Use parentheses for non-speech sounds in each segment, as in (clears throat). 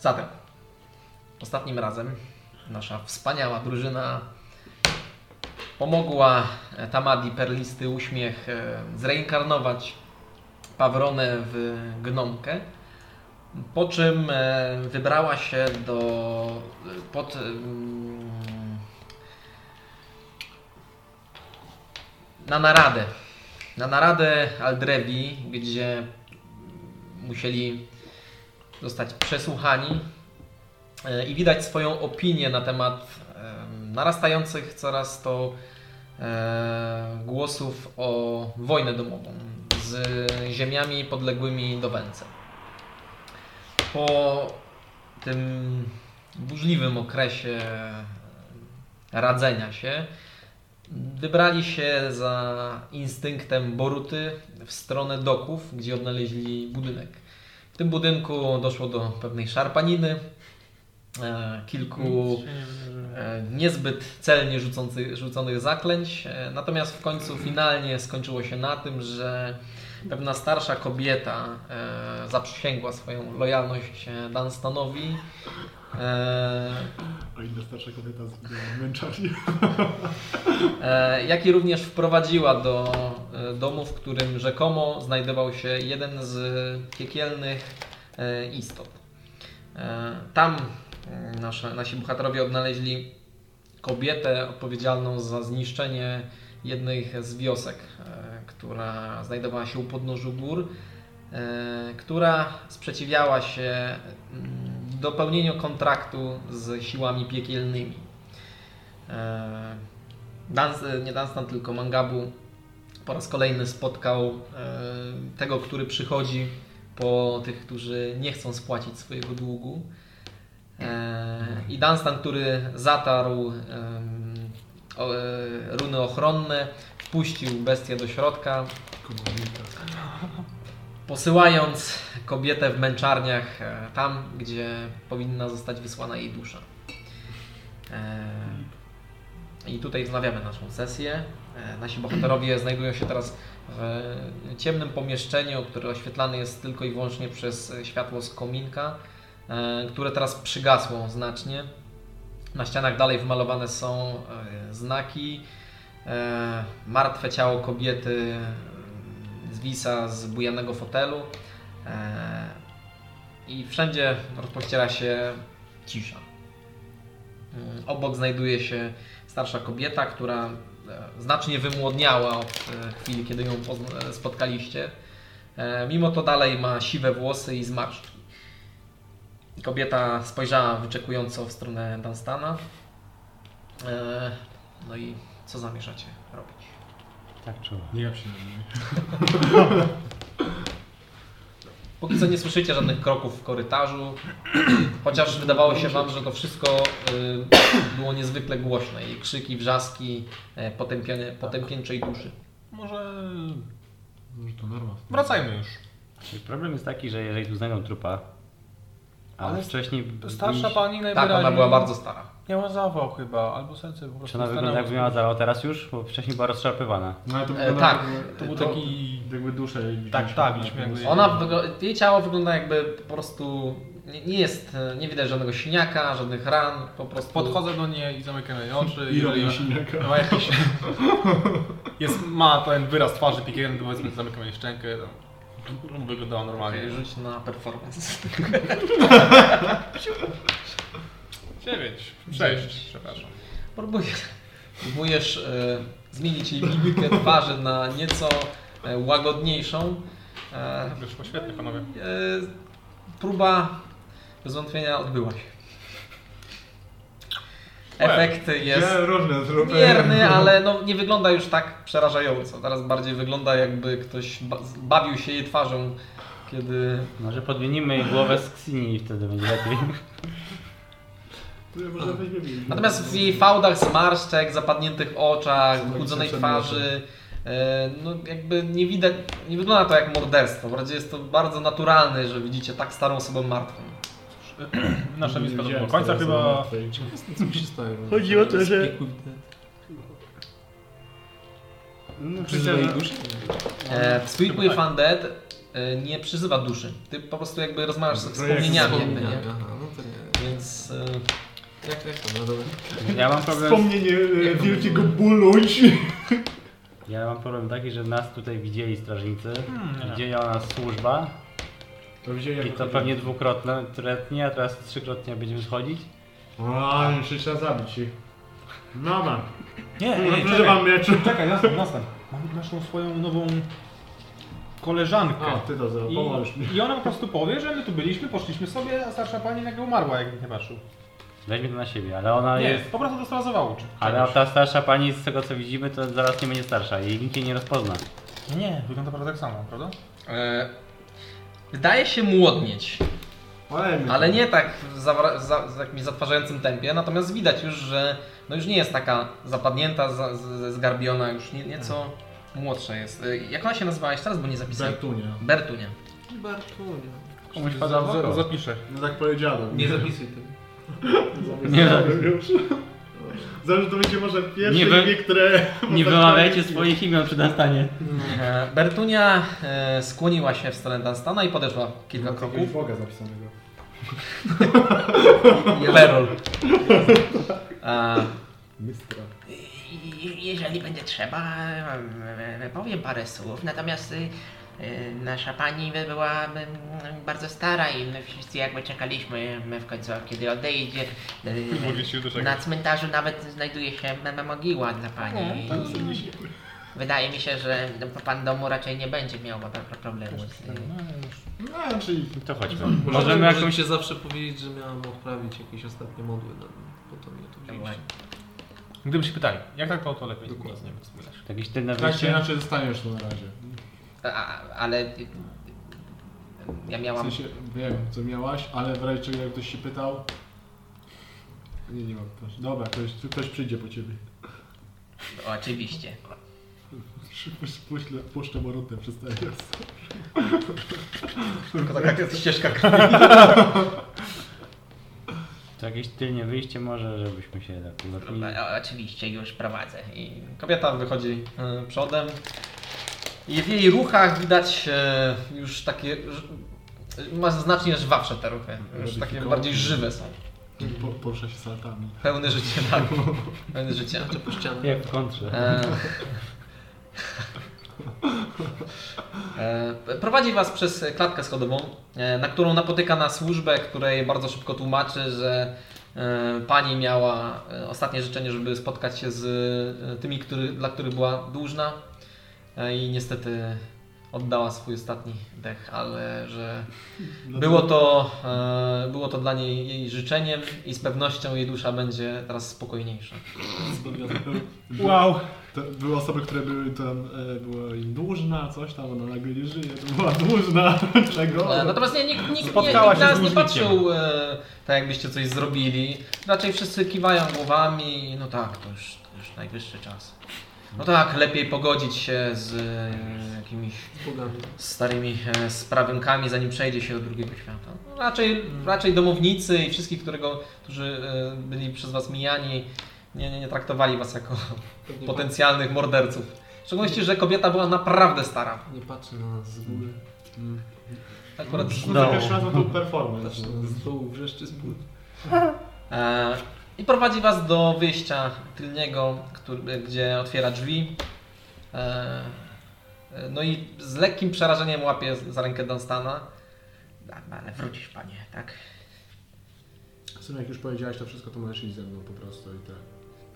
Zatem, ostatnim razem nasza wspaniała drużyna pomogła e, Tamadi Perlisty Uśmiech e, zreinkarnować Pawronę w gnomkę, po czym e, wybrała się do e, pod mm, na naradę na naradę Aldrewi, gdzie musieli zostać przesłuchani e, i widać swoją opinię na temat em, narastających coraz to e, głosów o wojnę domową z ziemiami podległymi do Węce. Po tym burzliwym okresie radzenia się, Wybrali się za instynktem Boruty w stronę doków, gdzie odnaleźli budynek. W tym budynku doszło do pewnej szarpaniny, e, kilku e, niezbyt celnie rzucący, rzuconych zaklęć. E, Natomiast w końcu finalnie skończyło się na tym, że pewna starsza kobieta e, zaprzysięgła swoją lojalność e, Dunstanowi. E, O ile starsza kobieta zginęła w męczarni. E, jak i również wprowadziła do e, domu, w którym rzekomo znajdował się jeden z piekielnych e, istot. E, Tam mm, nasze, nasi bohaterowie odnaleźli kobietę odpowiedzialną za zniszczenie jednych z wiosek, e, która znajdowała się u podnóżu gór, e, która sprzeciwiała się mm, dopełnieniu kontraktu z siłami piekielnymi. E, Dans, e, nie Dunstan, tylko Mangabu po raz kolejny spotkał e, tego, który przychodzi po tych, którzy nie chcą spłacić swojego długu. E, I Dunstan, który zatarł em, o, e, runy ochronne, wpuścił bestię do środka, Komunita. posyłając kobietę w męczarniach e, tam, gdzie powinna zostać wysłana jej dusza. E, I tutaj wznawiamy naszą sesję. E, Nasi bohaterowie (clears throat) znajdują się teraz w ciemnym pomieszczeniu, które oświetlane jest tylko i wyłącznie przez światło z kominka, e, które teraz przygasło znacznie. Na ścianach dalej wymalowane są e, znaki. E, Martwe ciało kobiety mm, zwisa z bujanego fotelu. E, I wszędzie rozpościera się cisza. Mm, Obok znajduje się starsza kobieta, która e, znacznie wymłodniała od e, chwili, kiedy ją pozna- e, spotkaliście. E, Mimo to dalej ma siwe włosy i zmarszczki. Kobieta spojrzała wyczekująco w stronę Dunstana. E, No i co zamierzacie robić? Tak czuło. Nie ja przynajmniej. (laughs) Póki co nie słyszycie żadnych kroków w korytarzu, chociaż wydawało się Wam, że to wszystko y, było niezwykle głośne. I krzyki, wrzaski, e, potępienie, potępieńczej duszy. Może... Może to norma. Wracajmy już. Czyli problem jest taki, że jeżeli tu znajdą trupa, a Ale Ale wcześniej... Starsza byliś- pani Tak, najwyraźniej... ona była bardzo stara. Miała zawał chyba, albo serce po prostu Czy ona wygląda stanęło. jakby miała zawał teraz już? Bo wcześniej była rozszarpywana. No ale to E, wygląda tak. jakby- To był To- taki jakby duszę. Tak, jakby- tak, liśmy jakby- Ona, wygl- jej ciało wygląda jakby po prostu, nie, nie jest, e, nie widać żadnego siniaka, żadnych ran, po prostu... Podchodzę do niej i zamykam jej oczy. I robię jeżeli silniaka. ma jakiś... Jest, ma ten wyraz twarzy piekielny, to powiedzmy zamykam jej szczękę. no. Wyglądała normalnie. Okej, Rzuć na performance. 9, Dziewięć. 6, przepraszam. Próbujesz, próbujesz e, zmienić jej mimikę twarzy na nieco e, łagodniejszą. E, Wyszło świetnie, panowie. E, próba bez wątpienia odbyła się. Efekt jest Ja różne zrobię. mierny, ale no, nie wygląda już tak przerażająco. Teraz bardziej wygląda jakby ktoś ba- bawił się jej twarzą, kiedy... Może podmienimy jej głowę z Ksini i wtedy będzie lepiej. To ja może weźmiemy. Natomiast w jej fałdach zmarszczek, zapadniętych oczach, Są wychudzonej jakieś twarzy, e, no jakby nie widać, nie wygląda to jak morderstwo. Bardziej jest to bardzo naturalne, że widzicie tak starą osobę martwą. No, Nasza wizja do Widziałem końca stare chyba... osoby martwe i- Co mi się stało? Chodzi o to, że... No, Przyzwoi duszy? E, w Sweet tak. With Undead e, nie przyzywa duszy. Ty po prostu jakby rozmawiasz ze Projekcja No, wspomnieniami. Jakby, nie? Aha, no więc e, Jak, jak to nazywa? (laughs) Ja mam problem, Wspomnienie e, Jak to wielkiego było? bólu. ja mam problem taki, że nas tutaj widzieli strażnicy, Hmm. widziała nas służba i to pewnie dwukrotnie, trzykrotnie, a teraz trzykrotnie będziemy schodzić. A, jeszcze trzeba zabić No, ich. Mama, Nie, nie, używam czekaj, mieczu. czekaj, zostań, zostań. Mam naszą swoją nową koleżankę. A, ty to I, zapomożesz mi. I ona po prostu powie, że my tu byliśmy, poszliśmy sobie, a starsza pani nagle umarła, jak nie patrzył. Weźmie to na siebie, ale ona Nie, jest... po prostu dostała zawału. Czy, Ale ta starsza pani, z tego co widzimy, to zaraz nie będzie starsza i nikt jej nie rozpozna. Nie, nie, wygląda prawie tak samo, prawda? e, wydaje się młodnieć, Ale, ale nie tak w, zawra- za, w jakimś zatwarzającym tempie, natomiast widać już, że no już nie jest taka zapadnięta, za, z- zgarbiona, już nie, nieco młodsza jest. E, Jak ona się nazywała jeszcze raz, bo nie zapisałem? Bertunia. Bertunia. Bartunia. Komuś pada w oko. Zapiszę. No tak powiedziałem. Nie zapisuj tego. (laughs) Nie zapisałem już. Zawsze to będzie może pierwsze Nie wy- imię, które... Nie wymawiajcie swoich imion przy nastanie. E, Bertunia e, skłoniła się w stronę Dunstana i podeszła kilka kroków. Boga zapisanego. Berol. E, Mistra. I- Y, Jeżeli będzie trzeba, e, e, powiem parę słów. Natomiast y, y, nasza pani by była mm, bardzo stara i my wszyscy jakby czekaliśmy my w końcu, kiedy odejdzie. Y, Mówię się do Na cmentarzu nawet znajduje się mama mogiła dla pani. No, tak, Tak I Wydaje mi się, że no, pan domu raczej nie będzie miał problemu tak. z No, czyli... To chodźmy. Możemy Możemy jakąś jakąś... się zawsze powiedzieć, że miałam odprawić jakieś ostatnie modły na po to mnie tu wzięliście. Gdyby się pytali, jak tak to, to lepiej. Dokładnie. Nic nie wiem, co mówisz. Jakieś tylne Tak czy wyjście? inaczej zostaniesz tu na razie. a- a- ale y, y, ja W miałam sensie, wiem, co miałaś, ale w razie czego jak ktoś się pytał... Nie, nie mam. proszę. Dobra, ktoś, ktoś przyjdzie po ciebie. Oczywiście. Puszczę, puszczę morotę przez teraz. Tylko (laughs) taka ścieżka krwi. tak To jakieś tylnie wyjście może, żebyśmy się tak ulepili. O, oczywiście, już prowadzę. I kobieta wychodzi e, przodem. I w jej ruchach widać e, już takie. ż- Ma znacznie żwawsze te ruchy. Już takie Modyfikowane. bardziej żywe są. Po, porusza się saltami. Pełne życie, tak. Pełne życia. To po Tak ścianach. Jak w kontrze. E, E, Prowadzi was przez klatkę schodową, e, na którą napotyka na służbę, której bardzo szybko tłumaczy, że e, pani miała e, ostatnie życzenie, żeby spotkać się z e, tymi, który, dla których była dłużna e, i niestety oddała swój ostatni dech, ale że No było to, e, było to dla niej jej życzeniem i z pewnością jej dusza będzie teraz spokojniejsza. Wow! To były osoby, które były tam, e, była im dłużna, coś tam, ona nagle nie żyje, to była dłużna (laughs) czego? E, Natomiast nie, nikt, nikt, nie, nikt No, Spotkała na się nas z nie dłużnikiem. patrzył e, tak, jakbyście coś zrobili. Raczej wszyscy kiwają głowami. No tak, to już, to już najwyższy czas. No tak, lepiej pogodzić się z e, jakimiś Z bogami. starymi e, sprawynkami, zanim przejdzie się do drugiego świata. No, raczej, raczej domownicy i wszystkich, którego, którzy e, byli przez was mijani, nie, nie, nie traktowali was jako Pewnie potencjalnych morderców. W szczególności, że kobieta była naprawdę stara. pat- Nie patrzy na nas z góry. Akurat No, No. to No. pierwszy raz na tą performance. Patrzy na nas z dołu, wrzeszczy z góry. E, I prowadzi was do wyjścia tylniego, który, gdzie otwiera drzwi. E, e, No i z lekkim przerażeniem łapie z- za rękę Dunstana. No, Ale wrócisz panie, tak? Synu, jak już powiedziałeś to wszystko, to możesz iść ze mną po prostu i tak.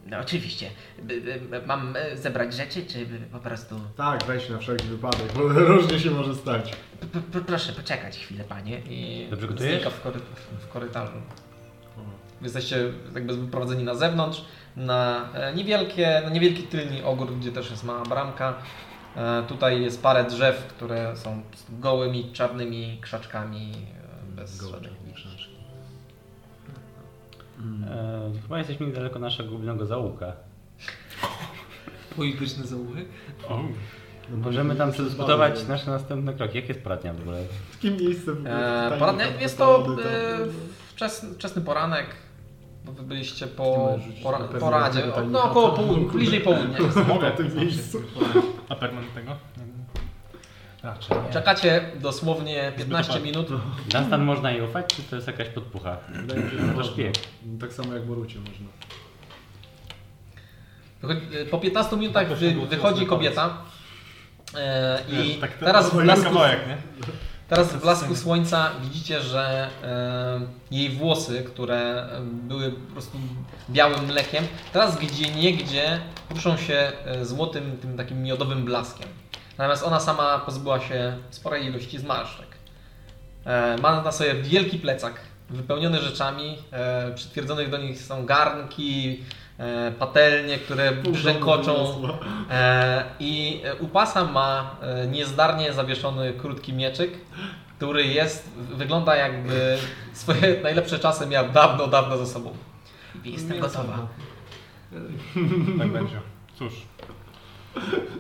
No oczywiście. B- b- Mam e, zebrać rzeczy, czy po prostu... Tak, weź na wszelki wypadek, bo (laughs) różnie się może stać. P- p- Proszę poczekać chwilę, panie. I Dobrze gotujesz? znika w, kory, w korytarzu. Jesteście jakby wyprowadzeni na zewnątrz, na e, niewielkie, na niewielki tylny ogród, gdzie też jest mała bramka. E, Tutaj jest parę drzew, które są gołymi, czarnymi krzaczkami, e, bez żadnych E, chyba jesteśmy niedaleko naszego głównego załuka. Polityczny zaułek. Możemy tam przedyskutować no? nasze następne kroki. Jak jest poradnia w ogóle? W takim miejscu. E, poradnie, jest to e, wczesny, wczesny poranek, bo wy byliście po możesz rzucić pora, na pewno poradzie, pytanie no na około co? (laughs) południa, bliżej południa. Mogę w tym miejscu. A permanent tego? Raczej nie. Czekacie dosłownie 15 Zbyt minut. Dunstan można jej ufać, czy to jest jakaś podpucha? Wydaje mi się, że To można. szpieg. Tak samo jak Borucie można. Wychodzi- Po 15 minutach To wy, się było wychodzi ciasny kobieta. E, I Wiesz, tak to- teraz to w był blasku, kawałek, nie? teraz w blasku słońca widzicie, że e, jej włosy, które e, były po prostu białym mlekiem, teraz gdzie niegdzie ruszą się e, złotym, tym takim miodowym blaskiem. Natomiast ona sama pozbyła się sporej ilości zmarszczek. E, ma na sobie wielki plecak wypełniony rzeczami. E, przytwierdzonych do nich są garnki, e, patelnie, które brzękoczą. E, I e, u pasa ma e, niezdarnie zawieszony krótki mieczyk, który jest, wygląda jakby swoje najlepsze czasy miał dawno, dawno za sobą. Jestem gotowa. Tak będzie. Cóż.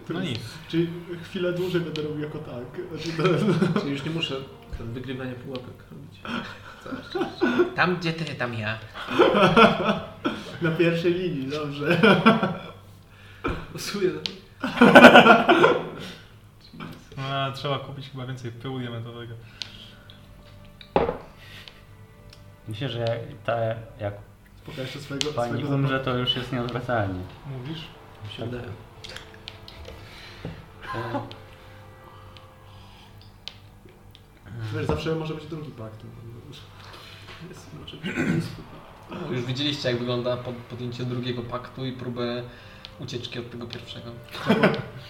No nic. Czyli chwilę dłużej będę robił jako tak. Znaczy, to... Czyli już nie muszę ten wygrywania pułapek robić. Tam gdzie ty, tam ja. Na pierwszej linii, dobrze. Pasuje. No, trzeba kupić chyba więcej pyłu diamentowego. Myślę, że jak ta, jak Pokaż jeszcze swojego, pani swojego umrze, to już jest nieodwracalnie. Mówisz? się wydaje. Wiesz, zawsze może być drugi pakt. no, Jest znaczy, oczywiście. Już widzieliście, jak wygląda pod- podjęcie drugiego paktu i próbę ucieczki od tego pierwszego.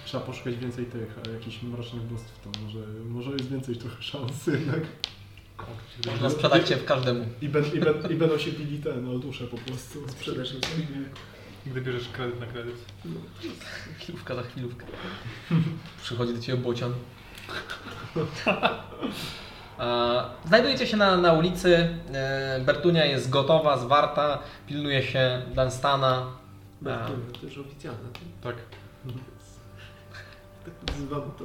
Trzeba poszukać więcej tych, e, jakichś mrocznych bóstw, to może, może jest więcej trochę szans jednak. Można sprzedać się w każdemu. I, ben, i, ben, I będą się bili ten o duszę po prostu. Sprzedaż jest Gdy bierzesz kredyt na kredyt. Chwilówka za chwilówkę. Przychodzi do ciebie bocian. E, Znajdujecie się na, na ulicy. E, Bertunia jest gotowa, zwarta. Pilnuje się Dunstana. Bertunia, to już oficjalne. to- Tak. Tak nazywamy to.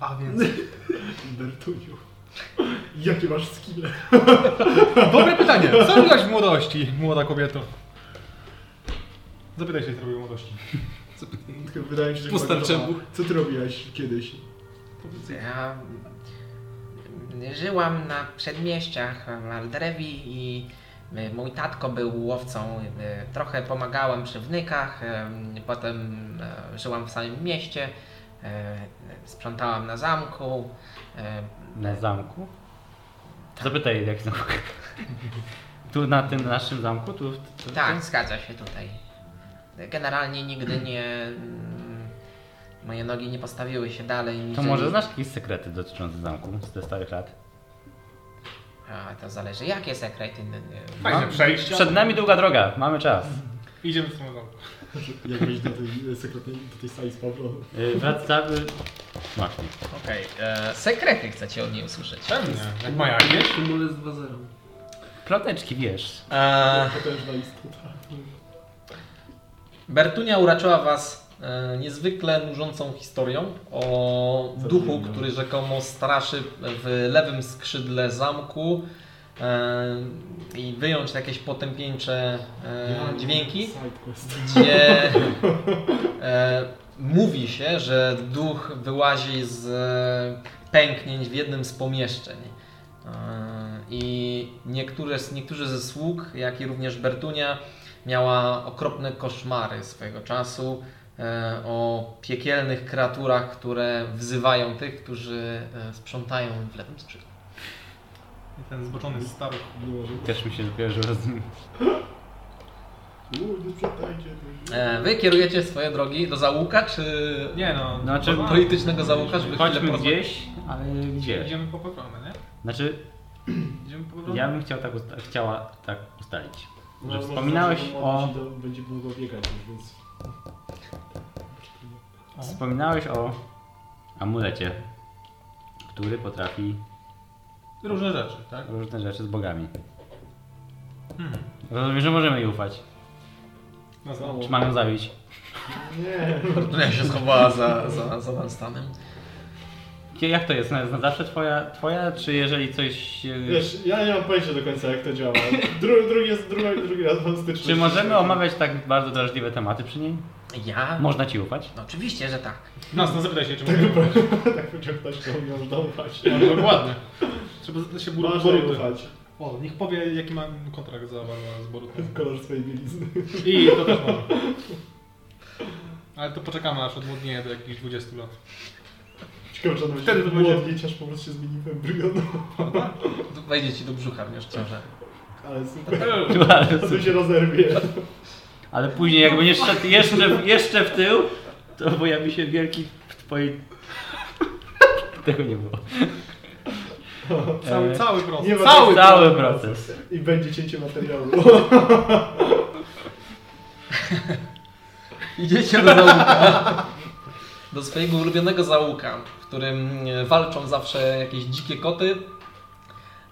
A więc. (laughs) Bertuniu. Jakie masz skille? Dobre pytanie. Co robiłaś w młodości, młoda kobieto? Zapytaj się, co robił w młodości. Tylko Wydaje mi się, że chyba Pustar gotowa. czemu? Co ty robiłaś kiedyś? Ja żyłam na przedmieściach Aldrewi i y, mój tatko był łowcą. y, Trochę pomagałam przy wnykach, y, potem y, żyłam w samym mieście, y, sprzątałam na zamku. y, Na zamku? Zapytaj jak zamku. Tu na tym naszym zamku? Tu, tu, Tak, zgadza się tutaj. Generalnie nigdy nie. mm, Moje nogi nie postawiły się dalej. To niżeli- może znasz jakieś sekrety dotyczące zamku z tych starych lat? A, to zależy, jakie sekrety. n- n- Fajne przejścia. Przed nami długa droga, mamy czas. Idziemy w stronę zamku. Jak wejść do tej e, sekretnej, do tej sali z Pawłem? Yy, Wracamy. Smacznie. No. Okej, e, sekrety chcecie od niej usłyszeć. Pewnie. Jak ma jakieś? Symul jest 2-0. Ploteczki, wiesz. E, Potężna istota. Bertunia uraczyła was e, niezwykle nużącą historią o duchu, który rzekomo straszy w lewym skrzydle zamku e, i wyjąć jakieś potępieńcze e, dźwięki, Sidequest. gdzie e, mówi się, że duch wyłazi z e, pęknięć w jednym z pomieszczeń. E, I niektóre, niektórzy ze sług, jak i również Bertunia, miała okropne koszmary swojego czasu e, o piekielnych kreaturach, które wzywają tych, którzy e, sprzątają w lewym skrzydle. I ten zboczony stary. Nie może. Też mi się skojarzyło z nim. Uuu, nie przetajcie. to- E, Wy kierujecie swoje drogi do załuka, czy Nie no. Znaczy, po- politycznego załuka, żeby chwilę Chodźmy porozmawiać? gdzieś, ale gdzie? Idziemy po programie, nie? Znaczy, Idziemy po programie. ja bym chciał tak usta- chciała tak ustalić. No, Że może wspominałeś to o, ci do- Będzie mogło biegać już, więc... wspominałeś o amulecie, który potrafi Różne rzeczy, tak? różne rzeczy z bogami. Hmm. Rozumiem, że możemy jej ufać. No znowu. Czy mam ją zabić? Nie. Fortuna No się schowała za, za, za Dunstanem. Kie- Jak to jest? Na na zawsze twoja, twoja czy jeżeli coś... e, Wiesz, ja nie mam pojęcia do końca jak to działa. Dru, drugi, jest, drugi, drugi raz mam styczność. Czy możemy omawiać tak bardzo drażliwe tematy przy niej? Ja? Można ci ufać? No, oczywiście, że tak. Nas, no zapytaj się, czy mogę. Tak wyciągnąć to umiesz dawać. No, Dokładnie. Trzeba się bur- Można Boruty. ufać O, niech powie, jaki ma kontrakt za Warła z Borutem. w kolor swojej bielizny. I to też mam. Ale to poczekamy, aż odmłodnieje do jakichś 20 lat. Ciekawe, czy on Wtedy będzie to będzie- młodnieć, aż po prostu się zmieni w embrion. Wejdzie ci do brzucha, wiesz, ciąża. (laughs) Ale super. Eee, Ale, To się rozerwie. ale później jak będziesz szedł jeszcze, jeszcze w tył, to pojawi się wielki w twojej... Tego nie było. Cały, E, cały proces. Nie ma cały Cały proces. I będzie cięcie materiału. Idziecie do załuka. Do swojego ulubionego załuka, w którym e, walczą zawsze jakieś dzikie koty.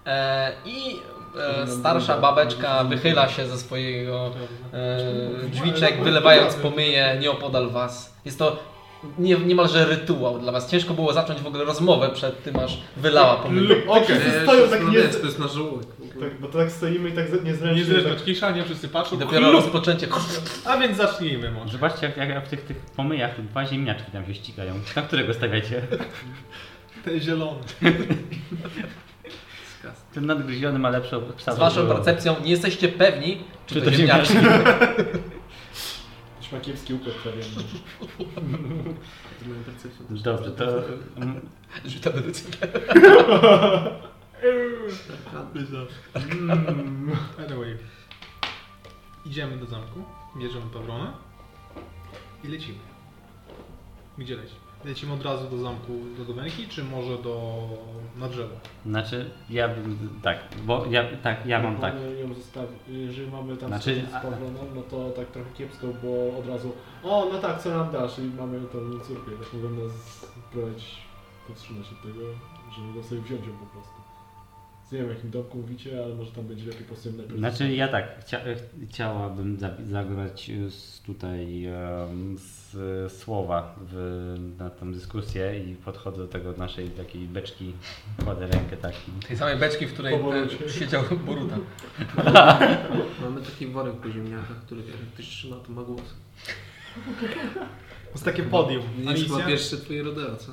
E, I e, starsza babeczka wychyla się ze swojego e, drzwiczek, wylewając pomyje nieopodal was. Jest to nie, niemalże rytuał dla was. Ciężko było zacząć w ogóle rozmowę przed tym, aż wylała pomyje. Okej. Ja Stoją się tak zastanawiam, nie- czy To jest na żołądek. w ogóle. Tak, bo to tak stoimy i tak ze- Nie niezręcznie. zresztą tak, cisza, nie wszyscy patrzą. I dopiero Chlup! rozpoczęcie. A więc zacznijmy może. Zobaczcie jak, jak w tych, tych pomyjach dwa ziemniaczki tam się ścigają. Na którego stawiacie? Te zielone. Ten nadgryziony ma lepszą psa. Z waszą żeby- percepcją nie jesteście pewni, czy, Czy to to ziemniaczki. (laughs) Jakiś ma kiepski tak- układ prawie. Tak. To moją percepcją też. Dobrze, to mm, Czy to medycyna. Tak. Tak. Mm. Anyway. Idziemy do zamku, bierzemy pawronę i lecimy. Gdzie lecimy? Lecimy od razu do zamku, do Domenki, czy może do... na drzewo? znaczy ja bym tak, bo ja tak, ja mam tak. Mamy ją zostawić. Jeżeli mamy tam Znaczy, znaczy, z a- powrotem, no to tak trochę kiepsko, bo od razu o, no tak, co nam dasz? I mamy tą córkę. Tak mogą nas prowadzić, powstrzymać od tego, że mogą sobie wziąć ją po prostu. Nie wiem, jakim domku mówicie, ale może tam będzie lepiej po prostu ją najpierw Znaczy ja tak, chcia, chciałabym za- zagrać y, z, tutaj em, z, y, słowa w, na tą dyskusję i podchodzę do tego naszej takiej beczki, kładę rękę tak. i- Tej samej beczki, w której Powolutku. e, siedział Boruta. Mamy taki worek po ziemniakach, który jak ktoś trzyma, to ma głos. To No, jest takie podium. Nie Alicja? trzeba pierwsze twoje rodeo, co?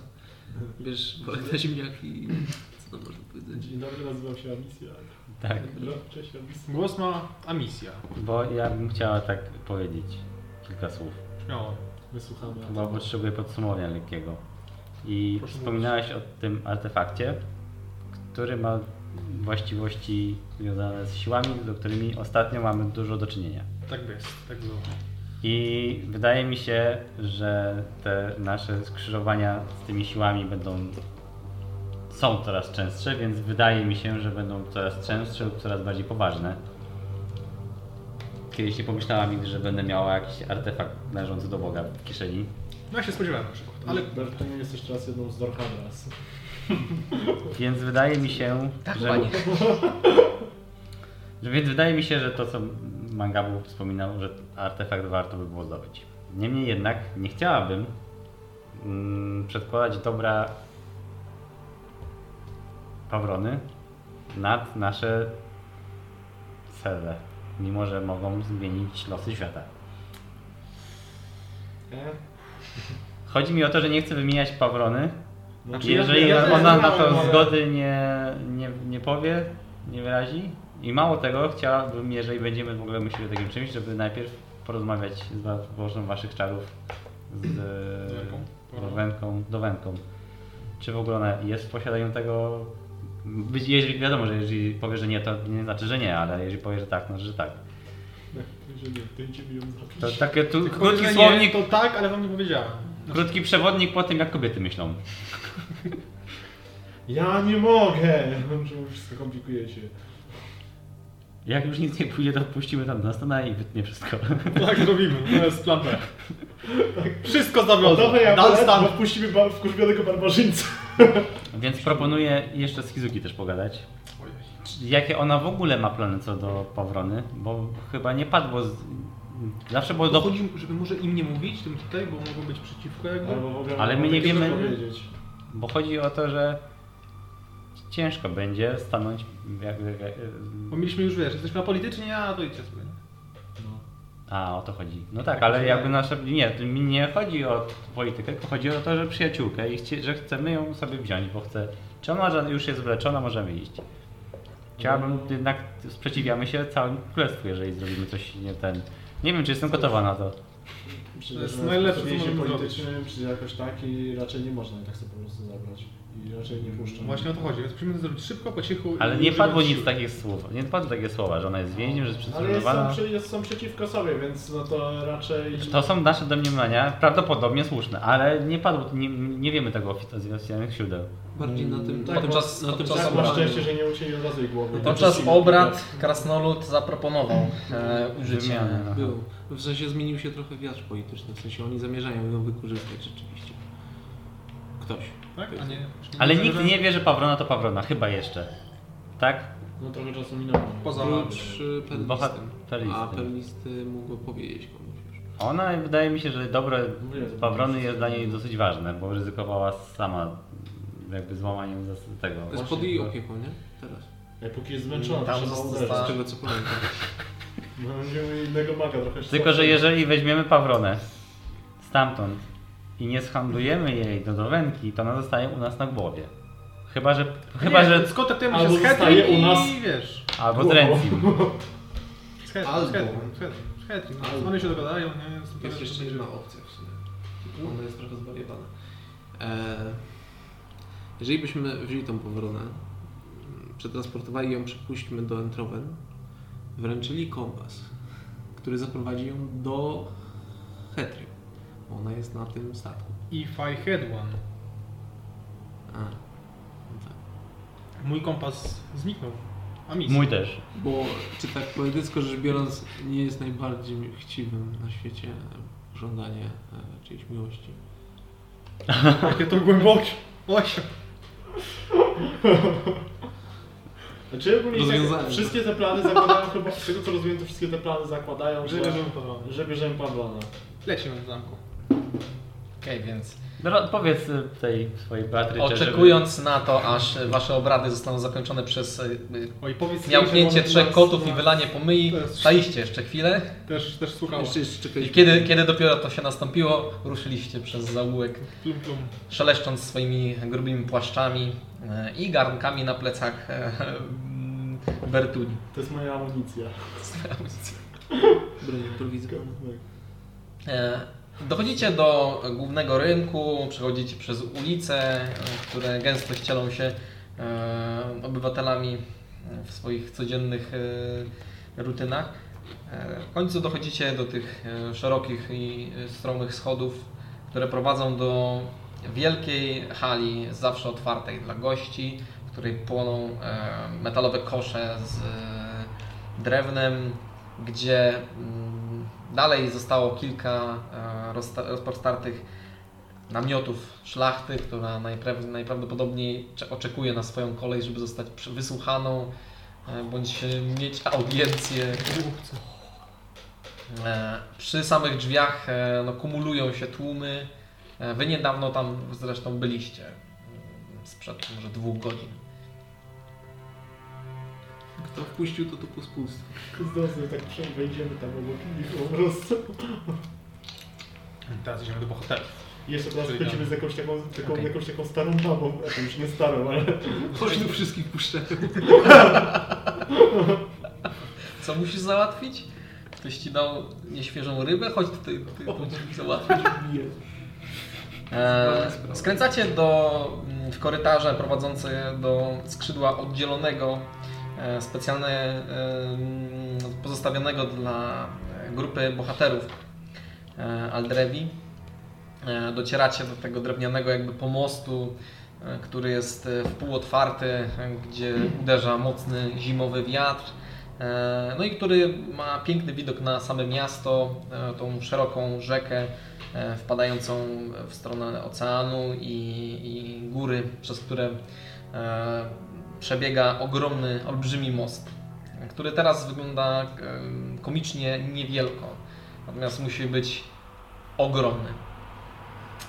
Bierz worek na ziemniaki i Tak. co tam można powiedzieć? Dzień dobry, nazywam się Amicia. Tak, No, cześć Amicia. Głos ma Amicia. bo ja bym chciała tak powiedzieć kilka słów. Śmiało. My słuchamy. Chyba potrzebuję podsumowania lekkiego. I Proszę wspominałeś o tym artefakcie, który ma właściwości związane z siłami, do którymi ostatnio mamy dużo do czynienia. Tak jest, tak było. I wydaje mi się, że te nasze skrzyżowania z tymi siłami będą. są coraz częstsze, więc wydaje mi się, że będą coraz częstsze lub coraz bardziej poważne. Kiedyś nie pomyślałam nigdy, że będę miała jakiś artefakt należący do Boga w kieszeni. No jak się spodziewałem na przykład, ale Ale Bertuniu jest jeszcze raz jedną z Dorhanas. (laughs) Więc wydaje mi się, Tak, że. panie. że- Więc wydaje mi się, że to, co Mangabu wspominał, że artefakt warto by było zdobyć. Niemniej jednak nie chciałabym mm, przedkładać dobra Pawrony nad nasze cele, mimo że mogą zmienić losy świata. E? Chodzi mi o to, że nie chcę wymieniać Pawrony, Znaczy, jeżeli ja- ja- ona na ja- to zgody nie, nie, nie powie, nie wyrazi. I mało tego, chciałabym, jeżeli będziemy w ogóle myśleli o takim czymś, żeby najpierw porozmawiać z wa- Bożą Waszych Czarów z Dowenką? Dowenką, Dowenką. Czy w ogóle ona jest w posiadaniu tego... Być- Jeżeli, wiadomo, że jeżeli powie, że nie, to nie znaczy, że nie, ale jeżeli powie, że tak, no że tak. Jeżeli nie, to idziemy ją zabić. To takie tu, Tylko krótki że nie, słownik, To tak, ale wam nie powiedziałem. krótki przewodnik po tym, jak kobiety myślą. Ja nie mogę! (laughs) Czemu wszystko komplikujecie? Jak już nic nie pójdzie, to puścimy tam na stana i wytnie wszystko. Tak zrobimy, to jest plan B. Tak, Wszystko zawiozę. Dobra, ja Dan stan. polecam, bo wpuścimy ba- wkurwionego barbarzyńca. Więc proponuję jeszcze z Hizuki też pogadać. Czy- Jakie ona w ogóle ma plany co do Pawrony? Bo chyba nie padło. Z... Zawsze było do. Chodzi, żeby może im nie mówić, tym tutaj, bo mogą być przeciwko jakby. Albo w ogóle Ale my mogę nie wiemy- powiedzieć. Bo chodzi o to, że ciężko będzie stanąć. Jak, jak, jak, Bo mieliśmy już, wiesz, jesteśmy apolityczni, a to idźcie sobie. No. A, o to chodzi. No tak, ale jakby nasza. Nie, to mi nie chodzi o politykę, tylko chodzi o to, że przyjaciółkę i chcie, że chcemy ją sobie wziąć, bo chce. Czy ona ża- już jest wyleczona, możemy iść. Chciałabym, jednak sprzeciwiamy się całym królestwu, jeżeli zrobimy coś nie ten. Nie wiem, czy jestem gotowa na to. Myślę, To jest że na najlepsze, co spotkanie się możemy politycznym, czy jakoś tak i raczej nie można i tak sobie po prostu zabrać. I raczej nie puszczą. No Właśnie o to chodzi, więc musimy to zrobić szybko, po cichu. Ale i nie używać padło nic tak- sił. takich słów. Nie padły takie słowa, że ona jest więźniem, że jest Ale jest są, przestrzelowana. przy, jest, są przeciwko sobie, więc no to raczej... Znaczy, To są nasze domniemania, prawdopodobnie słuszne, ale nie padło, nie, nie wiemy tego ofic- z oficjalnych źródeł. Bardziej na tym... Tak, na tym podczas- na tym podczas Tak, samym- na szczęście, że nie ucięli od razu jej głowy. Podczas Przeciwko. obrad krasnolud zaproponował e, użycie. Wymiany, no. Było. W sensie zmienił się trochę wiatr polityczny, w sensie oni zamierzają ją wykorzystać rzeczywiście. Ktoś. Tak? A nie, Ale nikt nie wie, że Pawrona to Pawrona, chyba jeszcze. Tak? No trochę czasu minęło. Poza Oprócz y, Bohat- perlisty. perlisty. A perlisty mógł powiedzieć komuś już. Ona wydaje mi się, że dobro Mówię, że- Pawrony jest dla niej dosyć ważne, bo ryzykowała sama jakby złamaniem zas- tego. To jest pod jej opieką, nie? Teraz. Ej, póki jest zmęczona, Tam to trzeba została- uderzyć. Z tego co pamiętam. No, Będziemy innego maga trochę Tylko, że jeżeli weźmiemy Pawronę stamtąd i nie schandlujemy jej do dowenki, to ona zostaje u nas na głowie. Chyba, że. Chyba, że. skontaktujemy się Albo z zostaje Hetrim u nas- i wiesz. Albo z Rencim. Z Hetrim, Albo. z Hetrim, z Hetrim, z Hetrim. Albo. One się dogadają, nie? Super, Jest jeszcze będzie- jedna opcja w sumie. Tylko Ona jest trochę zwariowana. E, jeżeli byśmy wzięli tą powronę, mm, przetransportowali ją, przypuśćmy do Entrowen, wręczyli kompas, który zaprowadzi ją do Hetry. bo Ona jest na tym statku. If I had one. A, no tak. Mój kompas zniknął. A mi Mój też. Bo, czy tak poetycko rzecz biorąc, nie jest najbardziej chciwym na świecie żądanie e, czyjejś miłości. Jakie to głębokie. Osiem. Znaczy ogólnie tak, Rozwiązanie. wszystkie te plany zakładają (laughs) chyba, z tego co rozumiem, to wszystkie te plany zakładają, że, Żebyśmy powrotnie. że bierzemy Pawlona. Lecimy w zamku. Okej, więc No, powiedz y, tej swojej Beatrycze, oczekując na to, aż wasze obrady zostaną zakończone przez y, y, Oj, powiedz miałknięcie że trzech nas- kotów i nas- wylanie pomyj, To jest- staliście jeszcze chwilę Też, też słuchało. Jeszcze jest czekać. i kiedy, kiedy dopiero to się nastąpiło, ruszyliście przez zaułek, Plum, plum. szeleszcząc swoimi grubymi płaszczami e, i garnkami na plecach e, (laughs) mm, Bertuni. To jest moja amunicja. Broń improwizowana. E, Dochodzicie do głównego rynku, przechodzicie przez ulice, e, które gęsto ścielą się e, obywatelami w swoich codziennych e, rutynach. E, W końcu dochodzicie do tych e, szerokich i e, stromych schodów, które prowadzą do wielkiej hali, zawsze otwartej dla gości, w której płoną e, metalowe kosze z e, drewnem, gdzie mm, dalej zostało kilka e, rozsta- rozpostartych namiotów szlachty, która najpraw- najprawdopodobniej cze- oczekuje na swoją kolej, żeby zostać przy- wysłuchaną e, bądź e, mieć audiencję. E, Przy samych drzwiach e, no, kumulują się tłumy. E, Wy niedawno tam zresztą byliście. mm, Sprzed może dwóch godzin. Kto wpuścił, to to pospólstwo. Znowu tak przed wejdziemy tam obok nich po prostu. Teraz idziemy do bohaterów. I Jeszcze teraz Czyli chodzimy z jakąś taką, taką, Okej. jakąś taką starą babą, a to już nie starą, ale... (laughs) Chodź do wszystkich puszczę. Co musisz załatwić? Ktoś ci dał nieświeżą rybę? Chodź tutaj, ty musisz załatwić. E, skręcacie do, mm, w korytarze prowadzące do skrzydła oddzielonego, e, specjalnie e, mm, pozostawionego dla e, grupy bohaterów e, Aldrevi. E, docieracie do tego drewnianego jakby pomostu, e, który jest e, wpół otwarty, e, gdzie uderza mocny zimowy wiatr. E, No i który ma piękny widok na same miasto, e, tą szeroką rzekę e, wpadającą w stronę oceanu i, i góry, przez które e, przebiega ogromny, olbrzymi most, który teraz wygląda e, komicznie niewielko, natomiast musi być ogromny.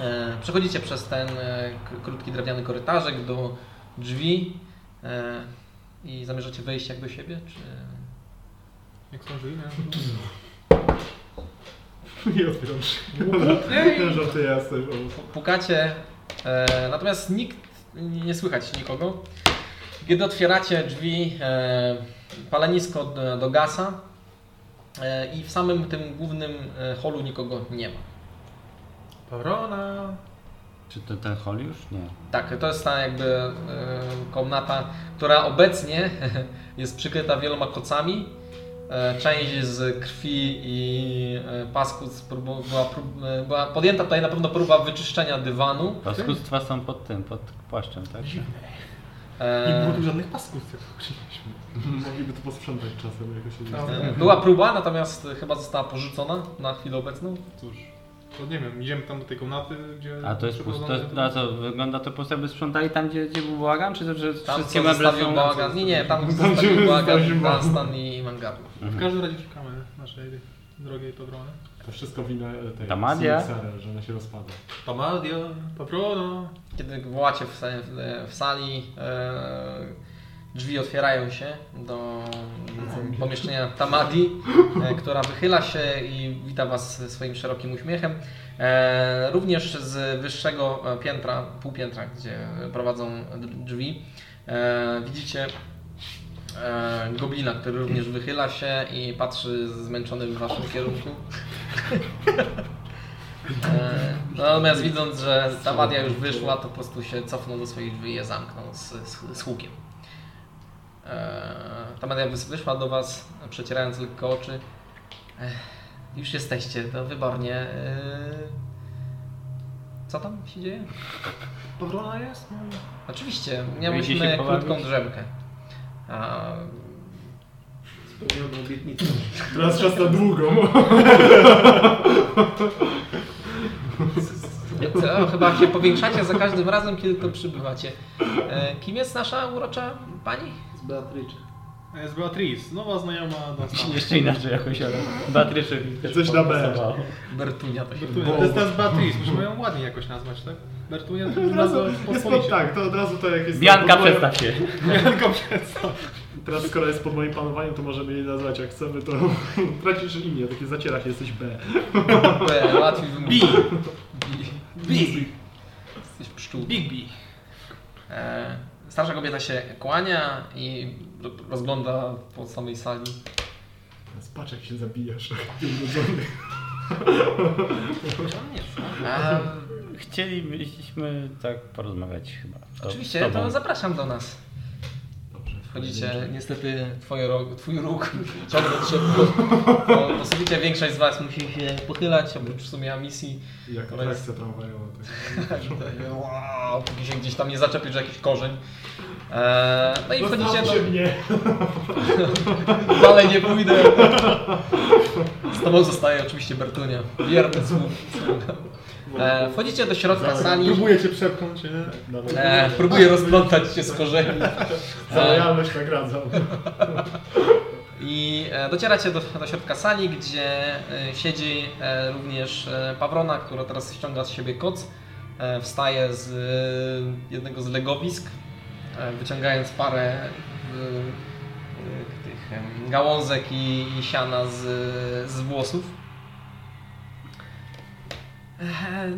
E, Przechodzicie przez ten e, k- krótki drewniany korytarzek do drzwi e, i no. zamierzacie wejść jak do siebie, czy... Jak są żyjne? Nie odpiął się. Nie żartuję, ja sobie po prostu. Pukacie, e, natomiast nikt nie słychać nikogo. Kiedy otwieracie drzwi, e, palenisko do, do gasa e, i w samym tym głównym e, holu nikogo nie ma. Pawrona. Czy to ten hol już? Nie. Tak, to jest ta jakby e, komnata, która obecnie (laughs) jest przykryta wieloma kocami. E, Część z krwi i e, pasków sprób- była, prób- e, była podjęta tutaj na pewno próba wyczyszczenia dywanu. Paskustwa są pod tym, pod płaszczem, tak? Nie E, było tu żadnych pasków, jak słyszeliśmy. (laughs) Mogliby to posprzątać czasem, jako się No. nie e, Była próba, natomiast chyba została porzucona na chwilę obecną. Cóż, to nie wiem, idziemy tam do tej komnaty, gdzie... A to jest puste, to jest, przeprowadzone- no a co, wygląda to puste, by sprzątali tam, gdzie, gdzie był bałagan, czy to, że Tam wszystkie co meble zostawił są... bałagan. Nie, nie, tam gdzie zostawił bałagan zostawił na bałagan. stan i mangabu. W każdym razie szukamy naszej drogiej Pawrony. To wszystko wina e, tej Damadia. Sinisara, że ona się rozpada. Pamadio. Pawrona. Kiedy wołacie w, sa- w- w sali, e, drzwi otwierają się do mm, pomieszczenia Tamadi, e, która wychyla się i wita Was swoim szerokim uśmiechem. E, również z wyższego e, piętra, półpiętra, gdzie prowadzą d- drzwi, e, widzicie e, goblina, który również wychyla się i patrzy zmęczony w Waszym kierunku. E, Natomiast widząc, że ta wadia już wyszła, to po prostu się cofnął do swoich drzwi i je zamknął z, z, z hukiem. E, Ta wadia wys- wyszła do Was, przecierając lekko oczy. Ech, Już jesteście, to wybornie. E, Co tam się dzieje? Pawrona jest? No. Oczywiście, Wyjdzie się miałyśmy pobawić? krótką drzemkę. A, Spełniona obietnica. Teraz czas na długą. co, chyba się powiększacie za każdym razem, kiedy to przybywacie. E, Kim jest nasza urocza pani? Z Beatrycze. A Jest Beatrice, nowa znajoma Dunstana. Jeszcze inaczej jakoś, ale Beatrycze mi też Coś na B. podpasowało. Bertunia to się Bertunia. To jest ta z Beatrice, musimy ją ładnie jakoś nazwać, tak? Bertunia to Od jest razu, nazwa (laughs) jest pospolicie. pod, tak, to od razu to jak jest... Bianka, pod moją- przestaw się. Bianko przedstaw. Teraz skoro jest pod moim panowaniem, to możemy jej nazwać jak chcemy, to (laughs) tracisz imię, takie zacierasz, jesteś B. B, łatwiej wymówić. Bi. Big. Jesteś pszczół. Big B. E, starsza kobieta się kłania i ro- rozgląda po samej sali. Patrz jak się zabijasz. (laughs) On jest, no. A, Chcielibyśmy tak porozmawiać chyba. To- z oczywiście, tobą. to zapraszam do nas. Wchodzicie, niestety twój róg, twój róg (laughs) ciągle szybko. Po, po suficie większość z Was musi się pochylać, oprócz w sumie misji. Jak Ona jest- atrakcja tramwajowa. tak. Wow, Póki się gdzieś tam nie zaczepisz że jakiś korzeń. E, no i wchodzicie do... Zostawcie mnie. Dalej nie pójdę. Z tobą zostaje oczywiście Bertunia. Wierny słów. E, wchodzicie do środka sali. Próbuję cię przepchnąć, nie? No, E, próbuję rozplątać się z korzeni. Za E, lojalność nagradzam. I e, docieracie do, do środka sali, gdzie e, siedzi e, również e, Pawrona, która teraz ściąga z siebie koc. E, Wstaje z e, jednego z legowisk, e, wyciągając parę e, e, tych em, gałązek i, i siana z, z włosów. E,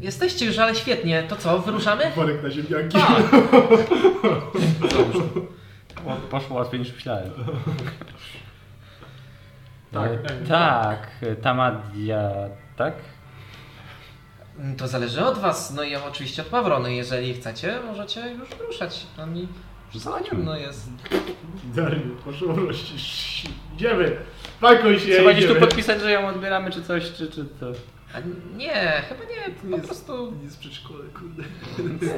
Jesteście już, ale świetnie. To co, wyruszamy? Worek na ziemniaki. Tak. O, Poszło łatwiej (laughs) niż myślałem. Tak, E, tak. tak, Tamadia, tak? To zależy od Was, no i oczywiście od Pawrony. Jeżeli chcecie, możecie już ruszać. No mi Zanim. Hmm. no jest. Dariu, proszę urościć. Idziemy. Pakuj się, Trzeba gdzieś tu idziemy. podpisać, że ją odbieramy, czy coś, czy, czy to. A nie, chyba nie, po prostu Nie z przedszkola, kurde.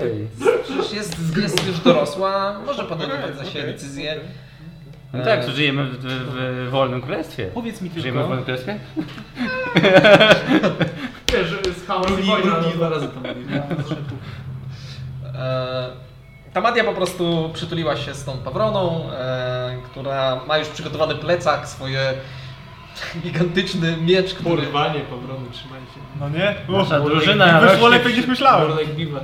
Ej. przecież jest, jest już dorosła, może podejmować za siebie okej, decyzję. okej. No tak, tu żyjemy w, w, w wolnym królestwie. E, Powiedz mi Żyjemy w tylko, wolnym królestwie? Wiesz, że jest chaos i Drugi, wojna. drugi, no dwa to- razy to mówiłem. E, Tamadia po prostu przytuliła się z tą Pawroną, e, która ma już przygotowany plecak, swoje gigantyczny miecz, który Porwanie, pobrony, trzymaj się. no nie? Nasza drużyna Wyszło rośnie. lepiej niż myślałem. Borlek biwak.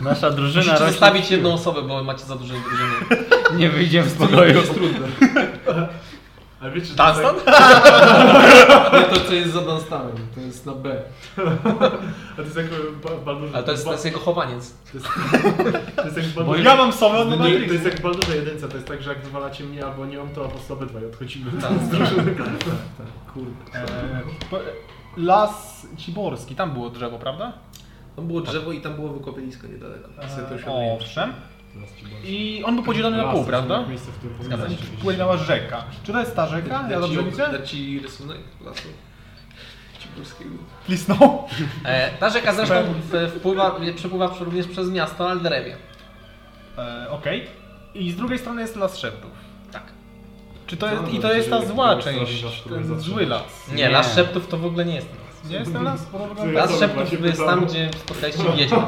Nasza drużyna musicie rośnie. zostawić (laughs) jedną osobę, bo macie za dużo drużyny. Nie wyjdziemy z pokoju. Jest trudne. A wiecie, że to jest Dunstan? Tak. (laughs) Nie, to co jest za Dunstanem, to jest na B. A to jest jak w Ba- w Baldurze... Ale to jest, to jest jego chowaniec. to jest, to jest jak w Bo Baldurze... ja mam sobie od No nie, to Matrix. jest jak w Baldurze jedynce, to jest tak, że jak zwalacie mnie albo nie mam, to albo obydwaj odchodzimy Tak, z drużyny. tak. Kurde. E, po- Las Ciborski, tam było drzewo, prawda? Tam było drzewo i tam było wykopalisko niedaleko. Sobie to już E, odmieniłem. owszem. Teraz ci bardzo- I on był podzielony na Las pół, to prawda? jest Miejsce, w którym Zgadza się. powinnaś iść. Płynęła rzeka. Czy to jest ta rzeka? Ja Da ci- dobrze widzę? Da ci rysunek lasu. Ciburskiego. Lisnął. E, ta rzeka zresztą w- wpływa, przepływa również przez miasto Alderewie. E, Okej. I z drugiej strony jest las szeptów. Tak. Czy to No, jest, I dobrze, to jest ta że- zła że- część, że- że- ten że- zły las. Nie, Nie. Las Szeptów to w ogóle nie jest ten las. Nie jest ten las? Bo to wygląda... Ja Las sam Szeptów właśnie jest pytałem. tam, gdzie spotkaliście wiedźma.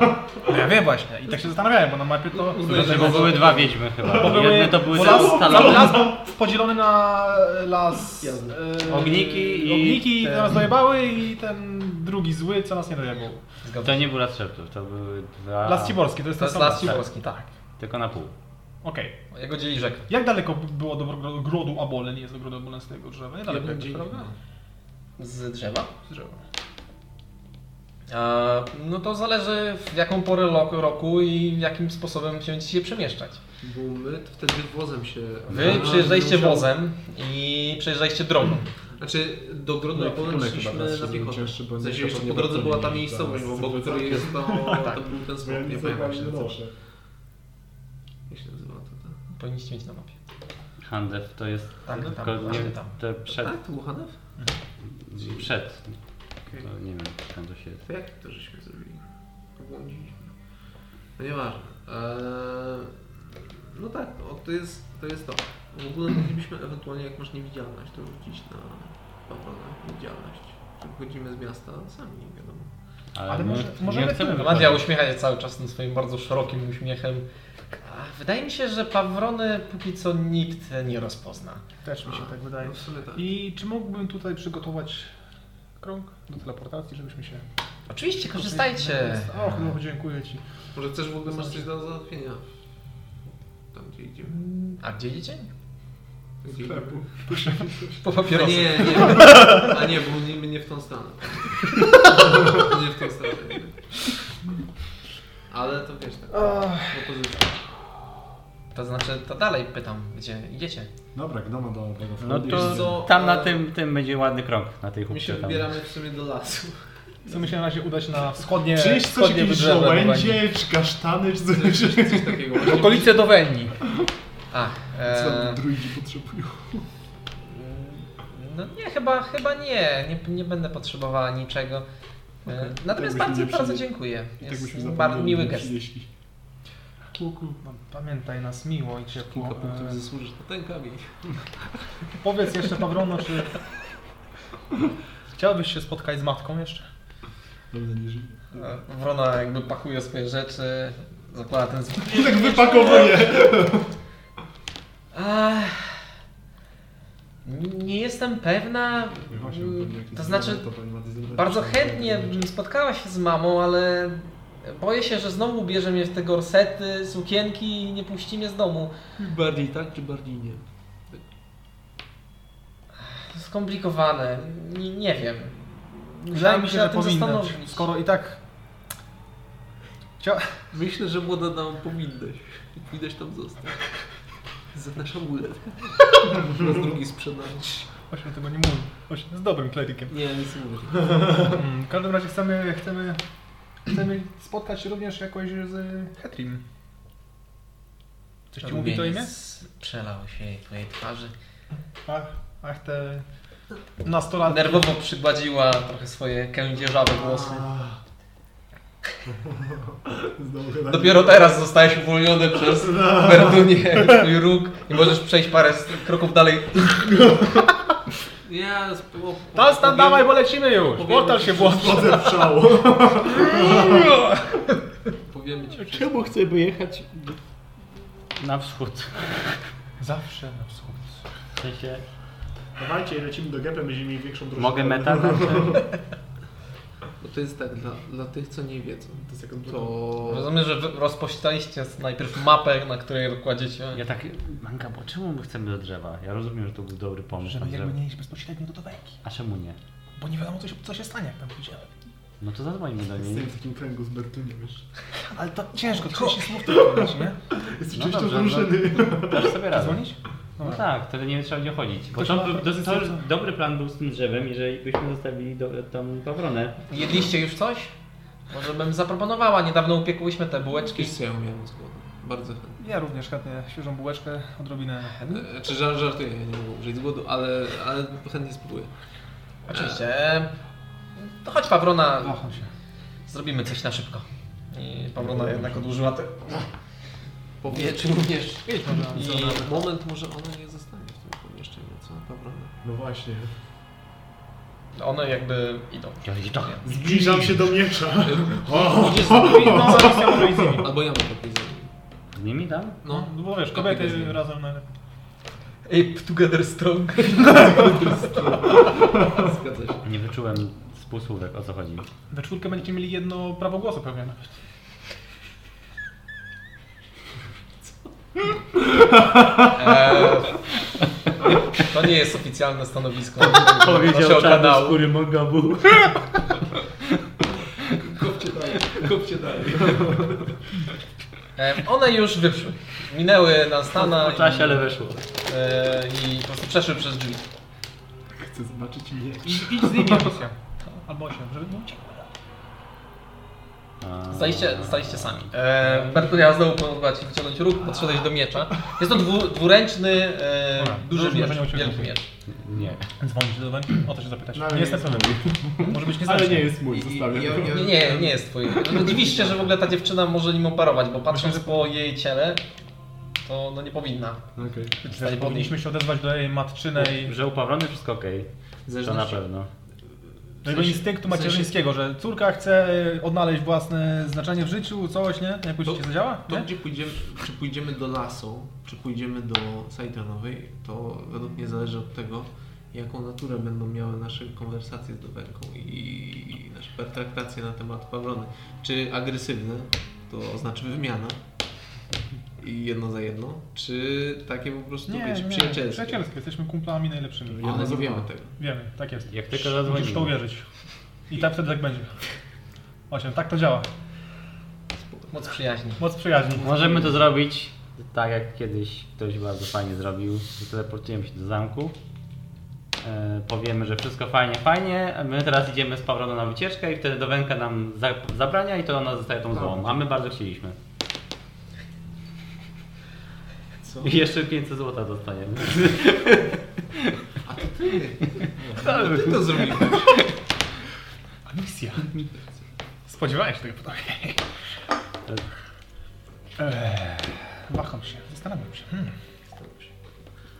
No Ja wiem właśnie. I tak się zastanawiałem, bo na mapie to... Dlatego były dwa wiedźmy chyba. Bo Jedne to były bo las, stalony. las był podzielony na las... e, Ogniki i Ogniki, ten- co nas dojebały i ten drugi zły, co nas nie dojebał. Zgadza To się. nie był las szeptów, to były dwa... Las Ciborski, to jest To ten jest sam Las tak. Ciborski, tak. Tylko na pół. Okej. Jego dzieli rzeka. Jak daleko b- było do gro- grodu Abolen? Jest do grodu Abolen z tego drzewa? No Nie daleko, Jeden jakoś, dzień. prawda? Z drzewa? Z drzewa. E, no to zależy w jaką porę lo- roku i jakim sposobem się się przemieszczać. Bo my to wtedy wozem się... Wy A, przyjeżdżaliście musiał- wozem i przyjeżdżaliście drogą. Znaczy do Grodna No i no, kierunek chyba szliśmy teraz na się piechotę. zwiększy, bo W sensie nie jeszcze po było drodze co była ta robić, miejscowość, tak. bo wokół której jest to, (laughs) to był ten smok, nie pamiętam jak się nazywa. Jak się nazywa to, to. Powinniście mieć na mapie. Handew to jest... Tak, tylko tam, właśnie nie, tam. To przed... Tak, to był Hanew? Tak, Przed. Okej. To nie wiem, skąd to się... To jak to żeśmy zrobili? Obłądziliśmy. No nieważne. Eee, no tak, o, to, jest, to jest to. W ogóle moglibyśmy ewentualnie, jak masz niewidzialność, to rzucić na obronę niewidzialność. Że Wychodzimy z miasta sami, wiadomo. Ale może- my możemy nie tu. chcemy Nadia wychodzić. uśmiecha się cały czas tym swoim bardzo szerokim uśmiechem. A Wydaje mi się, że Pawrony póki co nikt nie rozpozna. Też mi się A, tak wydaje. No w sumie tak. I czy mógłbym tutaj przygotować krąg do teleportacji, żebyśmy się... Oczywiście, korzystajcie. Och, no dziękuję Ci. Może też w ogóle masz coś do załatwienia. Tam gdzie idziemy. A gdzie idziecie? Tam, gdzie idziemy. Sklepu. Po A papierosy. nie, nie. A nie, bo nie, nie w tą stronę. (laughs) nie w tą stronę. nie. Ale to wiesz, tak. Propozycja. To znaczy, to dalej pytam, gdzie idziecie. Dobra, gnomo do tego No to co, tam na e, tym, tym będzie ładny krąg, na tej My się chłopcze tam. wybieramy w sumie do (laughs) lasu. Chcemy się na razie udać na wschodnie... Czy jest coś wschodnie jakieś wybrzeże Dowenii. żołędzie, czy kasztany, czy Coś, coś? coś takiego. Okolice Dowenii. A, Co Eee, e, druidzi potrzebują? no nie, chyba, chyba nie. nie. Nie będę potrzebowała niczego. E, Natomiast Tak bardzo, byśmy nie bardzo przyjęli. dziękuję. I tak Jest byśmy bardzo zapomnieli, miły że gest. przynieśli. No, Pamiętaj nas miło i ciepło. Kilka punktów E, zasłużysz na ten kamień. Powiedz jeszcze Pawrono, czy... Chciałbyś się spotkać z matką jeszcze? Dobra, nie żyje. E, Wrona jakby pakuje swoje rzeczy, zakłada ten zwój. I tak wypakowuje. Ach, nie jestem pewna. To znaczy, bardzo chętnie bym spotkała się z mamą, ale boję się, że znowu bierze mnie w te gorsety, sukienki i nie puści mnie z domu. Bardziej tak, czy bardziej nie? To skomplikowane. Nie, nie wiem. Wydaje mi się, na że tym powinnaś, zastanowić. skoro i tak... Chcia... Myślę, że młoda nam (laughs) powinnaś. Powinnaś tam zostać. Za naszą muletkę. Raz drugi sprzedać. Ośmiu tego nie mówi. Ośmiu jest dobrym klerykiem. Nie, nic nie mówię. Mm, W każdym razie chcemy, chcemy, chcemy spotkać się również jakoś z Hetrim. Coś ci mówi to imię? Rumieniec Przelał się twojej twarzy. Ach, ach te nastolatki. Nerwowo przygładziła trochę swoje kędzierzawe włosy. Znowu chyba Dopiero teraz zostałeś uwolniony przez No. Berdunie, twój róg i możesz przejść parę s- kroków dalej. Ja spo- Tas tam powiem- dawaj, bo lecimy już! Powiem- Portal się włączył. wchodzę w szał. Powiemy ci wszystko. Czemu chcemy jechać? Na wschód. Zawsze na wschód. W sensie... E, Dawajcie, lecimy do gepy, będziemy mieli większą drużynę. Mogę metal? Bo to to jest tak, dla, dla tych, co nie wiedzą, To jest jak odblokowanie. to... Rozumiem, że wy rozpoczynaliście najpierw mapę, na której kładziecie. Ja tak, Manka, bo czemu my chcemy do drzewa? Ja rozumiem, że to był dobry pomysł. na Żeby drzewo. jakby nie iść bezpośrednio do dobenki. A czemu nie? Bo nie wiadomo, co się, co się stanie, jak tam pójdziemy. No to zadzwońmy do (laughs) (laughs) Jestem niej. w takim kręgu z Bertuni, wiesz. Ale to ciężko, tylko się słów to powiedzieć, (laughs) nie? Jest No no częścią dobrze, no. drużyny. Dasz sobie radę. Dzwonić? No tak, wtedy nie trzeba będzie chodzić. Bo Ktoś to, ma- to, to, to dobry plan był z tym drzewem, jeżeli byśmy zostawili do, tą pawronę. Jedliście już coś? Może bym zaproponowała, niedawno upiekłyśmy te bułeczki. Oczywiście ja umiałem z głodu, bardzo chętnie. Ja również chętnie świeżą bułeczkę, odrobinę hen. E, Czy żar- żartuję, ja nie mogę użyć z głodu, ale, ale chętnie spróbuję. Oczywiście. To chodź Pawrona, Waham się. zrobimy coś na szybko. I Pawrona jednak odłożyła te... Powietrzu również. Jedź może. I Moment, może ona nie zostanie w tym pomieszczeniu, co? (laughs) Pawrona. No właśnie. one jakby idą. Zbliżam się do miecza. No, zaraz ja może i z nimi. Albo ja mogę pójść za nim. Z nimi tam? No, No bo wiesz, kobiety razem najlepiej. Ape together (laughs) strong. zgadza się. Nie wyczułem z półsłówek o co chodzi. No We czwórkę będziecie mieli jedno prawo głosu pewnie no, nawet. Eee, to nie jest oficjalne stanowisko. To się Powiedział czarny okadało. skóry Mogabu. Kopcie dalej, kopcie dalej. E, One już wyszły. Minęły na Stana Po czasie, i, ale weszło. e, i po prostu przeszły przez drzwi. Chcę zobaczyć mnie. I- Idź z nimi, Rosja. Albo osiem, żeby nie uciekł. A, Staliście, staliście sami. E, Bertu miała znowu pomogła ci wyciągnąć róg, podszedłeś do miecza. Jest to dwu, dwuręczny, e, Dobra, duży dobrze, miecz, może nie uciekaj. wielki miecz. Nie. Dzwonić do Wendy? O to się zapytać. No, Nie ale nie jestem jest pewien. Może być znaczy. znaczy. Ale niezręczny. nie jest mój, zostawiam. Ja- ja- Nie, nie, nie jest twój. No, dziwisz się, że w ogóle ta dziewczyna może nim operować, bo patrząc po jej ciele, to no nie powinna. Okej. być w Że stanie podnieść. Powinniśmy się odezwać do jej No matczynej, Że upawrony wszystko okej. To na pewno. do jego instynktu macierzyńskiego, że córka chce e, odnaleźć własne znaczenie w życiu, coś, nie? Jak To- się zadziała? To Nie? gdzie pójdziemy, czy pójdziemy do lasu, czy pójdziemy do Saitonowej, to według mnie zależy od tego, jaką naturę będą miały nasze konwersacje z Dowenką i, i nasze pertraktacje na temat Pawrony. Czy agresywne, to znaczy wymiana i jedno za jedno, czy takie po prostu, Nie, wiecie, nie, przyjacielskie. przyjacielskie. Jesteśmy kumplami najlepszymi. Ale nie wiemy tego. Wiemy, tak jest. Jak tylko Musisz w to zadzwonimy. uwierzyć. I tak wtedy tak będzie. Osiem, tak to działa. Moc przyjaźni. Moc przyjaźni. Możemy to zrobić tak jak kiedyś ktoś bardzo fajnie zrobił. Teleportujemy się do zamku. E, powiemy, że wszystko fajnie, fajnie. a My teraz idziemy z Pawroną na wycieczkę i wtedy Dowenka nam za, zabrania i to ona zostaje tą złą. A my bardzo chcieliśmy. Co? I jeszcze 500 zł dostaniemy. A to ty! No, ty to zrobiłeś. Misja. Spodziewałem się tego pytania. Waham się, zastanawiam się. Hmm.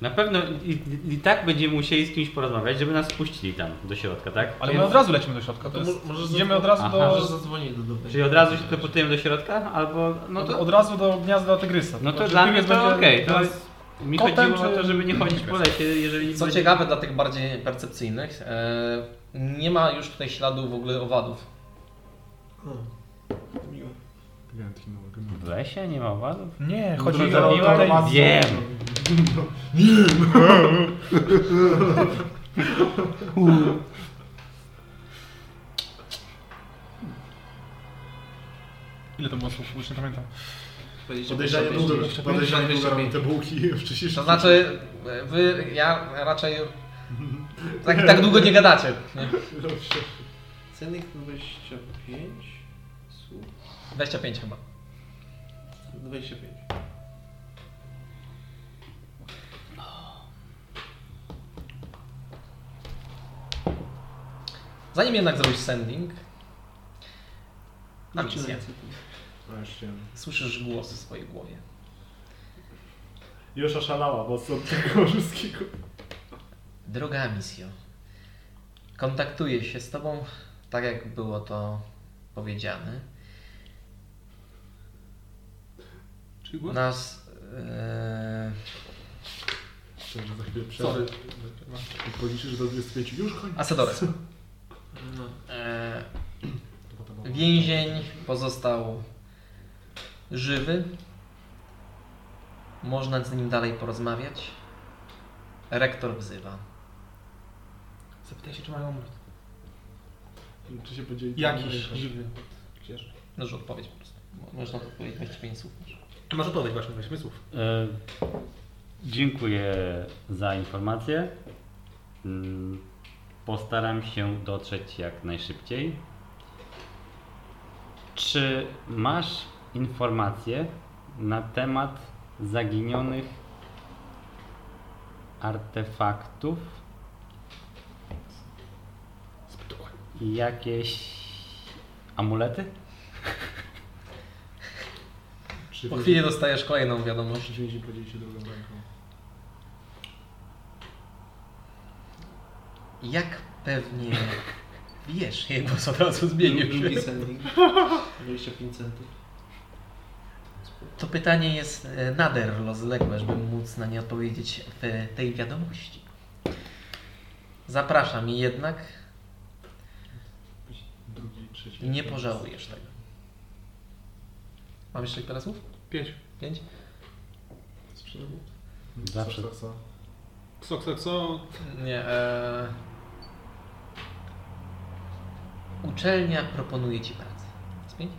Na pewno i, i- i tak będziemy musieli z kimś porozmawiać, żeby nas wpuścili tam do środka, tak? Ale my od razu lecimy do środka. To To mo- jest, możesz idziemy od zadzwonić- razu Aha. Możesz do, zadzwonić do Dowenki. Czyli od razu się teleportujemy do środka, albo... No to, od razu do gniazda tygrysa. no to Tylko, że dla mnie tygrys to będzie okej. to teraz- jest- Mi kotem, chodziło o to, czy- żeby nie chodzić po lesie, jeżeli... nic Co będzie- ciekawe dla tych bardziej percepcyjnych, e, nie ma już tutaj śladu w ogóle owadów. Miło. Miałem taki nałogę. W lesie nie ma owadów? Nie, No chodzi Drodzy, o to- tutaj... Wiem. Ile to było słów? Już nie pamiętam. Podejrzanie długo, podejrzanie długo robią te bułki wcześniej. To (laughs) znaczy, e, wy, ja raczej tak, tak długo nie gadacie. Nie? Cenik 25, słuch 25 chyba. 25. Zanim jednak zrobisz sending, Alicja, Właśnie. słyszysz głos w swojej głowie. Już oszalała mocno od tego wszystkiego. Droga misjo, kontaktuję się z Tobą tak, jak było to powiedziane. Czy głos? Nas. E, Myślę, że za chwilę sorry, przejdę. Policzysz do 25. Już koń. Asadores. No. E, Więzień pozostał żywy. Można z nim dalej porozmawiać. Rektor wzywa. Zapytaj się, czy mają omlet. Czy się podzieli? Jakiś dziwny. No, że odpowiedź po prostu. Mo- Można to odpowiedzieć 25 słów. Masz odpowiedź właśnie, weźmy słów. E, Dziękuję za informację. Mm, Postaram się dotrzeć jak najszybciej. Czy masz informacje na temat zaginionych artefaktów? I Jakieś amulety? Czy Po chwili dostajesz kolejną wiadomość. Czy więzień podzieli się drugą ręką? Jak pewnie wiesz, (laughs) jego głos od razu zmienił się. Drugi cennik. 25 centów. To pytanie jest e, nader rozległe, żeby móc na nie odpowiedzieć w tej wiadomości. Zapraszam jednak Drugi, trzeci. i nie pożałujesz tego. Mam jeszcze parę słów? Pięć. Pięć? Sprzedam. Zawsze Co, co, co? Co, co, co? Nie. E... Uczelnia proponuje ci pracę. Z pięć?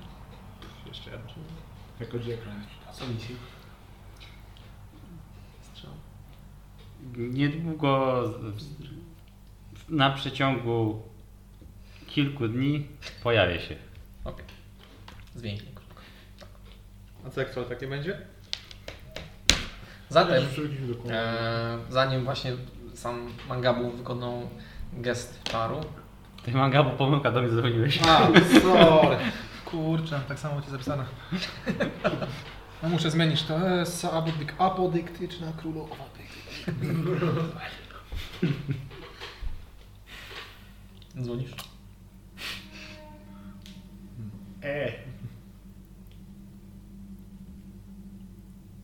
Jeszcze jedno. Jako dziekan. Co wisi? Strzał. Niedługo, z- w- na przeciągu kilku dni pojawię się. Okej. Z więźniów. A co, jak co, takie będzie? Zatem. Przechodzimy do końca. E, zanim właśnie sam Mangabu wykonał gest czaru. Ty manga, bo pomyłka do mnie dzwoniłeś. A, sorry. Kurczę, tak samo ci (laughs) zapisane. No muszę zmienić to. E, Sabodyk, apodyktyczna królowa. Dzwonisz? E.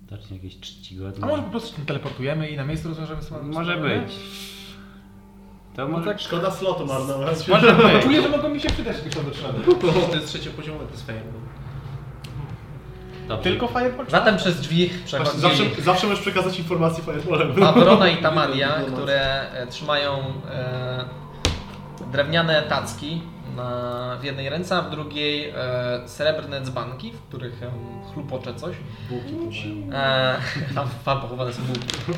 Zacznie jakieś czcigodne. A może po prostu się teleportujemy i na miejscu rozwiążemy sobie Może być. No To może... tak, Szkoda slotu marnować. Może No, być. Czuję, że mogą mi się przydać tylko do przodu. To jest trzeciopoziomowe, to jest fajne. Dobrze. Tylko fireball? Zatem przez drzwi przechodzi Zawsze, zawsze możesz przekazać informacje firewallem. Awrona i Tamadia, które e, trzymają e, drewniane tacki na, w jednej ręce, a w drugiej e, srebrne dzbanki, w których e, chlupocze coś. Bułki tu mają. E, (laughs) tam, tam pochowane są bułki. E,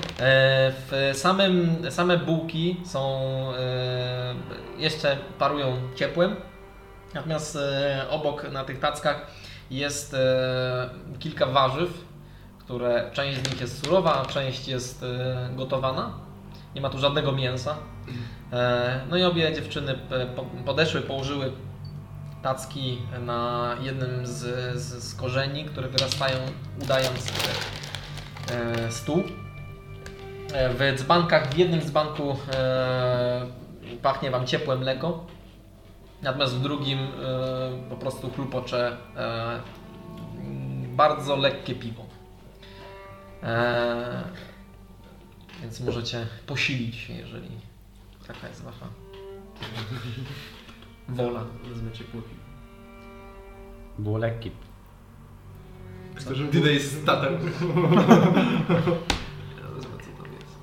w samym, same bułki są e, jeszcze parują ciepłem. Natomiast e, obok na tych tackach jest e, kilka warzyw, które część z nich jest surowa, a część jest e, gotowana. Nie ma tu żadnego mięsa. E, no i obie dziewczyny p- po, podeszły, położyły tacki na jednym z, z, z korzeni, które wyrastają, udając e, e, stół. E, W dzbankach, w jednym dzbanku e, pachnie Wam ciepłe mleko, natomiast w drugim e, po prostu chlupocze e, m, bardzo lekkie piwo. E, więc możecie posilić się, jeżeli taka jest Wasza wola. Wezmę ciepło piwo. Było lekkie. Chcę, żeby Dyda jest tatem. Ja wezmę co tam jest.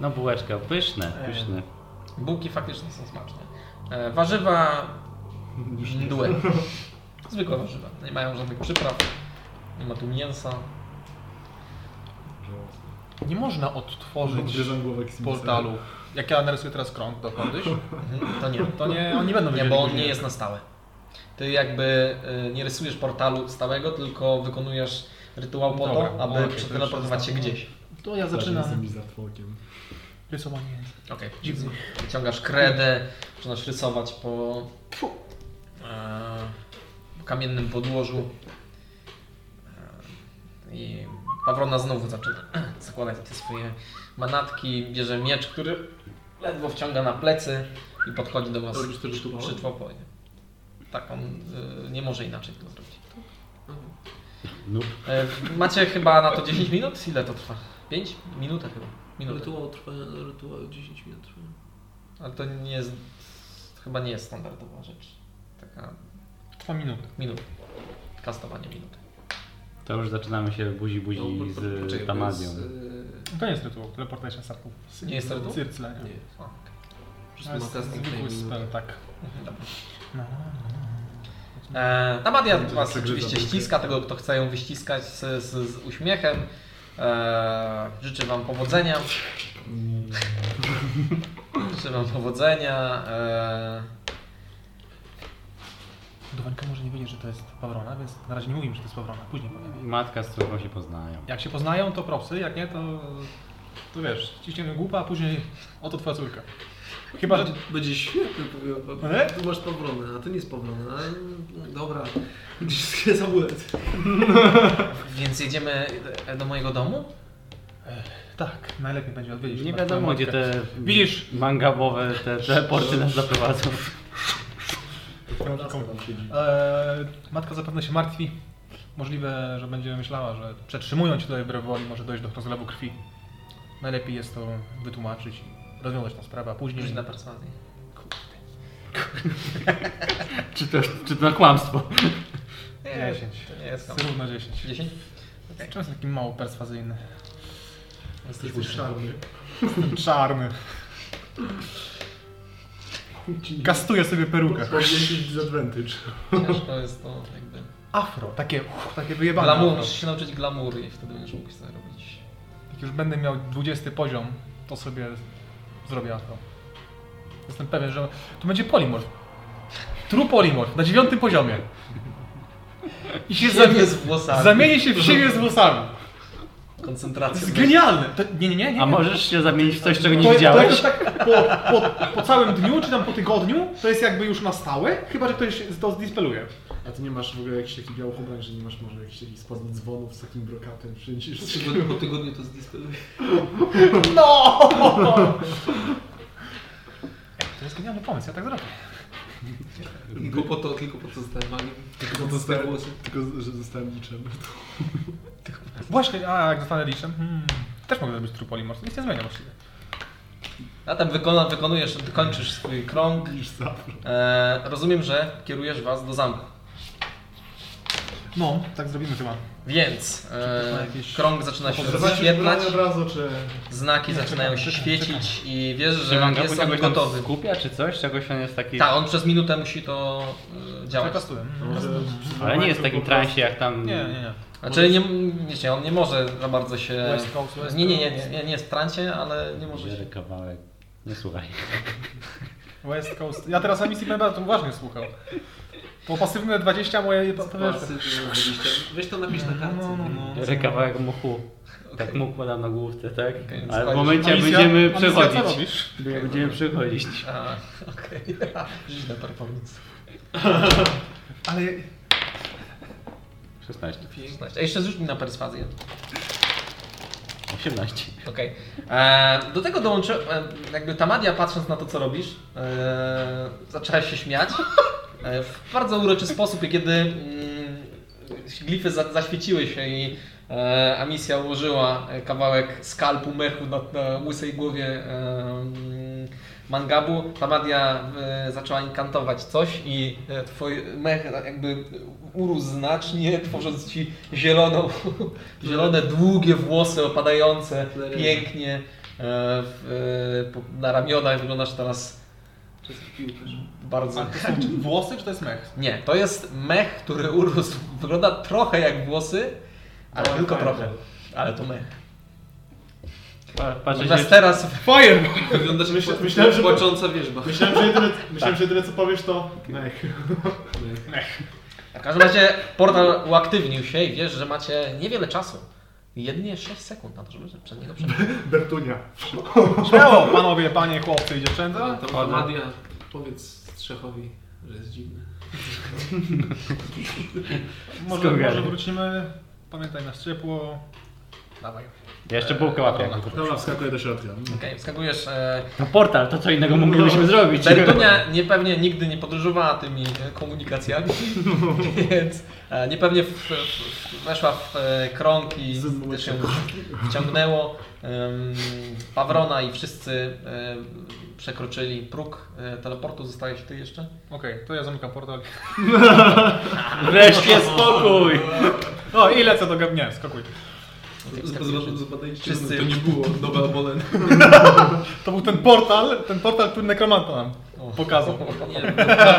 No bułeczka, pyszne, E. pyszne. Bułki faktycznie są smaczne. E, warzywa mdłe. Zwykłe warzywa. Nie mają żadnych przypraw. Nie ma tu mięsa. Nie można odtworzyć Gryzę głowę Ximisa. portalu. Jak ja narysuję teraz krąg dokądś, Mhm, To nie. to nie, oni będą Nie, wiedzieli. bo on później. nie jest na stałe. Ty jakby y, nie rysujesz portalu stałego, tylko wykonujesz rytuał po Dobra, to, aby okej, to przeteleportować się gdzieś. To ja Zaczynam. Tak, Jestem zaczynam mizantropkiem. rysowanie. Okej. Dziwnie. Wyciągasz kredę, zaczynasz rysować po, e, po kamiennym podłożu. E, I Pawrona znowu zaczyna (clears throat) składać te swoje manatki, bierze miecz, który ledwo wciąga na plecy i podchodzi do was To robisz to rytuałem? przytłoponie. Tak, on e, nie może inaczej tego zrobić. Mhm. No, E, macie chyba na to 10 minut? Ile to trwa? 5? Minuta chyba. Minuta. Rytuał trwa, rytuał 10 minut trwa. Ale to nie jest, chyba nie jest standardowa rzecz. Taka Trwa minutę. Minut. Kastowanie minuty. To już zaczynamy się buzi No, buzi po- po- poczekaj, z bo Damadią. jest, No to nie jest rytuał, teleportation sarków. Nie jest rytuał? Cyrcle, e, nie. Nie. O, Po To prostu ma jest casting zwykły timing. spell, tak. No, E, Tamadia Będzie was przegryza oczywiście rękę. ściska, tego kto chce ją wyściskać z, z, z uśmiechem. E, życzę wam powodzenia. życzę wam powodzenia. E, Dowańka może nie wiedzieć, że to jest Pawrona, więc na razie nie mówimy, że to jest Pawrona. Później powiem. I Matka z córką się poznają. Jak się poznają, to propsy, jak nie, to, to wiesz, ciśniemy głupa, a później oto twoja córka. Chyba, że... Będzie świetny, powiem wam. Ale? Tu masz Pawrona, a to nie jest Pawrona. Dobra, (laughs) gdzieś jest amulet. więc jedziemy do mojego domu? Tak, najlepiej będzie odwiedzić. Nie chyba wiadomo twoją gdzie matkę. te Widzisz? mangabowe te teleporty nas zaprowadzą. Twoja laska tam siedzi. Eee, matka zapewne się martwi. Możliwe, że będzie myślała, że przetrzymując cię tutaj w rewoli może dojść do rozlewu krwi. Najlepiej jest to wytłumaczyć i rozwiązać tą sprawę, a później... Rzuć na perswazję. Czy to, czy to na kłamstwo? Nie, Dziesięć. to nie jest tam. Równo 10. 10? Czemu jest taki mało perswazyjny? Jesteś Jesteś szarny. (laughs) Czarny. Kastuje sobie perukę. Podniesić disadvantage. Ciężko jest to jakby... Afro, takie, uff, takie wyjebane. Glamour, afro. musisz się nauczyć glamury i wtedy będziesz mógł sobie robić. Jak już będę miał 20 poziom, to sobie zrobię afro. Jestem pewien, że to będzie polimorf. True polimorf na dziewiątym poziomie. I się Siebie zamieni, z włosami. zamieni się w siebie z włosami. To Koncentrację. jest genialne. To, nie, nie, nie. nie. A możesz się zamienić w coś, czego nie to, to widziałeś? jest tak po, po, po całym dniu, czy tam po tygodniu, to jest jakby już na stałe, chyba że ktoś to zdispeluje. A ty nie masz w ogóle jakichś takich białych ubrań, że nie masz może jakichś takich spadnych dzwonów z takim brokatem wszędzie? (laughs) Trzy tygodnie- Po tygodniu to zdispeluję. No! To jest genialny pomysł, ja tak zrobię. Tylko po to, tylko po to zostałem magiem. Tylko po to zostałem Zostałem, głosem. tylko, że zostałem liczem. Właśnie, a jak zostanę liczem, hmm, też mogę zrobić true polimorf, nic nie zmienia właściwie. A tam wykona, wykonujesz, kończysz swój krąg. Niż zawsze. E, rozumiem, że kierujesz was do zamku. No, tak zrobimy chyba. Więc ma e, jakieś- krąg zaczyna się Zobaczysz rozświetlać, ubranie od razu, czy... znaki Nie, zaczynają się czekam, świecić i wiesz, Czy że mangabu jest on czegoś tam gotowy. skupia, czy coś? Czegoś on jest taki... Tak, on przez minutę musi to e, działać. Przetestuję. Mm. Może Ale no, nie jest w takim transie jak tam... Nie, nie, nie. Znaczy, nie, wiecie, on nie może za bardzo się... West Coast, West Nie, nie, nie, Coast. nie, nie jest w transie, ale nie może się... Bierę kawałek. Nie słuchaj. West Coast. Ja teraz emisji będę to uważnie słuchał. To pasywne 20 moje... To, to wiesz, Pasy, że dwadzieścia- Weź to napisz na kartce. no, no, no. Bierę kawałek muchu. Tak mu układam na główce, tak? Okej, więc Ale w chodzisz. momencie jak Amisja- będziemy Amisja, co przechodzić. robisz? Jak będziemy przechodzić. A, (laughs) okej. Rzuć na performance. Ale 16. 16. A jeszcze zrzuć mi na perswazję. 18. Okej. E, Do tego dołączyłem, jakby Tamadia patrząc na to, co robisz, e, zaczęła się śmiać e, w bardzo uroczy sposób i kiedy mm, glify za, zaświeciły się i e, Amisja ułożyła e, kawałek skalpu mechu na, na łysej głowie e, mm, Mangabu, Tamadia e, zaczęła inkantować coś i e, twój mech jakby urósł znacznie, tworząc ci zieloną, (laughs) zielone, długie włosy opadające Plery. pięknie e, w, e, po- na ramionach. Wyglądasz teraz Przez piłkę. bardzo... to są czy włosy, czy to jest mech? Nie, to jest mech, który urósł. Wygląda trochę jak włosy, ale tylko trochę. Ale to mech. Pa- Patrzę Natomiast się, teraz (laughs) Fire! Wyglądasz jak myślałem, że- płacząca wierzba. Myślałem, że jedyne, myślałem, że jedyne co powiesz to... Mech. W każdym razie portal uaktywnił się i wiesz, że macie niewiele czasu. Jedynie 6 sekund na to, żeby przed niego przejść. Bertunia. (laughs) Śmiało, panowie, panie, chłopcy i dziewczęta. To Madia, powiedz Strzechowi, że jest dziwny. Może, Skąd może wiemy? wrócimy. Pamiętaj nas ciepło. Dawaj. Ja jeszcze bułkę łapię. jak wrócę. Dobra, wskakuję do środka. Okej, wskakujesz. E, No portal, to co innego moglibyśmy zrobić. Bertunia niepewnie nigdy nie podróżowała tymi e, komunikacjami, (laughs) więc e, niepewnie w, w, w- weszła w e, krąg i też się wciągnęło. Em, Pawrona i wszyscy e, przekroczyli próg e, teleportu. Zostałeś ty jeszcze? Okej, to ja zamykam portal. Wreszcie spokój! O, ile co do Nie, skakuj. Zbadajcie, Wszyscy- to nie było nowe obolenie. To był ten portal, ten portal, który nekromanta nam pokazał. (laughs) Nie,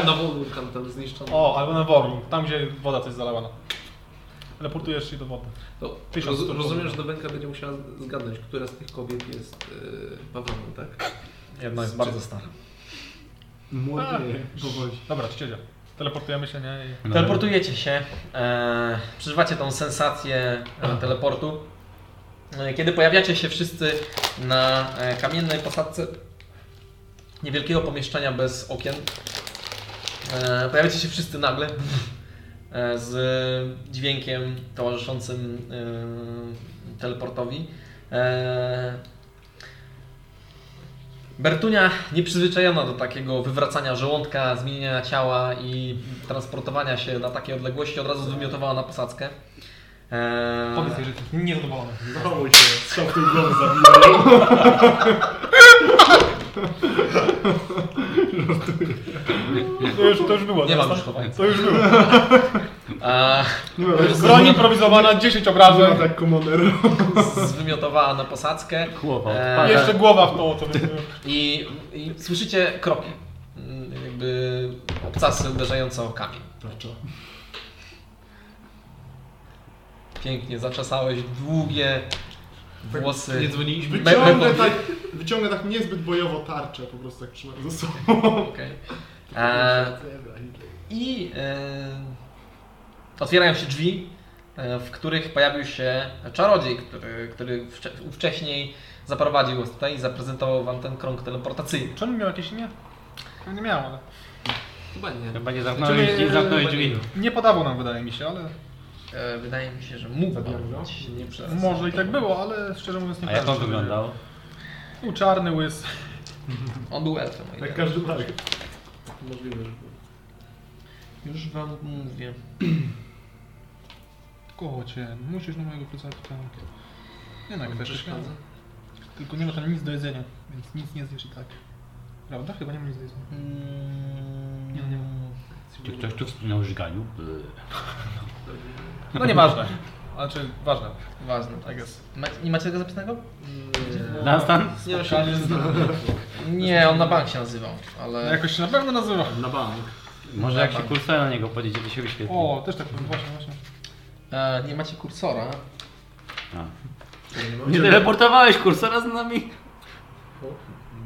no, na wulkan tam zniszczony. O, albo na Worm, tam gdzie woda coś zalała. Reportujesz się do wody. To Tysiąc roz, stóp. rozumiem, że Dowenka będzie musiała zgadnąć, która z tych kobiet jest yy, Pawloną, tak? Jedna jest bardzo stara. Młody. Powoli. Dobra, czciedzia. Teleportujemy się, nie? No I... Teleportujecie się, e, przeżywacie tą sensację e, teleportu. E, Kiedy pojawiacie się wszyscy na e, kamiennej posadce niewielkiego pomieszczenia bez okien, e, pojawiacie się wszyscy nagle e, z dźwiękiem towarzyszącym e, teleportowi. E, Bertunia nieprzyzwyczajona do takiego wywracania żołądka, zmieniania ciała i transportowania się na takie odległości od razu zwymiotowała na posadzkę. Eee, Powiedz jej, że jesteś niezadowolony. Zachowuj się. Strzał w tył głowę zabijają. To już, to już było. nie mam teraz, już chowania. tak? To (laughs) już było. Eee, Broń improwizowana, 10 obrażeń. tak komoner. zwymiotowała na posadzkę Chłopak, Eee, eee, Jeszcze głowa w to, co by... i, i słyszycie kroki. Mm, Jakby obcasy uderzające o kamień. Tarcza. Pięknie zaczesałeś długie włosy. Nie dzwoniliśmy. Wyciągnę Me- tak, wyciągnę tak niezbyt bojowo tarczę, po prostu tak trzymam ze sobą. Okej. Eee, I e, otwierają się drzwi, e, w których pojawił się czarodziej, który, który wcze- wcześniej zaprowadził was tutaj i zaprezentował wam ten krąg teleportacyjny. Czy on miał jakieś imię? Nie miał, ale... Chyba nie. Chyba nie zamknąłeś, nie zamknąłeś drzwi. Nie podawał nam, wydaje mi się, ale... E, Wydaje mi się, że mógł być nie przez... Może i tak było, ale szczerze mówiąc nie A jak on kojarzę, żeby- wyglądał? Był czarny, łys. On był elfem. moi Tak. Jak drodzy. Tak, każdy mag. Możliwe, że Już wam mówię. Kocie, musisz na mojego plecaczka. Nie no, przeszkadza. Tylko nie ma tam nic do jedzenia, więc nic nie zjesz i tak. Prawda? Chyba nie ma nic do jedzenia. Mm, Nie, nie. Czy ktoś tu wspomniał o żganiu? No nieważne. Znaczy, ważne. Ważne, tak jest. Ma, nie macie tego zapisanego? No. Dunstan? Nie, Znaczy, nie, on na bank się nazywał, ale... No jakoś się na pewno nazywa. Na bank. Może jak się kursorem na niego podjedzie, to się wyświetli. O, też tak, właśnie, właśnie. E, nie macie kursora. A. Nie teleportowałeś kursora z nami?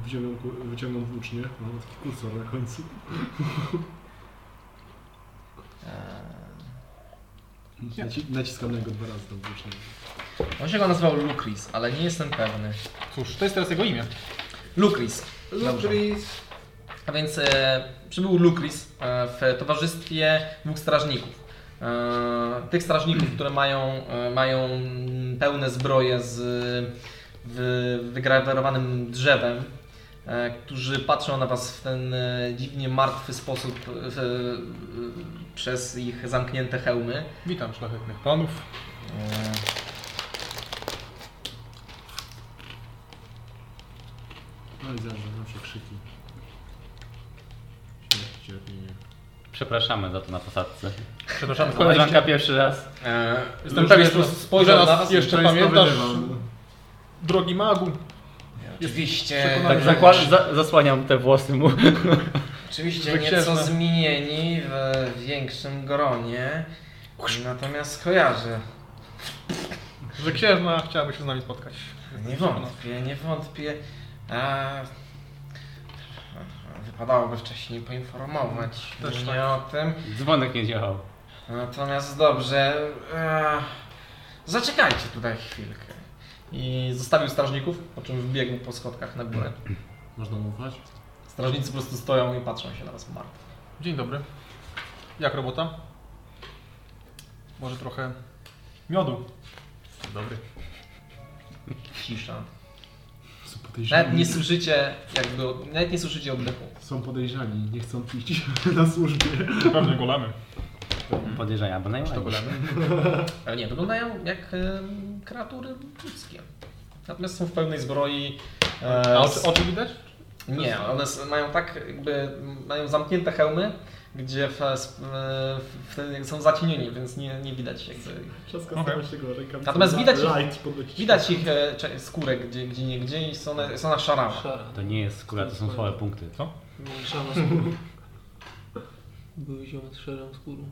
Wyciągam, ku- wyciągam włócznie. Mam taki kursor na końcu. E, Naci- Naciskam na niego dwa razy tą włócznię. On się go nazywał Lucris, ale nie jestem pewny. Cóż, to jest teraz jego imię. Lucris. Lucris. A więc e, przybył Lucris e, w towarzystwie dwóch strażników. E, tych strażników, które mają, e, mają pełne zbroje z wy, wygrawerowanym drzewem, e, którzy patrzą na was w ten e, dziwnie martwy sposób e, w, e, przez ich zamknięte hełmy. Witam szlachetnych panów. E, No i zawsze, zawsze krzyki. Śmierć, cierpienie. Przepraszamy za to na posadce. Przepraszam, Koleżanka pierwszy raz. e, Jestem Lucris pewien, no, że spojrzał na na was nas jeszcze pamiętasz. Drogi magu. Oczywiście, Tak zakład, za, zasłaniam te włosy mu. (laughs) oczywiście Wyksiężna. nieco zmienieni w większym gronie, natomiast kojarzę. Że księżna chciałaby się z nami spotkać. Nie wątpię, nie wątpię. A... Wypadałoby wcześniej poinformować Też mnie tak. o tym. Dzwonek nie działał. Natomiast dobrze, e... zaczekajcie tutaj chwilkę. I zostawił strażników, po czym wbiegł po schodkach na górę. Można mu ufać? Strażnicy po prostu stoją i patrzą się na was martwo. Dzień dobry. Jak robota? Może trochę miodu. Dobry. Cisza. Są Nawet nie podejrzani. słyszycie, jakby, nawet nie słyszycie oddechu. Są podejrzani, nie chcą iść (laughs) na służbie. Pewnie golemy. Podejrzenia, bo najmniej. (laughs) Ale nie, wyglądają jak e, kreatury ludzkie. Natomiast są w pełnej zbroi. E, A z- oczy, oczy widać? Nie, one s- mają tak, jakby m, mają zamknięte hełmy, gdzie w, s- e, w, w, są zacienieni, więc nie, nie widać jakby. Trzaska Okej. okay. tego rękami. Natomiast widać ich- light podnosi. Widać ich e, cze- skórę gdzie, gdzie nie gdzie i są one, są na szarawa. Szara. To nie jest skóra, to są słabe punkty. Mam szarą skórę. Były ziomek z szarą skórą.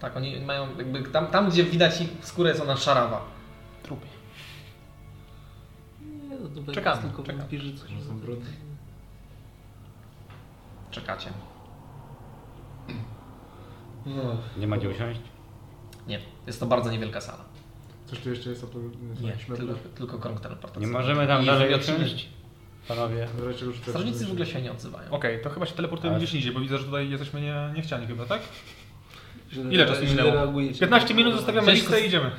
Tak, oni mają jakby tam, tam gdzie widać ich skórę jest ona szarawa. Trupie. Nie, no dobra, Czekamy, jest tylko czekamy. wampirzycy. Może są brudne. Czekacie. No, Nie ma gdzie usiąść? Nie, jest to bardzo niewielka sala. coś tu jeszcze jest oprócz Nie, tylko, tylko krąg teleportacyjny. Nie możemy tam I dalej wymiocinę. usiąść? Panowie. Strażnicy w ogóle się nie odzywają. Okej, to chyba się teleportujemy Ale- gdzieś indziej, bo widzę, że tutaj jesteśmy nie, niechciani chyba, tak? Źle- Ile czasu źle minęło? reagujecie. 15 minut zostawiamy Cześć, listę kos- i idziemy.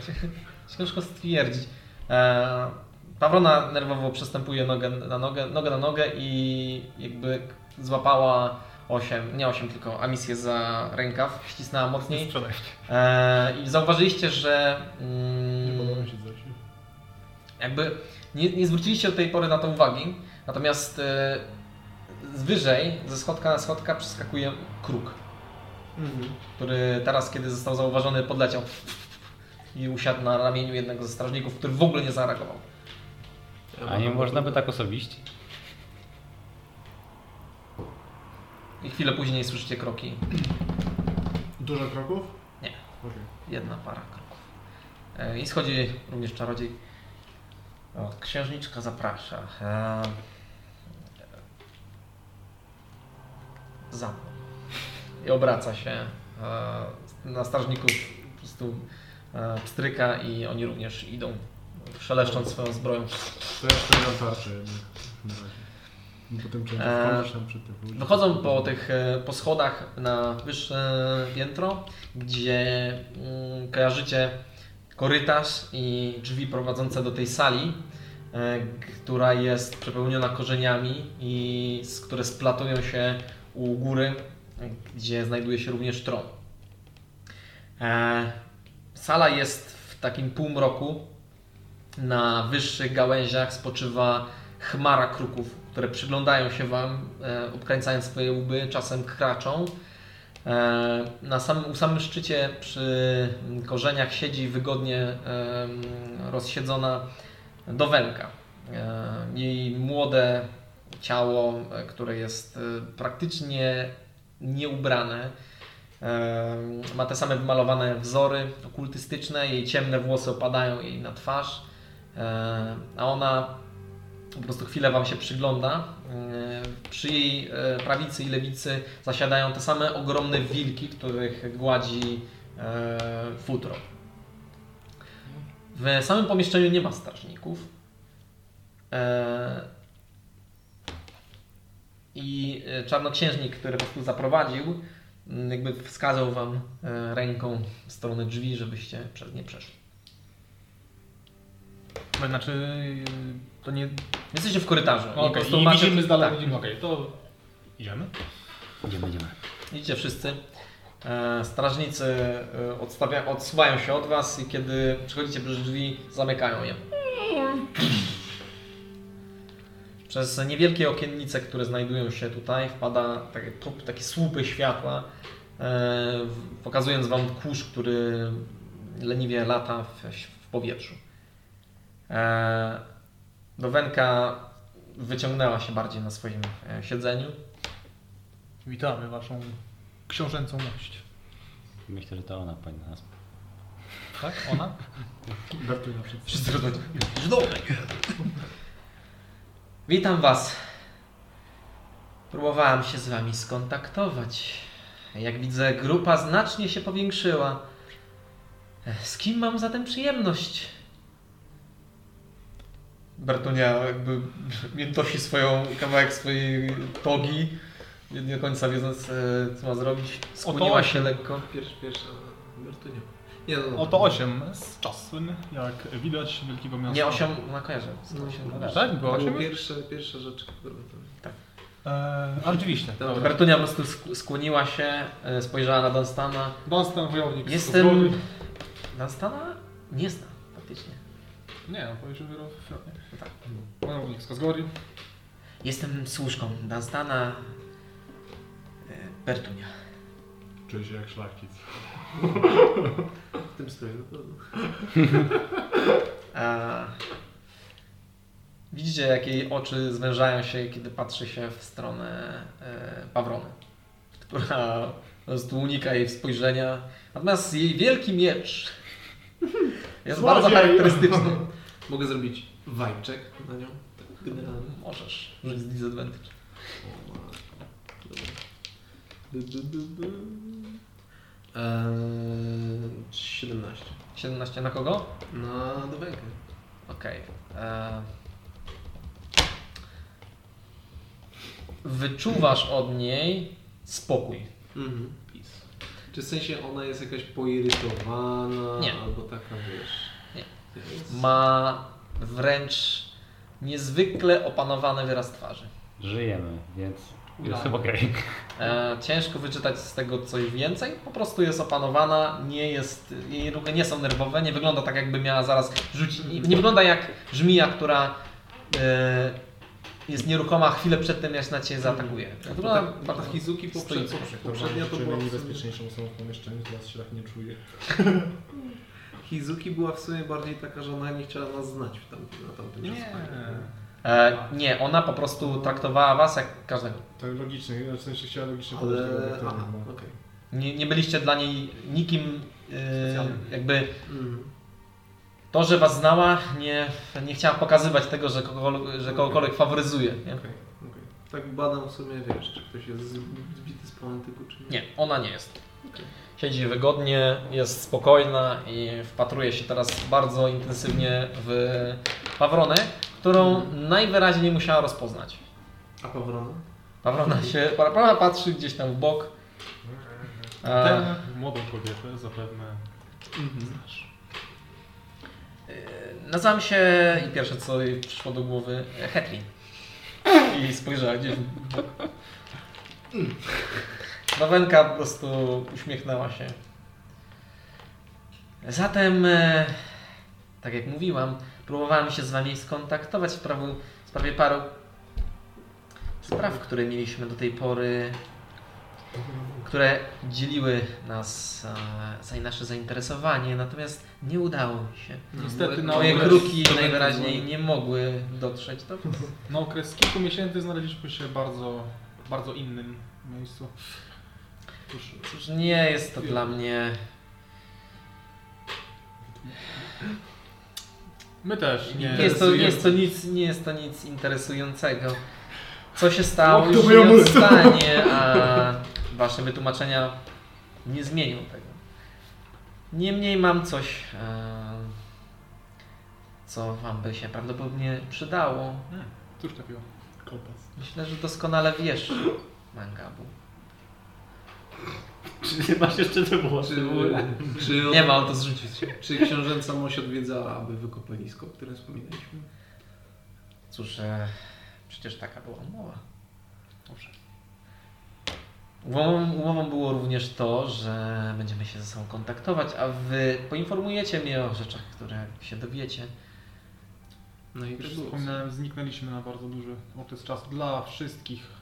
Ciężko stwierdzić. E, Pawrona nerwowo przestępuje nogę na nogę, nogę na nogę i jakby złapała 8, nie 8 tylko, Amisję za rękaw, ścisnęła mocniej. Sprzedaj. E, I zauważyliście, że mm, Nie podoba mi się coś. jakby nie, nie zwróciliście do tej pory na to uwagi, natomiast e, z wyżej, ze schodka na schodka przeskakuje kruk, Mhm. który teraz, kiedy został zauważony, podleciał i usiadł na ramieniu jednego ze strażników, który w ogóle nie zareagował. Ja A nie mam- można by tak osobiście? I chwilę później słyszycie kroki. Dużo kroków? Nie. Okej. Jedna para kroków. E, I schodzi również czarodziej. O, księżniczka zaprasza. E, Za mną. I obraca się e, na strażników, po prostu e, pstryka i oni również idą, e, szeleszcząc swoją zbroją. To ja wstawiam tarczę jednak. Na razie. I Potem czy Eee, eee, tam przed tym. Wychodzą po tych e, po schodach na wyższe piętro, gdzie mm, kojarzycie korytarz i drzwi prowadzące do tej sali, e, która jest przepełniona korzeniami i z, które splatują się u góry, e, gdzie znajduje się również tron. E, Sala jest w takim półmroku. Na wyższych gałęziach spoczywa chmara kruków, które przyglądają się Wam, e, obkręcając swoje łby, czasem kraczą. E, na samym, u samym szczycie przy korzeniach siedzi wygodnie em, rozsiedzona dowenka. E, jej młode ciało, e, które jest e, praktycznie nieubrane, Em, Ma te same wymalowane wzory okultystyczne, jej ciemne włosy opadają jej na twarz, em, a ona po prostu chwilę Wam się przygląda. Em, Przy jej e, prawicy i lewicy zasiadają te same ogromne wilki, których gładzi e, futro. W samym pomieszczeniu nie ma strażników. E, I e, czarnoksiężnik, który po prostu zaprowadził, Mm, jakby wskazał wam e, ręką w stronę drzwi, żebyście przez nie przeszli. No, Znaczy, y, to nie... Jesteście w korytarzu. i po No, Okej, prostu i macie- widzimy z dala, tak. widzimy, okej, to idziemy. Idziemy, idziemy. Idziecie wszyscy. E, Strażnicy e, odstawia, odsuwają się od was i kiedy przechodzicie przez drzwi, zamykają je. Przez niewielkie okiennice, które znajdują się tutaj, wpada takie, trup- takie słupy światła, e, w- pokazując wam kurz, który leniwie lata w, w powietrzu. E, Dowenka wyciągnęła się bardziej na swoim e, siedzeniu. Witamy waszą książęcą mość. Myślę, że to ona powinna nas. Tak? (laughs) Ona? Wertuj na przykład. Wszyscy (laughs) Witam Was. Próbowałam się z Wami skontaktować. Jak widzę, grupa znacznie się powiększyła. E, Z kim mam zatem przyjemność? Bartonia jakby miętosi swoją, kawałek swojej togi, nie do końca wiedząc, e, co ma zrobić. Skłoniła Oto- się lekko. Pierwszy, pierwsza Bertunia. Nie, no, no. Oto 8 z czasem, jak widać, wielkiego miasta. Nie, 8 na kojarze. No, Tak, było To 8 była pierwsza, pierwsza rzecz, którą tam... Eee, a rzeczywiście. Dobra. Kartunia po prostu sk- skłoniła się, e, spojrzała na Dunstana. Dunstan, wojownik. Jestem... Dunstana? Nie zna faktycznie. Nie, on powiedział wielokrotnie. Tak. Wojownik z Kozgori. Jestem służką Dunstana... E, Bertunia. Czuję się jak szlachcic. W tym stroju no na pewno. A... Widzicie, jak jej oczy zwężają się, kiedy patrzy się w stronę e, Pawrony, która po prostu unika jej spojrzenia. Natomiast jej wielki (laughs) miecz jest Złodziej! bardzo charakterystyczny. Mogę zrobić vibe check na nią. Tak generalnie. Możesz użyć disadvantage. O, ma- dobra. Du, du, du, du. Eee, 17. 17 na kogo? Na dwójkę. Okej. e, Wyczuwasz od niej spokój. Mhm. Peace. Czy w sensie ona jest jakaś poirytowana? Nie. Albo taka, wiesz... Nie. Jest... Ma wręcz niezwykle opanowany wyraz twarzy. Żyjemy, więc Udało. jest chyba okej. E, ciężko wyczytać z tego coś więcej. Po prostu jest opanowana, nie jest, jej ruchy nie są nerwowe, nie wygląda tak, jakby miała zaraz rzucić. Nie, nie wygląda jak żmija, która e, jest nieruchoma chwilę przed tym, jak na ciebie zaatakuje. Tak. Wygląda Ta, ta bardzo No, Hizuki poprze, stoicznie. poprze, poprzednia Poprzednia to to była... była w sumie- najbezpieczniejszą osobą w pomieszczeniu, teraz się tak nie czuję. Hizuki była w sumie bardziej taka, że ona nie chciała nas znać w tamtym, na tamtym Nie. spotkaniu. E, nie, ona po prostu traktowała was jak każdego. To Tak logicznie, w sensie chciała logicznie Ale... podejść do tego, Aha, doktora, no. okej. Nie, nie byliście dla niej nikim, e, Specjalnym. jakby Mhm. to, że was znała, nie, nie chciała pokazywać tego, że, kogo, że kogokolwiek faworyzuje. Nie? Okej, okej. Tak badam w sumie, wiesz, czy ktoś jest zbity z palantyku, czy nie. Nie, ona nie jest. Okej. Siedzi wygodnie, jest spokojna i wpatruje się teraz bardzo intensywnie w Pawronę, którą najwyraźniej musiała rozpoznać. A Pawrona? Pawrona się, Pawrona patrzy gdzieś tam w bok. E, Tę młodą kobietę zapewne znasz. nazywam się i pierwsze co jej przyszło do głowy, Hetlin. I spojrzała gdzieś w bok. Nowenka po prostu uśmiechnęła się. Zatem, e, tak jak mówiłam, próbowałam się z Wami skontaktować w, prawu, w sprawie paru spraw, które mieliśmy do tej pory, które dzieliły nas, e, za- nasze zainteresowanie, natomiast nie udało mi się. Niestety No, na Moje okres, kruki najwyraźniej nie mogły dotrzeć do was. na okres kilku miesięcy znaleźliśmy się w bardzo, bardzo innym miejscu. Cóż, Cóż, nie jest to dla mnie. my też nie... Nie jest to, nie jest to, nic, nie jest to nic interesującego. Co się O, stało, to już moja nie muzyka. odstanie, a wasze wytłumaczenia nie zmienią tego. Niemniej mam coś, e, co wam by się prawdopodobnie przydało. Cóż takiego? Kompas. Myślę, że doskonale wiesz, Mangabu. Czy ty masz jeszcze te włosy? Czy, czy, on, Nie ma, on to zrzucić. czy książęca moś odwiedzała, aby wykopalisko, o którym wspominaliśmy? Cóż, e, przecież taka była umowa. Owszem. Umową, umową było również to, że będziemy się ze sobą kontaktować, a wy poinformujecie mnie o rzeczach, które się dowiecie. No i Jak już to było. wspominałem, zniknęliśmy na bardzo duży okres czasu dla wszystkich.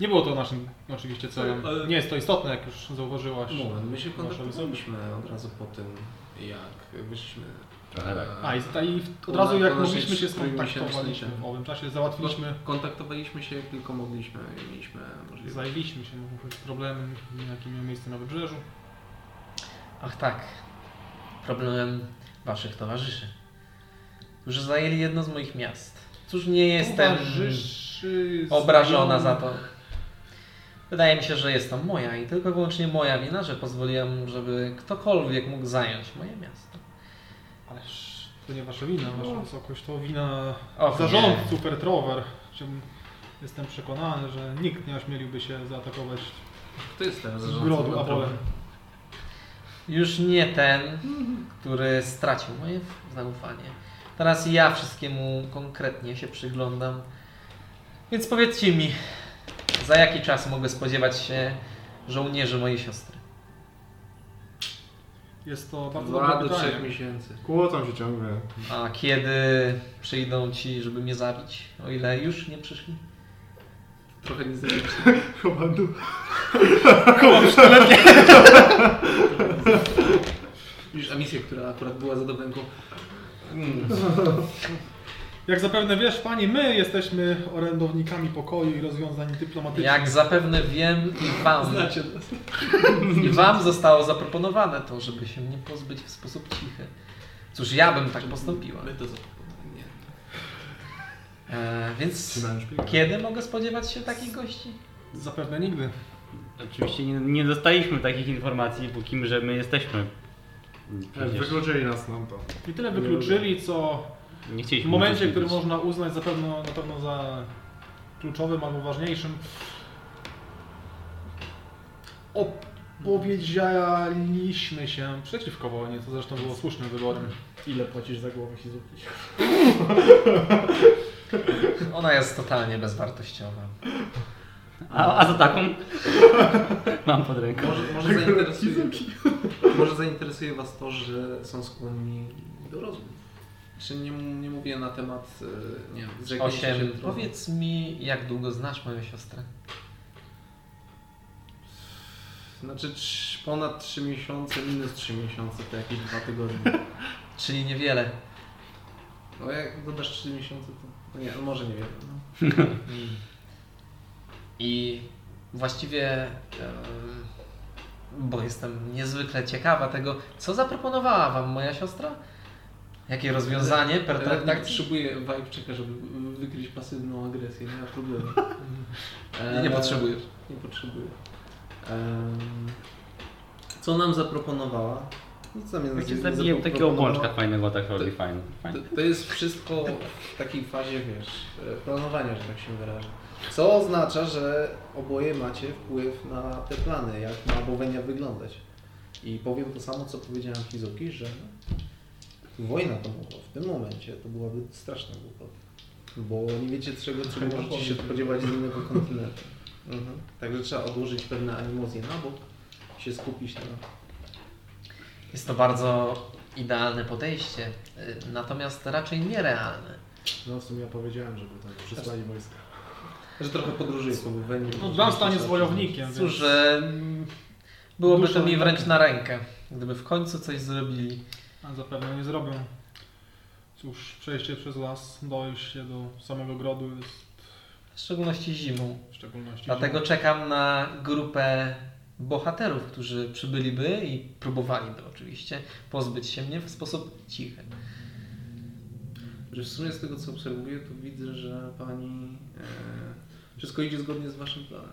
Nie było to naszym oczywiście celem. Ale- Nie jest to istotne, jak już zauważyłaś. Moment, my się Naszym- kontaktowaliśmy od razu po tym, jak wyszliśmy. Trochę tak. A i, ta, i w- od Ona- razu jak ona się mogliśmy się trójmiesięcznym. skontaktowaliśmy w owym czasie, załatwiliśmy, Kontaktowaliśmy się jak tylko mogliśmy i mieliśmy możliwość. zajęliśmy się mówię, problemem, jaki miał miejsce na wybrzeżu. Ach tak, problemem waszych towarzyszy, którzy zajęli jedno z moich miast. Cóż, nie jestem Towarzyszy z- obrażona za to. Wydaje mi się, że jest to moja i tylko i wyłącznie moja wina, że pozwoliłam, żeby ktokolwiek mógł zająć moje miasto. Ależ to nie wasza wina, wasza wysokość, to wina Och, zarządców Retrover. Chciałbym- Jestem przekonany, że nikt nie ośmieliłby się zaatakować no Kto jest teraz grodu Apolem. Już nie ten, który stracił moje f- zaufanie. Teraz ja wszystkiemu konkretnie się przyglądam. Więc powiedzcie mi, za jaki czas mogę spodziewać się żołnierzy mojej siostry? Jest to bardzo Dwa dobre do trzech pytanie. miesięcy. Kłócą się ciągle. A kiedy przyjdą ci, żeby mnie zabić? O ile już nie przyszli? Trochę nie zrobić. Komandu. Widzisz emisję, która akurat była za dobenką. Jak zapewne wiesz, Pani, my jesteśmy orędownikami pokoju i rozwiązań dyplomatycznych. Jak zapewne wiem i wam, Znacie nas. i wam zostało zaproponowane to, żeby się mnie pozbyć w sposób cichy. Cóż, ja bym tak postąpiła. My to zapomnieli. Nie. E, więc Trzymałem szpilkę. kiedy mogę spodziewać się takich gości? Zapewne nigdy. Oczywiście nie, nie dostaliśmy takich informacji, bo kim że my jesteśmy. Tak, Przecież Wykluczyli nas nam to. I tyle wykluczyli, co nie w chcieliśmy momencie, uczestniczyć. który można uznać za pewno, na pewno za kluczowym albo ważniejszym, opowiedzieliśmy się przeciwko wojnie, co zresztą było słusznym wyborem. Ile płacisz za głowę się zupki? Ona jest totalnie bezwartościowa. A, a za taką (laughs) mam pod ręką. Może, może, zainteresuje, może zainteresuje Was to, że są skłonni do rozmów. Czy nie, nie mówię na temat, e, nie wiem, zrzeknięcia się Osiem. tronu. Powiedz mi, jak długo znasz moją siostrę? Znaczy trz- ponad 3 miesiące, minus 3 miesiące, to jakieś 2 tygodnie. Czyli niewiele. No jak dodasz 3 miesiące, to no nie, no może nie wiem. No. Hmm. I właściwie, em, bo jestem niezwykle ciekawa tego, co zaproponowała wam moja siostra? Jakie rozwiązanie per Tak, tak transakcji? potrzebuję Wajbczyka, żeby wy- wykryć pasywną agresję, nie ma problemu. E, Nie potrzebujesz. Nie potrzebuję. Em, Co nam zaproponowała? Nic nam nie Ja cię zaproponowała. zabiję takiego obłączka fajnego, tak robi, To- fajnie. To, fajnie. to jest wszystko w takiej fazie, wiesz, e, planowania, że tak się wyrażę. Co oznacza, że oboje macie wpływ na te plany, jak ma Bowenia wyglądać. I powiem to samo, co powiedziałem Fizuki, że wojna domowa w tym momencie to byłaby straszna głupota. Bo nie wiecie czego, czego możecie się spodziewać z innego kontynentu. Mhm. Także trzeba odłożyć pewne animozje na bok, się skupić na Jest to bardzo idealne podejście, y, natomiast raczej nierealne. No w sumie ja powiedziałem, żeby tak przysłali wojska. że trochę podróżuję po Boweniu. No, dwa stanie z wojownikiem, Cóż, więc... że mm, byłoby Dużo to mi wręcz tak. na rękę, gdyby w końcu coś zrobili. A zapewne nie zrobią. Cóż, przejście przez las, dojście do samego grodu jest W szczególności zimą. w szczególności... Dlatego czekam na grupę bohaterów, którzy przybyliby i próbowaliby oczywiście pozbyć się mnie w sposób cichy. Że w sumie z tego co obserwuję, to widzę, że pani e, wszystko idzie zgodnie z waszym planem.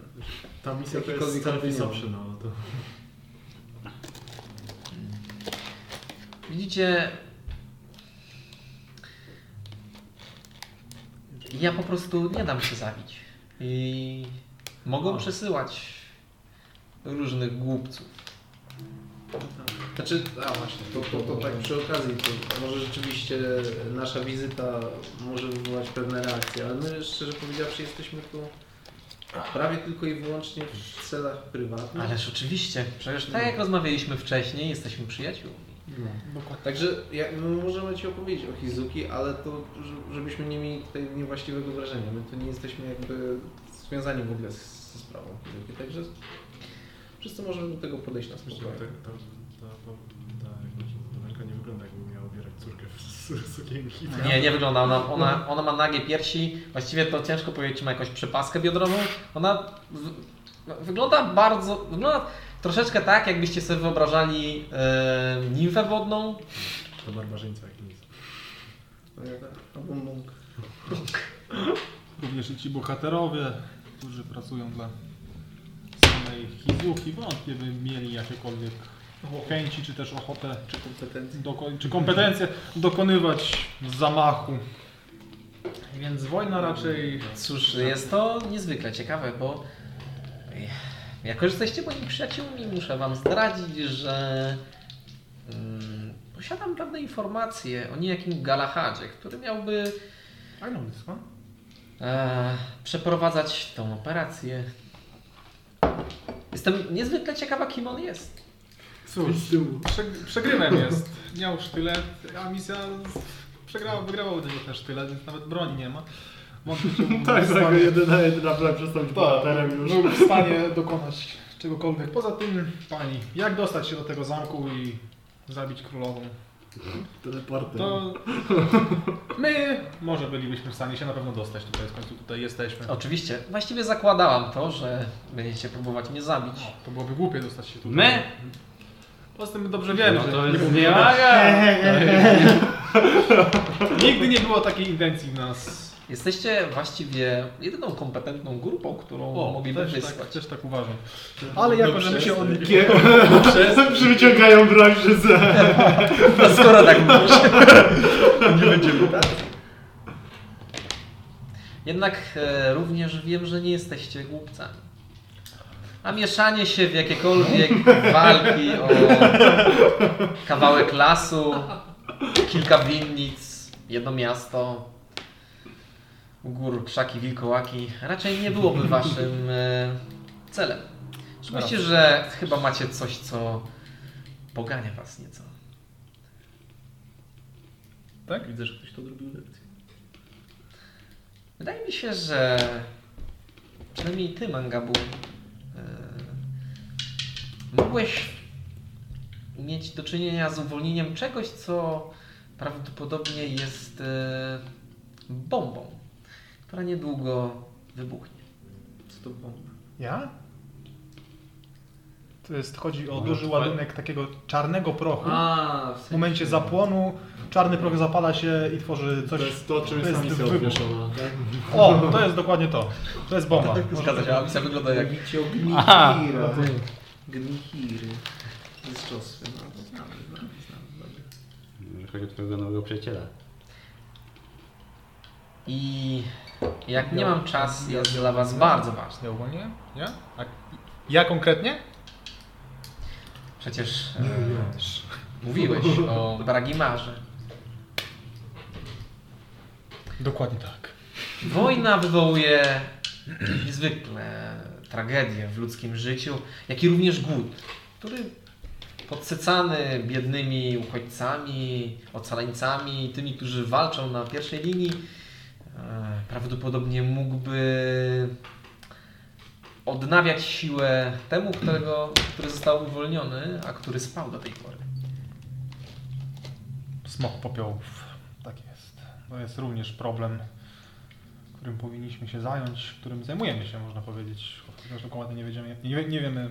Ta misja to Jakikolwiek jest selfie kontynuum. option, no to... Widzicie, ja po prostu nie dam się zabić. I mogą przesyłać różnych głupców. Znaczy, a właśnie, to, to, to tak przy okazji, to może rzeczywiście nasza wizyta może wywołać pewne reakcje, ale my szczerze powiedziawszy jesteśmy tu prawie tylko i wyłącznie w celach prywatnych. Ależ oczywiście, przecież tak jak rozmawialiśmy wcześniej, jesteśmy przyjaciółmi. Także ja, my możemy Ci opowiedzieć o Hizuki, ale to ż- żebyśmy nie mieli tutaj niewłaściwego wrażenia. My tu nie jesteśmy jakby związani w ogóle z, ze sprawą Hizuki, także wszyscy możemy do tego podejść na Myślę, że spokojnie. ta, ta, tak, ta, ta, ta jakby Domenka nie wygląda jakby miała ubierać córkę w s- sukienki. No Nie, nie wygląda. Ona, ona, ona ma nagie piersi. Właściwie to ciężko powiedzieć, czy ma jakąś przepaskę biodrową. Ona w, no, wygląda bardzo. Wygląda troszeczkę tak, jakbyście sobie wyobrażali e, nimfę wodną. To barbarzyńca jak nic. No, Albo mąk. Również i ci bohaterowie, którzy pracują dla samej Hizuki, wątpię by mieli jakiekolwiek chęci, czy też ochotę, Czy kompetencji? doko- czy kompetencje dokonywać zamachu. Więc wojna raczej... Cóż, jest to niezwykle ciekawe, bo jako, że jesteście moimi przyjaciółmi, muszę wam zdradzić, że Posiadam pewne informacje o niejakim Galahadzie, który miałby I know this one. e, przeprowadzać tą operację. Jestem niezwykle ciekawa, kim on jest. Cóż, Z tyłu. przeg- przegrywem jest. Miał sztylet, a misja przegrała, wygrała u niego ten sztylet, więc nawet broni nie ma. Wątpię, (laughs) czy był Tak, w tak, stanie- jeden na jeden na Tak. przestąpić bohaterem już. Był w stanie dokonać czegokolwiek. Poza tym, pani, jak dostać się do tego zamku i zabić królową? Teleportem. To my może bylibyśmy w stanie się na pewno dostać tutaj, w końcu tutaj jesteśmy. Oczywiście, właściwie zakładałam to, że będziecie próbować mnie zabić. To byłoby głupie dostać się tutaj. My? Poza tym dobrze wiem, no że to nie jest mówimy- Tak, niewaga! (laughs) Nigdy nie było takiej intencji w nas. Jesteście właściwie jedyną kompetentną grupą, którą mogliby też tak, wysłać. też tak uważam. Ale jako, że my Dobrze, się od... Kie- Przyciągają broń przez... No skoro tak mówisz. Nie będziemy. Jednak e, również wiem, że nie jesteście głupcami. A mieszanie się w jakiekolwiek walki o kawałek lasu, kilka winnic, jedno miasto, u gór, krzaki, wilkołaki, raczej nie byłoby waszym e, celem. Oczywiście, że chyba macie coś, co pogania was nieco. Tak? Widzę, że ktoś to odrobił lekcję. Wydaje mi się, że przynajmniej ty, Mangabu, e, mogłeś mieć do czynienia z uwolnieniem czegoś, co prawdopodobnie jest e, bombą, która niedługo wybuchnie. Co to było? Ja? To jest, chodzi o No, duży chyba- ładunek takiego czarnego prochu. A, W momencie zapłonu czarny proch zapala się i tworzy To coś. jest to, czym To jest jest ta misja wybuch. odwieszona. tak? O, to jest dokładnie to. To jest (laughs) bomba. tak, Zgadza się, a misja wygląda No jak... Widzicie Aha. Gnichira. Gnichiry. To jest czosy. No, to znamy, znamy, znamy. Dobrze. Może chodzi o twojego nowego przyjaciela. I jak nie mam czasu, jest dla was bardzo ważne. Ja ogólnie? Ja? A ja konkretnie? Przecież e, mówiłeś o Bragimarze. Dokładnie tak. Wojna wywołuje niezwykle tragedie w ludzkim życiu, jak i również głód, który podsycany biednymi uchodźcami, ocaleńcami, tymi, którzy walczą na pierwszej linii, e, prawdopodobnie mógłby odnawiać siłę temu, którego, który został uwolniony, a który spał do tej pory. Smok popiołów. Tak jest. To jest również problem, którym powinniśmy się zająć, którym zajmujemy się, można powiedzieć. Chociaż dokładnie nie wiedziemy, nie, nie wiemy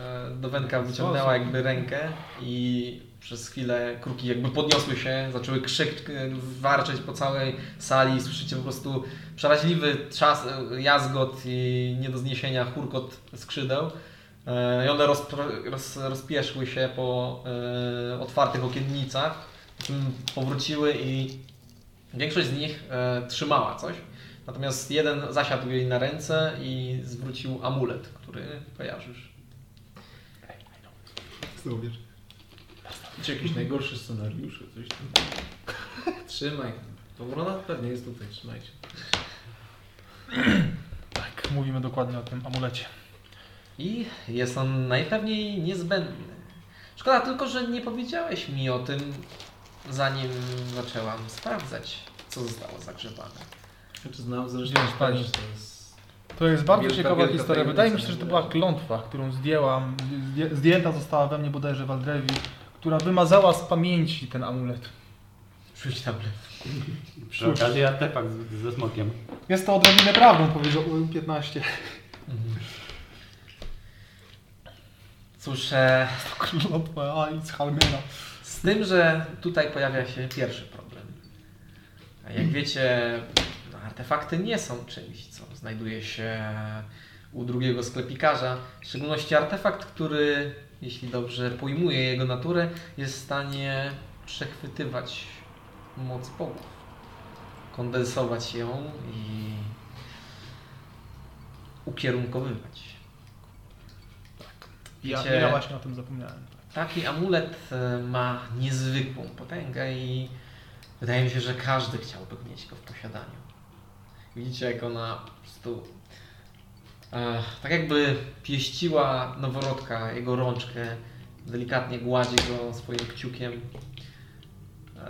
E, Dowenka wyciągnęła jakby rękę i przez chwilę kruki jakby podniosły się, zaczęły krzyk e, warczeć po całej sali. Słyszycie po prostu przeraźliwy trzas, e, jazgot i nie do zniesienia churkot skrzydeł. E, I one rozpr- roz, rozpieszły się po e, otwartych okiennicach, po czym powróciły i większość z nich e, trzymała coś. Natomiast jeden zasiadł jej na ręce i zwrócił amulet, który kojarzysz. Znowu wiesz. Czy jakiś najgorszy scenariusz, czy coś tam. Trzymaj. Powrona pewnie jest tutaj, trzymajcie. Tak, mówimy dokładnie o tym amulecie. I jest on najpewniej niezbędny. Szkoda tylko, że nie powiedziałeś mi o tym, zanim zaczęłam sprawdzać, co zostało zagrzebane. Znaczy znam zresztą Wiesz, pani. też, to jest... To jest bardzo Wielka, ciekawa wielka historia. tajemnica, Wydaje mi się, że nie to była wiem. klątwa, którą zdjęłam, zdję- zdjęta została we mnie bodajże Waldrewi, która wymazała z pamięci ten amulet. Rzuć tablet. Przy okazji artefakt z- ze smokiem. Jest to odrobinę prawdą, powiedział U15. Cóż, e, (laughs) Klątwa Alice Halmena. z tym, że tutaj pojawia się pierwszy problem. A Jak wiecie, no, artefakty nie są czymś, co znajduje się u drugiego sklepikarza. W szczególności artefakt, który, jeśli dobrze pojmuję jego naturę, jest w stanie przechwytywać moc bogów, kondensować ją i ukierunkowywać. Ja, Wiecie- ja właśnie o tym zapomniałem. Tak. Taki amulet e, ma niezwykłą potęgę i wydaje mi się, że każdy chciałby mieć go w posiadaniu. Widzicie, jak ona po prostu e, tak jakby pieściła noworodka, jego rączkę, delikatnie gładzi go swoim kciukiem,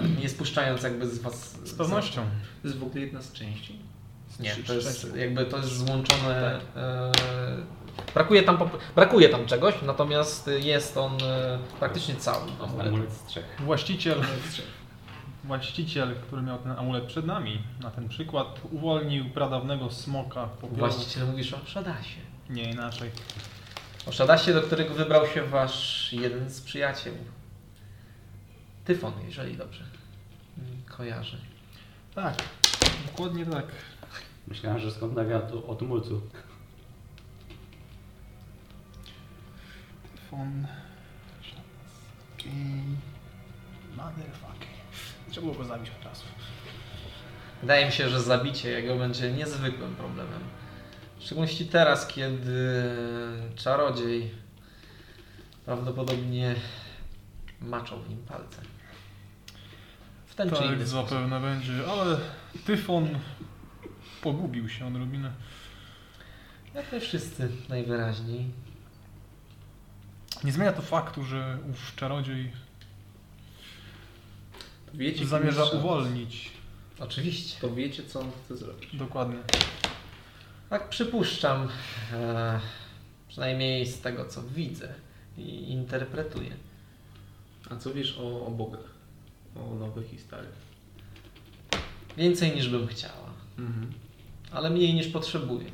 e, nie spuszczając jakby z was... Z pewnością. To jest w ogóle jedna z części. Nie, Trzy- to jest trzecie. jakby to jest złączone. Tak. e, brakuje, tam, pop- brakuje tam czegoś, natomiast jest on e, praktycznie cały. amulet. Amulet z trzech. Właściciel, właściciel, który miał ten amulet przed nami, na ten przykład, uwolnił pradawnego smoka No. popiołu. Właściciel mówisz o Szadasie. Nie inaczej. O Szadasie, do którego wybrał się wasz jeden z przyjaciół. Tyfon, jeżeli dobrze mm, kojarzę. Tak, dokładnie tak. Myślałem, że skąd nawiat o tumulcu. Fon... I... Motherfucker. Trzeba było go zabić od razu. Wydaje mi się, że zabicie jego będzie niezwykłym problemem. W szczególności teraz, kiedy czarodziej prawdopodobnie maczał w nim palce. W ten czy inny Tak, sposób. zapewne będzie, ale Tyfon pogubił się odrobinę. Jak my wszyscy najwyraźniej. Nie zmienia to faktu, że ów czarodziej To wiecie, kim zamierza jest szef. uwolnić. Oczywiście. To wiecie, co on chce zrobić. Dokładnie. Tak przypuszczam, e, przynajmniej z tego co widzę i interpretuję. A co wiesz o, o bogach? O nowych i starych? Więcej niż bym chciała, Mhm. ale mniej niż potrzebuję.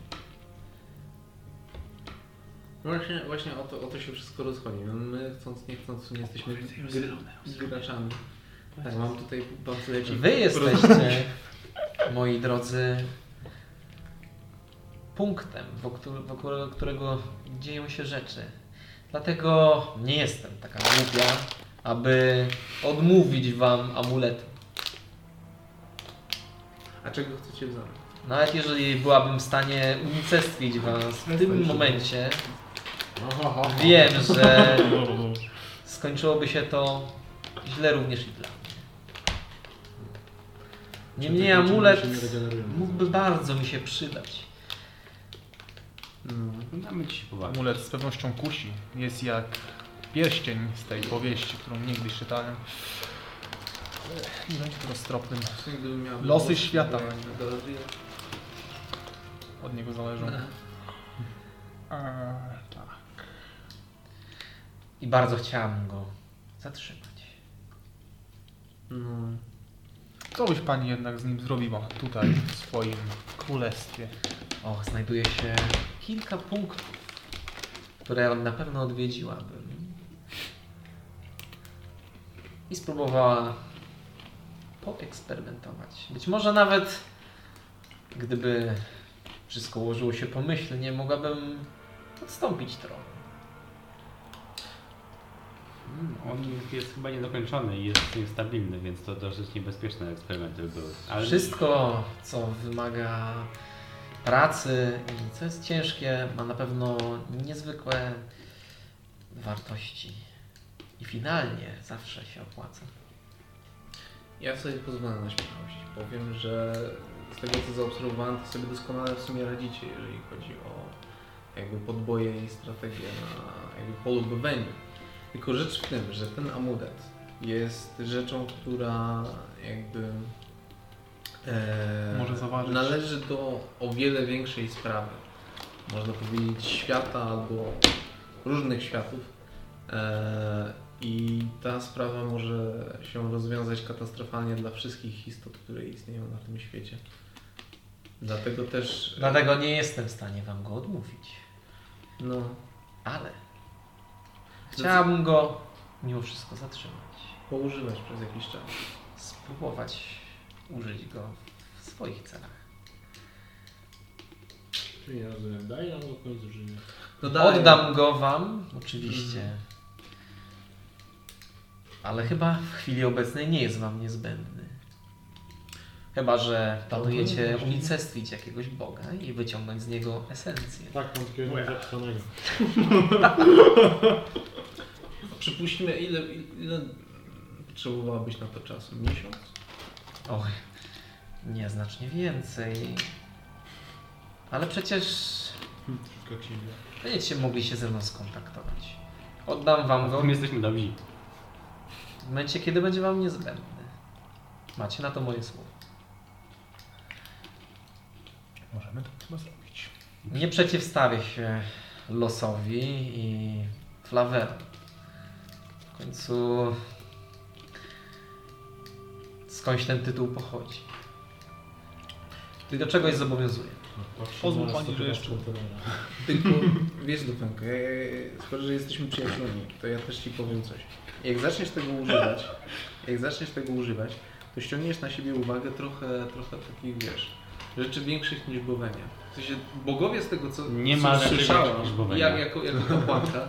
Właśnie, właśnie o, to, o to się wszystko rozchodzi. No my chcąc, nie chcąc, nie jesteśmy gry, graczami. Tak, mam tutaj bardzo jakiś... Wy jesteście, moi drodzy, punktem, wokół, wokół którego dzieją się rzeczy. Dlatego nie jestem taka głupia, aby odmówić wam amuletu. A czego chcecie w zamian? Nawet No, jeżeli byłabym w stanie unicestwić was w tym momencie, No, wiem, że skończyłoby się to źle również i dla mnie. Niemniej Czyli amulet się nie regenerujemy. mógłby bardzo mi się przydać. No. Damy ci się pobawić. Amulet z pewnością kusi. Jest jak pierścień z tej powieści, którą niegdyś czytałem. Nie będzie to roztropnym. Co gdybym miał... Losy świata. Do, do, do, Od niego zależą. Mhm. Eee, tak. I bardzo chciałam go zatrzymać. no. Co byś pani jednak z nim zrobiła tutaj w swoim królestwie? O, znajduje się kilka punktów, które na pewno odwiedziłabym. I spróbowała poeksperymentować. Być może nawet, gdyby wszystko ułożyło się pomyślnie, mogłabym odstąpić trochę. Mm, On jest, jest chyba niedokończony i jest niestabilny, więc to dosyć niebezpieczne eksperymenty były. Ale Wszystko, co wymaga pracy i co jest ciężkie, ma na pewno niezwykłe wartości. I finalnie zawsze się opłaca. Ja sobie pozwolę na śmiałość. Powiem, że z tego co zaobserwowałem, to sobie doskonale w sumie radzicie, jeżeli chodzi o jakby podboje i strategię na jakby polu bywania. Tylko rzecz w tym, że ten amulet jest rzeczą, która jakby e, Może zaważyć. należy do o wiele większej sprawy. Można powiedzieć świata albo różnych światów. E, I ta sprawa może się rozwiązać katastrofalnie dla wszystkich istot, które istnieją na tym świecie. Dlatego też. e, Dlatego nie jestem w stanie Wam go odmówić. No, Ale chciałabym go mimo wszystko zatrzymać. poużywać przez jakiś czas. Spróbować użyć go w swoich celach. Czyli ja rozumiem, daj nam w końcu, że nie. No Oddam go wam, oczywiście. Ale chyba w chwili obecnej nie jest wam niezbędny. Chyba, że planujecie unicestwić jakiegoś boga i wyciągnąć z niego esencję. Tak, mam takiego zapisanego. Przypuśćmy, ile, ile potrzebowałabyś na to czasu? Miesiąc? Och, nie, znacznie więcej. Ale przecież Szybka księga. będziecie mogli się ze mną skontaktować. Oddam wam go My jesteśmy dobrzy. w momencie, kiedy będzie wam niezbędny. Macie na to moje słowo. Możemy to chyba zrobić. Nie przeciwstawię się losowi i flawerom. W końcu skądś ten tytuł pochodzi. Ty do czegoś zobowiązuje. No, Pozwól pani, że jeszcze- Tylko wiesz Dupenko, ja, ja, ja- skoro że jesteśmy przyjaciółmi, to ja też ci powiem coś. Jak zaczniesz tego używać, jak zaczniesz tego używać, To ściągniesz na siebie uwagę trochę, trochę takich, wiesz, rzeczy większych niż bowenia. W sensie, bogowie z tego, co, Nie co ma rzeczy słyszałem, większych niż bogowie. jak, jako, jako kapłanka,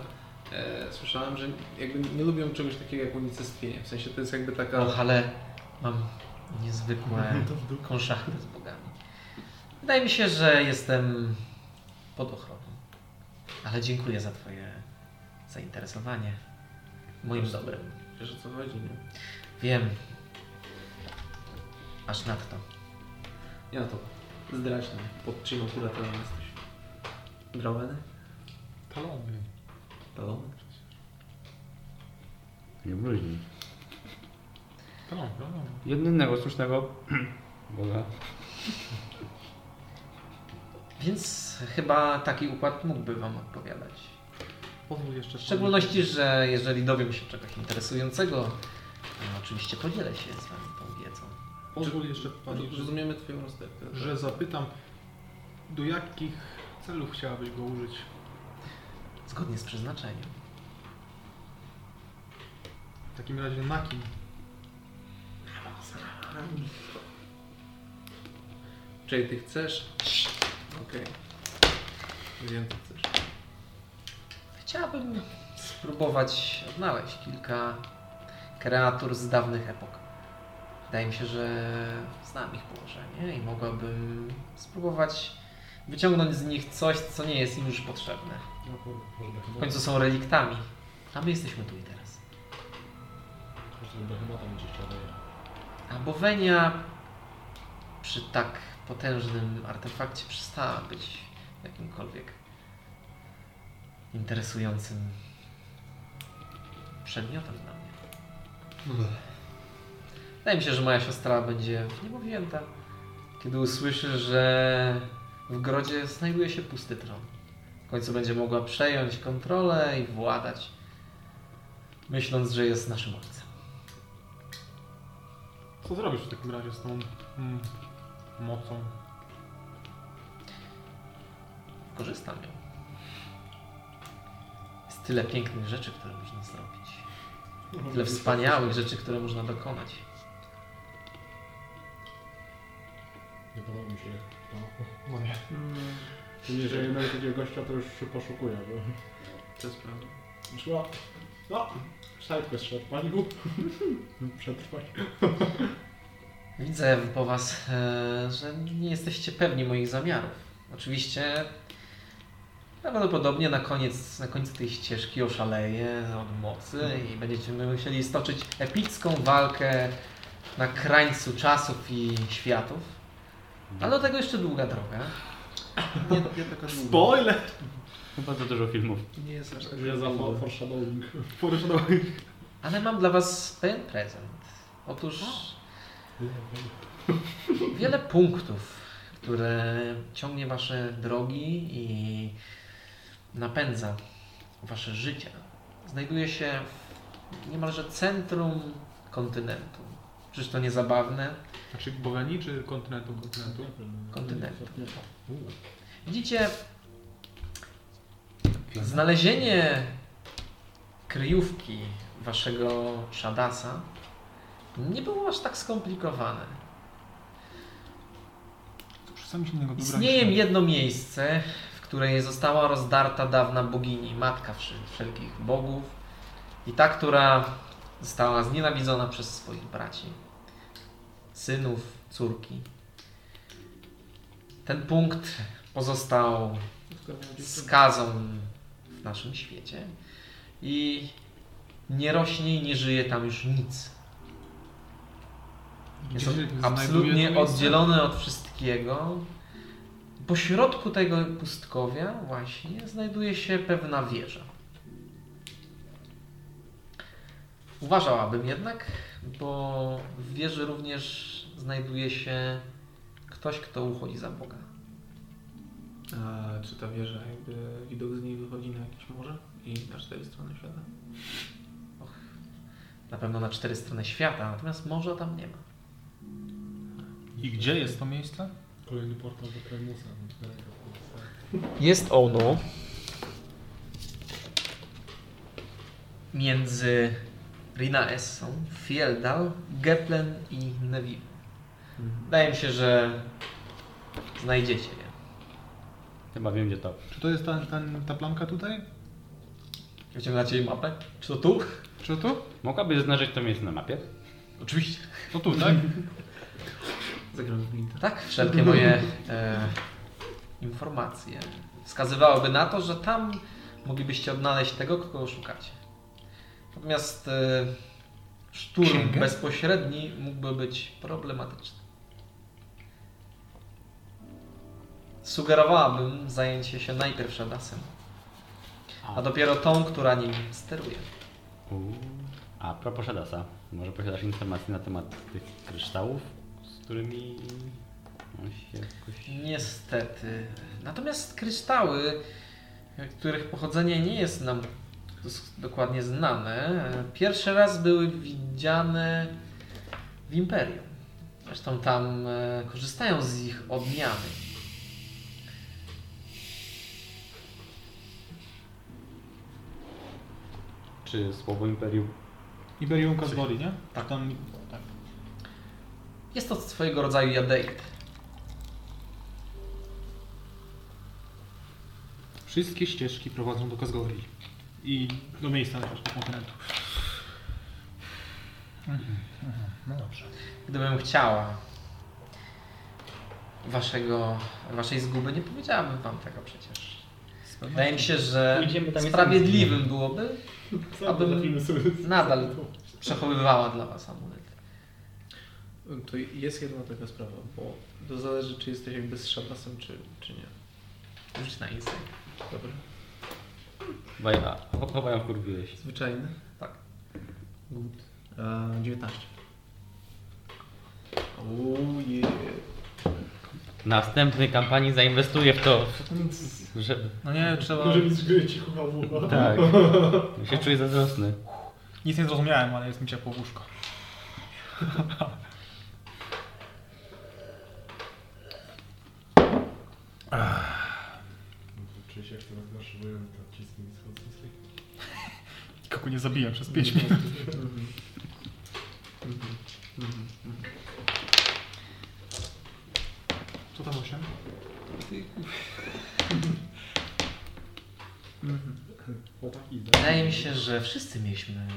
e, słyszałem, że jakby nie lubią czegoś takiego jak unicestwienie. W sensie, to jest jakby taka... Och, ale mam niezwykłe konszachty z bogami. Wydaje mi się, że jestem pod ochroną. Ale dziękuję za twoje zainteresowanie moim dobrem. Wiesz o co chodzi, nie? Wiem. Aż nadto. Ja to zdrać nam, pod czyją kuratelą jesteś. Droweny? Palony. Palony? Nie bluźnij. Palony, palony. Jedynego słusznego (clears throat) Boga. Więc chyba taki układ mógłby Wam odpowiadać. Pozwól jeszcze. W szczególności, że jeżeli dowiem się czegoś interesującego, no oczywiście podzielę się z Wami tą wiedzą. Pozwól jeszcze pani, że Rozumiemy twoją rozterkę. że zapytam, do jakich celów chciałabyś go użyć? Zgodnie z przeznaczeniem. W takim razie na kim? Czyli ty chcesz? Okej. Wiem, co chcesz. Chciałabym spróbować odnaleźć kilka kreatur z dawnych epok. Wydaje mi się, że znam ich położenie i mogłabym spróbować wyciągnąć z nich coś, co nie jest im już potrzebne. No W końcu są reliktami, a my jesteśmy tu i teraz. Behemota będzie chciała dać. A Bowenia przy tak potężnym artefakcie przestała być jakimkolwiek interesującym przedmiotem dla mnie. Wydaje mi się, że moja siostra będzie w niebo wzięta, kiedy usłyszy, że w grodzie znajduje się pusty tron. W końcu będzie mogła przejąć kontrolę i władać, myśląc, że jest naszym ojcem. Co zrobisz w takim razie z tą mm, mocą? korzystam ją. Jest tyle pięknych rzeczy, które można zrobić. Tyle wspaniałych rzeczy, które można dokonać. Nie podoba mi się to. No nie. Jeżeli mamy takiego gościa, to już się poszukuje, bo... To jest prawda. Szła. No! Sztajtkę zszedł, pani (laughs) Przetrwać. Widzę po Was, e, że nie jesteście pewni moich zamiarów. Oczywiście prawdopodobnie na koniec, na końcu tej ścieżki oszaleję od mocy i będziecie musieli stoczyć epicką walkę na krańcu czasów i światów. Ale do tego jeszcze długa droga. nie, nie taka długa. Spoiler! Chyba za dużo filmów. Nie jest aż tak Nie za for- foreshadowing. Ale mam dla Was pewien prezent. Otóż wiele punktów, które ciągnie Wasze drogi i napędza Wasze życie, znajduje się w niemalże centrum kontynentu. Czyż to nie zabawne? Znaczy Boweni czy kontynentu kontynentu? Kontynentu. Widzicie, znalezienie kryjówki waszego Shadasa nie było aż tak skomplikowane. Przestań się na niego Istnieje jedno miejsce, w której została rozdarta dawna bogini, matka wszy- wszelkich bogów i ta, która została znienawidzona przez swoich braci, synów, córki. Ten punkt pozostał skazą w naszym świecie i nie rośnie i nie żyje tam już nic. Jest on Gdzie się znajduje to absolutnie miejsce? oddzielony od wszystkiego. Po środku tego pustkowia właśnie znajduje się pewna wieża. Uważałabym jednak, bo w wieży również znajduje się ktoś, kto uchodzi za Boga. A czy ta wieża, jakby widok z niej wychodzi na jakieś morze i na cztery strony świata? Na pewno na cztery strony świata, natomiast morza tam nie ma. I gdzie jest to miejsce? Kolejny portal do Primusa. no, tak, tak. Jest ono między Rinaessą, Fieldal, Geplen i Neville. Wydaje mi się, że znajdziecie je. Chyba wiem gdzie to. Czy to jest ta, ta, ta plamka tutaj? Wyciągacie jej mapę? Czy to tu? Czy tu? Mogłabyś znaleźć to miejsce na mapie? Oczywiście. To tu, (laughs) tak? Zagramy w Glinta. Tak, wszelkie moje e, informacje wskazywałyby na to, że tam moglibyście odnaleźć tego, kogo szukacie. Natomiast e, szturm Księgę? bezpośredni mógłby być problematyczny. Sugerowałabym zajęcie się najpierw Shadasem, a dopiero tą, która nim steruje. Uuu. A propos Shadasa, może posiadasz informacje na temat tych kryształów, z którymi on się jakoś... Niestety. Natomiast kryształy, których pochodzenie nie jest nam dos- dokładnie znane, e, pierwszy raz były widziane w Imperium. Zresztą tam e, korzystają z ich odmiany. Czy słowo imperium? Iberium Kazbori, nie? Tak. Tam, tak. Jest to swojego rodzaju jadeit. Wszystkie ścieżki prowadzą do Kazgori. I do miejsca na środku kontynentu. No dobrze. Gdybym chciała waszego, waszej zguby, nie powiedziałabym wam tego przecież. Wydaje mi się, że Pójdziemy tam i sprawiedliwym byłoby, Sam Abym potrafimy sobie... nadal przechowywała dla was amulet. To jest jedna taka sprawa, bo to zależy, czy jesteś jakby z szabasem, czy, czy nie. Rzuć na insight. Dobra. Chyba ja, chyba ja wkurwiłeś. Zwyczajny? Tak. Good. E, 19. Ojej. W następnej kampanii zainwestuję w to, żeby... No nie, trzeba... Może mi z gry cicho No chowucha. Tak. Ja (laughs) się czuję zazdrosny. Nic nie zrozumiałem, ale jest mi ciepło w łóżko. Czuję się jak teraz nasz wojenny tam cisknie i schodzę z ręki. Kogo nie zabiję przez 5 minut. Co tam 8? O tak, i Wydaje mi się, że wszyscy mieliśmy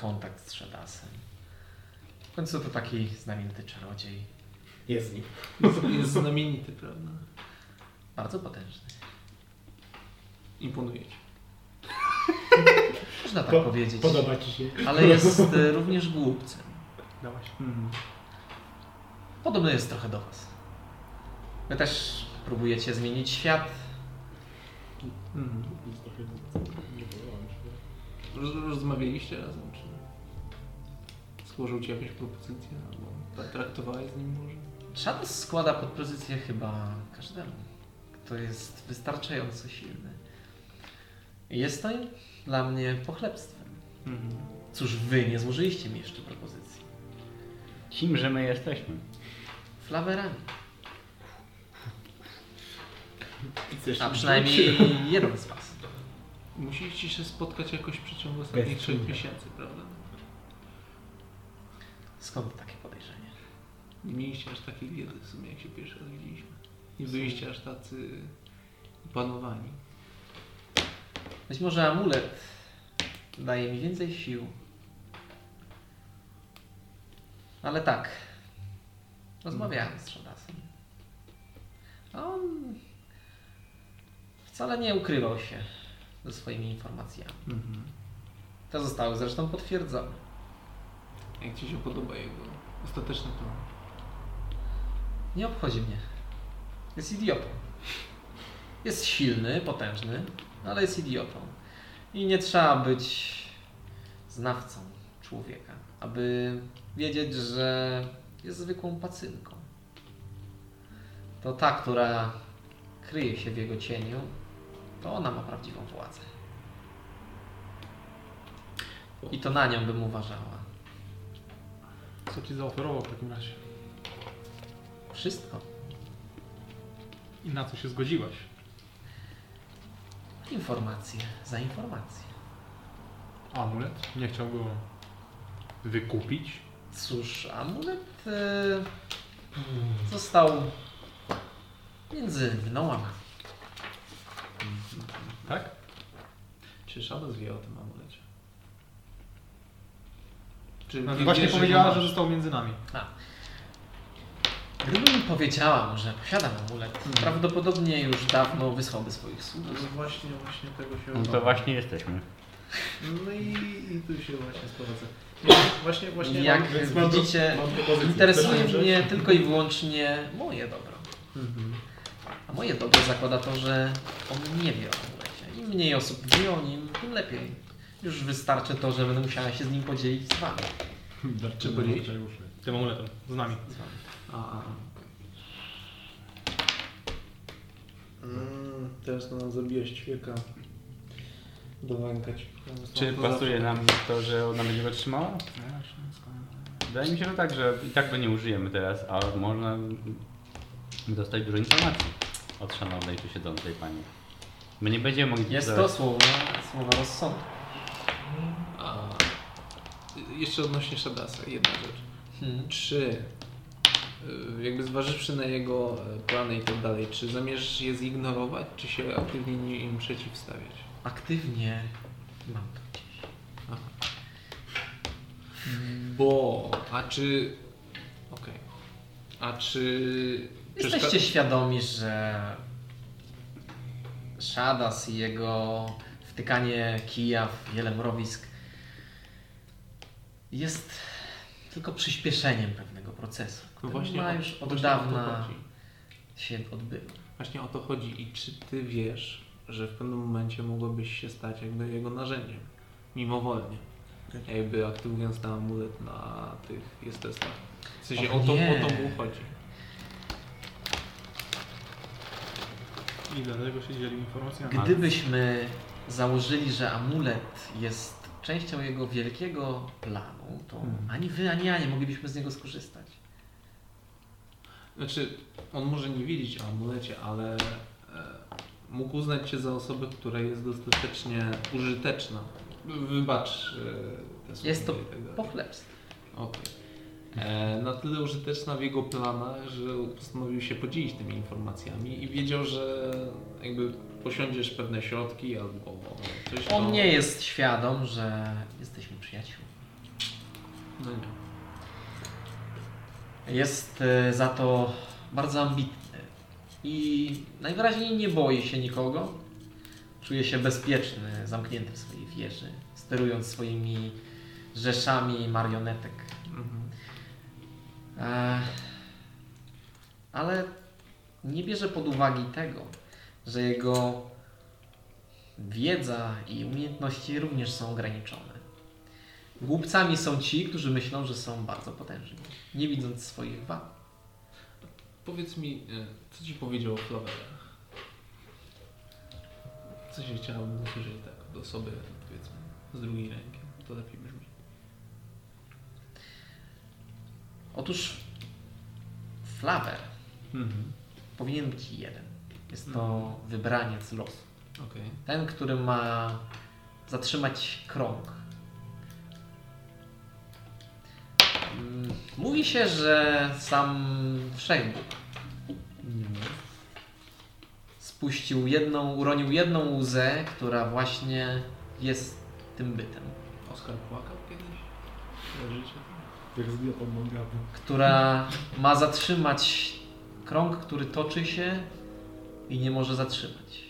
kontakt z Shadasem. W końcu to taki znamienity czarodziej, Jest nim. Jest znamienity, prawda? bardzo potężny. Imponuje ci. Można tak Po- powiedzieć. Podoba ci się. Ale jest e, również głupcem. Dałaś. Mhm. Podobny jest trochę do was. Wy też próbujecie zmienić świat. Mhm. Nic trochę nie- nie podoba mi się. Roz, rozmawialiście razem, czy złożył ci jakąś propozycję, albo tak traktowałeś z nim może? Shadas składa podpozycję chyba każdemu, kto jest wystarczająco silny. Jest to dla mnie pochlebstwem. Mhm. Cóż, wy nie złożyliście mi jeszcze propozycji. Kim, że my jesteśmy? Flawerami. I chcesz A przynajmniej jeden z was. Musieliście się spotkać jakoś w przeciągu ostatnich trzech miesięcy, prawda? Skąd takie podejrzenie? Nie mieliście aż takiej wiedzy w sumie, jak się pierwszy raz widzieliśmy. Nie byliście aż tacy panowani. Być może amulet daje mi więcej sił. Ale tak. Rozmawiałem z Shadasem. A on Mhm. wcale nie ukrywał się ze swoimi informacjami. Te zostały zresztą potwierdzone. Jak Ci się podoba jego ostateczny plan? Nie obchodzi mnie. Jest idiotą. Jest silny, potężny, no ale jest idiotą. I nie trzeba być znawcą człowieka, aby wiedzieć, że jest zwykłą pacynką. To ta, która kryje się w jego cieniu, to ona ma prawdziwą władzę. I to na nią bym uważała. Co ci zaoferował w takim razie? Wszystko. I na co się zgodziłaś? Informacje za informacje. Amulet? Nie chciał go wykupić? Cóż, amulet e, został między mną a wami. Tak? Czy Shadows wie o tym amulecie? Czy No, wie- właśnie wie, że powiedziała, go że masz? został między nami. Gdyby mi powiedziała mu, że posiadam amulet, Hmm. prawdopodobnie już dawno wysłałby swoich sług. No właśnie, właśnie tego się No to obawiam. właśnie jesteśmy. No i, i tu się właśnie sprowadza. Właśnie, właśnie Jak mam- mam pro- widzicie, mam propozycję. interesuje Chcesz tą mnie tylko i wyłącznie moje dobro. Mhm. A moje dobro zakłada to, że on nie wie o amulecie. Im mniej osób wie o nim, tym lepiej. Już wystarczy to, że będę musiała się z nim podzielić z wami. Darczymy Czy byli? Morczajuszu. Tym amuletem. Z nami. Z wami. A, a, Tak. a. Mm, teraz to nam zabiłeś ćwieka. Dowękać. Czy pasuje nam to, że ona będzie go trzymała? Wydaje mi się, że tak, że i tak go nie użyjemy teraz, a można dostać dużo informacji od szanownej tu siedzącej pani. My nie będziemy mogli Jest to Tak. zaraz- słowa, słowa rozsądku. A, y, jeszcze odnośnie Shadasa, jedna rzecz. Hmm. Czy, y, jakby zważywszy na jego y, plany i tak dalej, czy zamierzasz je zignorować, czy się aktywnie im przeciwstawiać? Aktywnie mam to gdzieś. Bo, a czy... Okej. A czy... Jesteście świadomi, że Shadas i jego wtykanie kija w wiele mrowisk jest tylko przyspieszeniem pewnego procesu, No który właśnie ma o- już od właśnie o to dawna chodzi. się odbywa. Właśnie o to chodzi i czy ty wiesz, że w pewnym momencie mogłabyś się stać jakby jego narzędziem, mimowolnie, jakby aktywując ten amulet na tych jestestach. W sensie Och o, to, nie. o to mu chodzi. I dlatego się dzieli informacjami. Tak. Gdybyśmy założyli, że amulet jest częścią jego wielkiego planu, to Hmm. ani wy, ani ja nie moglibyśmy z niego skorzystać. Znaczy, on może nie wiedzieć o amulecie, ale e, mógł uznać cię za osobę, która jest dostatecznie użyteczna. Wybacz e, te słowa Jest to i tak dalej. pochlebstwo. Okej. E, Na tyle użyteczna w jego planach, że postanowił się podzielić tymi informacjami i wiedział, że jakby posiądziesz pewne środki albo coś. to- On nie jest świadom, że jesteśmy przyjaciółmi. No nie. Jest e, za to bardzo ambitny i najwyraźniej nie boi się nikogo. Czuje się bezpieczny, zamknięty w swojej wieży, sterując swoimi rzeszami marionetek. Mhm. E, Ale nie bierze pod uwagę tego, że jego wiedza i umiejętności również są ograniczone. Głupcami są ci, którzy myślą, że są bardzo potężni, nie widząc swoich wad. Powiedz mi, e, co ci powiedział o Flowerach? Co się chciałabym usłyszeć tak od osoby, powiedzmy, z drugiej ręki? To lepiej brzmi. Otóż Flawer powinien być jeden. Jest to wybraniec losu. Okej. Ten, który ma zatrzymać krąg. Mm, Mówi się, że sam Wszechbóg spuścił jedną, uronił jedną łzę, która właśnie jest tym bytem. Oskar płakał kiedyś? Na życie? Jak zbija pan mangabu. która ma zatrzymać krąg, który toczy się i nie może zatrzymać.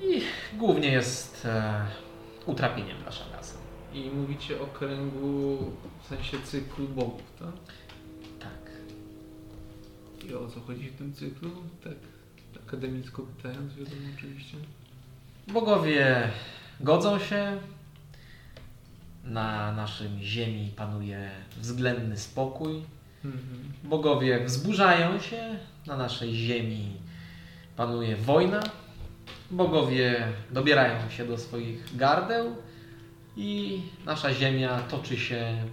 I głównie jest e, utrapieniem nasza rasa. I mówicie o kręgu w sensie cyklu bogów, tak? Tak. I o co chodzi w tym cyklu? Tak akademicko pytając, wiadomo oczywiście. Bogowie godzą się. Na naszym ziemi panuje względny spokój. Bogowie wzburzają się. Na naszej ziemi panuje wojna. Bogowie dobierają się do swoich gardeł i nasza ziemia toczy się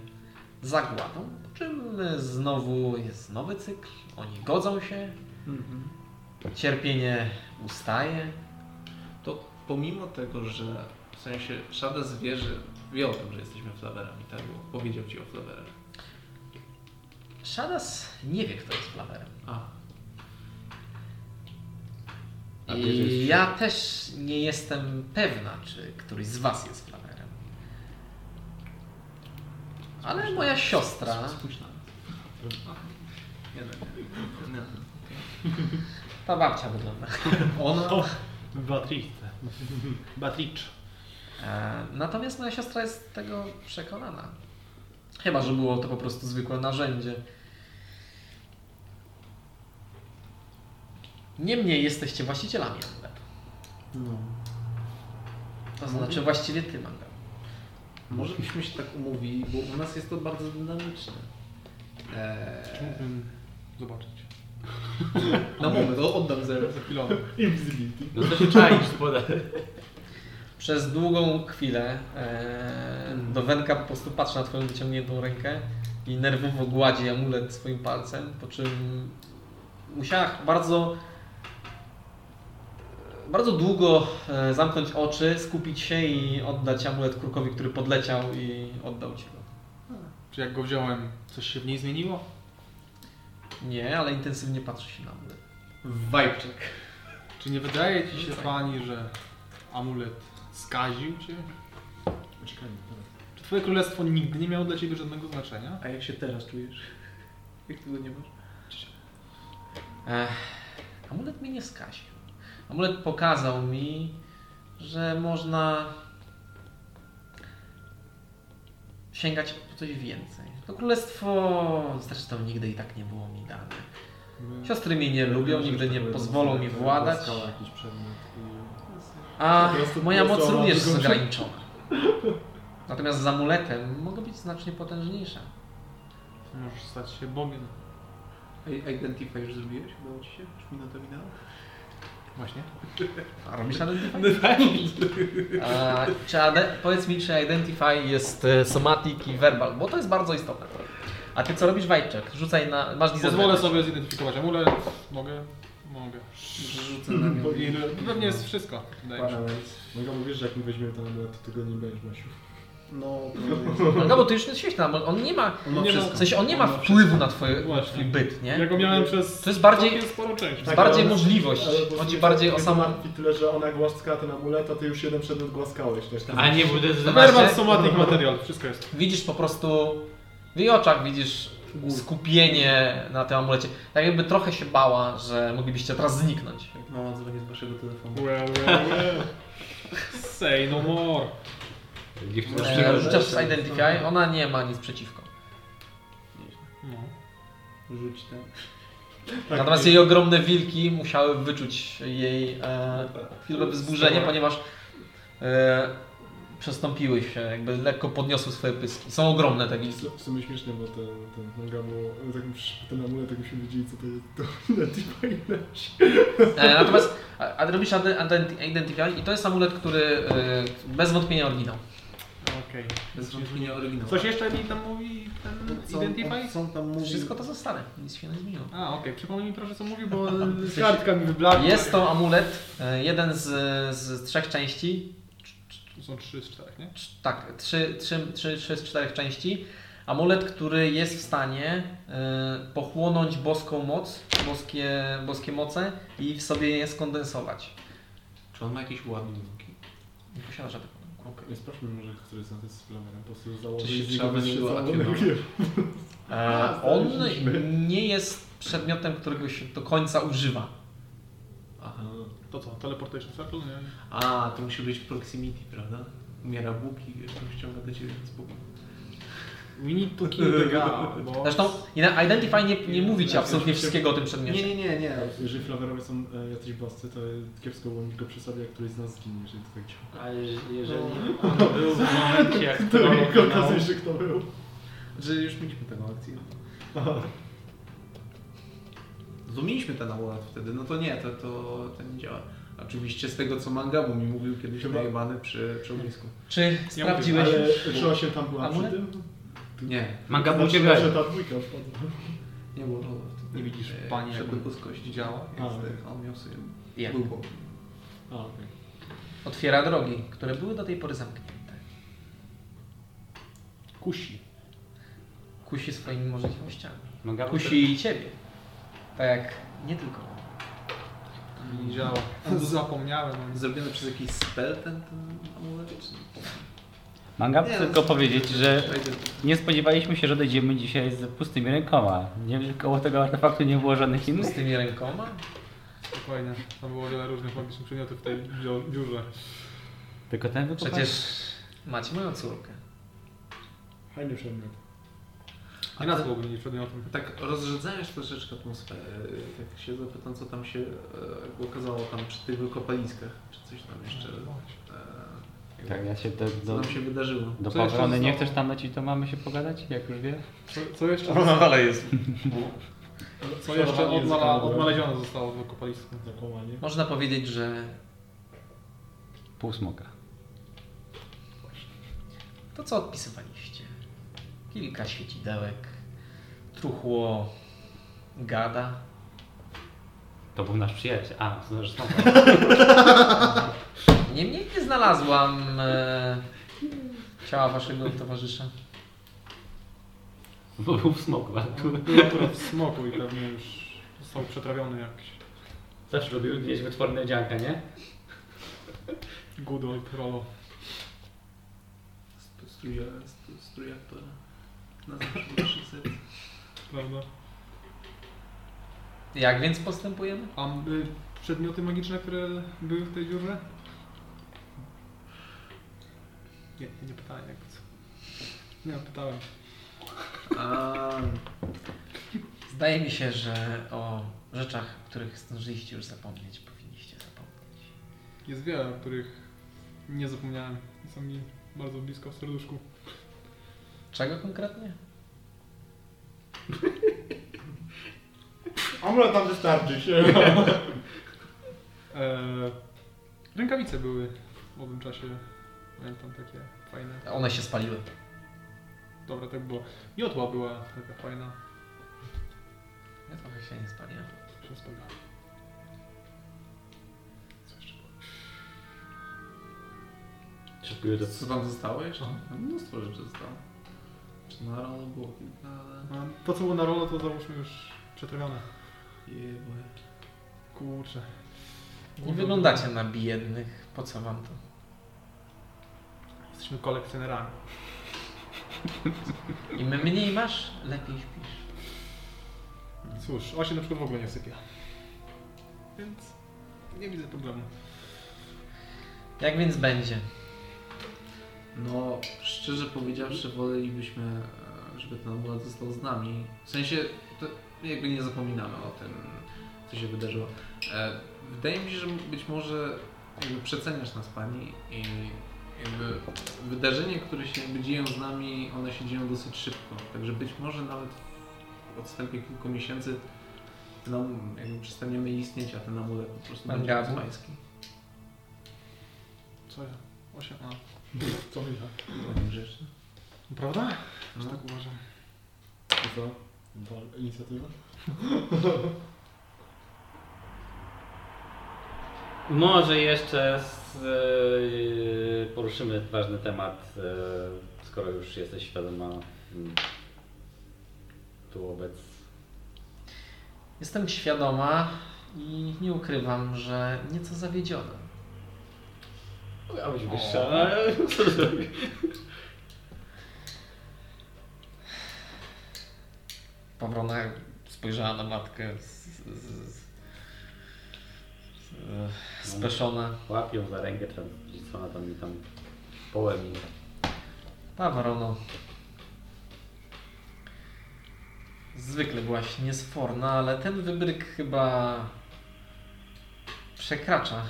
zagładą. Po czym znowu jest nowy cykl. Oni godzą się. Cierpienie ustaje. To pomimo tego, że w sensie szada zwierzy wie o tym, że jesteśmy flawerami, tak? Bo powiedział ci o flawerach. Szadas nie wie, kto jest flawerem. A, A ty, że jest I siódmy. ja też nie jestem pewna, czy któryś z Was jest flawerem. Ale moja siostra, spójrz na nas. Nie, nie, nie. ta babcia wygląda, Ona... O, Beatrice. (laughs) Beatrice. E, Natomiast moja siostra jest tego przekonana. Chyba, że było to po prostu zwykłe narzędzie. Niemniej jesteście właścicielami Angletu. No. Mhm. To znaczy właściwie ty, Mangel. Może byśmy się tak umówili, bo u nas jest to bardzo dynamiczne. Eee, E, Mógłbym zobaczyć. na moment, o, oddam zero. Za chwilę. No to się czaisz, podaj. Przez długą chwilę e, do Wenka po prostu patrzy na twoją wyciągniętą rękę i nerwowo gładzi amulet swoim palcem, po czym musiała bardzo bardzo długo e, zamknąć oczy, skupić się i oddać amulet kurkowi, który podleciał i oddał ci go. Czy jak go wziąłem, coś się w niej zmieniło? Nie, ale intensywnie patrzy się na amulet. Wajbczyk. Czy nie wydaje ci się pani, że amulet skaził cię? Uciekajmy teraz. Czy twoje królestwo nigdy nie miało dla ciebie żadnego znaczenia? A jak się teraz czujesz? Jak tego nie masz? Ech, amulet mnie nie skasił. Amulet pokazał mi, że można sięgać po coś więcej. To królestwo zresztą nigdy i tak nie było mi dane. Siostry mnie nie lubią, nigdy nie pozwolą mi władać, Skala jakiś przedmiot a Po prostu moja moc głosowa również drugą jest rzecz. ograniczona. Natomiast z amuletem mogę być znacznie potężniejsza. Możesz stać się bogiem. A Identify już zrobiłeś? Udało ci się? Czy mi na to minęło? Właśnie. A robisz Identify? A, czy ade- powiedz mi, czy Identify jest e, somatic i verbal, bo to jest bardzo istotne. A ty co robisz, Wajczek? Rzucaj na... masz Pozwolę disadvantage. sobie zidentyfikować amulet. Mogę? Mogę. Rzucę na nią. I pewnie jest wszystko. Wydaje mi się. Paralels. Mogę bo wiesz, że jak my weźmiemy ten amulet, to tego nie będziesz Masiu. (laughs) No, No bo ty już nie jesteś tam, bo on nie ma... on ma Nie ma- wszystko. W sensie on nie ma wpływu na twoje, na Właśnie. twój byt, Ja nie? go miałem przez To jest bardziej- całkiem sporą część. Tak. bardziej możliwość. ale po prostu Chodzi bardziej o mnie to samą- martwi tyle, że ona głaskała ten amulet, a ty już jeden przedmiot głaskałeś też. Tam. A nie budę Werwal, somatnik, materiał, wszystko jest. Widzisz po prostu... W jej oczach widzisz skupienie na tym amulecie. Tak jakby trochę się bała, że moglibyście teraz zniknąć. Jak mama dzwoni z waszego telefonu. Well, well, well. Say no more. Dziewczyna E, rzucasz z Identify, ona nie ma nic przeciwko. No. Rzuć ten. Tak. tak, Natomiast jej ogromne wilki musiały wyczuć jej e, chwilę wzburzenie, ponieważ e, przestąpiły się, jakby lekko podniosły swoje pyski. Są ogromne te (laughs) wilki. W sumie śmiesznie, bo ten, ten manga było, tak, ten amulet, jakbyśmy wiedzieli co to jest, to (laughs) Identify leci. E, natomiast a, a robisz ade- adent- Identify i to jest amulet, który e, bez wątpienia oryginał. Okej. Bez wątpienia oryginał. Coś jeszcze mi tam mówi ten Co on, Identify? co on tam mówi? Wszystko to zostanie, nic się nie zmieniło. A, okej, przypomnij mi proszę co mówił, (laughs) bo kartka mi Tak. wyblakła. Jest to amulet, e, jeden z, z trzech części, To są trzy z czterech, nie? Cz- Tak, trzy, trzy, trzy, trzy z czterech części. Amulet, który jest w stanie y, pochłonąć boską moc, boskie, boskie moce i w sobie je skondensować. Czy on ma jakieś ładunki? Nie posiada żadnego. ładunku. Nie sprawdźmy może, który z nas jest flamerem, po prostu założyć się z trzeba niego bez będzie się łatwiej, załadunek. E, on nie jest przedmiotem, którego się do końca używa. Aha. To co, teleportation circle? Nie? A, to musi być proximity, prawda? Umiera Bóg i jeszcze ściąga do ciebie z Bóg. We need to kill the guy, bo... Zresztą i na Identify nie, nie mówi ci absolutnie wszystkiego o tym tak, Nie, przedmiocie. nie, nie, nie. Jeżeli flawerowie są e, jacyś boscy, to kiepsko, bo tylko przy sobie, jak któryś z nas zginie, jeżeli to tak działa. A jeżeli, jeżeli on był w momencie, (laughs) jak To trollował tylko kanał, okazuje się, kto był. Że już mieliśmy tę akcję. (laughs) No to mieliśmy ten akurat wtedy, no to nie, to, to, to nie działa. Oczywiście z tego co Mangabu mi mówił kiedyś Chyba- najebany przy, przy ognisku. Czy Ja sprawdziłeś? Ale czy osiem tam była przy Amulet? tym? Nie, Mangabu Znaczy, cię goni. że ta dwójka wpadła. nie było rola wtedy. Nie widzisz, E, panie, jak Wszedł z kości działa, więc A. tak, on miał sobie Jak? był bok. A, okej. Otwiera drogi, które były do tej pory zamknięte. Kusi. Kusi swoimi możliwościami. Mangabu Kusi i ciebie. Tak jak nie tylko. Nie działa. Zapomniałem. Zrobiony przez jakiś spell ten, ten amulet? czy- Mangabu Nie, tylko no, powiedzieć, że Wejdę. nie spodziewaliśmy się, że dojdziemy dzisiaj z pustymi rękoma. Nie, koło tego artefaktu nie było żadnych Z innych. tymi rękoma? Dokładnie. Tam było wiele różnych magicznych przedmiotów w tej dziu- dziurze. Tylko ten wykopany. Przecież macie moją córkę. Fajny przedmiot. Nie nazwałbym jej przedmiotem. Tak rozrzedzając troszeczkę atmosferę, tak się zapytam, co tam się e, okazało tam przy tych wykopaliskach, czy coś tam jeszcze. E, Tak, ja się też Co do, nam się wydarzyło? do Co jeszcze Pawrony nie zostało? chcesz tam lecieć, to mamy się pogadać, jak już wie. Co, co jeszcze, Ona dalej jest. co jeszcze Szanowanie odnala, języka odnalezione zostało w kopalisku? Zakłamanie. Można powiedzieć, że Pół smoka. to co odpisywaliście. Kilka świecidełek, truchło gada. To był nasz przyjaciel. A, znasz smoka. (laughs) Niemniej nie znalazłam e, ciała waszego towarzysza. Bo był w smoku, a tu Był akurat w smoku i pewnie już został przetrawiony jak zawsze lubił mieć wytworne dzianka, nie? gudo i trolo. St- Struja, st- struja, która na zawsze duszy serce. Prawda? Jak więc postępujemy? A y, przedmioty magiczne, które były w tej dziurze? Nie, nie pytałem jak co. Nie, pytałem. A, Zdaje mi się, że o rzeczach, o których zdążyliście już zapomnieć, powinniście zapomnieć. Jest wiele, o których nie zapomniałem. Są mi bardzo blisko w serduszku. Czego konkretnie? Amulet tam wystarczy się. Eee, rękawice były w owym czasie. Pamiętam takie fajne. One się spaliły. Dobra, tak było. Miotła była taka fajna. Ja trochę się nie spaliłem. Się wspomniałem. Co jeszcze było? Szybko co tam zostało jeszcze? No, mnóstwo rzeczy zostało. Czy na rano było kilka, ale... No, to co było na rolo, to załóżmy już przetrawione. Jebo. Kurczę. Nie wyglądacie na biednych. Po co wam to? Jesteśmy kolekcjonerami. Im mniej masz, lepiej śpisz. Cóż, osie na przykład w ogóle nie sypia. Więc nie widzę problemu. Jak więc będzie? No, szczerze powiedziawszy, wolelibyśmy, e, żeby ten amulet został z nami. W sensie, to jakby nie zapominamy o tym, co się wydarzyło. E, Wydaje mi się, że być może jakby przeceniasz nas, Pani, i jakby wydarzenia, które się jakby dzieją z nami, one się dzieją dosyć szybko. Także być może nawet w odstępie kilku miesięcy nam jakby przestaniemy istnieć, a ten amulet po prostu Pan będzie Gabu? pański. Co ja? Osia, a. (laughs) Co mi Panie Grzeszny. Prawda? No. Tak uważam. To co? Wal- Inicjatywa? Może jeszcze z, e, poruszymy ważny temat, e, skoro już jesteś świadoma mm, tu obec. Jestem świadoma i nie ukrywam, że nieco zawiedziona. Mogła być wyższa, no, ale co zrobię? Pawrona spojrzała na matkę z, z, z, z które Speszone. No, łapią za rękę, czy czy co ona tam mi tam połem i Pawrono. Zwykle byłaś niesforna, ale ten wybryk chyba przekracza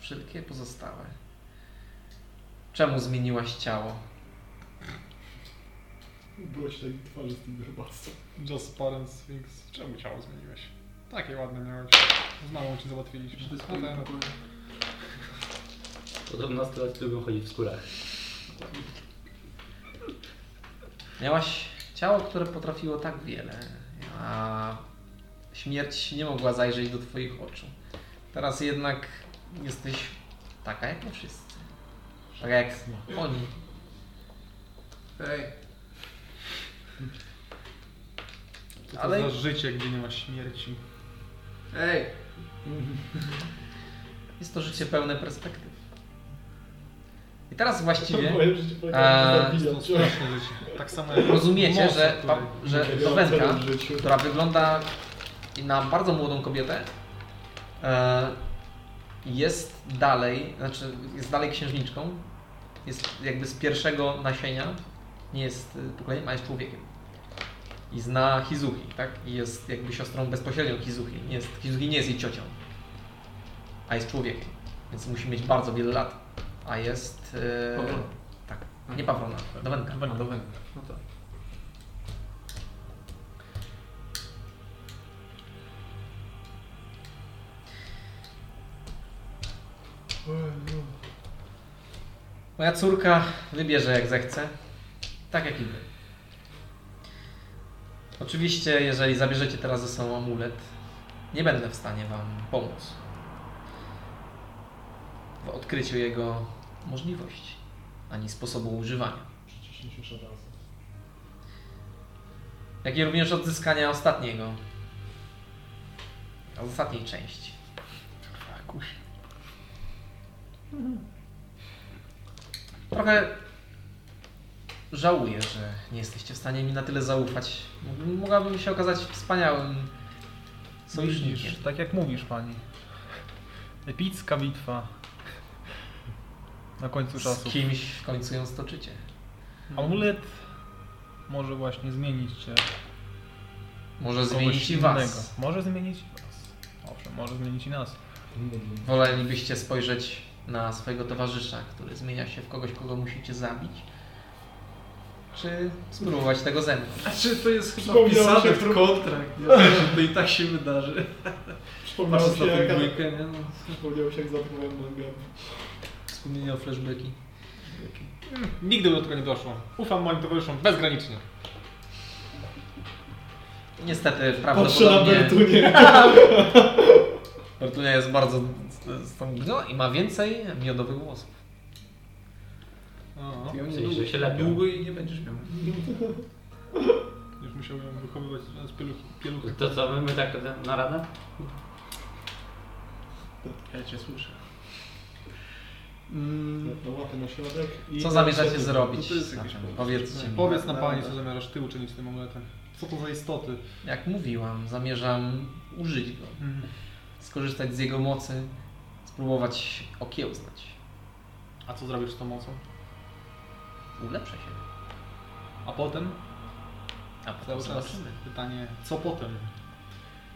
wszelkie pozostałe. Czemu zmieniłaś ciało? Byłeś tak twarzy z tym rybactwem. Just Parent Sphinx. Czemu ciało zmieniłeś? Takie ładne miałeś. Z mamą cię załatwiliśmy. Ale- podobno strać lubią chodzić w skórach. Miałaś ciało, które potrafiło tak wiele, a śmierć nie mogła zajrzeć do Twoich oczu. Teraz jednak jesteś taka jak my wszyscy. Taka jak oni. Hej, Co to Ale- za życie, gdzie nie ma śmierci. hej, (laughs) Jest to życie pełne perspektyw. I teraz właściwie Moje życie Eee, polegało na To jest zabijaniu. straszne życie. Tak samo jak rozumiecie, most, że, który- pa, że Ja to w wędka, całym życiu. która wygląda na bardzo młodą kobietę, e, jest dalej, znaczy jest dalej księżniczką, jest jakby z pierwszego nasienia, nie jest y, pokoleniem, a jest człowiekiem. I zna Hizuki, tak? I jest jakby siostrą bezpośrednią Hizuki. Nie jest, Hizuki nie jest jej ciocią, a jest człowiekiem, więc musi mieć bardzo wiele lat. A jest... e, Pawrona. tak, nie Pawrona, Dowenka. Chyba do węgla. No tak. Moja córka wybierze jak zechce, tak jak i wy. Oczywiście, jeżeli zabierzecie teraz ze sobą amulet, nie będę w stanie wam pomóc w odkryciu jego możliwości, ani sposobu używania, Przyciśnij się szarasa. jak i również odzyskania ostatniego, ostatniej części. Trochę żałuję, że nie jesteście w stanie mi na tyle zaufać. Mógłbym- Mogłabym się okazać wspaniałym sojusznikiem. Sojusznisz, tak jak mówisz pani. Epicka bitwa. Na końcu Z czasu. kimś w końcu ją stoczycie. Amulet może właśnie zmienić cię. Może w kogoś zmienić i innego. was. Może zmienić i was. Owszem, może zmienić i nas. Wolelibyście spojrzeć na swojego towarzysza, który zmienia się w kogoś, kogo musicie zabić. Czy spróbować tego ze mną? A czy to jest chyba Przypomniało wpisane się w tru- kontrakt? Nie wiem, że to i tak się wydarzy. Przypomniało Patrząc się, na tę jak, dwójkę, nie? No. przypomniało się jak zatknąłem nogę. Wspomnienia o flashbacki. Mm, Nigdy by do tego nie doszło. Ufam moim towarzyszom bezgranicznie. Niestety Patrzę na prawdopodobnie Bertunie. Bertunia jest bardzo stągniona i ma więcej miodowych włosów. O, Ja Czyli, że się lepią. długo i nie będziesz miał. już musiałbym wychowywać z pieluch, pieluchy. To co, my, my tak na radę? Ja cię słyszę. Mm, No łapę na środek i... Co zamierzacie to zrobić? jest jakieś zatem? pomysł. Powiedzcie mi. Powiedz nam panie, co zamierzasz ty uczynić z tym amuletem. Co to za istoty? Jak mówiłam, zamierzam użyć go, Mm. skorzystać z jego mocy, spróbować okiełznać. A co zrobisz z tą mocą? Ulepszę się. A potem? A potem zobaczymy. pytanie, co potem?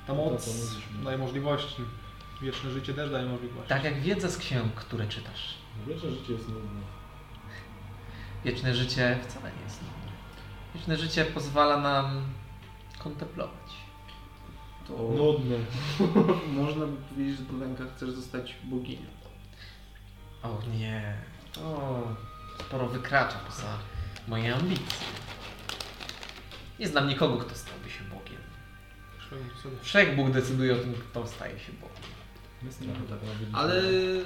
Ta to moc mówiliśmy. daje możliwości. Wieczne życie też daje możliwości. Tak jak wiedza z ksiąg, które czytasz. Wiesz, że życie jest nudne. Wieczne życie wcale nie jest nudne. Wieczne życie pozwala nam kontemplować. To Nudne. można by powiedzieć, że do węgla chcesz zostać boginią. O nie, to sporo wykracza poza moje ambicje. Nie znam nikogo, kto stałby się Bogiem. Przypomnij sobie. Wszechbóg decyduje o tym, kto staje się Bogiem. Ale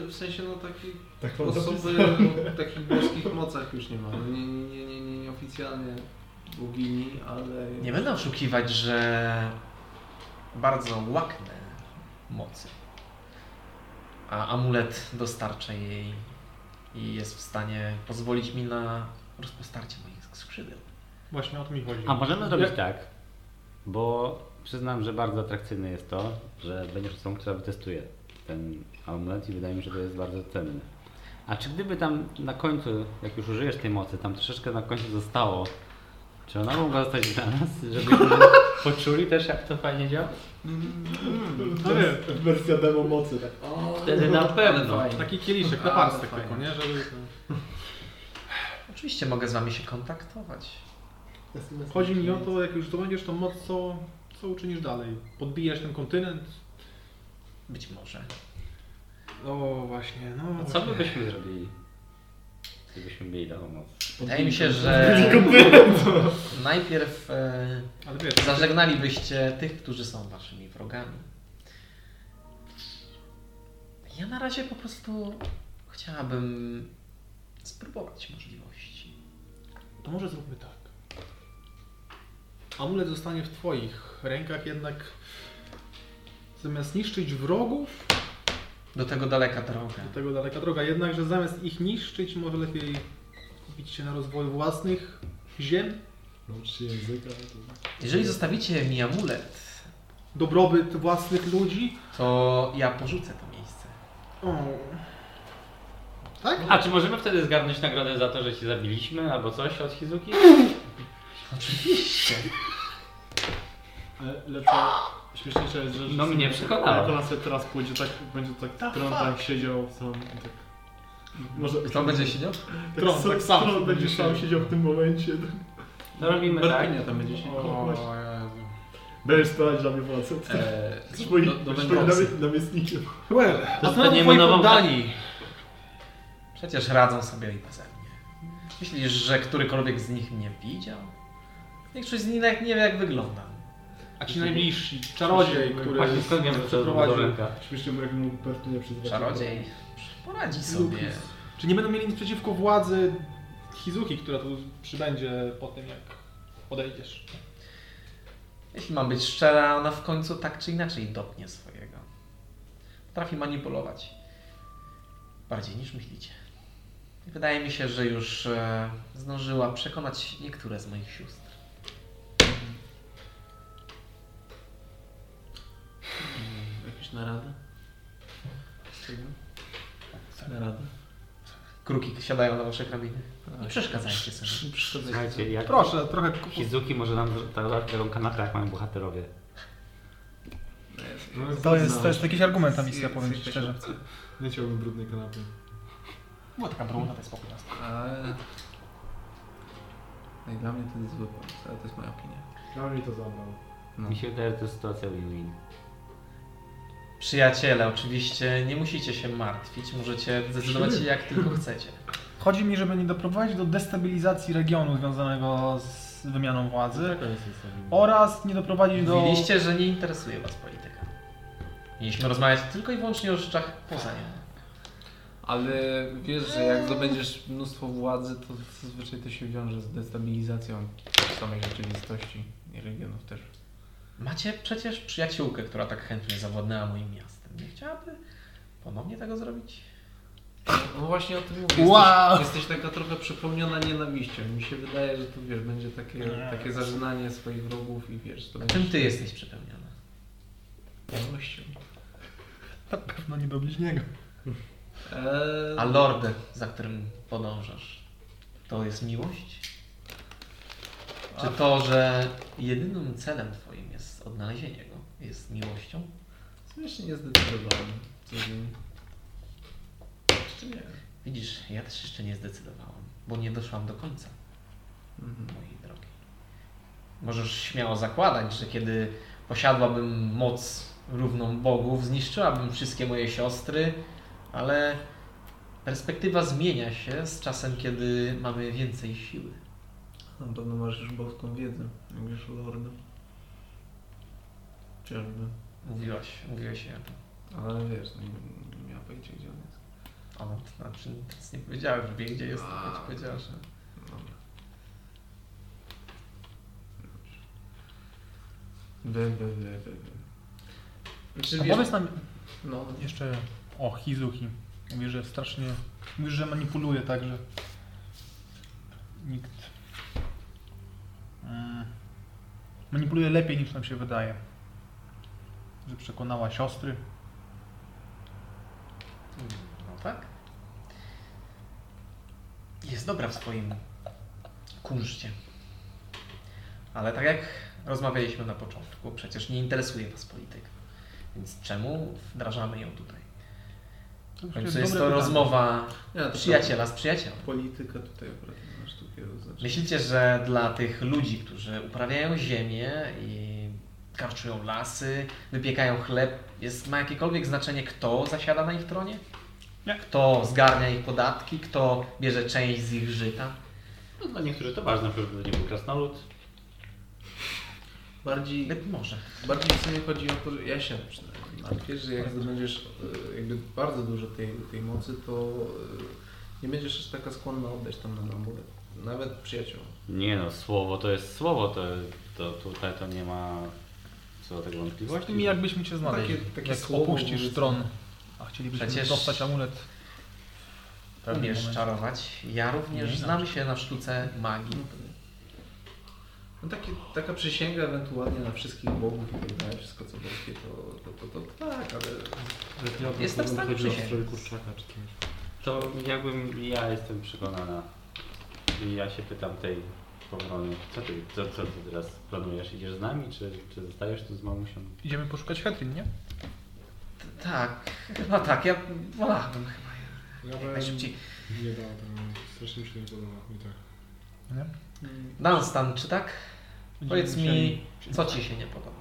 w sensie no takich Tak mam zapisane. osoby o takich boskich mocach już nie ma. No, nie, nie, nie, nie, nie oficjalnie bogini, ale... Nie będę oszukiwać, że bardzo łaknę mocy. A amulet dostarcza jej i jest w stanie pozwolić mi na rozpostarcie moich skrzydeł. Właśnie o to mi chodzi. A możemy zrobić tak, bo przyznam, że bardzo atrakcyjne jest to, że będziesz osobą, która wytestuje ten amulet i wydaje mi się, że to jest bardzo cenny. A czy gdyby tam na końcu, jak już użyjesz tej mocy, tam troszeczkę na końcu zostało, czy ona mogła zostać dla nas, żebyśmy (laughs) poczuli też jak to fajnie działa? Hmm, Hmm. No Wersja demo mocy. tak. Wtedy na pewno. Taki kieliszek na parstek tylko, nie? Żeby... Oczywiście mogę z wami się kontaktować. Chodzi mi o to, jak już zdobędziesz tą moc, co, co uczynisz dalej? Podbijesz ten kontynent? Być może. O właśnie, no A co by byśmy zrobili, gdybyśmy mieli taką moc? Wydaje mi się, że najpierw e, Ale wiesz, zażegnalibyście tych, którzy są waszymi wrogami. Ja na razie po prostu chciałabym spróbować możliwości. to może zróbmy tak. Amulet zostanie w twoich rękach, jednak zamiast niszczyć wrogów, Do tego daleka droga. do tego daleka droga, jednakże zamiast ich niszczyć, może lepiej kupić się na rozwój własnych ziem, Naucz się języka. Jeżeli zostawicie mi amulet, dobrobyt własnych ludzi. to ja porzucę to miejsce. O. Tak? A czy możemy wtedy zgarnąć nagrodę za to, że się zabiliśmy albo coś od Hizuki? To... Ale lepsza, śmieszniejsza jest, że... że No sobie- mnie przekonała. Jak ona sobie teraz pójdzie, tak będzie tak tron tak siedział sam. Tak. Może, Kto będzie siedział? tak, Tron, sam, tak sam Tron będzie będzie sam siedział. siedział w tym momencie. No robimy tak. Bertynia tam będzie się. O, Będziesz spalać dla mnie facet. Eee, Jesteś moim- do- do jesteś moim wędrowcy. namie- namiestnikiem. Well, a co Dostaniemy twoi nową- poddani? Przecież radzą sobie i beze mnie. Myślisz, że którykolwiek z nich mnie widział? Większość z nich nawet nie wie, jak wyglądam. A ci najbliżsi, czarodziej, który Właśnie skąd wiemy, że to jest przeprowadził. budowlanka? Śmiesznie mreknął Bertynia przez dwa Czarodziej poradzi sobie. Czy nie będą mieli nic przeciwko władzy Hizuki, która tu przybędzie po tym, jak odejdziesz? Tak. Jeśli mam być szczera, ona w końcu tak czy inaczej dopnie swojego. Potrafi manipulować. Bardziej niż myślicie. Wydaje mi się, że już e, zdążyła przekonać niektóre z moich sióstr. Jakieś narady? Narady? Kruki siadają na wasze kamienie. Nie przeszkadzajcie sobie. Słuchajcie, jak Proszę, trochę Hizuki może nam dać taką kanapę, jak mają bohaterowie. To jest, to jest jakiś argument tam Jest- istnieje, powiem ci jest- szczerze. No, Nie chciałbym brudnej kanapy. Była taka bruna, to jest tak. spokój. Ale... No i dla mnie to jest zły pomysł, ale to jest moja opinia. Ja mi to zabrał. No. Mi się wydaje, że to jest sytuacja win-win. Przyjaciele, oczywiście nie musicie się martwić, możecie zdecydować się jak tylko chcecie. Chodzi mi, żeby nie doprowadzić do destabilizacji regionu związanego z wymianą No tak, władzy Taka jest historia. oraz nie doprowadzić do... Mówiliście, że nie interesuje Was polityka. Mieliśmy rozmawiać tylko i wyłącznie o rzeczach poza nią. Ale wiesz, że jak zdobędziesz mnóstwo władzy, to zazwyczaj to się wiąże z destabilizacją samej rzeczywistości i regionów też. Macie przecież przyjaciółkę, która tak chętnie zawładnęła moim miastem. Nie chciałaby ponownie tego zrobić? No właśnie o tym mówię. Jesteś, Wow! jesteś taka trochę przepełniona nienawiścią. Mi się wydaje, że tu wiesz, będzie takie, takie zażynanie swoich wrogów i wiesz, to A będzie czym Ty jesteś przepełniona? miłością. Na pewno nie do bliźniego. Eee, A lord, za którym podążasz, to jest miłość? Czy to, że jedynym celem Twoim jest odnalezienie go, jest miłością? Jeszcze nie zdecydowałem. co z nim. Jeszcze nie. Widzisz, ja też jeszcze nie zdecydowałam, bo nie doszłam do końca Mhm. mojej drogi. Możesz śmiało zakładać, że kiedy posiadłabym moc równą bogów, zniszczyłabym wszystkie moje siostry, ale perspektywa zmienia się z czasem, kiedy mamy więcej siły. Na pewno masz już boską wiedzę, jak wiesz o Lordu. Czyżby. Mówiłaś, mówiłeś się o tym. Ale wiesz, no, nie, nie miała pojęcia gdzie on jest. A no, to znaczy nic nie powiedziałem, że wie gdzie jest, tylko ci powiedziała, że... Dobra. Dobrze. Wy, wy, wy, wy, wy. Znaczy, A wiesz, powiedz nam no, jeszcze o Hizuki. Mówisz, że strasznie... Mówisz, że manipuluje tak, że... Nikt... Mm. Manipuluje lepiej niż nam się wydaje. Że przekonała siostry. No tak. Jest dobra w swoim kunszcie. Ale tak jak rozmawialiśmy na początku, przecież nie interesuje Was polityka. Więc czemu wdrażamy ją tutaj? W końcu jest to rozmowa Ja, przyjaciela z przyjacielem. Polityka tutaj akurat nie ma sztukiego znaczenia. Myślicie, że dla tych ludzi, którzy uprawiają ziemię i karczują lasy, wypiekają chleb, jest, ma jakiekolwiek znaczenie, kto zasiada na ich tronie? Nie. Kto zgarnia ich podatki, kto bierze część z ich żyta? No, dla niektórych to ważne, żeby to nie był krasnolud. Bardziej, Być może. bardziej w sumie chodzi o to, że ja się przynajmniej martwię, że jak zdobędziesz e, jakby bardzo dużo tej, tej mocy, to e, nie będziesz aż taka skłonna oddać tam na namówę. Nawet przyjaciół. Nie no, słowo to jest słowo, to, to tutaj to nie ma co do tego Właśnie wątpliwości. mi jakbyśmy cię znaleźli. Takie- takie jak słowo opuścisz wobec- tron, a chcielibyśmy Przecież- dostać amulet. Umiesz czarować. Ja również no. Nie, znam się na sztuce magii. No takie, taka przysięga ewentualnie na wszystkich bogów i tak dalej, wszystko co boskie, to, to, to, to, tak, ale tak Jestem w stanie Chodzi o przysiąc. stroju kurczaka czy coś. To jakbym, ja jestem przekonana i ja się pytam tej powrony, co ty, co, co ty teraz planujesz? Idziesz z nami, czy, czy zostajesz tu z mamusią? Idziemy poszukać Hetrin, nie? T- Tak, chyba tak, ja wolałabym chyba Ja jak bym najszybciej. nie dał, tam strasznie mi się to nie podoba. I tak. Dunstan, czy tak? Powiedz mi, co Ci się nie podoba?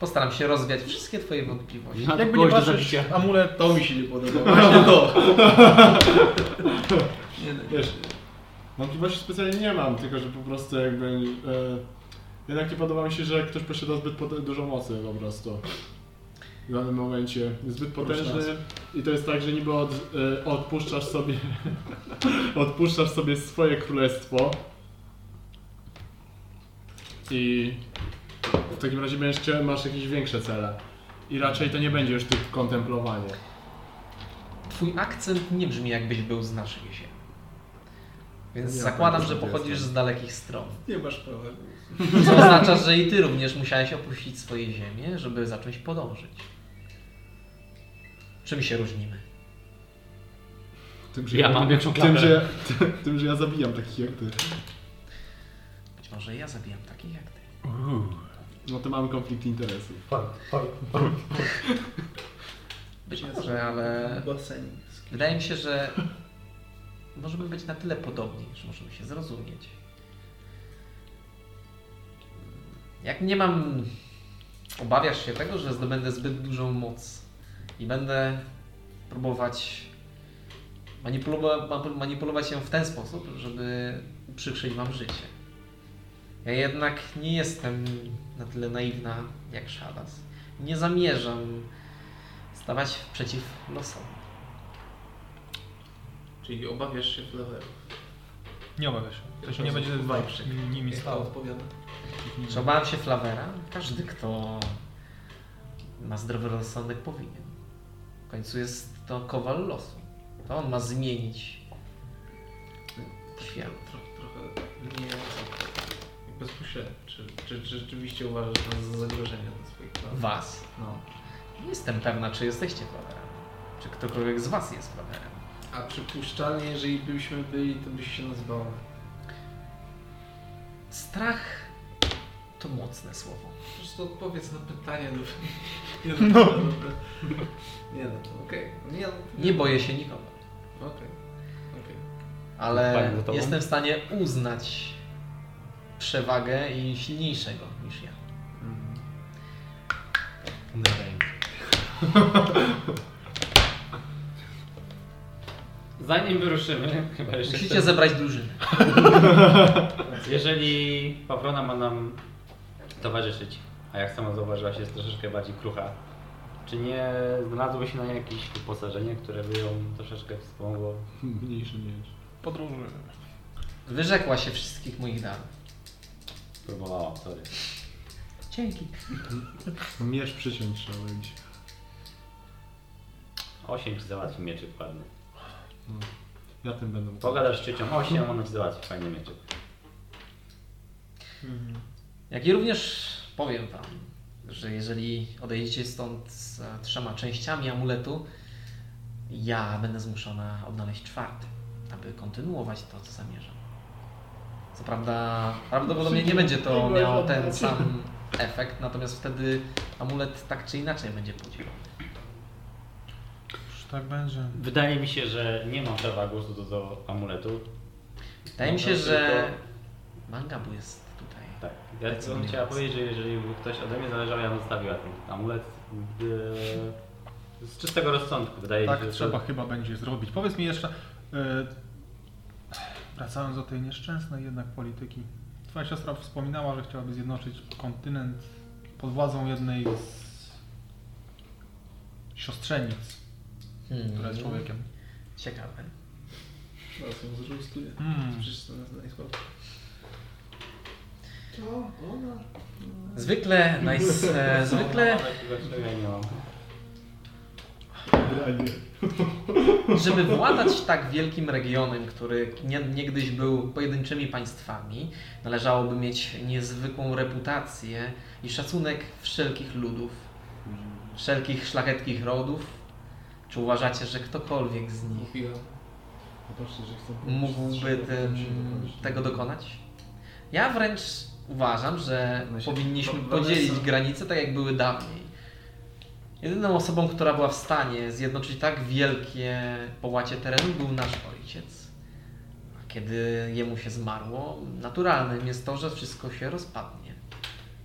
Postaram się rozwiać wszystkie Twoje wątpliwości. No, Jakby nie patrzeć, amulet to mi się nie podoba. Właśnie to. nie, no, Wiesz, wątpliwości specjalnie nie mam, tylko że po prostu jakby... E, jednak nie podoba mi się, że ktoś posiada zbyt pot- dużo mocy po prostu. W danym momencie. Zbyt potężny i to jest tak, że niby od, e, odpuszczasz sobie... (laughs) odpuszczasz sobie swoje królestwo. I w takim razie będziesz, chcia- masz jakieś większe cele. I raczej to nie będzie już tylko kontemplowanie. Twój akcent nie brzmi jakbyś był z naszych ziem. Więc Nie, zakładam, tak, że tak, pochodzisz jestem. z dalekich stron. nie masz prawa. Co oznacza, że i Ty również musiałeś opuścić swoje ziemię, żeby za czymś podążyć. Czym się różnimy? Tym, Ja mam większą klapę. tym, że, (laughs) tym, że ja zabijam takich jak ty. Być może ja zabijam takich jak Ty. No to mamy konflikt interesów. (laughs) Być może, E, ale Baseni. Wydaje mi się, że możemy być na tyle podobni, że możemy się zrozumieć. Jak nie mam. Obawiasz się tego, że zdobędę zbyt dużą moc i będę próbować manipulowa- ma- manipulować ją w ten sposób, żeby uprzykrzyć wam życie. Ja jednak nie jestem na tyle naiwna jak Szalas. Nie zamierzam stawać przeciw losom. Czyli obawiasz się flawerów. nie obawiasz. się. To się nie będzie Wajprzyk. nimi Jak to stało. odpowiada? Czy obawiam się Flawera? Każdy, kto ma zdrowy rozsądek, powinien. W końcu jest to kowal losu. To on ma zmienić świat. Trochę, trochę nie bezpośrednio. Czy, czy, czy rzeczywiście uważasz nas za zagrożenie dla swoich planów? Was. No. Nie jestem pewna, czy jesteście Flawerem. Czy ktokolwiek z Was jest Flawerem. A przypuszczalnie, jeżeli byśmy byli, to byś się nazywał. Strach to mocne słowo. Po prostu odpowiedz na pytanie. No. (laughs) Nie no, no. Nie no, okej. Nie no. Nie boję się nikogo, Okej. Okej. ale Pani za tobą? jestem w stanie uznać przewagę i silniejszego niż ja. Mhm. Zanim wyruszymy, (laughs) chyba jeszcze... Musicie zebrać drużynę. Jeżeli Pawrona ma nam towarzyszyć, a jak sama zauważyłaś, jest troszeczkę bardziej krucha, czy nie znalazłoby się na niej jakieś wyposażenie, które by ją troszeczkę wspomogło? Mniejszy miecz. Podróżujemy. Wyrzekła się wszystkich moich darów. Próbowałam, sorry. Dzięki. No miecz przyciąć trzeba będzie. Osiem ci załatwi mieczyk ładny. Ja tym będę. Pogadasz z ciocią osiem, ona ci załatwi fajny mieczyk. Jak i również powiem Wam, że jeżeli odejdziecie stąd z e, trzema częściami amuletu, Ja będę zmuszona odnaleźć czwarty, aby kontynuować to, co zamierzam. Co prawda, prawdopodobnie nie będzie to miało ten sam efekt, natomiast wtedy amulet tak czy inaczej będzie podzielony. Już tak będzie. Wydaje mi się, że nie mam prawa głosu do, do amuletu. Wydaje mi No się, że Mangabu jest tutaj. Tak. Ja tylko bym chciała powiedzieć, że jeżeli by ktoś ode mnie zależał, ja bym zostawiła ten amulet e, z czystego rozsądku. Wydaje mi Tak się, że trzeba chyba będzie zrobić. Powiedz mi jeszcze, e, wracając do tej nieszczęsnej jednak polityki. Twoja siostra wspominała, że chciałaby zjednoczyć kontynent pod władzą jednej z siostrzenic, Hmm. która jest człowiekiem. Ciekawe. Teraz ją zrzustuję. Mm. Przecież to nas najsłabsze. To ona. Zwykle, najs, e, zwykle, Dlaczego ja nie mam? Granie. żeby władać tak wielkim regionem, który nie, niegdyś był pojedynczymi państwami, należałoby mieć niezwykłą reputację i szacunek wszelkich ludów, wszelkich szlachetkich rodów. Czy uważacie, że ktokolwiek z nich Popatrzcie, że chcę mógłby tym, tego dokonać? Ja wręcz uważam, że No się- powinniśmy to- to podzielić jest- granice tak, jak były dawniej. Jedyną osobą, która była w stanie zjednoczyć tak wielkie połacie terenu, był nasz ojciec. A kiedy jemu się zmarło, naturalnym jest to, że wszystko się rozpadnie.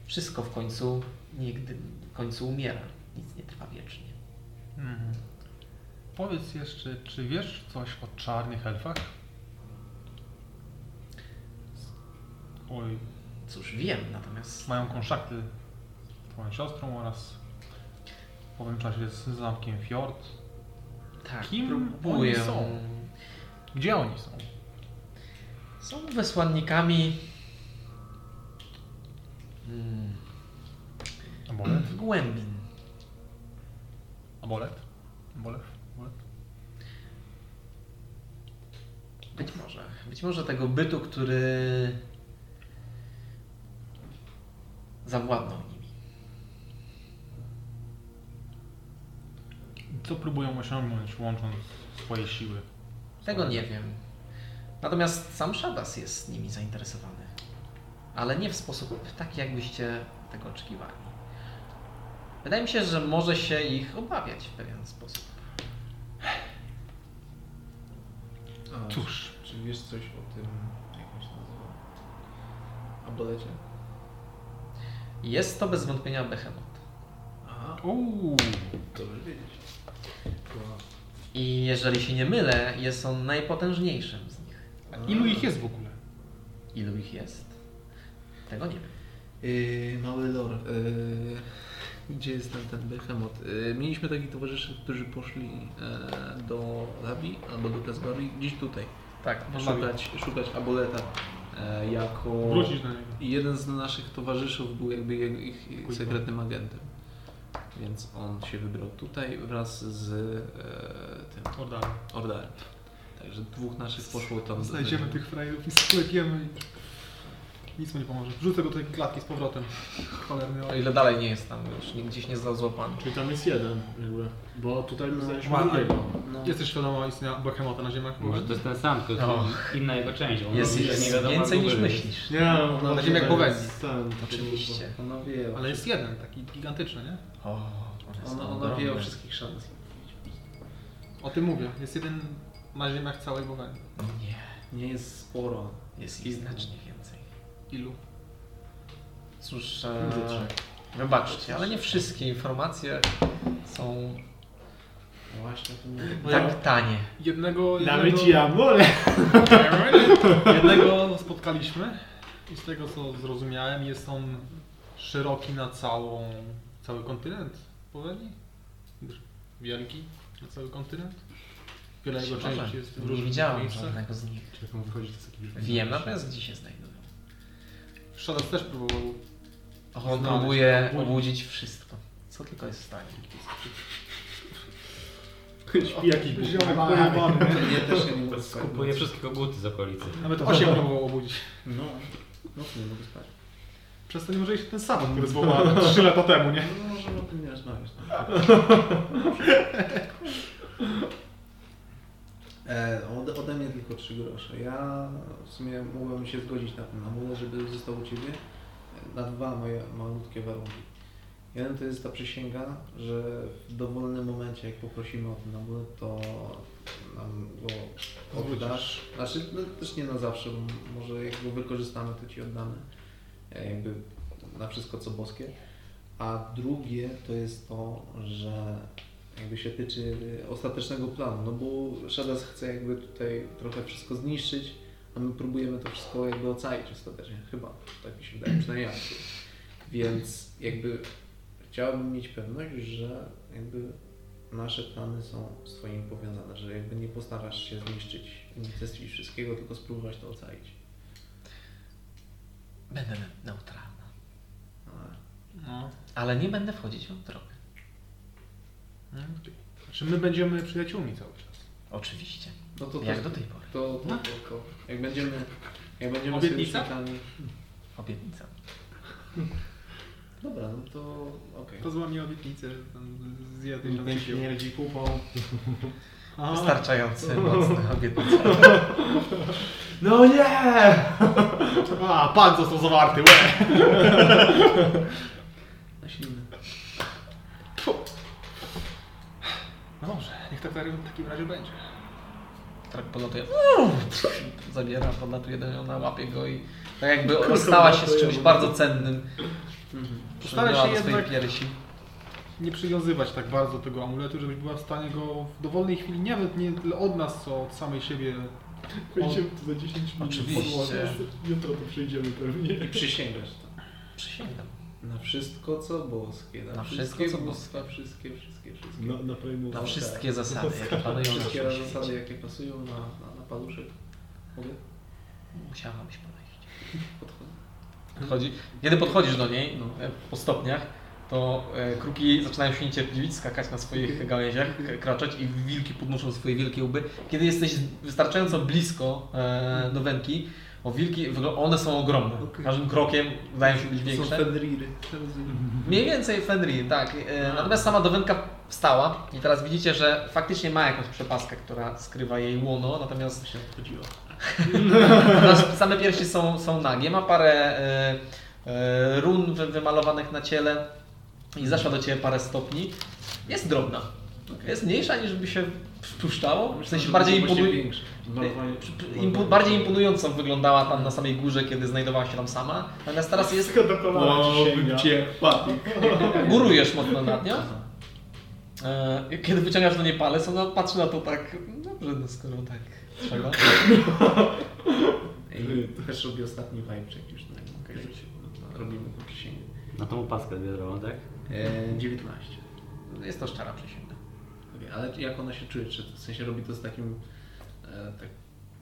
Wszystko w końcu nigdy, w końcu umiera. Nic nie trwa wiecznie. Mhm. Powiedz jeszcze, czy wiesz coś o czarnych elfach? Oj, Cóż, wiem, natomiast mają konszakty z twoją siostrą oraz w owym czasie z zamkiem Fjord. tak, Kim próbuję. oni są? Gdzie oni są? Są wysłannikami mm, Amolet? głębin. Amolet? Amolet? Amolet? Być może. Być może tego bytu, który zawładnął nimi. Co próbują osiągnąć łącząc swoje siły? Tego nie wiem. Natomiast sam Shadas jest nimi zainteresowany. Ale nie w sposób taki, jakbyście tego oczekiwali. Wydaje mi się, że może się ich obawiać w pewien sposób. A, Cóż, Czy wiesz coś o tym, jak on się nazywa? Abolecie? Jest to bez wątpienia Behemoth. Aha, uuu, dobrze wiedzieć. I jeżeli się nie mylę, jest on najpotężniejszym z nich. ilu ich jest w ogóle? Ilu ich jest? Tego nie wiem. Yy, mały lor. Yy, gdzie jest ten, ten behemoth? Yy, mieliśmy takich towarzyszy, którzy poszli e, do Labi albo do Kasbari, gdzieś tutaj. Tak, Szukać, szukać aboleta e, jako... Wrócić do niego. I jeden z naszych towarzyszów był jakby jego- ich ich sekretnym agentem. Więc on się wybrał tutaj wraz z e, tym Ordalem. Ordarem. Także dwóch naszych poszło tam. do- Znajdziemy tych frajerów i sklepiemy. i- Nic mu nie pomoże. Wrzucę go do tej klatki z powrotem. Cholerny O ile dalej nie jest tam, już nie- gdzieś nie został złapany. Czyli tam jest jeden, jakby. Bo tutaj my znaleźliśmy Ma- drugiego. No. Jesteś świadoma istnienia Behemota na ziemiach? Może to jest ten sam, tylko No. inna jego część. bo on Jest, mówi, że jest nie wiadomo, więcej jak niż długo jest. myślisz. Nie, na no, no, ziemiach tutaj powodzi. jest ten, taki Oczywiście. Ona wie o, Ale jest jeden, taki gigantyczny, nie? O, one są ona, ona ogromne. wie o wszystkich szans. O tym mówię. Jest jeden na ziemiach całej Bowenii. Nie, Nie jest sporo. jest ich znacznie więcej. Ilu? Cóż, e, wybaczcie, ale nie wszystkie informacje są No Właśnie, to nie wiem. tak tanie. Jednego, Nawet jednego, ja wolę. jednego spotkaliśmy i z tego co zrozumiałem jest on szeroki na całą, cały kontynent Bowenii. Wielki na cały kontynent. Wiele jego Może. części jest w Nie różnych widziałem miejscach. żadnego z nich. Jak on wychodzi, to jest taki Wiem natomiast, gdzie się znajdują. Shadows też próbował On Znaleźć, próbuje obudzić. obudzić wszystko, co tylko jest w stanie. Śpi jakiś Ziomek pojebany. (laughs) Ja też się nie mogę spać. Kupuje wszystkie koguty z okolicy. Nawet 8 próbował obudzić. No, mocno nie mogę spać. Przez to nie może iść ten (laughs) saban, który zwołałem 3 lata temu, nie? No, możemy o tym nie rozmawiać. (laughs) E, ode, ode mnie tylko 3 grosze. Ja w sumie mogłem się zgodzić na ten amulet, żeby został u Ciebie. e, Na dwa moje malutkie warunki. Jeden to jest ta przysięga, że w dowolnym momencie, jak poprosimy o ten amulet, to nam go oddasz. Znaczy, no, też nie na zawsze, bo może jak go wykorzystamy, to Ci oddamy. E, Jakby na wszystko, co boskie. A drugie to jest to, że jakby się tyczy ostatecznego planu, no bo Shadas chce jakby tutaj trochę wszystko zniszczyć, a my próbujemy to wszystko jakby ocalić ostatecznie, chyba, tak mi się wydaje, przynajmniej ja. Więc jakby chciałbym mieć pewność, że jakby nasze plany są z Twoim powiązane, że jakby nie postarasz się zniszczyć unicestwić wszystkiego, tylko spróbować to ocalić. Będę neutralna. Ale No. Ale nie będę wchodzić w drogę. Czy No. Znaczy, my będziemy przyjaciółmi cały czas? Oczywiście. No to, to, Jak do No. tej pory. to, to, to, to. Jak będziemy, jak będziemy Obietnica? sojusznikami- Obietnica. Dobra, no to okej. To złamie obietnicę tam zjadę Ten tam się śmierdzi kupą. (laughs) Wystarczający mocna obietnica. No nie! (laughs) A, pan został zawarty, łe! Na silny. No dobrze, niech tak w takim razie będzie. Tak polatuje. Zabiera, podlatuje do nią, na łapie go i tak jakby rozstała się z czymś bardzo cennym. Mhm. Stara Przywiązała się do swojej jednak- piersi. Nie przywiązywać tak bardzo tego amuletu, żebyś była w stanie go w dowolnej chwili, nawet nie tyle od nas, co od samej siebie. Będziemy tu za 10 minut Oczywiście. podłożę. Jutro tu przyjdziemy pewnie. I przysięgasz to. Przysięgam. Na wszystko co boskie, na, Na wszystko, wszystkie co bóstwa, wszystkie, wszystkie, wszystkie. Na, na pewno. Na wszystkie zasady, jakie panują na Wszystkie tym zasady świecie. jakie pasują na, na, na paluszek. Mogę? Musiałabyś podejść. Podchodzę. Podchodzi. Kiedy podchodzisz do niej, e, po stopniach, to e, kruki zaczynają się niecierpliwić, skakać na swoich gałęziach, k- kraczeć i wilki podnoszą swoje wielkie łby. Kiedy jesteś wystarczająco blisko e, do wędki, o wilki, wygl- one są ogromne. Każdym krokiem wydają się być To są większe. Mhm. fenriry. Mniej więcej Fenrir, tak. E, Natomiast sama dowenka wstała i teraz widzicie, że faktycznie ma jakąś przepaskę, która skrywa jej łono, natomiast Się odchodziło. (laughs) natomiast same piersi są, są nagie. Ma parę e, e, run wy, wymalowanych na ciele i zaszła do Ciebie parę stopni. Jest drobna. Jest mniejsza niż by się wpuszczało. W sensie bardziej imponuje... większy. Tak, Impu, bardziej imponująco wyglądała tam na samej górze, kiedy znajdowała się tam sama. Natomiast teraz jest. Tylko do kolana No, ci sięga. cię papik. Górujesz mocno nad nią. E, Kiedy wyciągasz do niej palec, ona patrzy na to tak. Dobrze, no skoro tak trzeba. Ej, Też robi ostatni vibecheck już na okay. no, Robimy to przysięgę. Na tą opaskę zbierałem, tak? E, 19. Jest to szczera przysięga. Okej, Ale jak ona się czuje? Czy w sensie robi to z takim e, tak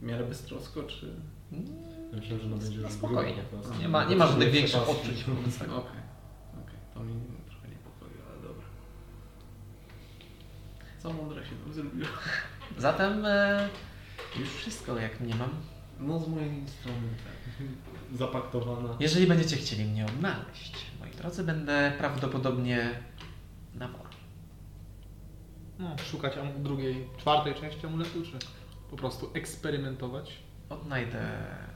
w miarę beztrosko, czy... Myślę, że ona będzie No już spokojnie. gruba po prostu. Nie ma, nie ma żadnych większych odczuć wobec Okej, tego. okej. To mnie trochę niepokoi, ale dobra. Co mądra się tam zrobiła? Zatem e, już wszystko, jak mnie mam. No z mojej strony tak. Zapaktowana. Jeżeli będziecie chcieli mnie odnaleźć, moi drodzy, będę prawdopodobnie na woru. No, szukać am- drugiej, czwartej części amuletu, czy po prostu eksperymentować. Odnajdę.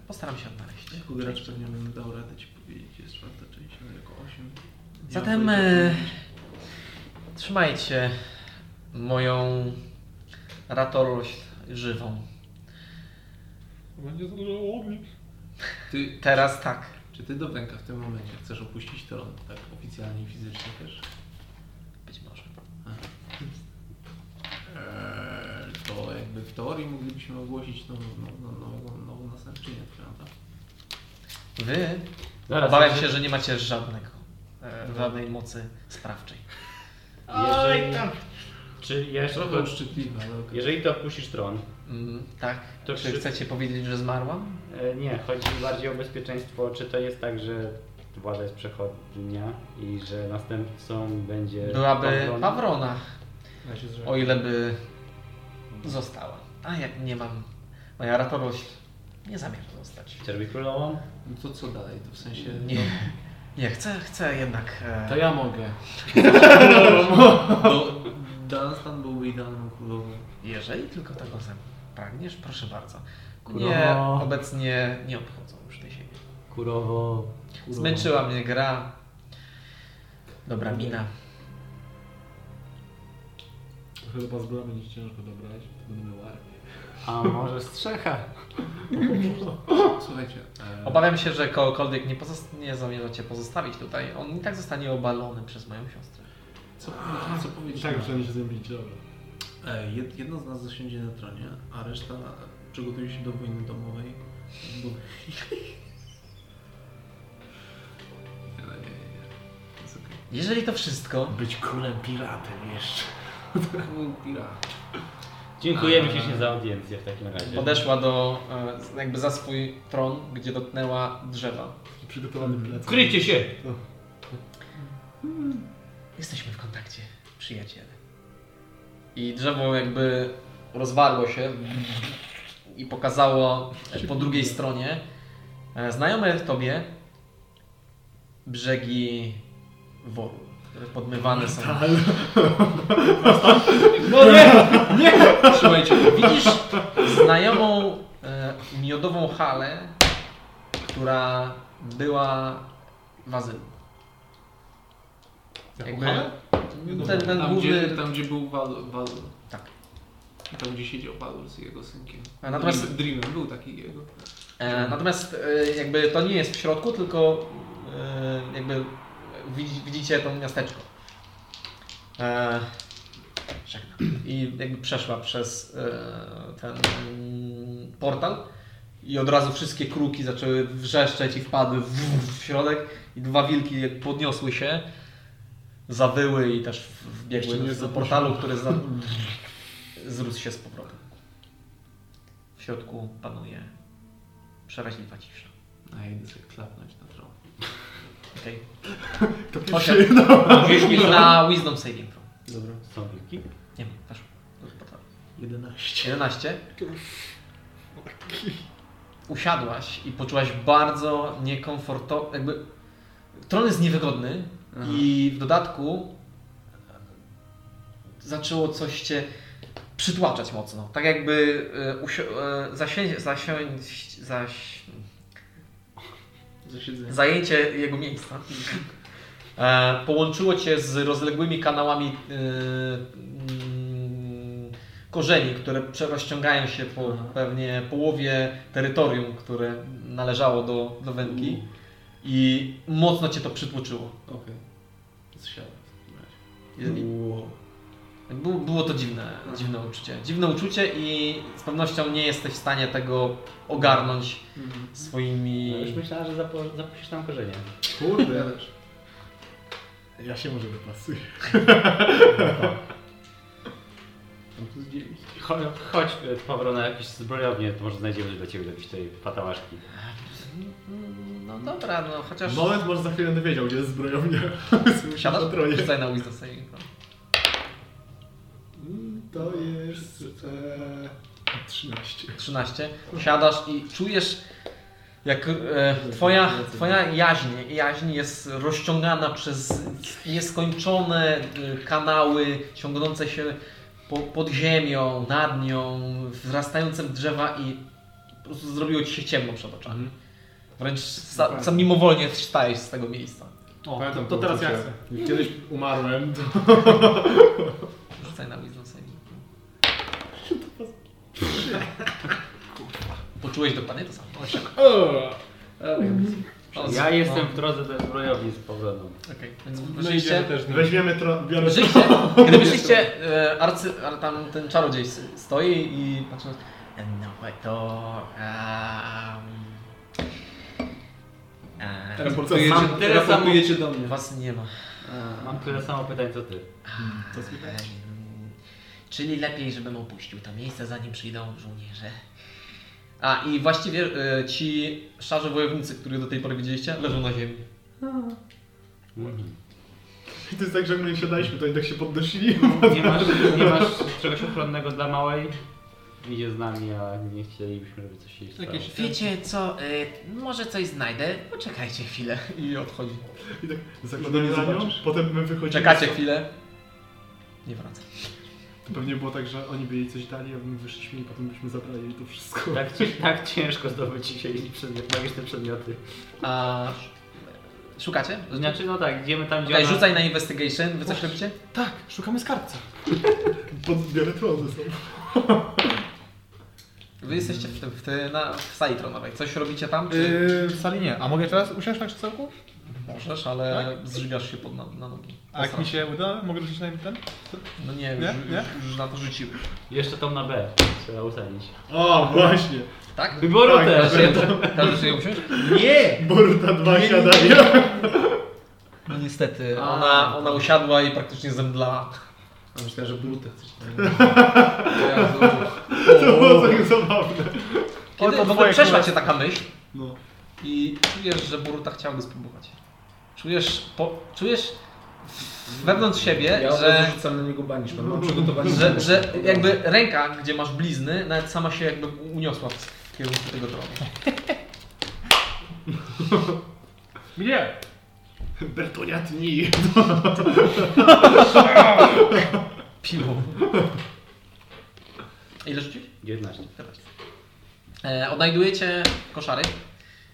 Postaram się odnaleźć. Jako gracz pewnie bym dał radę Ci powiedzieć, jest czwarta część, ale jako osiem. Nie Zatem mam e, pojęcia. trzymajcie moją ratorość żywą. Będzie za dużo łownik. Ty, Teraz tak. czy Ty do Węka w tym momencie chcesz opuścić tron? Tak oficjalnie i fizycznie też? Być może. Eee, to jakby w teorii moglibyśmy ogłosić nową, nową, no, nową, nową następczynię Tranta. Wy Zaraz, obawiam jeszcze- się, że nie macie żadnego, e, żadnej mocy sprawczej. Jeżeli, czy jeszcze, Trochę uszczypliwe, ale okej. jeżeli to opuścisz tron, Mm, tak? To Czy czy- chcecie powiedzieć, że zmarłam? E, Nie, chodzi mi bardziej o bezpieczeństwo. Czy to jest tak, że władza jest przechodnia i że następcą będzie. Byłaby Pawron? Pawrona, Ja się zrzekam. o ile by została. A jak nie mam, moja ratorość nie zamierza zostać. Chcesz być królową? No to co dalej? To w sensie... Nie, nie chcę, chcę jednak. To E, ja mogę. No, Dunstan byłby idealnym królową. jeżeli tylko tego zem. pragniesz? Proszę bardzo. Nie, Kurwa. obecnie nie obchodzą już tej siebie. Kurowo. kurowo. Zmęczyła mnie gra. Dobra mina. Chyba z bramy będzie ciężko dobrać. Będę miał armię. A może strzecha? Słuchajcie, e, Obawiam się, że kogokolwiek nie, pozos- nie zamierza Cię pozostawić tutaj. On i tak zostanie obalony przez moją siostrę. co, powie- co I powiedzieć? tak przynajmniej się zębić, dobra. E, jed- Jedno z nas zasiądzie na tronie, a reszta przygotuje się do wojny domowej. Bo... nie, no nie, nie, nie. Jest okej. Jeżeli to wszystko, Być królem piratem jeszcze. Król pirat. Dziękujemy Ci się za audiencję w takim razie. podeszła do, e, jakby za swój tron, gdzie dotknęła drzewa. Przygotowany Mm. plecak. Kryjcie się! Jesteśmy w kontakcie, przyjaciele. I drzewo jakby rozwarło się i pokazało e, po drugiej stronie e, znajome tobie brzegi woru, które podmywane są. (laughs) No nie, nie! Trzymajcie. Widzisz znajomą e, miodową halę, która była wazylą. Jakby Tak. ten, ten Tam, główny... gdzie, tam gdzie był Valur. Valur. Tak. Tam gdzie siedział Valur z jego synkiem. A natomiast- Dream, Dreamer był taki jego. E, natomiast e, jakby to nie jest w środku, tylko e, jakby widzi- widzicie to miasteczko. E, żegnam. I jakby przeszła przez e, ten mm, portal i od razu wszystkie kruki zaczęły wrzeszczeć i wpadły w, w środek i dwa wilki jak podniosły się, zawyły i też w- wbiegły Jeszcze nie do portalu, który za, zrósł się z powrotem. W środku panuje przeraźliwa cisza. A ja idę sobie klapnąć na tron. Okej. Osiem. Rzuć mi na Wisdom Saving Throw. Dobra. Są wilki? Nie wiem, weszło. Dobrze, potrafię. 11. 11. Usiadłaś i poczułaś bardzo niekomfortowo, jakby... Tron jest niewygodny i w dodatku e, zaczęło coś cię przytłaczać mocno. Tak jakby e, usio- e, zasię- zasiąść, zaś, Zasiedzenie. zajęcie jego miejsca e, połączyło cię z rozległymi kanałami e, mm, korzeni, które prze- rozciągają się po Aha. pewnie połowie terytorium, które należało do, do Wenki i mocno cię to przytłoczyło. Okej. Zsiadam w takim razie. I- Było, było to dziwne, dziwne uczucie. Dziwne uczucie i z pewnością nie jesteś w stanie tego ogarnąć Mhm. swoimi... No już myślałem, że zapo- zapuścisz tam korzenie. Kurde. Ja się może wypasuję. (laughs) (laughs) No Cho- Chodź e, Pawro na jakieś zbrojownie, to może znajdziemy dla Ciebie jakieś tej patałaszki. No dobra, no chociaż... Moment, może za chwilę będę wiedział, gdzie jest zbrojownia. (laughs) Siadasz? na tronie. Rzucaj na Wisdom Saving Throw. Mm, To jest... E, 13. 13. Siadasz i czujesz, jak e, twoja, twoja jaźń, jaźń jest rozciągana przez nieskończone e, kanały ciągnące się po, pod ziemią, nad nią, wzrastające drzewa i po prostu zrobiło ci się ciemno przed oczami. Wręcz sa, sam mimowolnie wstajesz z tego miejsca. O, to, Pamiętam to teraz ja uczucie. chcę. Jak Kiedyś umarłem, to... Rzucaj na Wisdom saving. Poczułeś dokładnie to samo. No. O! Ja jestem w drodze do zbrojowni z powrotem. Okej, więc No i wyszliście, idziemy też. Weź... Weźmiemy tron, biorę tron. Wyszliście, kiedy wyszliście, e, arcy, ar, tam ten czarodziej s- stoi i patrzy na No to... Um, Teleportujecie, Mam tyle samo- teleportujecie do mnie. was nie ma. Mam tyle samo pytań co Ty. Co słychać? em, czyli lepiej, żebym opuścił to miejsce, zanim przyjdą żołnierze. A i właściwie e, ci szarzy wojownicy, których do tej pory widzieliście, leżą na ziemi. Mhm. I to jest tak, że jak my nie siadaliśmy, to i tak się (laughs) podnosili. Nie masz, nie masz czegoś ochronnego dla małej? Idzie z nami, a nie chcielibyśmy, żeby coś się stało. Jakieś... Wiecie co, e, y, może coś znajdę, poczekajcie chwilę. I odchodzi. I tak zakładamy za nią, zobaczysz. potem my wychodzimy. Czekacie chwilę. Nie wraca. To pewnie było tak, że oni by jej coś dali, a my wyszliśmy i potem byśmy zabrali jej to wszystko. Tak, ci- tak ciężko zdobyć dzisiaj przedmiot, magiczne przedmioty. A szukacie? Znaczy, no tak, idziemy tam, gdzie Okej, ona... rzucaj na investigation. Wy coś robicie? Tak, szukamy skarbca. Podbiorę trony są. Wy jesteście w, tym- w, ty- na, w sali tronowej. Coś robicie tam? Czy Yy, w sali nie. A mogę teraz usiąść na krzesełku? możesz, ale zżygasz się pod na, na nogi. tak? A jak mi się uda, mogę rzucić na ten? No nie, Nie? Już, Nie? Już, już na to rzuciły. Jeszcze tą na B trzeba ustalić. O, właśnie. Tak? Wyboru też! Każesz jej usiąść? Nie! Boruta 2 siadania. (laughs) No niestety, A. tak. ona, ona usiadła i praktycznie zemdlała. A myślałem, że brutę (laughs) chcesz. To było tak zabawne. Kiedy w ogóle przeszła cię taka myśl No. i czujesz, że Boruta chciałaby spróbować. Czujesz, po, czujesz wewnątrz siebie, Ja od że... razu rzucam na niego banisz, mam mam przygotowanie. Że, że jakby ręka, gdzie masz blizny, nawet sama się jakby uniosła w kierunku tego tronu. Gdzie? Bertoniatni. Piłą. Ile rzuciłeś? 19. E, odnajdujecie koszary,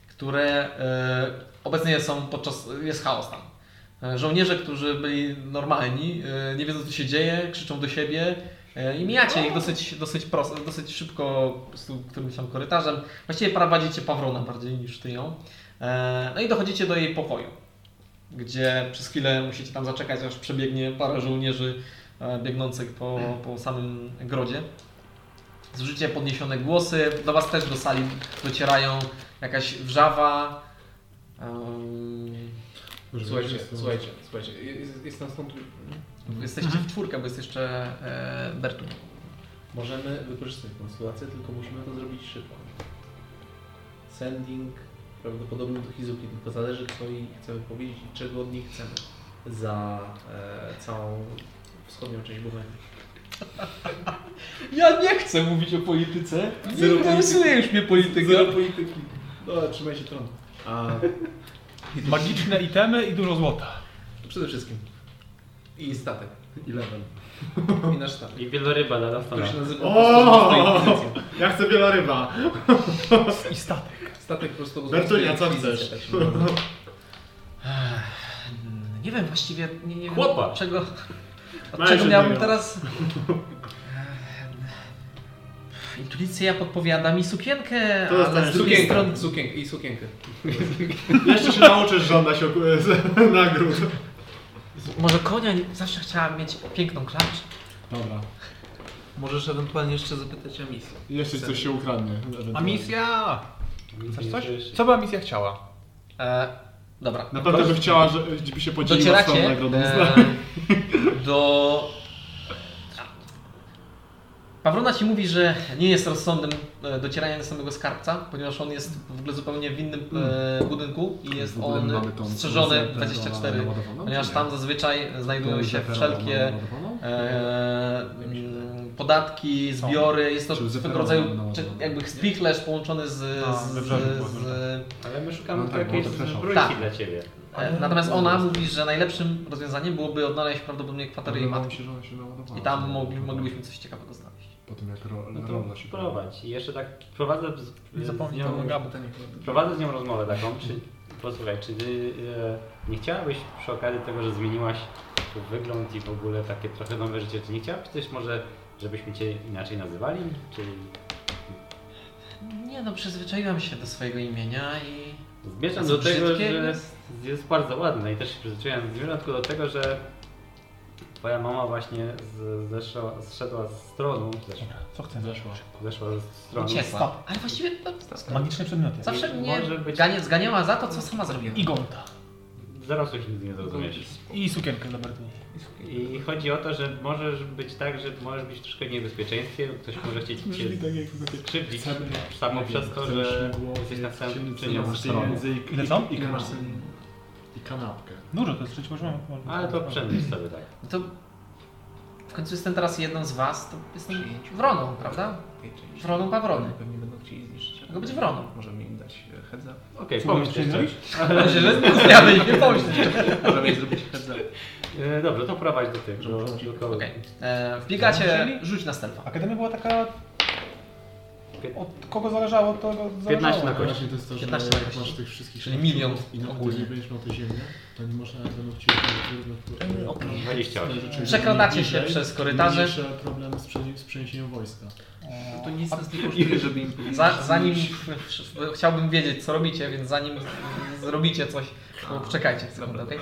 które e, obecnie są podczas. jest chaos tam. E, Żołnierze, którzy byli normalni, e, nie wiedzą co się dzieje, krzyczą do siebie e, i mijacie ich dosyć, dosyć, prosto, dosyć szybko po prostu którymś tam korytarzem. Właściwie prowadzicie Pawrona bardziej niż ty ją. E, No i dochodzicie do jej pokoju, gdzie przez chwilę musicie tam zaczekać, aż przebiegnie parę żołnierzy e, biegnących po, po samym grodzie. Słyszycie podniesione głosy, do Was też do sali docierają jakaś wrzawa. em, Słuchajcie, słuchajcie, słuchajcie. Jest, jest nas stąd... jesteście w czwórkę, bo jest jeszcze e, Bertun. Możemy wykorzystać tę sytuację, tylko musimy to zrobić szybko. Sending prawdopodobnie do Hizuki, tylko zależy co jej chcemy powiedzieć i czego od niej chcemy za e, całą wschodnią część Bułgarii. Ja nie chcę mówić o polityce. Zero już mnie polityka. polityki. No, trzymaj się tronu. A Magiczne itemy i dużo złota. przede wszystkim. I statek. Eleven. I nasz statek. I wieloryba dla nas Który się nazywa po O! prostu Inkwizycja. Ja chcę wieloryba. I statek. Statek po prostu Bertunia, co chcesz? Nie wiem właściwie, nie, nie Chłopa. wiem czego, od Masz czego od miałbym niego. teraz... Intuicja podpowiada mi sukienkę, To ale dostaniesz z drugiej strony... Sukienkę, sukienkę i sukienkę. No Jeszcze się nauczysz (laughs) żądać oku- z- nagród. Może konia? nie- Zawsze chciałam mieć piękną klacz. Dobra. Możesz ewentualnie jeszcze zapytać o misję. Jeszcze coś się ukradnie. A misja! Chcesz coś? Jeszcze. Co by misja chciała? E, dobra. Naprawdę by chciała, że- żeby się podzieliła z tą Docieracie nagrodą. e, (laughs) do... Pawrona ci mówi, że nie jest rozsądnym e, docieranie do samego skarbca, ponieważ on jest w ogóle zupełnie w innym e, budynku i jest Hmm. W ogóle on mamy tą strzeżony zę- tego 24, naładowaną, ponieważ czy tam nie? zazwyczaj znajdują się Zeferoną wszelkie naładowaną? e, mm, podatki, zbiory, jest to Czy swego zeferoną rodzaju naładowaną? czy jakby spichlerz połączony z, Tak, z, we z, wrześniu było z Ale my szukamy No no tak, bo jakiejś to przeszło. zbrojki Tak. dla ciebie. E, Natomiast ona mówi, że najlepszym rozwiązaniem byłoby odnaleźć prawdopodobnie kwaterę jej matki. się, że ona się naładowała. I tam mogli, moglibyśmy coś ciekawego znaleźć. Po tym jak ro, No to rola się prowadź. I jeszcze tak prowadzę z, Y, Nie zapomnij z nią, tego gabu. prowadzę z nią rozmowę taką, czy posłuchaj, czy ty e, nie chciałabyś przy okazji tego, że zmieniłaś wygląd i w ogóle takie trochę nowe życie, czy nie chciałabyś też może, żebyśmy cię inaczej nazywali? Czy Nie no, przyzwyczaiłam się do swojego imienia i... zmierzam A do co, tego, że brzydkie jest, jest? jest bardzo ładna i też się przyzwyczaiłem. Zmierzam tylko do tego, że twoja mama właśnie z, zeszła, zszedła z stronu, zeszła, Co chcę? Zeszło. zeszła z stronu. Uciekła. Ale właściwie no, Magiczne przedmioty. zawsze mnie Może być- gania, zganiała za to, co sama zrobiła. I gonta. Dorosłych nigdy nie zrozumiesz. I sukienkę dla Bertini. I chodzi o to, że możesz być tak, że możesz być troszkę w niebezpieczeństwie, ktoś może chcieć cię Brzmi tak jak takie skrzywdzić Chcemy- samo nie przez wiem, to, chcemy że śmigłowiec, jesteś na samym księżyc, czynią masz stroną. pieniędzy i- Ile co? I, i, Ile masz masz? I kanapkę. Dużo No, to jest, przecież można... można- Ale to przemyśl sobie tak. No to w końcu jestem teraz jedną z was, to jestem wroną, prawda? Wroną Pawrony. Pewnie będą chcieli zniszczyć. No być wroną. Możemy im dać e, heads up. Okej, Co, pomyśl nie jeszcze. Ale się, że zmiany i nie pomyślisz. Możemy im zrobić heads up. E, Dobrze, to prowadź do tego, do, do kogoś. Okej. E, Wbiegacie, rzuć na stealtha. Akademia była taka... Od kogo zależało, to go zależało. 15 na no. kość. Właśnie to jest to, że 15 jak kości. masz tych wszystkich Czyli szybciej milion i na ogólnie. ogólnie będziesz miał tę ziemię, to nie można nawet będą chcieli wyrównać okej. 28. Przekradacie się przez korytarze. Jeszcze problem z, przeni- z przeniesieniem wojska. To nic nas nie kosztuje, żeby im powiedzieć. Za, zanim chciałbym wiedzieć, co robicie, więc zanim z- zrobicie coś, to poczekajcie sekundę, okej?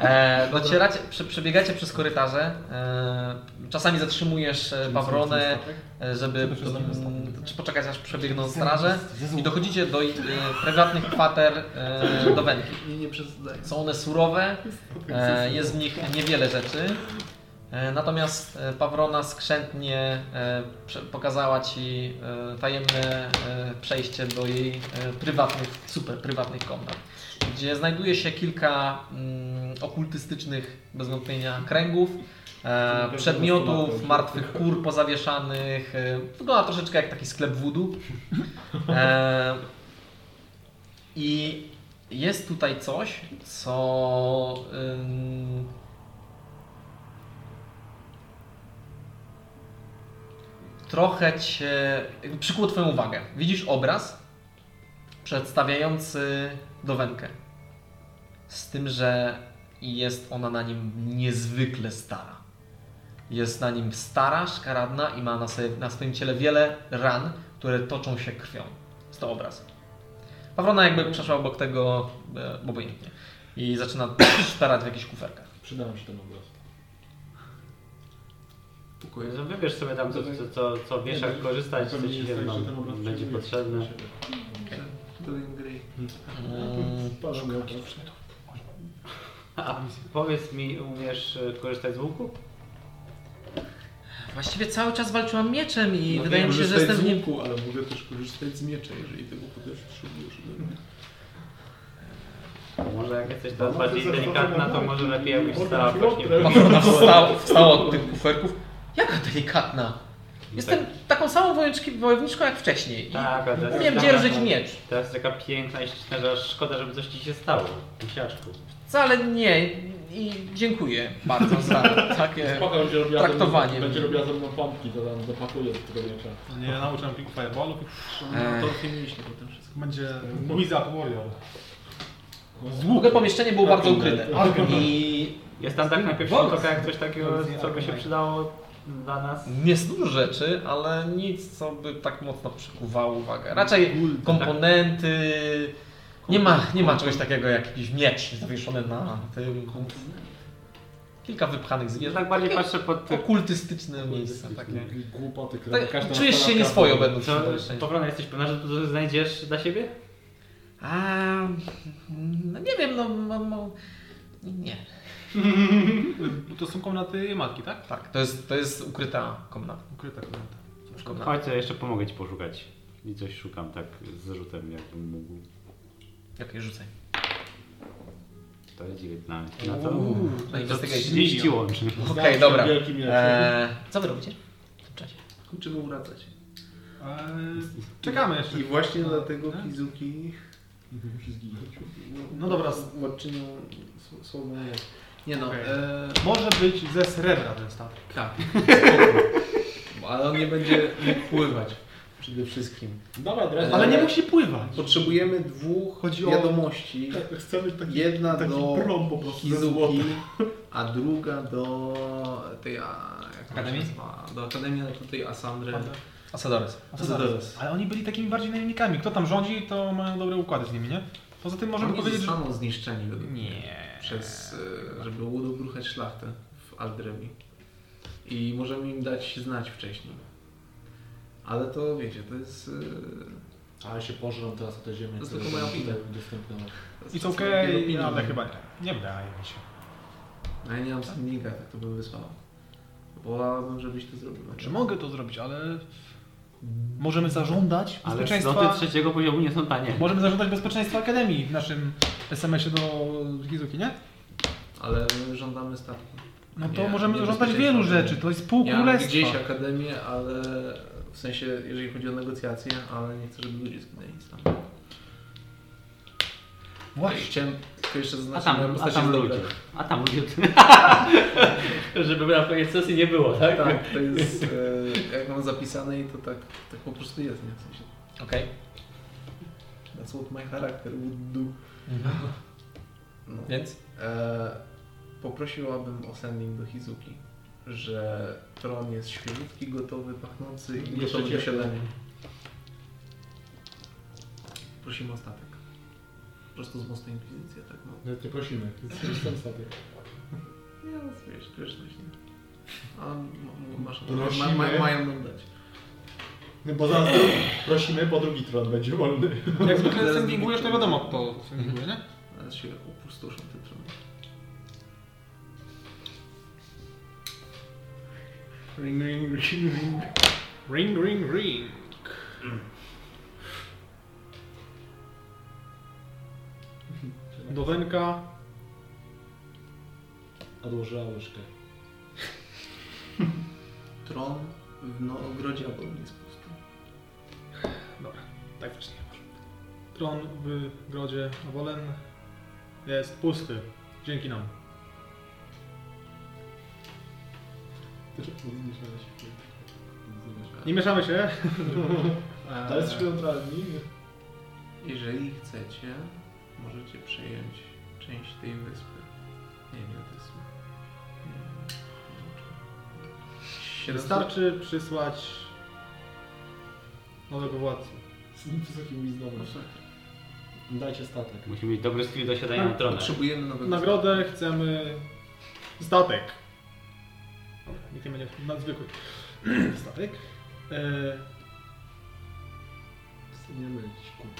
E, docieracie, prze, przebiegacie przez korytarze. E, czasami zatrzymujesz e, Pawronę, e, żeby mm, czy poczekać, aż przebiegną straże. I dochodzicie do ich, e, prywatnych kwater e, do Wenki. Nie, nie przesadzaj. Są one surowe, e, jest w nich niewiele rzeczy. E, Natomiast e, Pawrona skrzętnie e, prze- pokazała ci e, tajemne e, przejście do jej e, prywatnych, super prywatnych komnat, gdzie znajduje się kilka mm, okultystycznych, bez wątpienia, kręgów, e, przedmiotów, martwych kur pozawieszanych. e, Wygląda troszeczkę jak taki sklep wudu. E, I jest tutaj coś, co. ym, trochę cię. jakby przykuło Twoją uwagę. Widzisz obraz przedstawiający dowenkę. Z tym, że jest ona na nim niezwykle stara. Jest na nim stara, szkaradna i ma na, sobie, na swoim ciele wiele ran, które toczą się krwią. Jest to obraz. Pawrona jakby przeszła obok tego e, obojętnie i zaczyna (clears throat) szperać w jakichś kuferkach. Przydałem się ten obraz. Dziękuję. No Wybierz sobie tam, co, co, co, co wiesz, jak korzystać, co Pewnie ci jest nie tak, że ten no, obraz będzie przyjmuje potrzebne. siebie. Doing great. Mm, Parę miał obraz. A powiedz mi, umiesz e, korzystać z łuku? Właściwie cały czas walczyłam mieczem i No wydaje wiem, mi się, że jestem korzystać w z nim. łuku, ale mogę też korzystać z miecza, jeżeli tego też potrzebujesz. Może jak jesteś teraz bardziej delikatna, to może lepiej jakbyś stała właśnie... Ona wstała, wstała od tych kuferków. Jaka delikatna. Jestem taką samą wojowniczki- wojowniczką jak wcześniej. Tak, a teraz- Umiem dzierżyć miecz. Teraz taka piękna i śliczna, że aż szkoda, żeby coś ci się stało. Misiaczku. Wcale nie. I dziękuję bardzo za takie... Spoko, będzie robiła ze mną- Traktowanie. Będzie robiła ze mną pompki, to tam zapakuję do tego miecza. Nie, nauczę Pink Fireballów i E, Torfie mieliśmy potem wszystko. będzie Wizard Warrior. w ogóle pomieszczenie było bardzo ukryte. I Jest tam tak na pierwszy rzut oka jak coś takiego, co by się przydało dla nas. jest dużo rzeczy, ale nic, co by tak mocno przykuwało uwagę. Raczej komponenty... Nie ma, nie ma czegoś takiego jak jakiś miecz zawieszony na tym... Kilka wypchanych Ja zwierząt. tak bardziej patrzę pod ty... Okultystyczne miejsca takie. Głupoty, które Tak, każda czujesz się nastolatka- nieswojo będąc Co, w pomieszczeniu. Powrona, jesteś pewna, że tu znajdziesz dla siebie? A, no nie wiem, no, no, no nie. To są komnaty matki, tak? Tak, to jest, to jest ukryta komnata. Ukryta komnata. komnata. Chodź, ja jeszcze pomogę ci poszukać. I coś szukam tak z rzutem, jakbym mógł. Okej, rzucaj. To jest 19. Na to? Uuu, no To investigation. 30 łącznie. Okej, Zawsze dobra. wielki miecz. Eee, co wy robicie w tym czasie? Kończymy wracać. Eee, czekamy jeszcze. I właśnie No, dlatego nie? Kizuki... Musi zginąć. No dobra. Władczynią s- słową jest. Nie no, Okej. e, Może być ze srebra ten statek. (laughs) tak. Ale on nie będzie mógł pływać. Przede wszystkim. Dawaj, dawaj. Ale nie musi pływać. Potrzebujemy dwóch Chodzi o- Tak, wiadomości. Chcę być taki, Jedna taki do prom po prostu. Kizuki, a druga do tej... A, jak ona się Akademii? nazywa? Do Akademii, no to tej Asandry. Asadores. A co zaraz? Ale oni byli takimi bardziej najemnikami. Kto tam rządzi, to mają dobre układy z nimi, nie? Poza tym możemy Oni powiedzieć, że... zostaną zniszczeni według mnie. Nie. przez, e, żeby udobruchać szlachtę w Aldrewi. I możemy im dać znać wcześniej. Ale to wiecie, to jest... e, Ale się pożrą teraz o tę ziemię. To jest która tylko moja będzie opinia. Dostępna. to jest It's czasem okay, opinia. ale chyba nie. Nie wydaje mi się. No ja nie mam sendinga, tak to bym wysłał. Wolałabym, żebyś to zrobił. Czy mogę to zrobić, ale... Możemy zażądać Ale bezpieczeństwa... sloty trzeciego poziomu nie są tanie. Możemy zażądać bezpieczeństwa Akademii w naszym SMS-ie do Gizuki, nie? Ale my żądamy statku. No to Nie, możemy nie zażądać bezpieczeństwa wielu Akademii. rzeczy, to jest pół Ja mam królestwa. gdzieś akademię, ale w W sensie, jeżeli chodzi o negocjacje, ale nie chcę, żeby ludzie zginęli tam. Właśnie. Chciałem tylko jeszcze A zaznaczyć, tam, moja a postać tam jest dobra. ludzie. A tam ludzie. (laughs) Żeby na koniec sesji nie było, tak? Tak, to jest, e, jak mam zapisane i to tak, tak po prostu jest, nie? W sensie, Okej. that's what my character would do. No. Więc? E, poprosiłabym o sending do Hizuki, że tron jest świeżutki, gotowy, pachnący i Jeszcze gotowy do ciepły. siadania. Prosimy o statek. Po prostu z mostu Inkwizycja, tak no. Nawet nie prosimy. Jestem statek. Nie, no wiesz, grzeczność, nie? A m- m- masz, Prosimy. ma, ma, mają nam dać. No bo zaraz tu prosimy, bo drugi tron będzie wolny. Jak zwykle Zaraz sendingujesz, to zniknie. wiadomo kto sendinguje, nie? Zaraz się opustoszą te trony. Ring, ring, ring, ring. Ring, ring, ring. Dowenka. Odłożyła łyżkę. Tron w Nowogrodzie Apollon jest pusty. Dobra, tak właśnie. Tron w grodzie Awolen jest pusty. Dzięki nam. Zmniejszała się. Nie mieszamy (laughs) się. E, Ale jesteśmy neutralni. Jeżeli chcecie, możecie przejąć część tej wyspy. Nie wiem, ile to jest. Siedemset- Wystarczy przysłać nowego władcy. Z wysokim No wizdowem. tak. Dajcie statek. Musi mieć dobry skill do siadania na tronach. Potrzebujemy nowego Nagrodę chcemy statek. Dobra, nikt nie będzie na zwykły (clears throat) statek. E, Nie mylić, kurwa.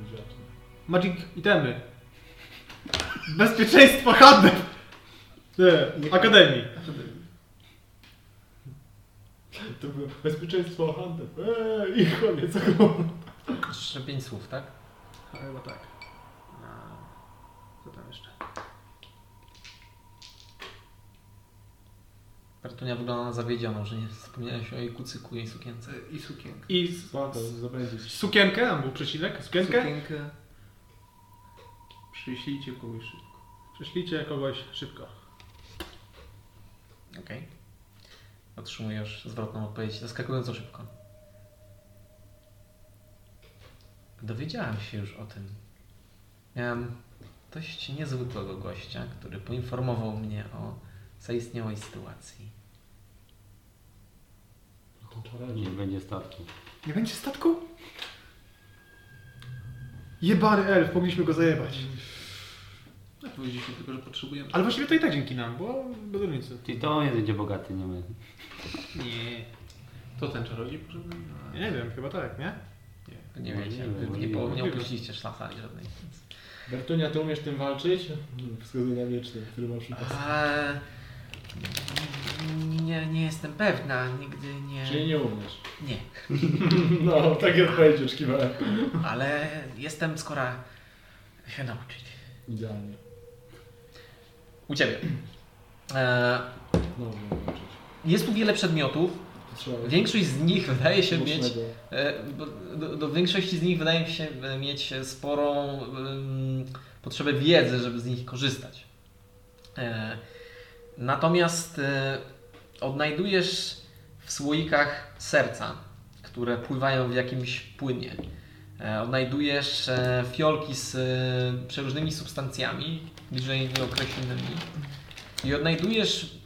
Buziaki. magic itemy. Bezpieczeństwo handel. E, Akademii. To było bezpieczeństwo handel. Eee, i koniec. kurwa. Jeszcze pięć słów, tak? A, Chyba tak. A, Co tam jeszcze? Kartunia wygląda na zawiedzioną, że nie wspomniałeś o jej kucyku, jej sukience. władcy. I sukienkę. I s- Pan to zabędziesz. sukienkę, tam był przecinek, sukienkę. Sukienkę. Przyślijcie kogoś szybko. Prześlijcie kogoś szybko. Okej. Otrzymujesz zwrotną odpowiedź zaskakująco szybko. Dowiedziałam się już o tym. Miałam dość niezwykłego gościa, który poinformował mnie o zaistniałej sytuacji. Nie będzie statku. Nie będzie statku? Jebany elf, mogliśmy go zajebać. No, Powiedzieliśmy tylko, że potrzebujemy. Ale właściwie to i tak dzięki nam, bo bez różnicy. Ty to on jest będzie bogaty, nie my. Nie. To ten czarodziej potrzebny? Ja nie wiem, chyba tak, nie? Nie No wiecie, nie wiem, nie, po, nie nie wiem. opuściliście szlafali żadnej. Więc... Bertunia, ty umiesz tym walczyć? Wskazuje na mieczny, który ma przy pas. Eee, nie, nie jestem pewna, nigdy nie. Czyli nie umiesz. Nie, No, takie odpowiedzi oczekiwałem. ale jestem skora się nauczyć. Idealnie. U ciebie. E, No, umiem walczyć. jest tu wiele przedmiotów. To trzeba Większość z nich wydaje się mieć mocnego. E, bo- Do, do większości z nich wydaje mi się e, mieć sporą em, potrzebę wiedzy, żeby z nich korzystać. E, Natomiast e, odnajdujesz w słoikach serca, które pływają w jakimś płynie. E, Odnajdujesz e, fiolki z e, przeróżnymi substancjami, bliżej nieokreślonymi. I odnajdujesz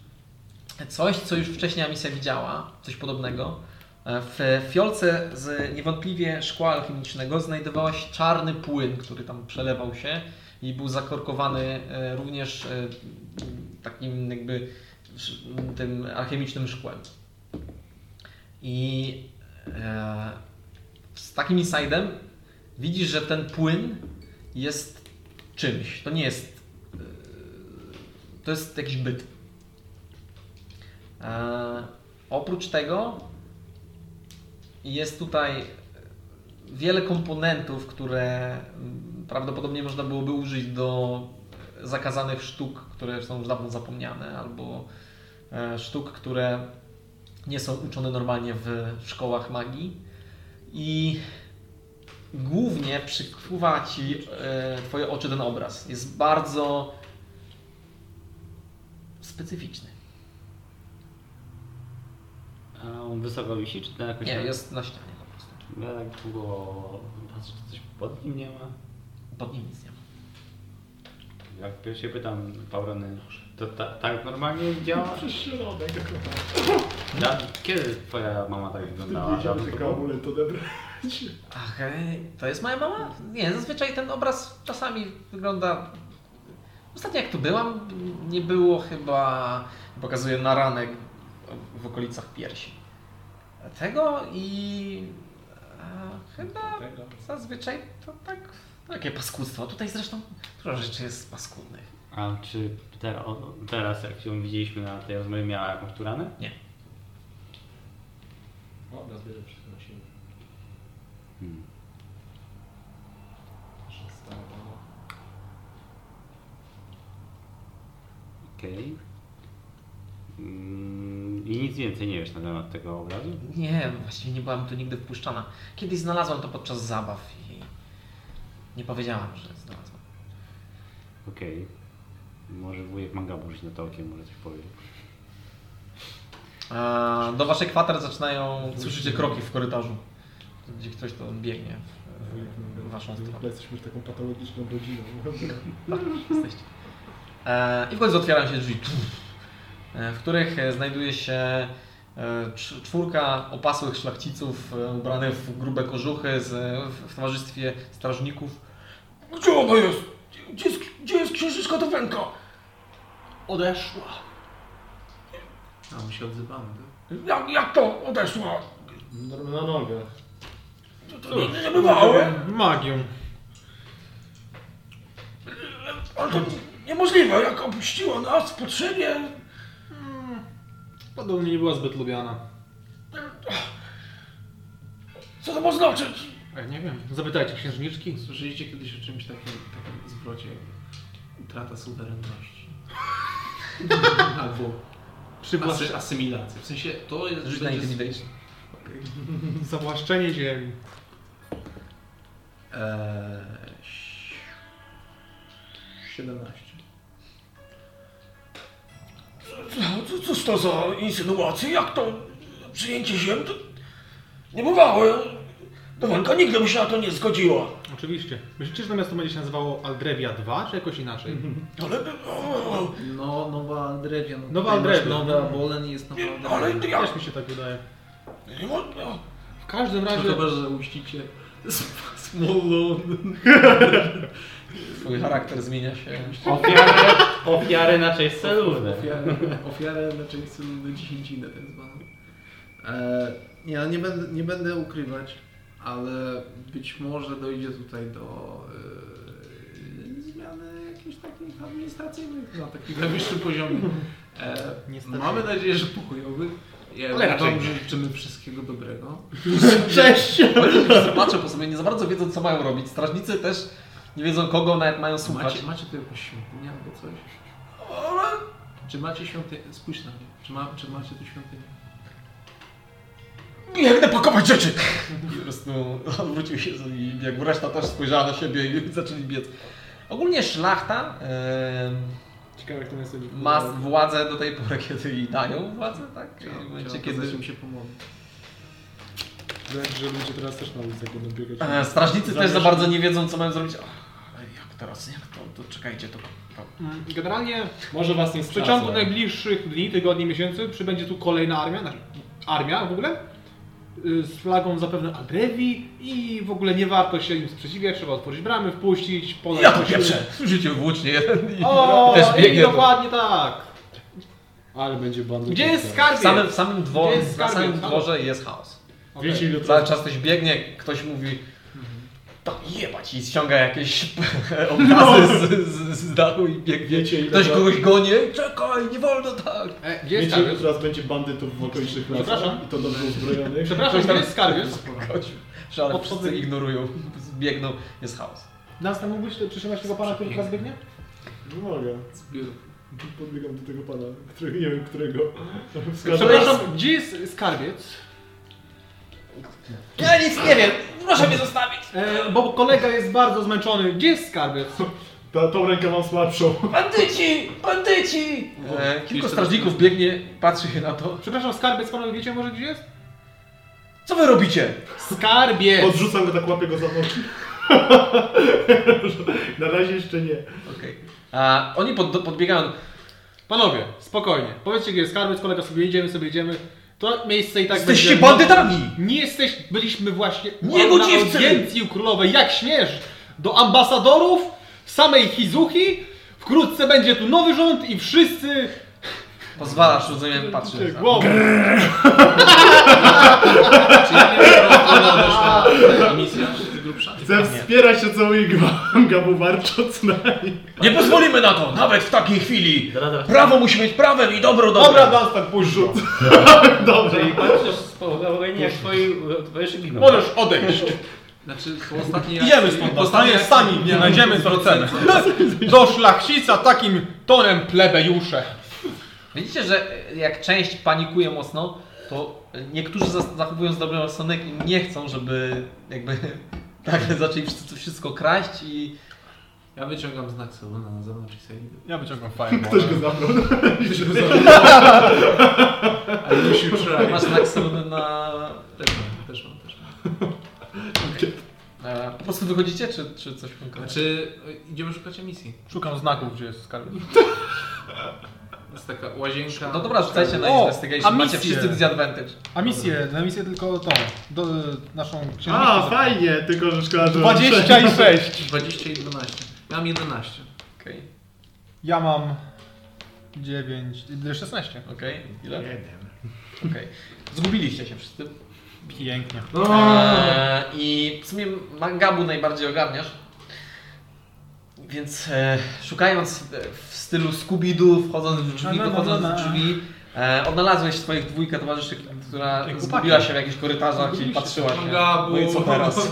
coś, co już wcześniej Amisja widziała, coś podobnego. W fiolce z niewątpliwie szkła alchemicznego znajdowała się czarny płyn, który tam przelewał się i był zakorkowany e, również e, takim jakby sz- tym alchemicznym szkłem. I e, z takim insidem widzisz, że ten płyn jest czymś. To nie jest. e, To jest jakiś byt. E, Oprócz tego jest tutaj wiele komponentów, które mm, prawdopodobnie można byłoby użyć do zakazanych sztuk, które są już dawno zapomniane, albo e, sztuk, które nie są uczone normalnie w szkołach magii. I głównie przykuwa ci e, twoje oczy ten obraz. Jest bardzo specyficzny. A on wysoko wisi, czy to jakoś Nie, tak- jest na ścianie po prostu. Ja tak długo patrzę, czy coś pod nim nie ma. Pod nim nic nie ma. Jak pierwszy się pytam Paulony, to ta, tak normalnie działa? Przez środek. No, Ja, kiedy twoja mama tak wyglądała? Widziałem Dawno tylko temu? amulet odebrać. Ach, e, to jest moja mama? Nie, zazwyczaj ten obraz czasami wygląda... Ostatnio jak tu byłam, nie było chyba... Pokazuję na ranek w okolicach piersi. Tego i... A, chyba Tego. zazwyczaj to tak... Takie paskudztwo. Tutaj zresztą dużo rzeczy jest paskudnych. A czy te, o, teraz, jak się widzieliśmy na tej rozmowie, miała jakąś turanę? Dobra, zbieram wszystko na siebie. Hmm. Nasza stara mama. Okej. Mm, I nic więcej nie wiesz na temat tego obrazu? Nie, właściwie nie byłam tu nigdy wpuszczana. Kiedyś znalazłam to podczas zabaw i nie powiedziałam, że znalazłam. Okej. Może wujek manga rzuci na to okiem, może coś (laughs) powie. A E, do waszej kwater zaczynają, słyszycie kroki w korytarzu, gdzie ktoś to biegnie w waszą W stronę. ogóle jesteśmy taką patologiczną rodziną. Jesteście. E, I w końcu otwierają się drzwi, e, w których e, znajduje się e, cz- czwórka opasłych szlachciców e, ubranych w grube kożuchy z, w, w towarzystwie strażników. Gdzie ona jest? Gdzie jest, gdzie jest księżyczka Dowenka? Odeszła. A my się odzywamy, tak? Jak, jak to odeszła? Na, na nogach. No Nigdy nie bywało. Magią. Ale to niemożliwe, jak opuściła nas w potrzebie. Podobnie nie była zbyt lubiana. Tak. Co to ma znaczyć? E, nie wiem, zapytajcie księżniczki. Słyszeliście kiedyś o czymś takim, takim zwrocie jak utrata (laughs) suwerenności? Albo Przywłaszcz... asy, asymilacja. W sensie to jest... Rzuć na będzie- intimidation. Zawłaszczenie ziemi. Eee, 17. Co, cóż to za insynuacje? Jak to przyjęcie ziem? To niebywałe. Dowenka nigdy by się na to nie zgodziła. Oczywiście. Myślicie, że to miasto będzie się nazywało Aldrevia 2, czy jakoś inaczej? Ale, No, nowa Aldrevia. No, Nowa tutaj masz Aldrevia. Nowa Bolen jest nowa Aldrevia. ale jak? Też mi się tak wydaje. W każdym No razie... Chyba, że uścicie Smolon. Twój charakter zmienia się. Ofiarę, ofiarę na cześć celówne. Ofiarę, ofiarę raczej znaczy chcę do dziesięcinę tak zwaną. E, ja nie będę, nie będę ukrywać, ale być może dojdzie tutaj do e, zmiany jakichś takich administracyjnych na takim no, na wyższym poziomie. E, Niestety. mamy nadzieję, że pokojowy. Ja Ale raczej wam życzymy wszystkiego dobrego. Cześć! Patrzę po sobie, nie za bardzo wiedzą, co mają robić. Strażnicy też nie wiedzą, kogo nawet mają słuchać. Macie, macie tu jakąś świątynię albo coś? Czy macie świątynię? Spójrz na mnie. Czy, ma, czy macie tu świątynię? Biegnę pakować rzeczy! I po prostu odwrócił się i biegł. Reszta też spojrzała na siebie i (laughs) zaczęli biec. Ogólnie szlachta em, Ciekawe jak to jest sobie ma władzę do tej pory, kiedy jej dają władzę, tak? Czyli w momencie, Chciałem kiedy... pokazać im się pomogę. Wydaje mi się, że ludzie teraz też na ulicach będą biegać. E, Strażnicy też za Zamiast- bardzo nie wiedzą, co mają zrobić. Ach, ale jak teraz? Jak to? to czekajcie, to... to. Mm, Generalnie Może was nie W przeciągu stracą. najbliższych dni, tygodni, miesięcy przybędzie tu kolejna armia, znaczy armia w ogóle, y, z flagą zapewne Adrewi i w ogóle nie warto się im sprzeciwiać, trzeba otworzyć bramy, wpuścić, podać Ja to posiłek. pieprzę! Słyszycie włócznie jeden i O, też i biegnie. do- dokładnie tak. Ale będzie bandy. Gdzie jest W skarbiec? samym, w samym, dwo, Gdzie jest na samym skarbiec? dworze jest chaos. Okej. Wiecie ile Cały to czas ktoś biegnie, ktoś mówi tam jebać i ściąga jakieś (laughs) obrazy z, z, z dachu i biegnie. Wiecie, ile ktoś to- kogoś goni, czekaj, nie wolno tak. E, gdzie jest Wiecie, ile skarbiec? teraz będzie bandytów w okolicznych lasach Przepraszam. i to dobrze uzbrojonych. Przepraszam, gdzie jest skarbiec? Chodź, że ale Podchodzę wszyscy i- ignorują, biegną, jest chaos. Nas tam mógłbyś przytrzymać tego pana, który teraz biegnie? Nie mogę. Zbiór. Podbiegam do tego pana, którego nie wiem którego. Przepraszam, gdzie jest skarbiec? Ja nic nie wiem, proszę mnie zostawić. E, bo kolega jest bardzo zmęczony. Gdzie jest skarbiec? Ta, tą rękę mam słabszą. Bandyci! Bandyci! E, kilku tak. strażników biegnie, patrzy się na to. Przepraszam, skarbiec panowie wiecie może gdzie jest? Co wy robicie? Skarbiec! Podrzucam go, tak łapię go za nogi. (laughs) Na razie jeszcze nie. Okej. A Oni pod, podbiegają. Panowie, spokojnie. Powiedzcie gdzie jest skarbiec, kolega sobie idziemy, sobie idziemy. To miejsce i tak Jesteście będzie- bandytami! Nie jesteś, byliśmy właśnie Nie na godziwcy! audiencji u królowej. Jak śmiesz? Do ambasadorów samej Hizuki. Wkrótce będzie tu nowy rząd i wszyscy Pozwalasz, rozumiem, patrzysz. na- Głową. Czy ja wiem, że ona wyszła misja z grubsza? Chcę wspierać się całymi gwałtem, gabu warcząc na nich. Nie pozwolimy na to! Nawet w takiej chwili! Dobra, Prawo musi być prawem i dobro Dobra, dobre! nas tak pójdź rzut. Dobrze. Czyli patrzysz z powodu jak twoi, twoje szyki No. gną. możesz odejść. Znaczy, po ostatniej Idziemy stąd, dostanie sami, nie znajdziemy to cenę. Do szlachcica takim tonem plebejusze. Widzicie, że e, jak część panikuje mocno, to e, niektórzy zas- zachowują zdrowy rozsądek i nie chcą, żeby jakby (laughs) nagle zaczęli wszyscy wszystko kraść i Ja wyciągam znak Soluna na zewnątrz i sobie (laughs) idę. Ja wyciągam fireball. Ktoś go (laughs) zabrał. Ale już już masz znak solny na... Też mam, też mam, też mam. E, po prostu wychodzicie, czy, czy coś konkretnego? Znaczy, idziemy szukać emisji. Szukam znaków, gdzie jest skarb. Jest taka łazienka. No dobra, rzucajcie na O, investigation, a macie misje. wszyscy disadvantage. A misję, na misję tylko tą, do, naszą księżniczkę. A, fajnie, tylko że szkoda, że... 26. 20 i 12. Ja mam 11. Okej, Ja mam y, 9, 16. okej, ile? Okej. Zgubiliście się wszyscy. Pięknie. No. No, Eee, I w sumie mangabu najbardziej ogarniasz. Więc e, szukając e, w stylu Scooby-Doo, wchodząc w drzwi, No, no, no, wychodząc no. z drzwi, e, odnalazłeś swoich dwójkę towarzyszy, która chłopaki. zgubiła się w jakichś korytarzach i patrzyła się. Gabu. No i co teraz?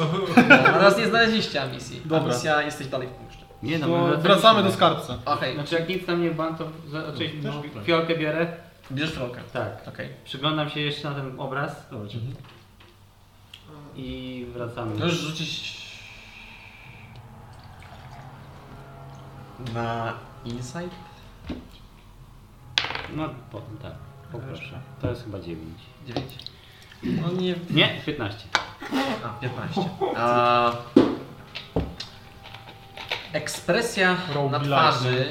Natomiast nie znaleźliście misji. A Dobra. misja jesteś dalej w puszczy. Nie no, To my wracamy do skarbca. Okej, Znaczy jak nic tam nie ban, to zaczęliśmy tak. no, fiolkę biorę. bierzesz rolkę. Tak. Okej. Przyglądam się jeszcze na ten obraz. Zobacz. I wracamy. Możesz rzucić na insight? No po, tak, poproszę. To jest chyba 9. 9. No nie Nie, 15. A, 15. A... Ekspresja na twarzy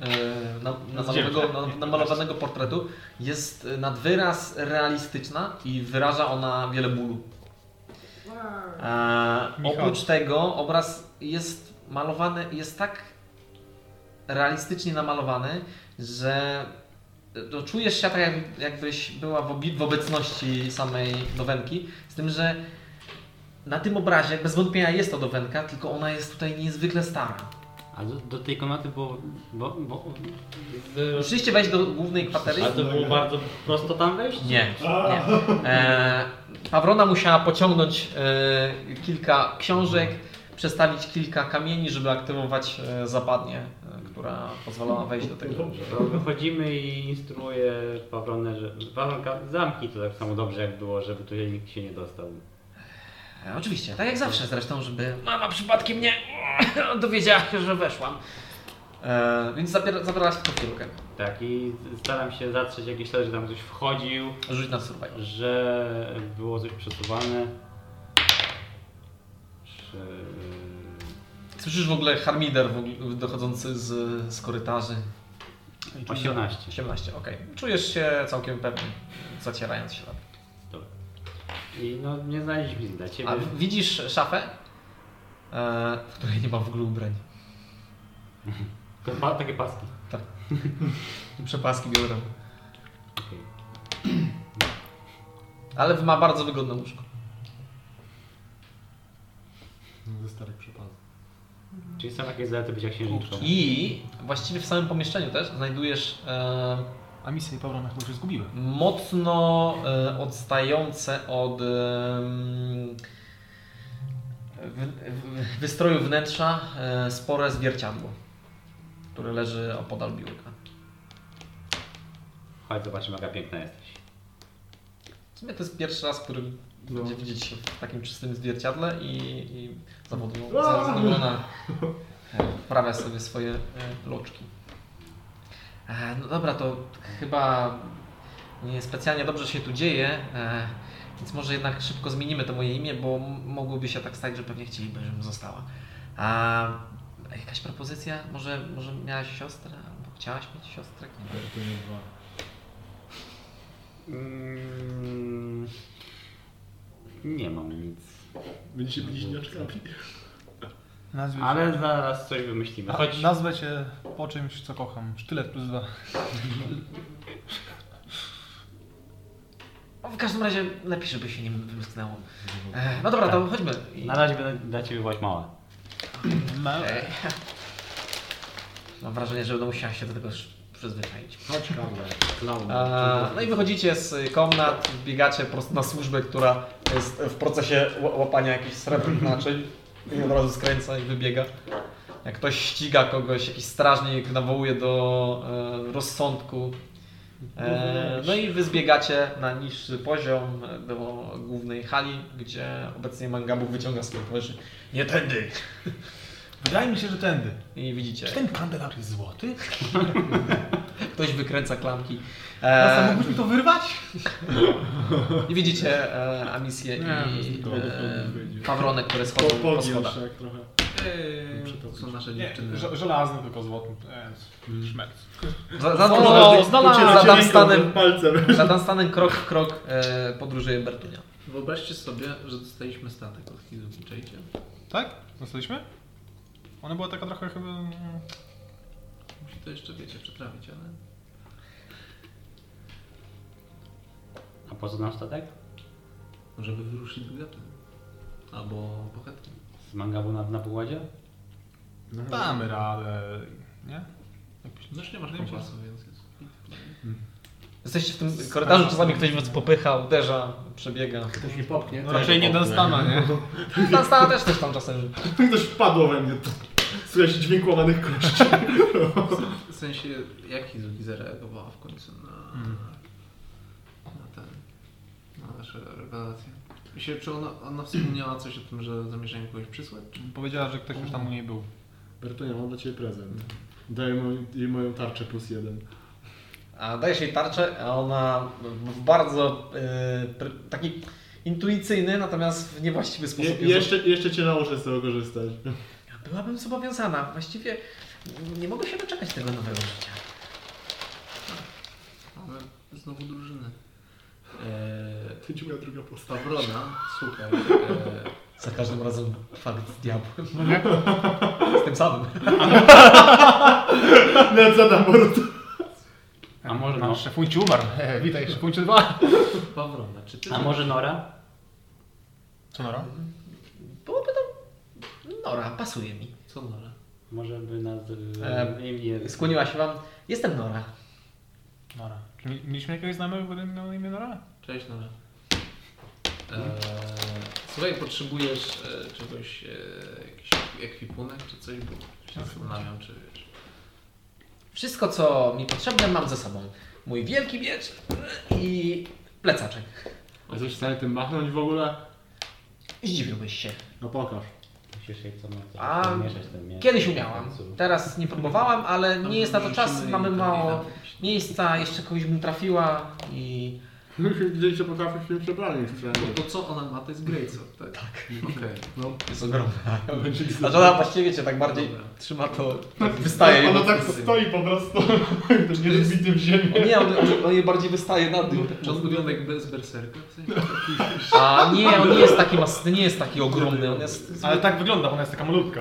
e, na, namalowanego, na, namalowanego portretu jest e, nad wyraz realistyczna i wyraża ona wiele bólu. E, Michał. oprócz tego obraz jest malowany, jest tak realistycznie namalowany, że to czujesz się tak, jak, jakbyś była w, obi- w obecności samej Dowenki, z tym, że na tym obrazie bez wątpienia jest to Dowenka, tylko ona jest tutaj niezwykle stara. A do, do tej komnaty było... Bo, bo, Musieliście wejść do głównej kwatery? a to było bardzo prosto tam wejść? Nie, nie. E, Pawrona musiała pociągnąć e, kilka książek, przestawić kilka kamieni, żeby aktywować e, zapadnię, e, która pozwalała wejść do tego. To Wychodzimy i instruuję Pawronę, że Pawronka zamknij to tak samo dobrze jak było, żeby tu nikt się nie dostał. E, Oczywiście, tak jak zawsze zresztą, żeby mama przypadkiem nie (laughs) dowiedziała się, że weszłam. E, więc zabier- zabrałaś tylko piłkę. Tak i staram się zatrzeć jakiś ślad, że tam ktoś wchodził, Rzuć na survival. że było coś przesuwane. Czy... Słyszysz w ogóle harmider w ogóle dochodzący z, z korytarzy. 18. 18, okej. Czujesz się całkiem pewny, zacierając ślad. I no nie znaleźliśmy nic dla ciebie. A w- widzisz szafę, e, w której nie ma w ogóle ubrań. To pa, takie paski. Przepaski biorą. Okej. (clears throat) Ale ma bardzo wygodne łóżko. Ze starych przypadków. Czyli są jakieś zalety bycia księżniczką. I właściwie w samym pomieszczeniu też znajdujesz e, A misję i Pawrona chyba się zgubiłem. mocno e, odstające od e, mm, w, w, wystroju wnętrza e, spore zwierciadło. który leży opodal biurka. Chodź, zobaczymy, jaka piękna jesteś. W sumie to jest pierwszy raz, który No. będzie widzieć się w takim czystym zwierciadle i, i zawodu- Aaa! za- zadowolona e, wprawia sobie swoje e, loczki. E, No dobra, to chyba nie specjalnie dobrze się tu dzieje, e, więc może jednak szybko zmienimy to moje imię, bo m- mogłoby się tak stać, że pewnie chcieliby, żebym została. A jakaś propozycja? Może, może miałaś siostrę? Albo chciałaś mieć siostrę? Nie wiem. To nie dwa. Mm, nie mam nic. Będziecie bliźniaczkami. Nazwę cię, Ale zaraz coś wymyślimy. No, Chodź. nazwę cię po czymś, co kocham. Sztylet plus dwa. No, W każdym razie lepiej, żeby się nim wymsknęło. E, No dobra, to chodźmy. I- Mhm. Tak. Na razie będę dla ciebie byłaś mała. Ma... E, (laughs) Mam wrażenie, że będę musiała się do tego sz- przyzwyczaić. Chodź, Karla. Klaun. E, No i wychodzicie z komnat, biegacie prosto na służbę, która jest w procesie ła- łapania jakichś srebrnych naczyń i od razu skręca i wybiega. Jak ktoś ściga kogoś, jakiś strażnik nawołuje do e, rozsądku. E, no i wy zbiegacie na niższy poziom e, do głównej hali, gdzie obecnie Mangabu wyciąga swoje towarzyszy. Nie tędy! Wydaje mi się, że tędy. I widzicie, Czy ten kandelabr jest złoty? ktoś wykręca klamki. Eee. E, Mógłbyś mi to wyrwać? I widzicie e, Amisję i nikogo e, nie będzie. Pawronę, które Po, schodzą po, pogiął schodach. się jak trochę. Eee, (laughs) to są nasze Nie, dziewczyny. żo- żelazny tylko złoty. Eee, szmerc. Za, za, Znalazł- za, za, Ucieracie Dunstanem, palcem. za Dunstanem krok w krok e, podróżuje Bertunia. Wyobraźcie sobie, że dostaliśmy statek od Hizuki, czajcie? Tak? Zostaliśmy? Ona była taka trochę chyba... mm, Musi to jeszcze, wiecie, przetrawić, ale... A po co nam statek? Żeby wyruszyć do Gaty. Albo pochetkiem. Z mangabu na, na pokładzie? No, Damy radę. Nie? No już nie masz kompasu, więc jest... Jesteście w tym korytarzu, czasami ktoś was popycha, uderza, przebiega. Ktoś mi popchnie. No raczej nie Dunstana, nie? Dunstana też coś tam czasem. (laughs) Ktoś wpadło we mnie. Słychać dźwięk łamanych kości. W sensie, jak Hizuki zareagowała w końcu na... Mm. na ten... na nasze rewelacje? I się, czy ona, ona wspomniała coś o tym, że zamierzają kogoś przysłać? Czy... (laughs) Powiedziała, że ktoś już tam u niej był. Bertonia, mam dla Ciebie prezent. Daję moją- jej moją tarczę plus jeden. A dajesz jej tarczę, a ona w bardzo e, pr- taki intuicyjny, natomiast w niewłaściwy Je, sposób. ją jeszcze, jeszcze Cię nauczę z tego korzystać. (laughs) Byłabym zobowiązana. Właściwie nie mogę się doczekać tego nowego życia. Mamy znowu drużynę. Eee, To będzie moja druga postać. Pawrona, słuchaj, eee, Za każdym razem fakt z diabłem. Z tym samym. Nawet za namort. A może, no, Nasz szefunciu umarł. (laughs) E, witaj, szefunciu dwa. Pawrona, czy ty... a może Nora? Co Nora? Byłoby to... Nora, pasuje mi. Co Nora? Może by nas... E, E, imię... Skłoniła się wam. Jestem Nora. Nora. Czy mi- mieliśmy jakiegoś znajomego, który miał na imię Nora? Cześć Nora. Eee, słuchaj, potrzebujesz e, czegoś, e, jakiś ekwipunek czy coś, bo się zastanawiam, czy wiesz. Wszystko, co mi potrzebne, mam ze sobą. Mój wielki miecz i plecaczek. A jesteś w stanie tym machnąć w ogóle? Zdziwiłbyś się. No pokaż. (laughs) Musisz jej co A, ma mieszać ten miecz. Kiedyś umiałam. Tak. Teraz nie próbowałam, ale nie jest na to czas. Musimy Mamy jej mało dalej napić. miejsca. Jeszcze kogoś bym trafiła i... Musimy widzieć, że potrafisz się przebranie przynajmniej. To co ona ma, to jest Greycop, tak? Tak. Okej. (laughs) No, Jest ogromna. Znaczy ona właściwie, wiecie, tak bardziej Dobra. trzyma to, wystaje. Ona jej- tak No stoi po prostu. Tym niezbitym w ziemię. Nie, on, on, on jej bardziej wystaje na dół. czy on wygląda jak bez berserka? W sensie? A (laughs) nie, on nie jest taki mas... nie jest taki ogromny, on jest... Ale tak wygląda, bo ona jest taka malutka.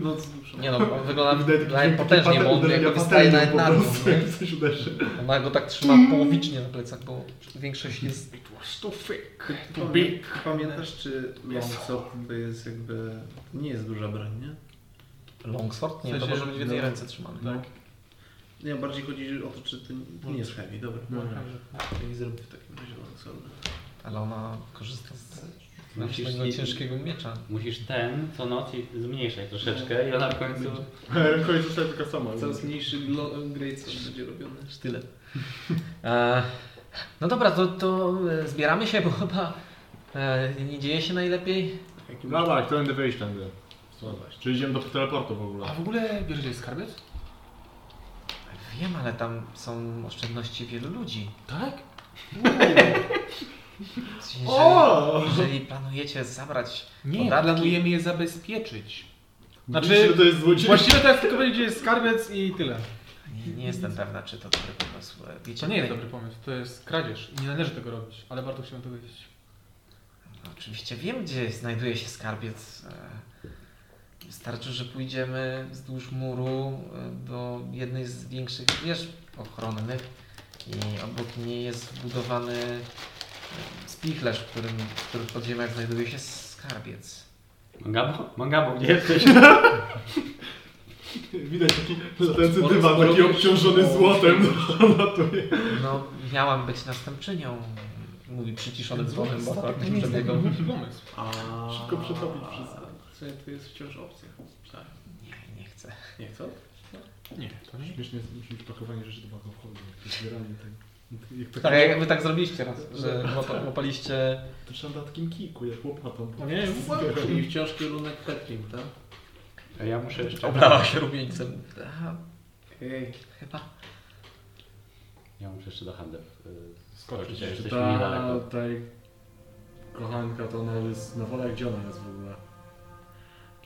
No, z duszą. Nie no, on wygląda Wydaje taki nawet dźwięk potężnie, takiego bo on uderzenia jakby wystaje na patelnią po narwą, prostu, Mm. nie? jak Coś uderzy. Ona go tak trzyma połowicznie na plecach, bo większość jest... To (laughs) big. Pamiętasz, czy Longcop to jest jakby... Nie jest duża broń, nie? Longsword? Nie, W sensie, to może być w jednej no. ręce trzymany. Tak. Nie, bardziej chodzi o to, czy to No, nie jest tak. heavy, dobra. Dobra. Nie zrobię w takim razie Longsworda. Ale ona korzysta z Mam Musisz swojego nie- ciężkiego miecza. Musisz ten co noc i zmniejszać troszeczkę i Tak. ona w końcu... Rękojeść zostaje taka sama. Coraz mniejszy glo- grade co będzie robiony. Sztylet. E, no dobra, to, to e, zbieramy się, bo chyba e, nie dzieje się najlepiej. No Dawaj, tędy wyjść tędy. Czy idziemy do teleportu w ogóle? A w ogóle wiesz, gdzie jest skarbiec? Wiem, ale tam są oszczędności wielu ludzi. Tak? Czyli, że, O! jeżeli planujecie zabrać Nie, podatki- planujemy je zabezpieczyć. Znaczy, Widzisz, że to jest złodziej. Właściwie to jest tylko powiedzieć, gdzie jest skarbiec i tyle. Nie, nie jestem pewna, czy to dobry pomysł. E, Wiecie, To nie jest tutaj- dobry pomysł, to jest kradzież i nie należy tego robić, ale warto chciałem to wiedzieć. Oczywiście wiem, gdzie znajduje się skarbiec. E, Wystarczy, że pójdziemy wzdłuż muru e, do jednej z większych wież ochronnych i obok niej jest wbudowany e, spichlerz, w którym, w którym podziemiach znajduje się skarbiec. Mangabo? Mangabo, (laughs) gdzie jesteś? Widać taki latający Sporo- dywan, sporo taki wiesz- obciążony o, złotem. tak. (laughs) Latuje. No, miałam być następczynią, mówi przyciszonym dzwonem, bo akurat nie przebiegał. Głupi pomysł. A... Szybko przetopić wszystko. Co nie, to jest wciąż opcja. Tak. Nie, nie chcę. Nie, co? Nie, to nie. Śmiesznie jest myśli pakowanie rzeczy do baka wchodu. jak to Zbieranie tej. Jak tak, Tak, jak wy tak zrobiliście raz, że łapa- łapaliście... to trzeba na takim kiku, jak łopatą. O nie, Czyli wciąż kierunek Hetling, tak? A Ja muszę jeszcze... Oblała się rumieńcem. Aha, Hej. chyba. Ja muszę jeszcze do y, handlu. Skoczyć. Skoczyć, Czy jesteśmy ta, niedaleko. ta kochanka to ona jest na wolę, gdzie ona jest w ogóle?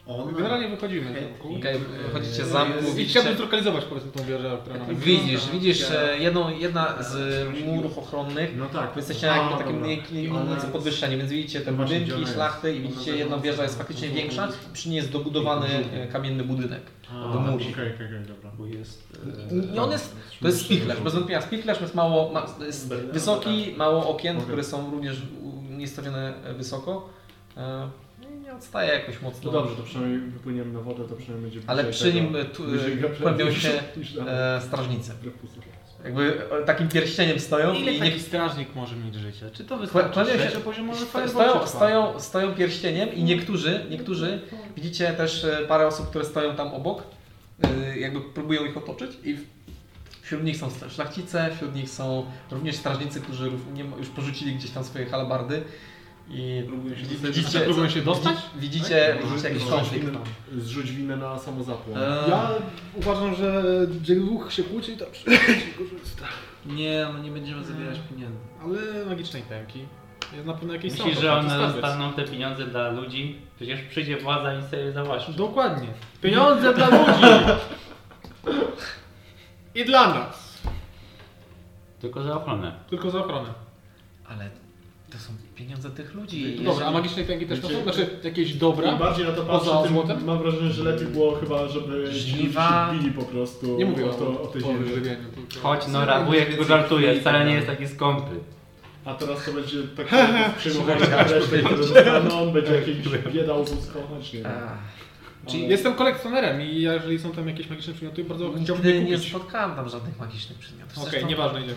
On... Generalnie wychodzimy z zamku. Okej, wychodzicie z I zamku, chciałbym widzicie, zlokalizować po prostu tą wieżę, która nam widzisz, widzisz e, jedną, jedna z murów ochronnych, No tak. wy jesteście na jakimś takim mniej- mniej podwyższeniu, więc widzicie te Właśnie, gdzie budynki, ona szlachty i jest? widzicie Ona jedna też ma- wieża jest faktycznie ma- ma- większa, przy niej jest dobudowany e, kamienny budynek. A, do muru. Okej, okej, okej, dobra. y, Bo jest... I on jest, to jest spichlerz, bez wątpienia spichlerz jest mało, ma, jest no tak. wysoki, mało okien, Mogę. które są również niestawione wysoko. E, Nie odstaje jakoś No mocno. dobrze, to przynajmniej wypłyniemy na wodę, to przynajmniej będzie Ale bliżej przy tego- nim e, tu, e, bliżej Gabriela kłębią (laughs) niż- się niż tam. e, strażnice. Brepusu. Jakby e, takim pierścieniem stoją Ile i nie taki strażnik może mieć życia? Czy to Kła- wystarczy? kłaniają się- Trzecie poziomowy Sto- fireball, czy Stoją, dwa? stoją, stoją pierścieniem i niektórzy, niektórzy, widzicie też e, parę osób, które stoją tam obok, e, jakby próbują ich otoczyć i w- wśród nich są sta- szlachcice, wśród nich są również strażnicy, którzy rów- nie ma- już porzucili gdzieś tam swoje halabardy i Próbuję się widzi- dostać- widzicie, Próbują się dostać? Tak? widzicie, Tak? widzicie jakiś Zrzuć konflikt. E, winę, Tak. zrzuć winę na samozapłon. Eee, Ja uważam, że gdzie dwóch się kłóci, to (laughs) korzysta. Nie, no nie będziemy zabierać pieniędzy. Ale magicznej pęki. Jest na pewno jakieś Myślisz, że one zostaną te pieniądze dla ludzi? Przecież przyjdzie władza i sobie zawłaszczy. Dokładnie. Pieniądze dla ludzi! I dla nas. Tylko za ochronę. Tylko za ochronę. Ale to są pieniądze tych ludzi. Dobra, a magicznej pęgi też to są? Wiecie- Znaczy jakieś Im dobra? bardziej na to Poza patrzę, złotem? tym mam wrażenie, że lepiej było chyba, żeby ci ludzie Żniwa. się bili po prostu Nie mówię o, to, o tej ziemi. wyżywieniu. tylko- Chodź, no rabujek go żartuje, wcale nie jest taki skąpy. A teraz to będzie (laughs) tak przyjmowanie reszty, które dostaną, będzie jakieś bieda uzyskować, nie wiem. Ech. Czyli jestem kolekcjonerem i jeżeli są tam jakieś magiczne przedmioty, bardzo chciałbym je Nigdy nie kupić. spotkałem tam żadnych magicznych przedmiotów. Okej, Zresztą- nieważne, idziemy.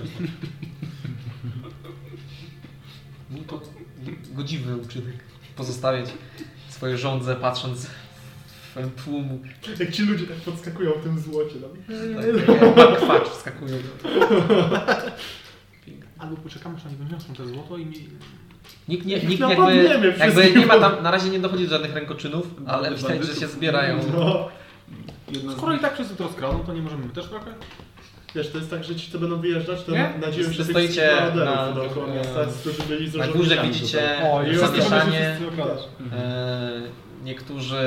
Był No to godziwy uczynek pozostawiać swoje żądze, patrząc w tłum. Jak ci ludzie tak podskakują w tym złocie. no. Tam. Tak, kwacz wskakuje. Albo poczekamy, aż oni wyniosą te złoto i mi... Nikt, nie, Ich No, nikt napadniemy jakby, jakby wszystkich. nie ma tam, na razie nie dochodzi do żadnych rękoczynów, ale widać, że się zbierają. No, Jedna z- Skoro i tak wszyscy to skradną, to nie możemy też trochę? wiesz, to jest tak, że ci co będą wyjeżdżać, to Nie? nadzieją się Stoicie tych na- e, na no, dookoła miasta, którzy byli Na zrożonymi górze tam widzicie O, już zamieszanie. wszyscy okradać. E, niektórzy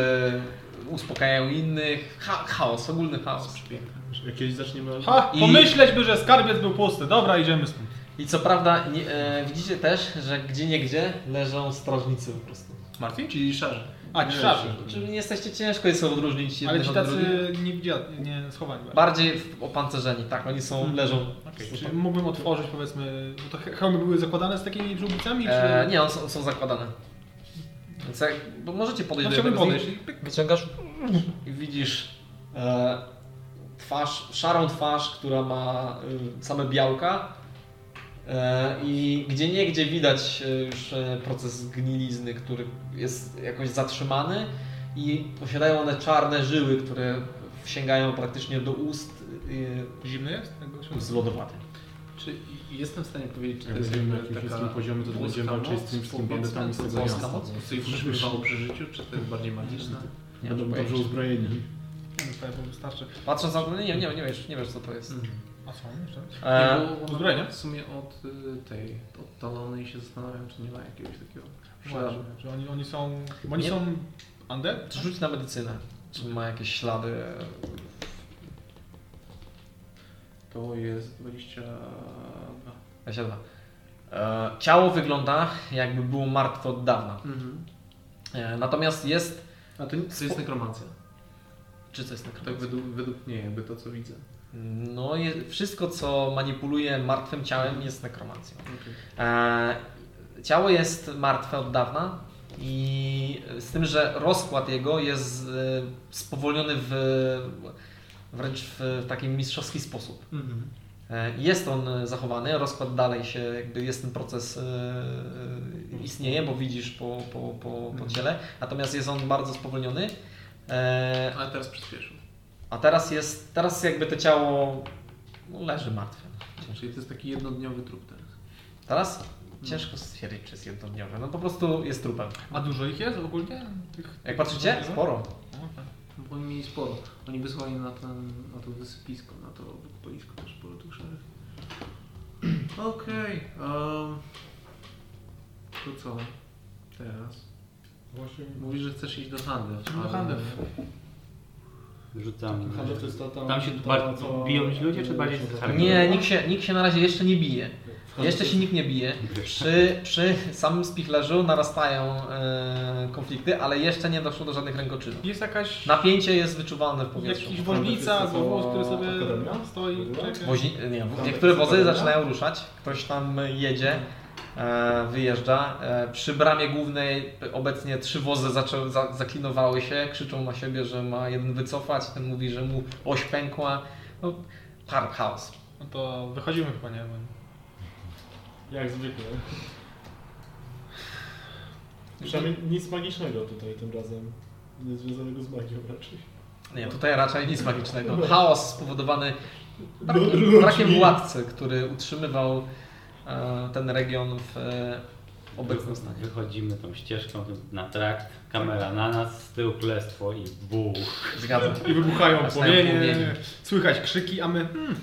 uspokajają innych. Cha chaos, ogólny chaos. tutaj. Jak kiedyś zaczniemy... Ha! I- Pomyśleć by, że skarbiec był pusty. Dobra, idziemy stąd. I co prawda nie, e, widzicie też, że gdzie niegdzie leżą strażnicy po prostu. Martwi? Czyli szarze. A, ci szarzy. Czyli nie jesteście ciężko jest odróżnić Ale jednych ci od drugich. tacy nie widzieli, nie schowani byli. Bardziej w- opancerzeni, tak, oni Mhm. są, leżą. Okej, czy mógłbym otworzyć powiedzmy, bo to he- hełmy były zakładane z takimi żółbicami, czy... E, nie, on są, są zakładane. Więc jak, bo możecie podejść no, do jednego chciałbym z podejść. nich. Wyciągasz i widzisz e, twarz, szarą twarz, która ma y, same e, białka. E, I gdzie nie gdzie widać e, już e, proces gnilizny, który jest jakoś zatrzymany i posiadają one czarne żyły, które sięgają praktycznie do ust Zimny jest? Tego się... e, z lodowaty. Czy i- jestem w stanie powiedzieć, czy Jak to jest będziemy na jakby jakimś taka niskim poziomie, to włoska będziemy walczyć z moc, tymi wszystkimi powiedzmy, bandytami z to tego włoska miasta. moc? Co ich przybywało przy życiu, czy to jest bardziej magiczne? Nie Będą mam dobrze pojęcia. uzbrojeni. Dostaję po wystarczy. Patrząc na to, nie, nie, nie, wiesz, nie wiesz co to jest. A co? Jeszcze? E, Nie, bo uzbrojenie? W sumie od y, tej, od Talony i się zastanawiam, czy nie ma jakiegoś takiego Właśnie, przejażdżu. że oni, oni są... Bo oni Nie. są undead? rzuć na medycynę. Czy ma jakieś ślady? e, To jest 22. Dwadzieścia dwa. E, Ciało wygląda jakby było martwe od dawna. Mhm. E, Natomiast jest. A to, to jest nekromancja. Czy to jest Tak nekromancja? według, według mnie, jakby to co widzę. No, je, wszystko co manipuluje martwym ciałem jest nekromancją. Okej. E, ciało jest martwe od dawna i z tym, że rozkład jego jest e, spowolniony w, wręcz w taki mistrzowski sposób. Mhm. E, Jest on e, zachowany, rozkład dalej się, jakby jest ten proces e, e, istnieje, bo widzisz po, po, po, po ciele, natomiast jest on bardzo spowolniony. E, Ale teraz przyspieszył. A teraz jest, teraz jakby to ciało no, leży martwe. Czyli to jest taki jednodniowy trup teraz. Teraz ciężko stwierdzić, czy jest jednodniowe. No po prostu jest trupem. A dużo ich jest ogólnie? Tych, No, tak. Jak patrzycie, sporo. Okej. No Bo oni mieli sporo. Oni wysłali na, ten, na to wysypisko, na to boisko też sporo tych szereg. (clears throat) Okej. em, to co? Teraz? Właśnie. Mówisz, że chcesz iść do Handew. No, ale- Handew. Rzucam. Handew no, to jest ta, ta, Tam się ta, bardzo co- biją ci ludzie, czy bardziej co- skarbią? Nie, nikt się, nikt się na razie jeszcze nie bije. Handew Jeszcze to się nikt nie bije. Przy, przy samym spichlerzu narastają e, konflikty, ale jeszcze nie doszło do żadnych rękoczynów. Jest jakaś... Napięcie jest wyczuwalne w powietrzu. Jakiś Tam woźnica jest albo wóz, który sobie akademia? stoi, Była? czeka. Woźni, nie, Tam niektóre jest wozy akademia? zaczynają ruszać, ktoś tam jedzie, e, wyjeżdża. E, przy bramie głównej obecnie trzy wozy zaczę, za, zaklinowały się, krzyczą na siebie, że ma jeden wycofać, ten mówi, że mu oś pękła. No, par chaos. No to wychodzimy chyba, nie wiem. Jak zwykle. Przynajmniej nic magicznego tutaj tym razem. Nie związanego z magią raczej. Nie, tutaj raczej nic magicznego. Chaos spowodowany Ludźmi. brakiem, brakiem władcy, który utrzymywał e, ten region w e, obecnym stanie. Wychodzimy tą ścieżką na trakt, kamera na nas, z tyłu królestwo i buch. Zgadzam. I wybuchają Zaczynają płomienie, płomienie. słychać krzyki, a my... Hmm,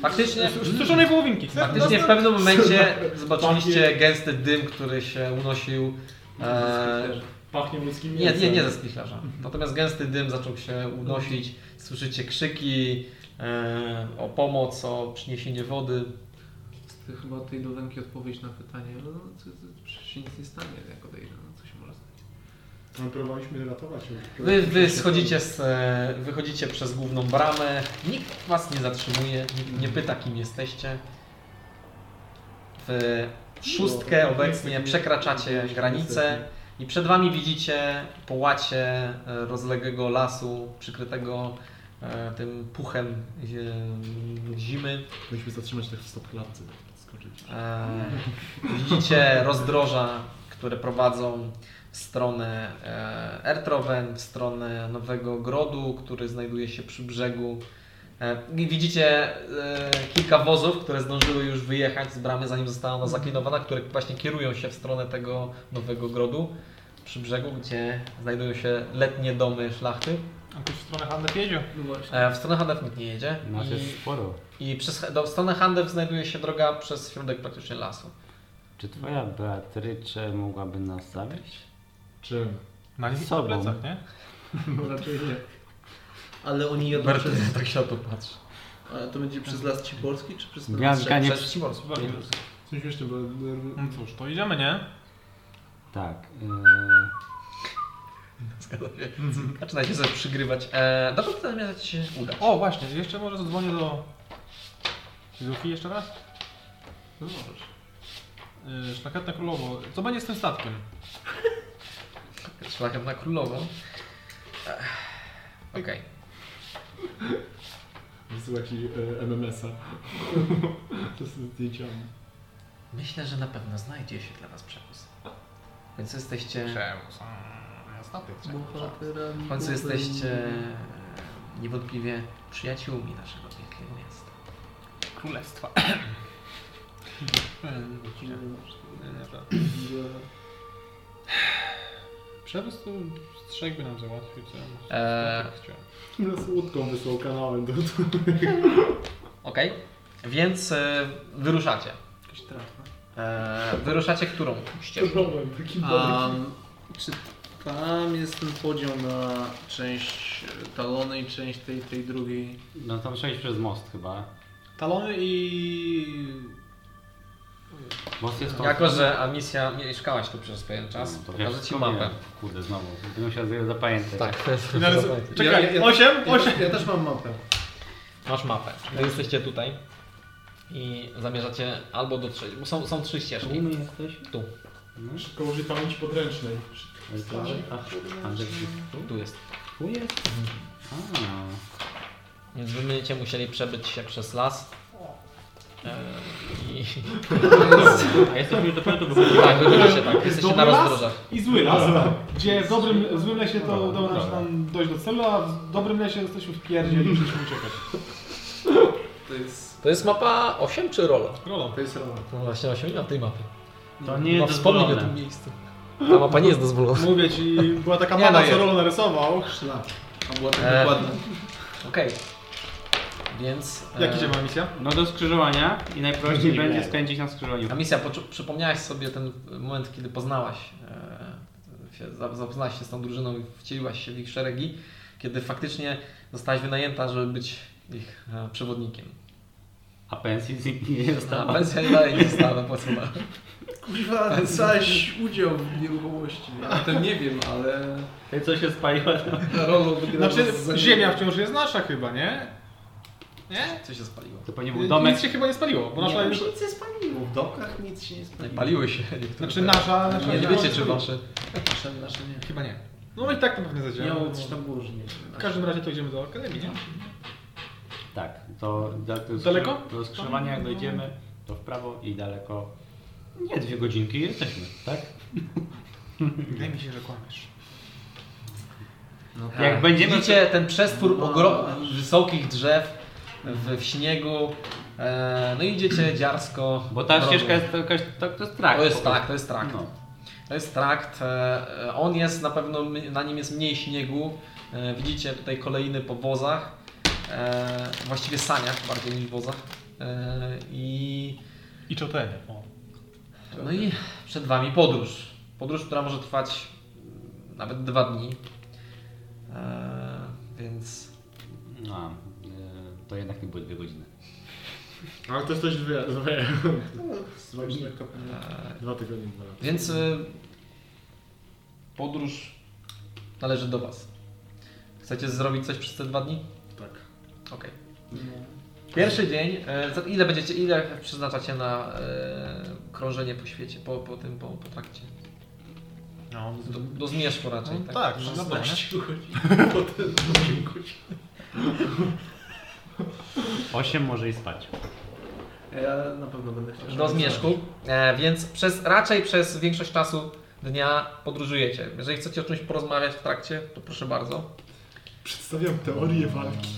Faktycznie, Stuszonej połowinki. Faktycznie w pewnym momencie zobaczyliście gęsty dym, który się unosił. E, Pachnie ludzkim nie, mięsem. nie, nie ze spichlerza. Natomiast gęsty dym zaczął się unosić. Słyszycie krzyki e, o pomoc, o przyniesienie wody. To chyba od tej dolenki odpowiedź na pytanie, no co, co, przecież się nic nie stanie, jak odejdę, no co się może stać. No, próbowaliśmy ratować ją. Wy, wy schodzicie z, e, wychodzicie przez główną bramę. Nikt was nie zatrzymuje, nikt nie pyta kim jesteście. W szóstkę No, obecnie przekraczacie granicę. I przed wami widzicie połacie e, rozległego lasu, przykrytego e, tym puchem e, zimy. Musimy zatrzymać tych w stopklatce. Skoczyć. E, Widzicie rozdroża, które prowadzą w stronę e, Ertrowen, w stronę Nowego Grodu, który znajduje się przy brzegu. E, i Widzicie e, kilka wozów, które zdążyły już wyjechać z bramy, zanim została ona zaklinowana, które właśnie kierują się w stronę tego Nowego Grodu przy brzegu, gdzie znajdują się letnie domy szlachty. A ktoś w stronę Handew jedzie. No właśnie. E, W stronę Handew nikt nie jedzie. Nas I, jest sporo. i przez, do strony Handew znajduje się droga przez środek praktycznie lasu. Czy twoja Beatrycze mogłaby nas zawieść? Czym? Na nich Z sobą. plecach, nie? No raczej Znaczy, nie. Ale oni jadą Bertyn przez... tak się na to patrzy. Ale to będzie przez Las Ciborski, czy przez... Gwiazdka nie... Przez (laughs) Ciborsk. W tym śmiesznym, bo... Hmm. No cóż, to idziemy, nie? Tak. Zaczyna się sobie przygrywać. E, dokąd zamiast się uda? O, właśnie, jeszcze może zadzwonię do... Zufii jeszcze raz? No możesz. Yy, Szlachetna Królowo, co będzie z tym statkiem? Szlakiem na E, królową. Ech, Okej. Wysyła ci e, MMS-a. (laughs) to z zdjęciami. Myślę, że na pewno znajdzie się dla Was przepis. Więc jesteście. Przemus. Ja statek przemus. W końcu jesteście e, niewątpliwie przyjaciółmi naszego pięknego miasta. Królestwa. tak. Przewóz to strzegby nam załatwił, co ja Eee. eee. chciałem. Nas łódką wysłał kanałem do Okej? Więc e, wyruszacie. Jakiś tak? trafny. E, wyruszacie którą ścieżką? Problem, taki A, um, czy tam jest ten podział na część talony i część tej, tej drugiej? No tam przejść przez most chyba. Talony i... Most jest tą Jako, że Amisja mieszkałaś tu przez pewien czas, No, to pokażę wiesz, Ci skąd mapę. wiem. Kurde, znowu. Będę musiał sobie zapamiętać. Tak, Czekaj, Czekaj, 8? Ja, też- ja też mam mapę. masz mapę. Wy jesteście tutaj i zamierzacie albo dotrzeć, bo są, są trzy ścieżki. Kim jesteś? Tu, Szybko użyj pamięci podręcznej. No. Andrzej. tu jest. Tu jest? A. Więc wy będziecie musieli przebyć się przez las. E, I A jesteśmy dopiero tu wychodzili. tak, wychodzicie tak, jesteście dobry na las? rozdrożach. I zły las. Gdzie w dobrym, w złym lesie to udało nam się tam dojść do celu, a w dobrym lesie jesteśmy w pierdzie (laughs) i musieliśmy uciekać. To jest, To jest mapa 8 czy Rolo? to jest rola. No właśnie 8 nie ma tej mapy. To nie Ma jest wspomnień No, o dozwolone. tym miejscu. Ta mapa nie jest dozwolona. Mówię ci, była taka Nie, mama, no co jest. Rolo narysował. Szlak. A była tak E, dokładna. Okej. Więc. e, Jak idzie ma misja? No do skrzyżowania i najprościej będzie skręcić na skrzyżowaniu. Amicia, poczu- przypomniałaś sobie ten moment, kiedy poznałaś, e, się, za- zapoznałaś się z tą drużyną i wcieliłaś się w ich szeregi, kiedy faktycznie zostałaś wynajęta, żeby być ich e, przewodnikiem. A pensji z nikt nie A dostała. pensja dalej nie została wypłacona. (laughs) Kurwa, caś udział w nieruchomości. Ja to nie wiem, ale Co się spaliło? rolą wygrała Znaczy, z- ziemia wciąż jest nasza chyba, nie? Nie? Co się spaliło? To pewnie był domek. Nic się chyba nie spaliło, bo nasza... Nie, już nic nie spaliło. W domkach nic się nie spaliło. Paliły się niektóre. Znaczy nasza... nasza Nie wiecie, czy wasze. Nasze, nasze nie. Chyba nie. No i tak to pewnie zadziała. Miało coś tam było, że nie wiem. W każdym razie to idziemy do Akademii, nie? Tak, to do, do, skrzy- Daleko? do skrzyżowania jak dojdziemy, to w prawo i daleko. Nie, dwie godzinki jesteśmy, tak? Wydaje mi się, że kłamiesz. Tak. Jak będziemy- Widzicie ten przestwór ogro... wysokich drzew w, w śniegu. E, no i idziecie dziarsko. Bo ta drogą. ścieżka jest to jakaś, to, to jest trakt. To jest po tak, prostu. to jest trakt. No. To jest trakt. e, e, On jest na pewno, my- na nim jest mniej śniegu. E, Widzicie tutaj kolejny po wozach. e, Właściwie saniach bardziej niż wozach. E, I, I czotenie. O. no i przed Wami podróż. Podróż, która może trwać mm, nawet dwa dni. E, Więc No, y, to jednak nie były dwie godziny. Ale to jest coś dwie. dwie. Zwabić na kapelę. e, Dwa tygodnie, dwa lata. Więc y, podróż należy do Was. Chcecie zrobić coś przez te dwa dni? Tak. Okej. Pierwszy dzień, e, za- ile będziecie, ile przeznaczacie na e, krążenie po świecie, po, po tym, po, po trakcie? No, Do, do zmierzchu raczej, tak? tak, Przez no dobra. nie? 12 (laughs) godzin. Potem 8 godzin. Osiem może i spać. Ja na pewno będę chciał. żeby Do zmierzchu, e, więc przez, raczej przez większość czasu dnia podróżujecie. Jeżeli chcecie o czymś porozmawiać w trakcie, to proszę bardzo. Przedstawiam teorię walki.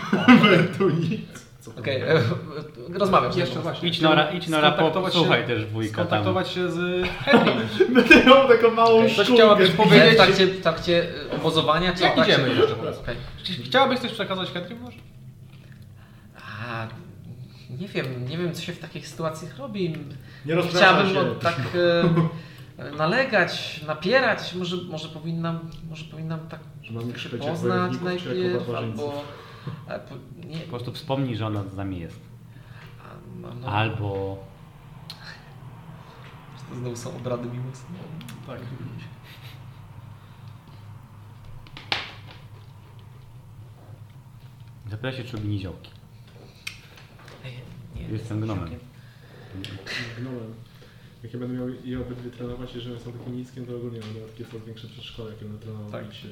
(laughs) Będą nic. Okej, e, e, (laughs) rozmawiam. z Jeszcze tobą. właśnie. Idź Nora, idź Nora po, Skontaktować się- słuchaj też wujka tam. Skontaktować się z... (laughs) Będę miał taką małą Ktoś szkółkę. chciałabyś W powiedzieć... trakcie, w trakcie e, obozowania, czy Jak w trakcie... idziemy jeszcze po prostu? Okej. Chciałabyś coś przekazać Henry może? A, nie wiem, nie wiem co się w takich sytuacjach robi. Nie rozpraszam Chciałabym się. no, tak e, nalegać, napierać. Może, może, powinnam, może powinnam tak Że mamy się krzyczeć jak poznać wojowników, czy jak najpierw, barbarzyńców? albo... e, po- Nie, Po prostu wspomnij, że ona z nami jest. a, no, no, Albo Znowu są obrady miłosne. Tak. zapytaj się, czy lubi niziołki. Nie, Jestem gnomem. Gnąłem. Tak Jak ja będę miał je obydwie trenować, jeżeli one są takie niskie, no to ogólnie będę miał takie coraz większe przedszkole, jakie będę trenował. Tak. się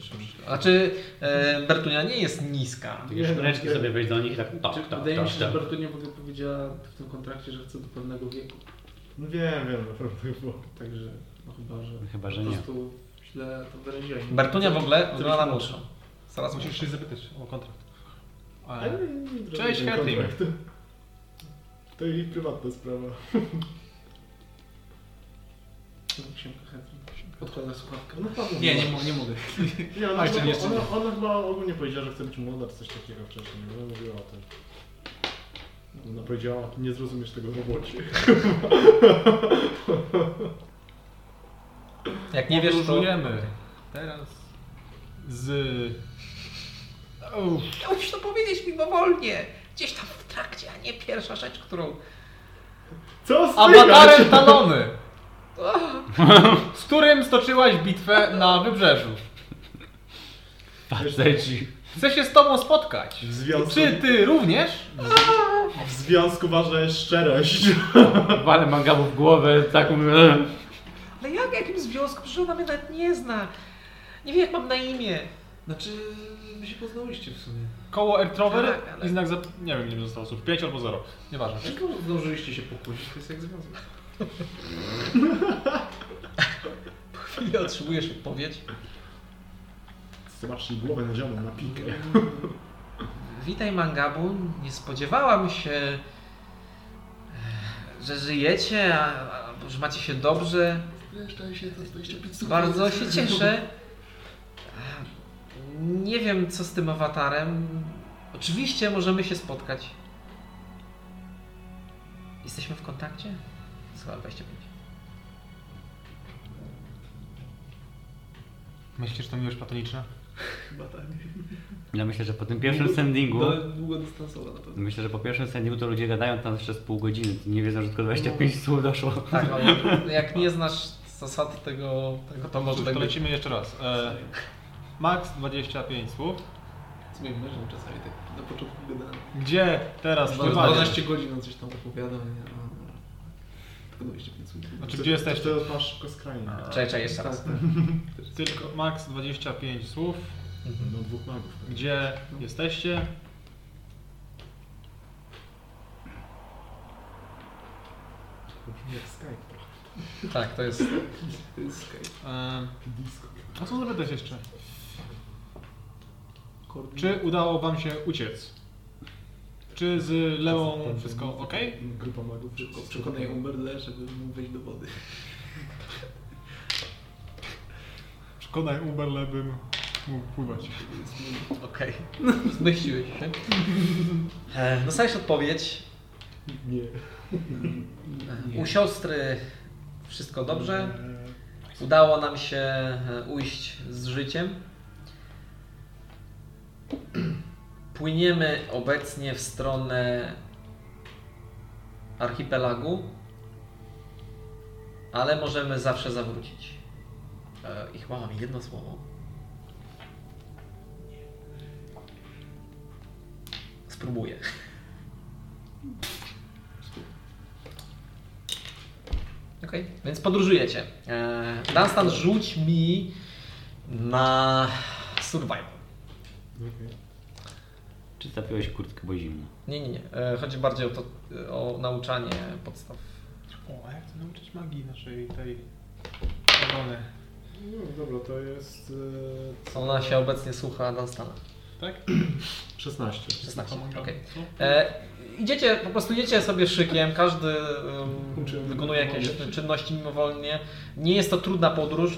Znaczy, e, Bertunia nie jest niska. Takie sznureczki sobie wejść do nich i tak tak, Czy- tak, tak, Wydaje mi się, że tak. Bertunia w ogóle powiedziała w tym kontrakcie, że chce do pewnego wieku. No wiem, wiem, na pewno tak było. Także, no chyba, że Chyba, po że nie. prostu źle to wyraziłem. Bertunia w ogóle Co wygląda byś młodsza. Zaraz Musisz musisz. się zapytać o kontrakt. Ale nie drogi Cześć, ten Katrin. kontrakt. To ich prywatna sprawa. Książka chętnie. Podkłada słuchawkę. No Paweł, Nie, no. nie, mo- nie mogę. Nie, ona, Ale czy chyba, jeszcze ona, ona chyba ogólnie powiedziała, że chce być młoda czy coś takiego wcześniej. Ona mówiła o tym. Ona powiedziała, nie zrozumiesz tego w robocie. Jak nie wiesz, to... Podróżujemy teraz z... Uff. Chciałbyś to powiedzieć mimowolnie. Gdzieś tam w trakcie, a nie pierwsza rzecz, którą... Co z (laughs) Awatarem Talony! Z którym stoczyłaś bitwę na wybrzeżu. (laughs) Faceci. Chcę się z tobą spotkać. W związku- Czy ty również? W związku ważna jest szczerość. (laughs) Walę mangabu w głowę, tak mówię. Ale jak, jakim związku? Przecież ona mnie nawet nie zna. Nie wiem, jak mam na imię. Znaczy, by się poznałyście w sumie. Koło Ertrower Tak, ale- i znak za... Nie wiem, ile mi zostało słów. 5 albo 0. Nieważne. Tylko zdążyliście się pokłócić, to jest jak związek. (laughs) chwilę otrzymujesz odpowiedź. Zobaczcie głowę na ziomo, na pikę. Witaj Mangabu, nie spodziewałam się, e, że żyjecie, a, a, że macie się dobrze. Bardzo się cieszę. E, Nie wiem co z tym awatarem. Oczywiście możemy się spotkać. Jesteśmy w kontakcie? Słuchaj, 25. Myślisz, że to miłość platoniczna? Chyba tak. Ja myślę, że po tym pierwszym sendingu, No, długodystansowa na pewno. myślę, że po pierwszym sendingu to ludzie gadają tam jeszcze z pół godziny, to nie wiedzą, że tylko 25 słów doszło. Tak, no, ale jak nie znasz zasad tego, tego No, to może Dobrze, tak to być. lecimy jeszcze raz. E, max 25 słów. Z moim mężem czasami tak na początku gadałem. Gdzie teraz Dwa- pływacie? 12 godzin on coś tam opowiadał, nie? No, dobra. Tylko 25 minut. Znaczy, gdzie jesteście? To masz szybko skrajnie. Czekaj, czekaj, jeszcze Tak, raz. tak. Tylko max 25 słów. No dwóch magów. Gdzie jesteście? Brzmi jak Skype trochę. Tak, to jest. To jest Skype. E, Disco. a co zapytać jeszcze? Koordyn- Czy udało wam się uciec? Czy z Leą wszystko ok? Grupa magów. E, Przeko- Przekonaj Umberle, żeby mu wejść do wody. Przekonaj Uberle, bym mógł pływać. Okej. (laughs) Zmyśliłeś się. E, Dostałeś odpowiedź. Nie. U siostry wszystko dobrze. Udało nam się e, ujść z życiem. Płyniemy obecnie w stronę archipelagu, ale możemy zawsze zawrócić. E, I chyba mam jedno słowo. Spróbuję. Okej, więc podróżujecie. E, Dunstan, rzuć mi na survival. Okej. Czy zapiąłeś kurtkę, bo zimno? Nie, nie, nie. E, Chodzi bardziej o to, e, o nauczanie podstaw. O, a jak to nauczyć magii naszej tej obrony? No dobra, to jest... e, co? Ona się obecnie słucha Dunstana. 16. 16, okej. E, Idziecie, po prostu idziecie sobie szykiem, każdy em, Uczymy wykonuje jakieś mimowolnie. czynności mimowolnie. Nie jest to trudna podróż.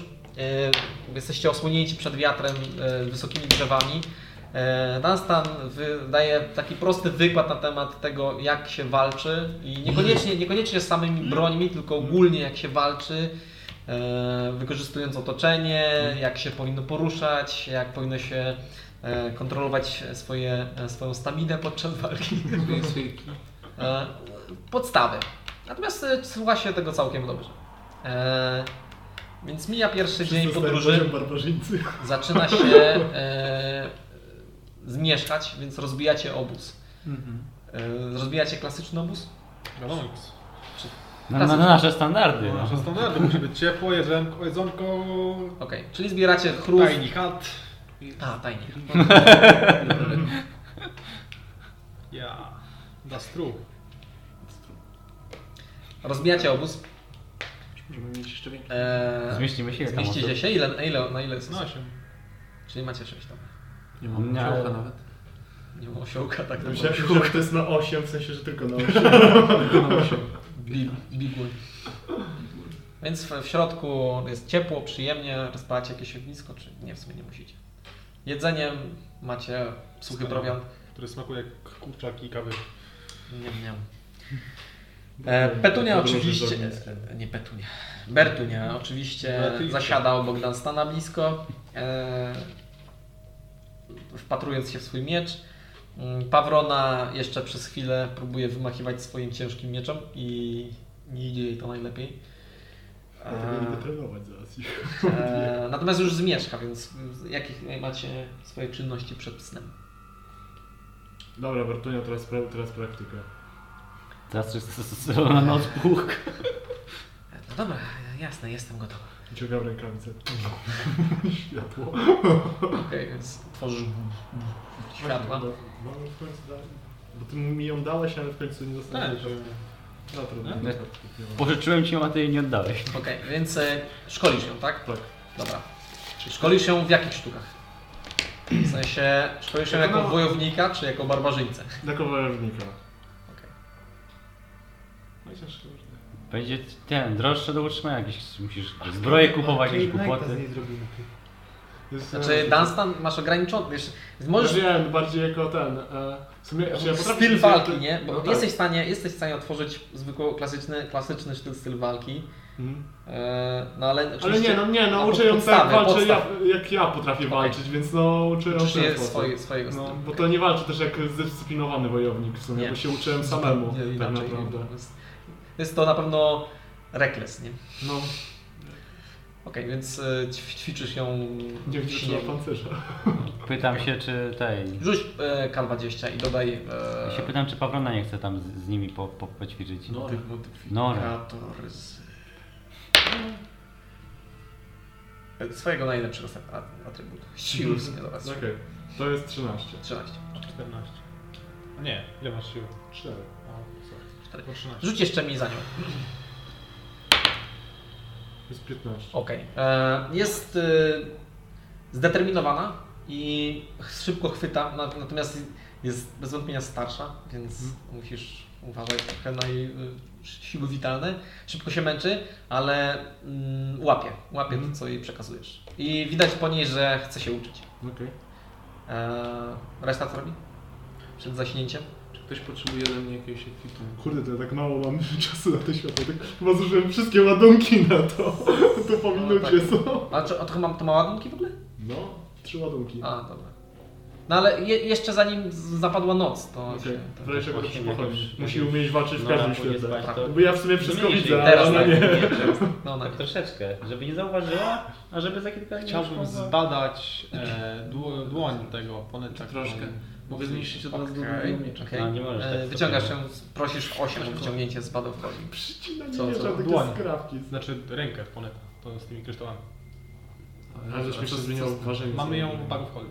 E, Jesteście osłonięci przed wiatrem e, wysokimi drzewami. E, Dunstan wy- daje taki prosty wykład na temat tego, jak się walczy i niekoniecznie, niekoniecznie z samymi brońmi, tylko ogólnie jak się walczy, e, wykorzystując otoczenie, jak się powinno poruszać, jak powinno się e, kontrolować swoje, e, swoją staminę podczas walki. E, podstawy. Natomiast e, słucha się tego całkiem dobrze. E, więc mija pierwszy Wszyscy dzień stają podróży poziom barbarzyńcy. zaczyna się e, zmieszkać, więc rozbijacie obóz. E, rozbijacie klasyczny obóz? Wiadomo, X. Na, na, na nasze standardy. Nasze No. standardy, musi być ciepło, jedzonko, jedzonko Okej, czyli zbieracie chrust. tiny hat. A, tajnie. Yeah, that's true. Rozbijacie obóz. Możemy mieć jeszcze większe. Eee, Zmieścimy się jak tam zmieścicie osób? się? Ile, na ile, na ile jest No osób? osiem. Czyli macie 6 tam. Nie mam Nie. osiołka nawet. Nie było osiołka, tak to Myślałem, było. że to jest na 8, w sensie, że tylko na 8. Bi- Bigły. Więc w, w środku jest ciepło, przyjemnie, rozpalacie jakieś ognisko, czy nie, w sumie nie musicie. Jedzeniem macie suchy Wspaniale. prowiant. Który smakuje jak kurczak i kawy. Nie wiem. E, Petunia oczywiście. e, Nie Petunia. Bertunia oczywiście Bertunia. zasiada obok Dunstana blisko. E, wpatrując się w swój miecz. Mm, Pawrona jeszcze przez chwilę próbuje wymachiwać swoim ciężkim mieczem i nie idzie jej to najlepiej. Ja tego nie wytrenować zaraz. E, natomiast już zmieszka, więc jakich macie swoje czynności przed snem? Dobra, Bartunia, teraz, pra- teraz praktyka. Teraz jest na noc puch. E, No dobra, jasne, jestem gotowa. Ciągam rękawice. Światło. Okej, więc tworzysz światła. No, no, w końcu dalej. Bo ty mi ją dałeś, ale w końcu nie Tak, zostałeś. że No trudno. Tak. Nie. Pożyczyłem ci ją, a ty jej nie oddałeś. Okej, więc e, szkolisz ją, tak? Tak. Dobra. Czy szkolisz ją w jakich sztukach? W sensie, szkolisz ją jako Jako- wojownika, czy jako barbarzyńcę? Na kowarownika. Okej. Chociaż kurde. Będzie ten, droższe do utrzymania jakieś, musisz zbroję kupować, jakieś tak, głupoty. Jest, e, Znaczy, Dunstan masz ograniczony, wiesz, Możesz... możesz... Ja wiem, bardziej jako ten. E, w sumie, czy ja potrafię Styl sobie- walki, nie? Bo No tak. jesteś, w stanie, jesteś w stanie otworzyć zwykły, klasyczny, klasyczny styl, styl walki, Mhm. e, no ale Ale oczywiście nie, no nie, no na uczę ją tak podstawy, walczy podstaw. ja, jak ja potrafię Okej. Znaczy, walczyć, więc no uczę ją w uczysz ten się sposób. swoje, swojego stylu. No, bo to nie walczy też jak zdyscyplinowany wojownik w sumie, Nie. bo się uczyłem samemu Nie, tak inaczej. naprawdę. Jest- Jest to na pewno rekles, nie? No, Okej, więc y, ćwi- ćwiczysz ją nie w wiem, sinie. czy pancerza. tak. Pytam się, czy tej... Rzuć e, K20 i dodaj e, Ja się pytam, czy Pawrona nie chce tam z, z nimi po, po, poćwiczyć. moty- Nora. modyfikator z... E, Swojego najlepszego a- atrybutu. Siły w sumie do was. Okej, to jest 13. 13. 14. A Nie, ile masz siły? 4. O, sorry. Cztery. Po 13. Rzuć jeszcze mi za nią. To jest 15. Okej. E, Jest e, zdeterminowana i ch- szybko chwyta, na- natomiast jest bez wątpienia starsza, więc Mhm. musisz uważać trochę na jej e, siły witalne. Szybko się męczy, ale mm, łapie, łapie Mhm. to, co jej przekazujesz. I widać po niej, że chce się uczyć. Okej. E, Reszta co robi? Przed zaśnięciem? Czy ktoś potrzebuje ode mnie jakiegoś ekwipu? Kurde, to ja tak mało mam (laughs) czasu na te światło. Tak, chyba zużyłem wszystkie ładunki na to. (laughs) To po No, minucie tak. są. A czy, a to, ma, to ma ładunki w ogóle? No, trzy ładunki. A, dobra. No ale je, jeszcze zanim z- zapadła noc, to... Okej, się- to jeszcze jakoś Osiem pochodzi. jakoś- Musi umieć walczyć w No, każdym pójdzie spać, świetle. to- Bo ja w sumie wszystko Mniej widzę, Teraz ale ona tak, nie. nie, teraz tak. No, Tak najpierw. troszeczkę, żeby nie zauważyła, a żeby za kilka dni Chciałbym już mogła- zbadać e, dło- dłoń tego oponenta. Troszkę. którą- Mogę zmniejszyć od razu do Okej, drugiego miecza. okej. No, nie możesz E, tak Wyciągasz ją, sobie. prosisz 8 o wyciągnięcie z badowkoli. Przycina Co, (laughs) nie co? żadne Dłoń. skrawki. Znaczy rękę oponenta, to z tymi kryształami. Ale żeśmy się zmieniło ważenie. Mamy ją w bagu w holu.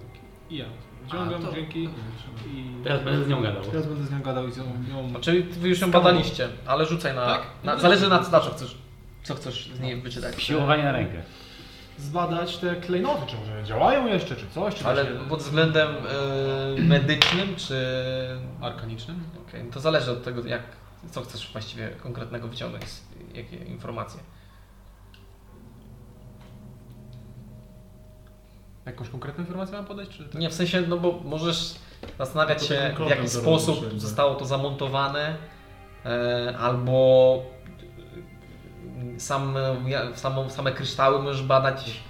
I ja. Wciągam to- dzięki trzeba. i... Teraz będę z nią gadał. Teraz będę z nią gadał i z nią... ją- No, Czyli wy już ją badaliście, ale rzucaj na... na zależy na, na co chcesz. Co chcesz z niej wyczytać. Siłowanie na rękę. Zbadać te klejnoty, czy może działają jeszcze, czy coś, czy Ale właśnie- pod względem e, medycznym, czy... Arkanicznym? Okej, no to zależy od tego, jak, co chcesz właściwie konkretnego wyciągnąć, z- jakie informacje. Jakąś konkretną informację mam podać, czy... Nie, w sensie, no bo możesz zastanawiać No To się, takim w kotem jaki to robisz sposób wszędzie. zostało to zamontowane, e, albo e, sam, ja- samą, same kryształy możesz badać.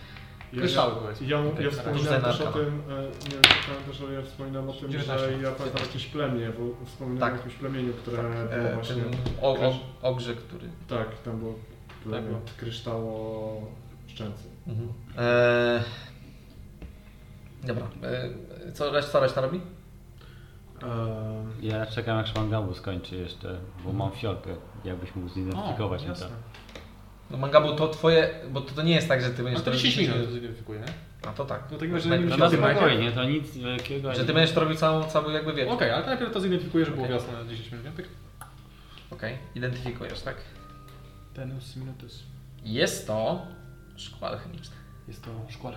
Kryształy powiedz. Ja, ja Okej, wspominałem tak. też o Rzucaj na tym, e, nie wiem, czy pamiętasz, ale ja wspominałem o tym, że 19. ja pamiętam jakieś plemię, bo wspominałem Tak. o jakimś plemieniu, które było E, Tak, no właśnie... ten o, o, ogrze, który. Tak, tam było plemię było. kryształo szczęcy. Mhm. E, dobra, e, co reszta, reszta robi? Ehm, Ja czekam jak szmangabu skończy jeszcze, bo mam fiolkę, jakbyś mógł zidentyfikować mi to. jasne. No Mangabu, to twoje, bo to, to nie jest tak, że ty A będziesz to 10 robił... minut to zidentyfikuje, nie? A to tak. No tak że Będę- nie No musisz na tego- spokojnie, to nic wielkiego. Że ani- ty będziesz to robił całą, cały jakby wieczór. Okej, Okej. ale to najpierw to zidentyfikuję, żeby było Okej. jasne na 10 minut. nie? Tak. Identyfikujesz, tak? Tenus minutus. Jest to szkło alchemiczne. Jest to szkła.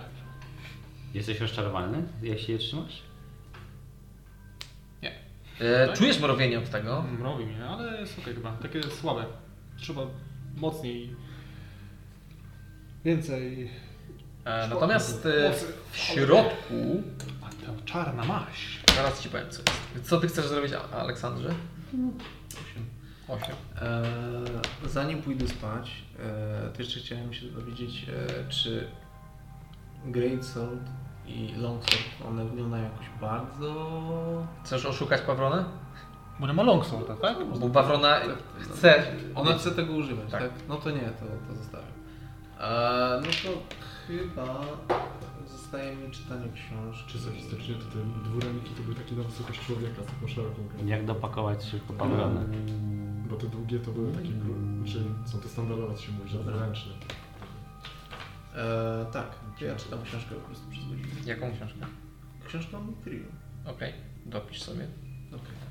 Jesteś rozczarowany, jak się je trzymasz? E, No Tak? Czujesz mrowienie od tego? e, Mrowi mnie, ale jest okej chyba. Takie słabe. Trzeba mocniej. Więcej. E, natomiast Szkło- e, w- w środku... A ta czarna maść. Zaraz ci powiem co jest. Co ty chcesz zrobić, A- Aleksandrze? Osiem. Eee, zanim pójdę spać, eee, to jeszcze chciałem się dowiedzieć, eee, czy Great Sword i Long Sword, one wyglądają jakoś bardzo... Chcesz oszukać Pawronę? Bo nie ma longsworda, tak? Bo Pawrona chce... Ona chce tego używać, Tak. tak? No to nie, to, to zostawiam. Eee, no to chyba zostaje mi czytanie książki. Czysto historycznie to te dwuręki to były takie na wysokość człowieka z taką szeroką ręką. Jak dopakować No, szybko pawrona? Bo te długie to były takie, gru- czyli są te standardowe, co się mówi, że ręczne. Eee, tak, to ja czytam książkę po prostu przez godzinę. Jaką książkę? Książka Trio. Okej, dopisz sobie. Okej.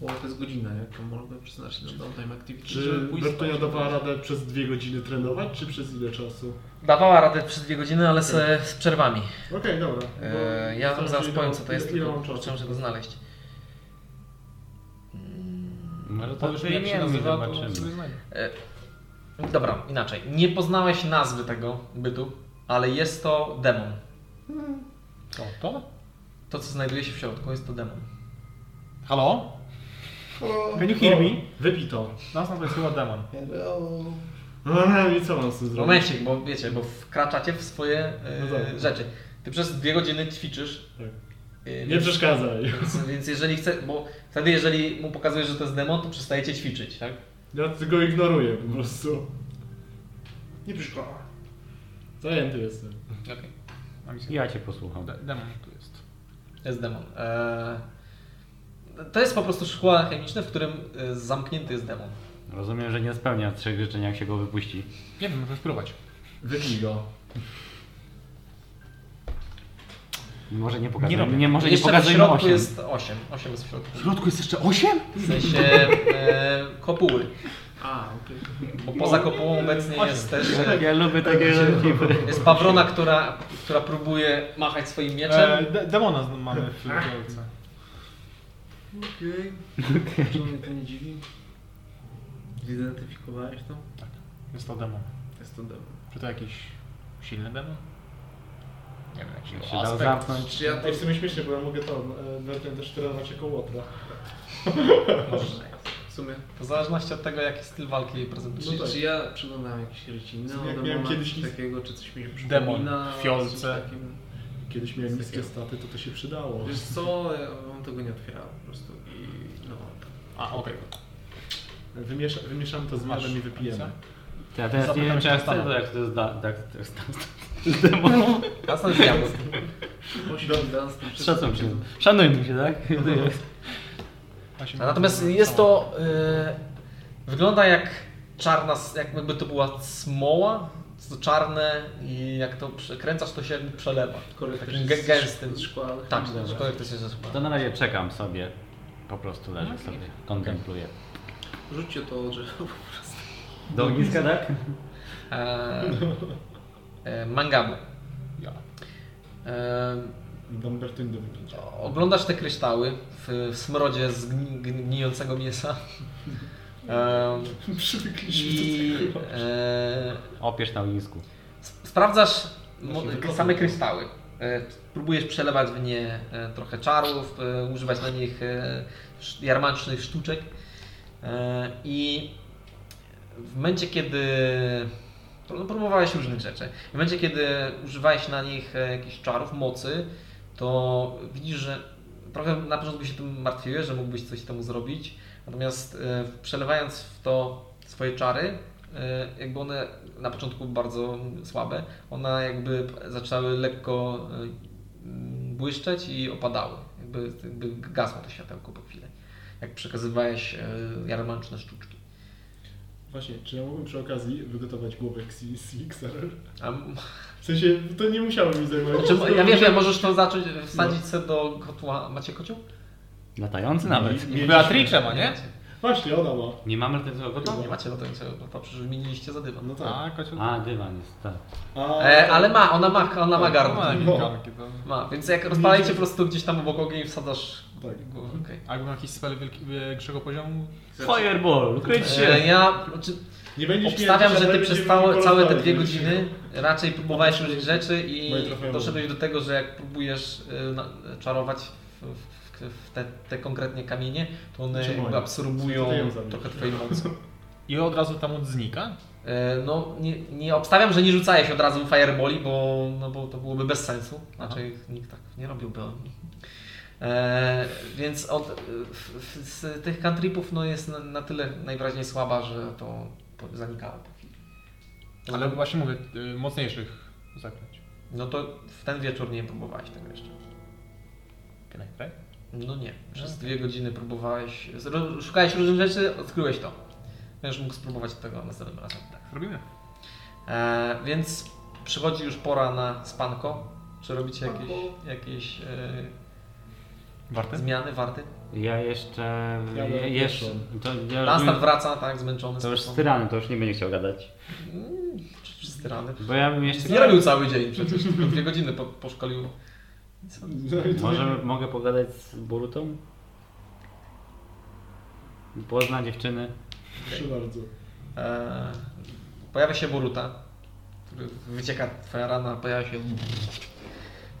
Bo to jest godzina, jak to można przeznaczyć na downtime no, activity, Czy żeby pójść Bertonia spać. dawała radę przez dwie godziny trenować, czy przez ile czasu? Dawała radę przez dwie godziny, ale z, z przerwami. Okej, dobra. bo E, ja wam zastanawiam zaraz się, powiem ile- co to jest, znaczy, no, ile- ile tylko mam czasu. muszę muszę to znaleźć. Mm. Może to Powiesz mi, jak się wyjmiemy i nazywa, to zobaczymy. sobie znajdę. Dobra, inaczej. Nie poznałeś nazwy tego bytu, ale jest to demon. Co to? To co znajduje się w środku jest to demon. Halo? Halo? Can you hear me? Wypij to. Nas nazwa jest chyba demon. Hello. No, no i co mam z tym zrobić? Momencik, bo wiecie, bo wkraczacie w swoje e, No dobra. rzeczy. Ty przez dwie godziny ćwiczysz. Tak. E, Nie przeszkadzaj. więc, więc jeżeli chce, bo wtedy jeżeli mu pokazujesz, że to jest demon, to przestajecie ćwiczyć, tak? Ja go ignoruję po prostu. Nie przeszkoda. Zajęty jestem. A mi się- Ja cię posłucham. De- Demon tu jest. Jest demon. E, to jest po prostu szkło alchemiczne, w którym e, zamknięty jest demon. Rozumiem, że nie spełnia trzech życzeń, jak się go wypuści. Nie wiem, muszę spróbować. Wypij go. Może nie Nie pokazuje. robię. Nie, może nie Jeszcze w pokazuje środku 8. jest 8. 8 jest w środku. W środku jest jeszcze 8? W sensie e, kopuły. A, okej. Bo poza kopułą obecnie jest też e, Ja lubię takie tipy. jest Pawrona, która, która próbuje machać swoim mieczem. E, de- demona zn- mamy w wielce. Okej. Czy mnie to nie dziwi? Zidentyfikowałeś to? Jest to demon. Jest to demon. Czy to jakiś silny demon? Nie wiem, jak Jak się się dał zamknąć. Czy ja to... Ej, w sumie śmiesznie, bo ja mogę to, e, Bertonia też trenować jako łotra. W sumie... no tak. W zależności od tego, jaki styl walki prezentujesz. Czy, czy ja przyglądałem jakieś W ryciny sumie jak od miałem demona, kiedyś kiedyś list- takiego, czy coś mi się przypomina? Demon w fiolce. coś takim. Kiedyś miałem niskie staty, to to się przydało. Wiesz co, ja wam tego nie otwierał po prostu i no... A, okej. Wymiesza, wymieszamy to z Masz miodem i wypijemy. To Ja teraz nie Zapytam wiem, czy się ja chcę, Stana. to jak to jest da, tak, to jest da, Jasne, że diabeł. Osiem dans to wszystko Szacun się. się- Szanujmy się, tak? Okay. A Natomiast jest to. y, wygląda jak czarna, s- jakby to była smoła. Jest to czarne i jak to przekręcasz, to się jakby przelewa. Korek też Takim jest gę- gęstym. z szkła, ale Tak, chyba- szkoda, jak to się zasuwa. To na razie czekam sobie. Po prostu leżę sobie, kontempluję. Rzućcie to drzewo. Do ogniska, tak? E, e, mangabu. Ja. E, Dam Bertoń do wypicia. oglądasz te kryształy w, w smrodzie z gni, gnijącego mięsa. E, I e, Opiesz na ognisku. Sp- Sprawdzasz mo- Właśnie, k- to same to. kryształy. E, Próbujesz przelewać w nie e, trochę czarów, e, używać na nich e, sz- jarmacznych sztuczek. E, I w momencie, kiedy. No, próbowałeś różnych rzeczy. W momencie, kiedy używałeś na nich e, jakichś czarów, mocy, to widzisz, że trochę na początku się tym martwiłeś, że mógłbyś coś temu zrobić. Natomiast e, przelewając w to swoje czary, e, jakby one na początku bardzo słabe, one jakby zaczęły lekko e, m, błyszczeć i opadały. Jakby jakby, jakby gasło to światełko po chwili, jak przekazywałeś e, jarmarczne sztuczki. Właśnie, czy ja mogłem przy okazji wygotować głowę Xi- CXR? A, m- W sensie, to nie musiało mi zajmować. znaczy, mo- ja wiem, że możesz to zacząć No. wsadzić sobie do kotła. Macie kocioł? Latający nawet. Mieliśmy- Beatrice ma, nie? Właśnie, ona ma. Nie mamy latającego No, kota? nie macie latającego kotła, przecież wymieniliście za dywan. No tak. A, kocioł. A, dywan jest, tak. A, E, ale ma, ona ma, ona ma No, garnek. ma jakieś No. garnki, to... Ma, więc jak rozpalajcie po prostu gdzieś tam obok ognia i wsadzasz Tak. głowę. okej. Albo jakiś spell wielki- większego poziomu. Fireball, kryć E, ja znaczy, Nie będziesz obstawiam, miał że dzisiaj, ty ale przez będziemy całe, kolorować, całe te dwie będziesz godziny raczej próbowałeś Oprócz różnych rzeczy i moje trofeum. doszedłeś do tego, że jak próbujesz y, na- czarować w, w, w te, te konkretnie kamienie, to one Czy Znaczy, moje? Znaczy, jakby absorbują Co ty ją zabijesz? trochę twojej (laughs) mocy. I od razu tam od znika. E, No, nie, nie obstawiam, że nie rzucałeś od razu fireboli, bo, no, bo to byłoby bez sensu. Znaczy, nikt tak nie robiłby. E, więc od, y, w, w, z tych cantripów no, jest na, na tyle najwyraźniej słaba, że to po- zanikało po chwili. Ale Mhm. właśnie mówię, y, mocniejszych zaklęć. No to w ten wieczór nie próbowałeś tego jeszcze. Can I try? No nie, przez dwie godziny próbowałeś, zro- szukałeś różnych rzeczy, odkryłeś to. Będziesz mógł spróbować tego następnym razem. tak. Robimy. E, więc przychodzi już pora na spanko. Czy robicie jakieś, jakieś e, Warte? zmiany, warty? Ja jeszcze... Ja bym jeszcze to, ja Lanstan rozumiem, wraca, tak, zmęczony. to już z spocony. tyrany, to już nie będzie chciał gadać. Mm, czy z tyrany. Bo ja bym jeszcze... Nie robił cały dzień (laughs) przecież, tylko dwie godziny po, poszkolił. Co? Może mogę pogadać z Borutą? Pozna dziewczyny. Proszę bardzo. E, pojawia się Boruta, który wycieka twoja rana, pojawia się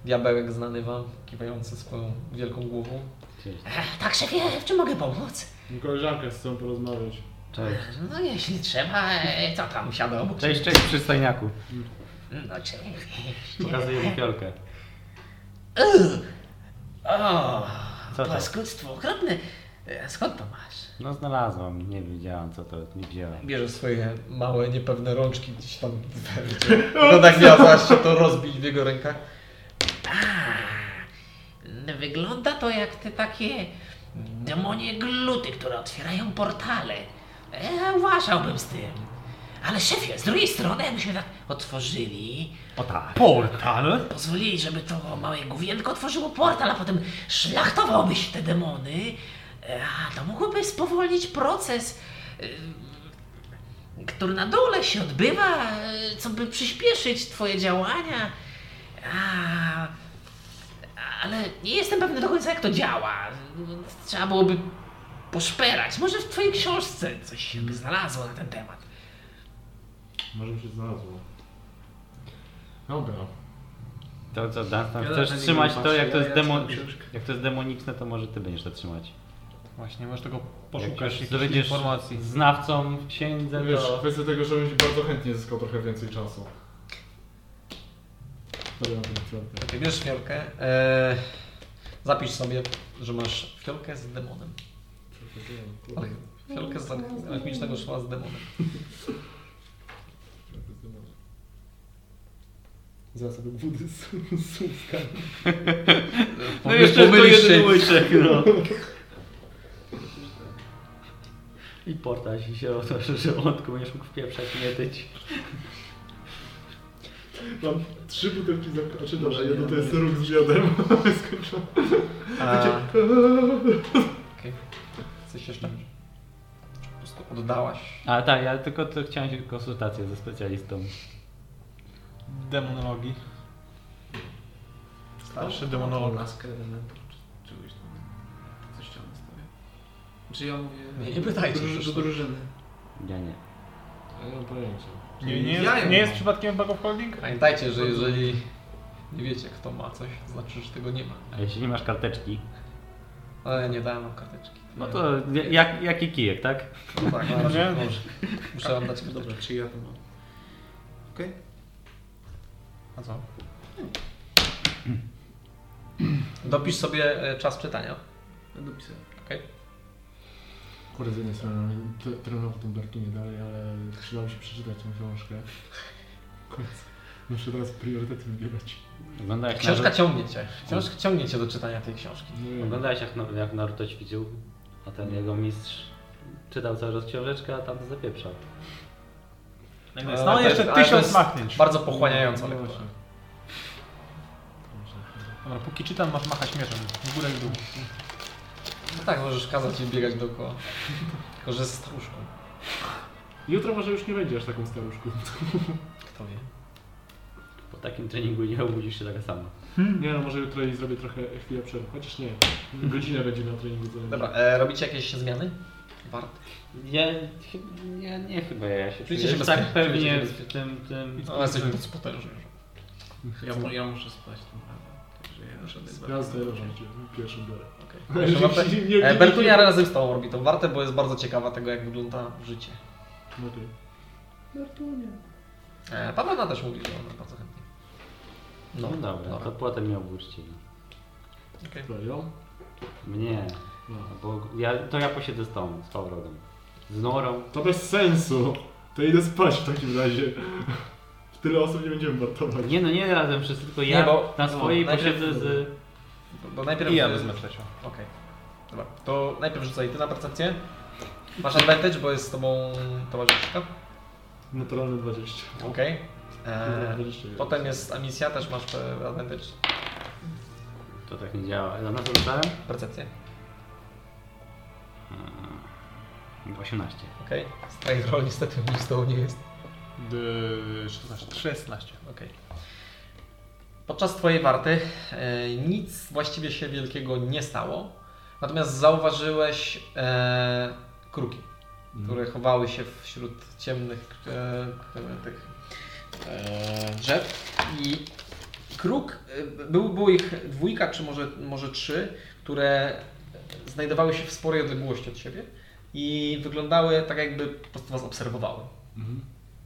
diabełek znany wam, kiwający swoją wielką głową. Cześć. Tak, szefie, w czym mogę pomóc? Koleżankę z chcą porozmawiać. Cześć, No jeśli trzeba, e, co tam, siadę obok? cześć, cześć przystojniaku. No cześć. Pokazuję mi fiolkę. Uuu. O, Co to? paskudztwo okropne. E, Skąd to masz? No znalazłam, nie wiedziałam co to, nie wzięłam. Bierze swoje małe, niepewne rączki gdzieś tam No tak miała się to rozbić w jego rękach. A, Wygląda to jak te takie demonie gluty, które otwierają portale. E, uważałbym z tym. Ale szefie, z drugiej strony jakbyśmy tak otworzyli, O tak. Portal? pozwolili, żeby to małe główienko otworzyło portal, a potem szlachtowałbyś te demony, e, a to mogłoby spowolnić proces, e, który na dole się odbywa, e, co by przyspieszyć twoje działania. A, ale nie jestem pewny do końca, jak to działa. Trzeba byłoby poszperać. Może w twojej książce coś się by znalazło na ten temat. Może mi się znalazło. Dobra. To co, Dunstan, Ja chcesz na niego trzymać patrzę, to jak to ja- jest ja demon... czytam książkę. Jak to jest demoniczne, to może ty będziesz to trzymać. Właśnie, możesz tego Jak poszukać, już jakichś będziesz informacji. No znawcą w księdze, Wiesz, to... kwestia tego, że będzie bardzo chętnie zyskał trochę więcej czasu. Dobra, dobra. Ty bierzesz fiolkę, e, zapisz sobie, że masz fiolkę z demonem. Ale fiolkę z tak- alchemicznego szła z demonem. Zaraz sobie wody z z słówka. no Pomyl- pomylisz się. łyczek, no. I portal się się otworzy, że odku będziesz mógł wpieprzać, nie tyć. Mam trzy butelki za... Znaczy dobra, jedno to jest róg z miodem. (laughs) Skończone. A, Okej. Coś jeszcze? Czy Po prostu oddałaś. A tak, ja tylko to chciałem się konsultację ze specjalistą. Demonologii. Starszy demonolog. Laskę elementu, czy czegoś tam. Coś chciałem nastawić. Czy Znaczy ja mówię... Nie, nie pytajcie Dru- przecież. Do drużyny. Ja nie. Ja nie mam pojęcia. Nie, Ja nie, ją jest, nie mam. Tak, jest przypadkiem Bag of Holding? Pamiętajcie, że jeżeli nie wiecie kto ma coś, to znaczy, że tego nie ma. A jeśli nie masz karteczki, Ale nie dałem wam karteczki. no to jak, jaki kijek, tak? No tak, No nie? dobrze. Muszę wam dać karteczki. Dobra, czy ja to mam? Okej. A co? Dopisz sobie e, czas czytania. Będę pisał. Kurde, z jednej strony no, t- trenował w tym Berkinie dalej, ale przydało się przeczytać tę książkę. Koniec. Muszę teraz priorytety wybierać. Wygląda jak Książka Naruto, ciągnie cię. Tak. Książka ciągnie cię do czytania tej książki. No, wyglądałeś jak, Nar- jak Naruto ćwiczył, a ten jego mistrz czytał cały czas książeczkę, a tam to zapieprzał. tak, No, No, jeszcze tysiąc machnięć. Bardzo pochłaniająca no lektura. właśnie. Dobra, póki czytam, masz machać mieczem. W górę i w dół. No tak, możesz kazać jej biegać dookoła. Tylko, że z staruszką. Jutro może już nie będzie aż taką staruszką. Kto wie. Po takim treningu nie obudzisz się taka sama. Nie no, może jutro i zrobię trochę chwilę przerwy. Chociaż nie. Godzinę będzie na treningu zajęta. Dobra, e, robicie jakieś zmiany? Bart? Ja, chy- ja nie chyba, ja się Czujecie czuję się tak bezpiecznie, czujecie pewnie się w tym, tym... No, jesteśmy pod potężni. Ja, mu, ja muszę spać tym razem. Także ja już Ja odejdę. zdrożę cię. Pierwszy biorę. Proszę, Bartek. (laughs) Nie, nie, nie, E, nie. Bertunia razem z tobą robi tą wartę, bo jest bardzo ciekawa tego, jak wygląda życie. No ty. E, Pawlona też mówi, że ona bardzo chętnie. No dobra, to potem mnie obudźcie. Okej. To ją? Mnie, No. bo ja, to ja posiedzę z tą, z powrotem. Z Norą. To bez sensu. To idę spać w takim razie. Tyle osób nie będziemy wartować. Nie no, nie razem wszyscy, tylko ja Nie, bo- no, na swojej najpierw- posiedzę z... Bo- Bo najpierw... I ja wezmę trzecią. Okej. Dobra, to najpierw rzucaj ty na percepcję. Masz advantage, bo jest z tobą towarzyszka. Naturalne 20. Okej. E, 21. Potem jest emisja, też masz e, advantage. To tak nie działa. Ja na co dostałem? Percepcję. Eee, 18. Okej. Strike roll niestety nic z tobą nie jest. Yy, D- 16. 16. Okej. Podczas Twojej warty e, nic właściwie się wielkiego nie stało, natomiast zauważyłeś e, kruki, które chowały się wśród ciemnych e, e, tych e, drzew i kruk, e, był, było ich dwójka czy może, może trzy, które znajdowały się w sporej odległości od siebie i wyglądały tak jakby po prostu Was obserwowały. Mhm.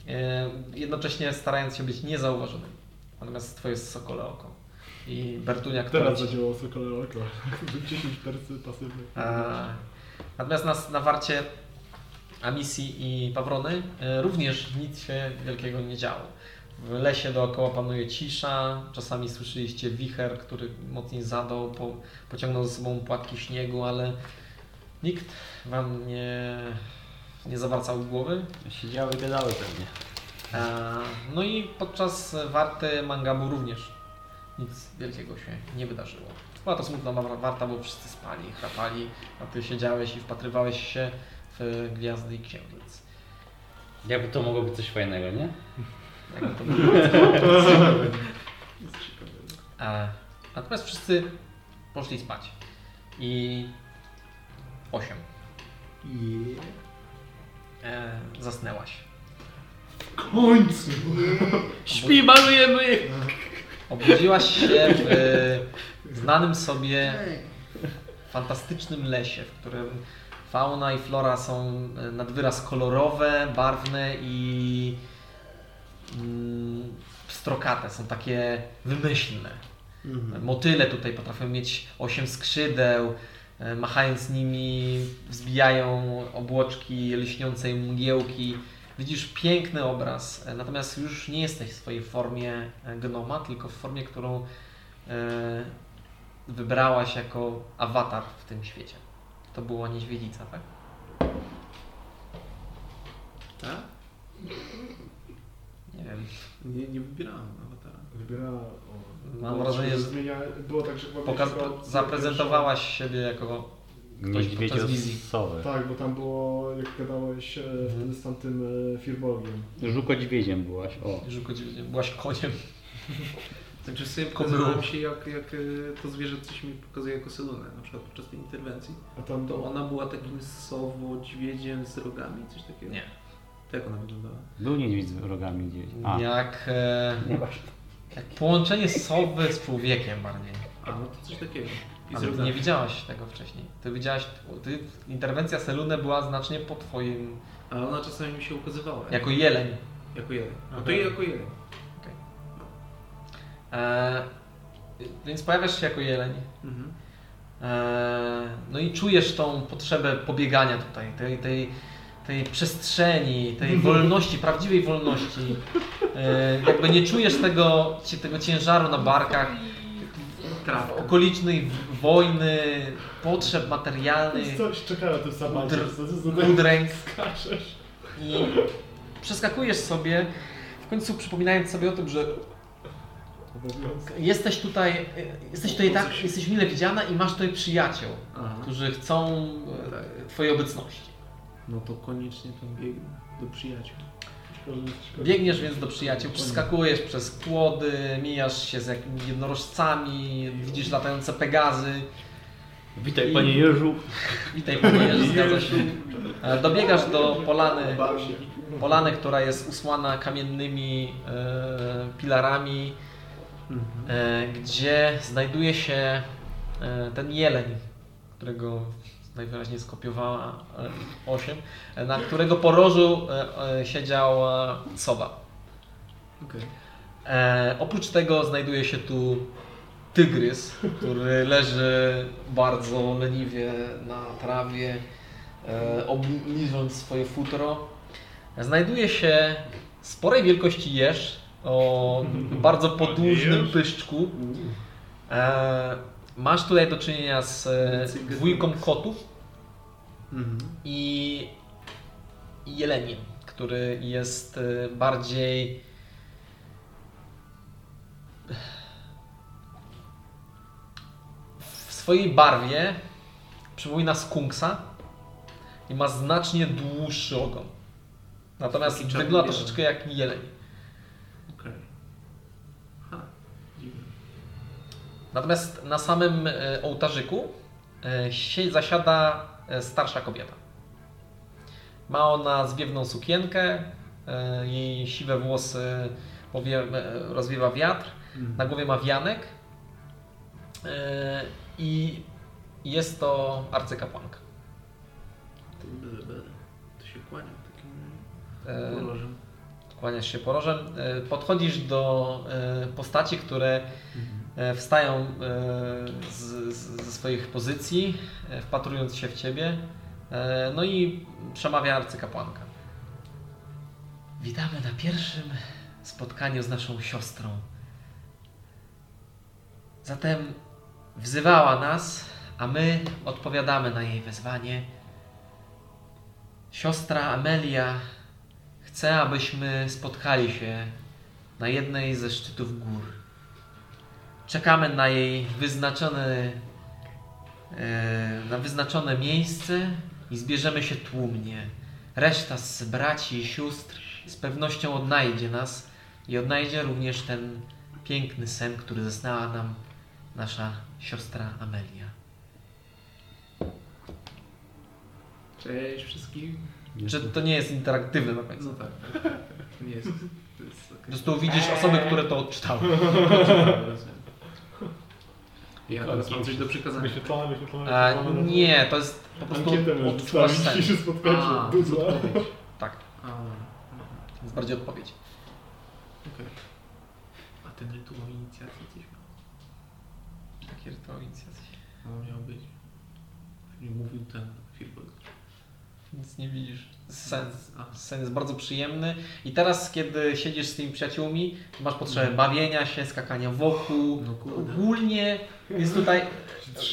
E, jednocześnie starając się być niezauważonym. Natomiast twoje jest sokole oko. I Bertunia, która... Teraz ci- zadziałało Sokole (laughs) Oko. 10% pasywnych. (laughs) E, Natomiast nas na warcie Amisji i Pawrony e, również nic się wielkiego nie działo. W lesie dookoła panuje cisza, czasami słyszeliście wicher, który mocniej zadał, po, pociągnął ze sobą płatki śniegu, ale nikt wam nie, nie zawracał głowy, Siedziały i gadały pewnie. E, No i podczas warty Mangabu również nic wielkiego się nie wydarzyło. Była to smutna wa- warta, bo wszyscy spali, chrapali, a ty siedziałeś i wpatrywałeś się w gwiazdy i księżyc. Jakby to mogło być coś fajnego, nie? Jakby to było. E, Natomiast wszyscy poszli spać. I 8. E, Zasnęłaś. W końcu! Śpi, malujemy! Obudziłaś się w znanym sobie fantastycznym lesie, w którym fauna i flora są e, nad wyraz kolorowe, barwne i mm, pstrokate, są takie wymyślne. Motyle tutaj potrafią mieć 8 skrzydeł, e, machając nimi wzbijają obłoczki lśniącej mgiełki. Widzisz piękny obraz, e, natomiast już nie jesteś w swojej formie e, gnoma, tylko w formie, którą e, wybrałaś jako awatar w tym świecie. To była niedźwiedzica, tak? Tak? Nie wiem. Nie, nie wybierałem awatara. Wybierała... o. Mam Było wrażenie, tak, że- Zmienia... Było tak, że... była pierwsza Poka- opcja, zaprezentowałaś siebie jako. podczas wizji. Niedźwiedziosowy. pierwsza- Tak, bo tam było, jak gadałeś e, wtedy z tamtym e, Firbolgiem. Żuko-dźwiedziem byłaś, o. Żuko, dźwiedzie- byłaś koniem. Znaczy sobie Tylko pokazywałem mruk. się, jak, jak e, to zwierzę coś mi pokazuje jako selunę, na przykład podczas tej interwencji. A tam... To ona była takim sowo-dźwiedziem z rogami, coś takiego. Nie. To jak ona wyglądała? Był niedźwiedź z rogami gdzieś. A, Jak, e, jak połączenie sowy z człowiekiem bardziej. A, no to coś takiego. I z Ale ty rogami. nie widziałaś tego wcześniej. Ty widziałaś, ty, interwencja Selune była znacznie po twoim, Ale ona czasami mi się ukazywała. jako jeleń. Jako jeden. No to Okej. i jako jeden. E, więc pojawiasz się jako jeleń. Mhm. E, no i czujesz tą potrzebę pobiegania tutaj, tej, tej, tej przestrzeni, tej wolności, prawdziwej wolności. E, Jakby nie czujesz tego, ci- tego ciężaru na barkach, Trawka. okolicznej wojny, potrzeb materialnych, Coś czeka na tym sabacie. Dr- co ty zadaje- udręk. skaczesz. I przeskakujesz sobie, w końcu przypominając sobie o tym, że Obowiązek. jesteś tutaj, jesteś tutaj tak, jesteś mile widziana i masz tutaj przyjaciół, Aha. którzy chcą e, twojej obecności. No to koniecznie ten bieg do przyjaciół. Szkoda, że jesteś kobietą. Biegniesz więc do przyjaciół, przeskakujesz przez płody, mijasz się z jakimiś jednorożcami, widzisz latające pegazy. Witaj, I- panie Jerzu. Witaj, panie, zgadza się. E, Dobiegasz do polany, Bał się. polany, która jest usłana kamiennymi e, pilarami, e, gdzie znajduje się e, ten jeleń, którego najwyraźniej skopiowała 8, na którego porożu e, e, siedziała sowa. Okej. E, oprócz tego znajduje się tu tygrys, który leży bardzo leniwie na trawie, e, obliżąc swoje futro. Znajduje się sporej wielkości jeż o bardzo podłużnym pyszczku. E, masz tutaj do czynienia z e, dwójką kotów Mhm. i i jeleniem, który jest e, bardziej w swojej barwie przypomina skunksa i ma znacznie dłuższy ogon. Natomiast Taki czarny wygląda jeleń. troszeczkę jak jeleń. Okej. Ha, dziwne. Natomiast na samym e, ołtarzyku e, sie- zasiada e, starsza kobieta. Ma ona zwiewną sukienkę, e, jej siwe włosy powie, e, rozwiewa wiatr, na głowie ma wianek e, i jest to arcykapłanka. To byle, byle. To się kłaniam takim E, kolorze. Kłaniasz się porożem. E, Podchodzisz do e, postaci, które e, wstają e, z, z, ze swoich pozycji, e, wpatrując się w ciebie. E, No i przemawia arcykapłanka. Witamy na pierwszym spotkaniu z naszą siostrą. Zatem wzywała nas, a my odpowiadamy na jej wezwanie. Siostra Amelia Chcę, abyśmy spotkali się na jednej ze szczytów gór. Czekamy na jej wyznaczone, e, na wyznaczone miejsce i zbierzemy się tłumnie. Reszta z braci i sióstr z pewnością odnajdzie nas i odnajdzie również ten piękny sen, który zeznała nam nasza siostra Amelia. Cześć wszystkim. Czy to nie jest interaktywne na końcu? No tak. tak, tak. To (laughs) nie jest. To jest Po okej. prostu widzisz osoby, które to odczytały. (laughs) Ja teraz mam coś do przekazania. Wyświetlamy, wyświetlamy. E, wyświetlamy. nie, to jest po prostu Ankietę możesz odczuwasz wstawić sen. dzisiejsze spotkanie. A, Dużo. Tak, A, to jest bardziej odpowiedź. a ten rytuał inicjacji coś miał. Takie rytuał inicjacji. No miał być. Nie mówił ten Filbert. Nic nie widzisz. Sen, A, sen jest bardzo przyjemny. I teraz, kiedy siedzisz z tymi przyjaciółmi, masz potrzebę bawienia się, skakania wokół. Mhm. no kurde. Ogólnie jest tutaj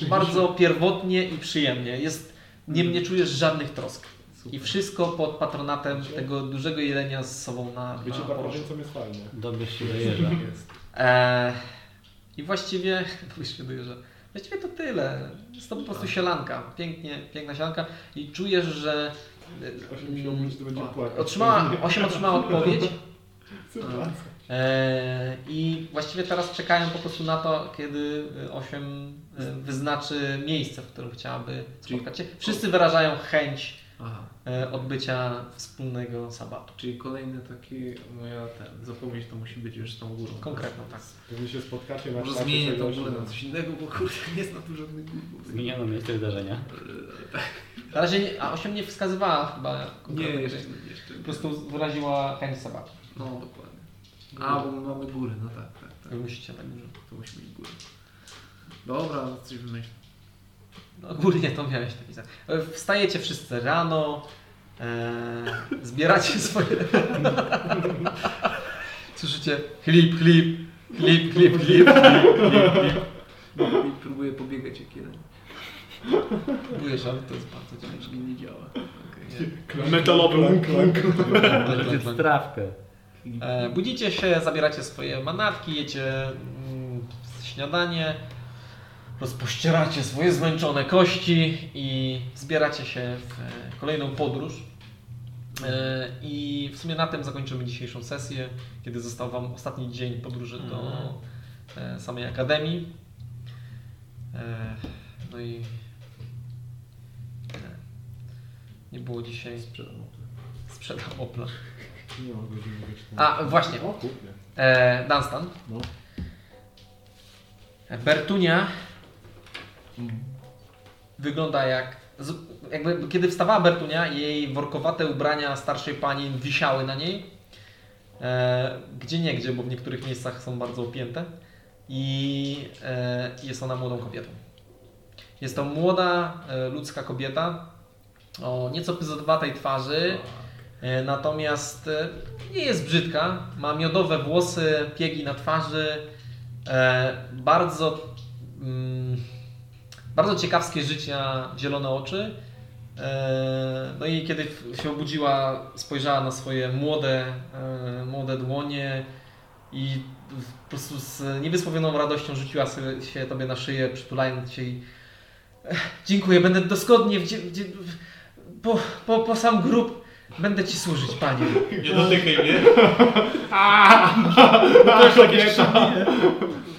bardzo pierwotnie i przyjemnie. Jest, nie, Mm. nie czujesz żadnych trosk. I Super. wszystko pod patronatem tego dużego jelenia z sobą na, Wiecie, na bardzo poruszu. co jest fajne. Dobrze się dojeżdża. E, I właściwie, (laughs) mówisz się że właściwie to tyle. Jest to po Tak. prostu sielanka. Pięknie, piękna sielanka i czujesz, że e, Osiem się umyć, to będzie Mm, płakać. otrzymała, osiem otrzymała odpowiedź Super. Tak. e, i właściwie teraz czekają po prostu na to, kiedy osiem e, wyznaczy miejsce, w którym chciałaby Czyli- spotkać się. Wszyscy wyrażają chęć Aha. e, odbycia wspólnego sabatu. Czyli kolejny taki moja ten, zapowiedź to musi być już z tą górą. Konkretną, tak. Pewnie się spotkacie na Może czacie zmienię tą czegoś, górę no. na coś innego, bo kurde nie znam tu żadnych gór. Zmieniono miejsce wydarzenia. Na razie nie, a osiem nie wskazywała chyba Nie, konkretnej jeszcze, rzeczy. jeszcze. Po prostu wyraziła chęć sabatu. No dokładnie. A, bo my mamy góry, no tak, tak, tak. Wy musicie tak dużo. To musi być góry. Dobra, no coś wymyślę. No, Ogólnie to miałeś taki sen. Wstajecie wszyscy E, rano, Eee, zbieracie (laughs) swoje... Słyszycie chlip, chlip, chlip, chlip, chlip. I próbuję pobiegać jak jeden. Próbujesz, ale to jest bardzo ciężkie. Jeśli nie działa. Metalowy łuk. Klank, klank. Trawkę. E, Budzicie się, zabieracie swoje manatki, jecie mm, śniadanie, rozpościeracie swoje zmęczone kości i zbieracie się w e, kolejną podróż. E, I w sumie na tym zakończymy dzisiejszą sesję, kiedy został Wam ostatni dzień podróży do e, samej Akademii. E, No i tyle. nie było dzisiaj sprzedam Opla. Nie ma godziny wiecznej. A właśnie, O kurde. E, Dunstan. No. Bertunia wygląda jak. z- Jakby kiedy wstawała Bertunia, jej workowate ubrania starszej pani wisiały na niej. E, gdzie nie gdzie, bo w niektórych miejscach są bardzo opięte. I e, jest ona młodą kobietą. Jest to młoda, e, ludzka kobieta o nieco pyzodowatej twarzy. E, Natomiast e, nie jest brzydka. Ma miodowe włosy, piegi na twarzy. E, bardzo, mm, bardzo ciekawskie życia, zielone oczy. E, no i kiedy w- się obudziła, spojrzała na swoje młode, e, młode dłonie i w- po prostu z niewysłowioną radością rzuciła sobie- się tobie na szyję, przytulając cię i "Ech, dziękuję, będę doskonnie wdzie- wdzie- w- po, po, po sam grób będę ci służyć, panie. Nie dotykaj mnie. No, Młoda kobieta.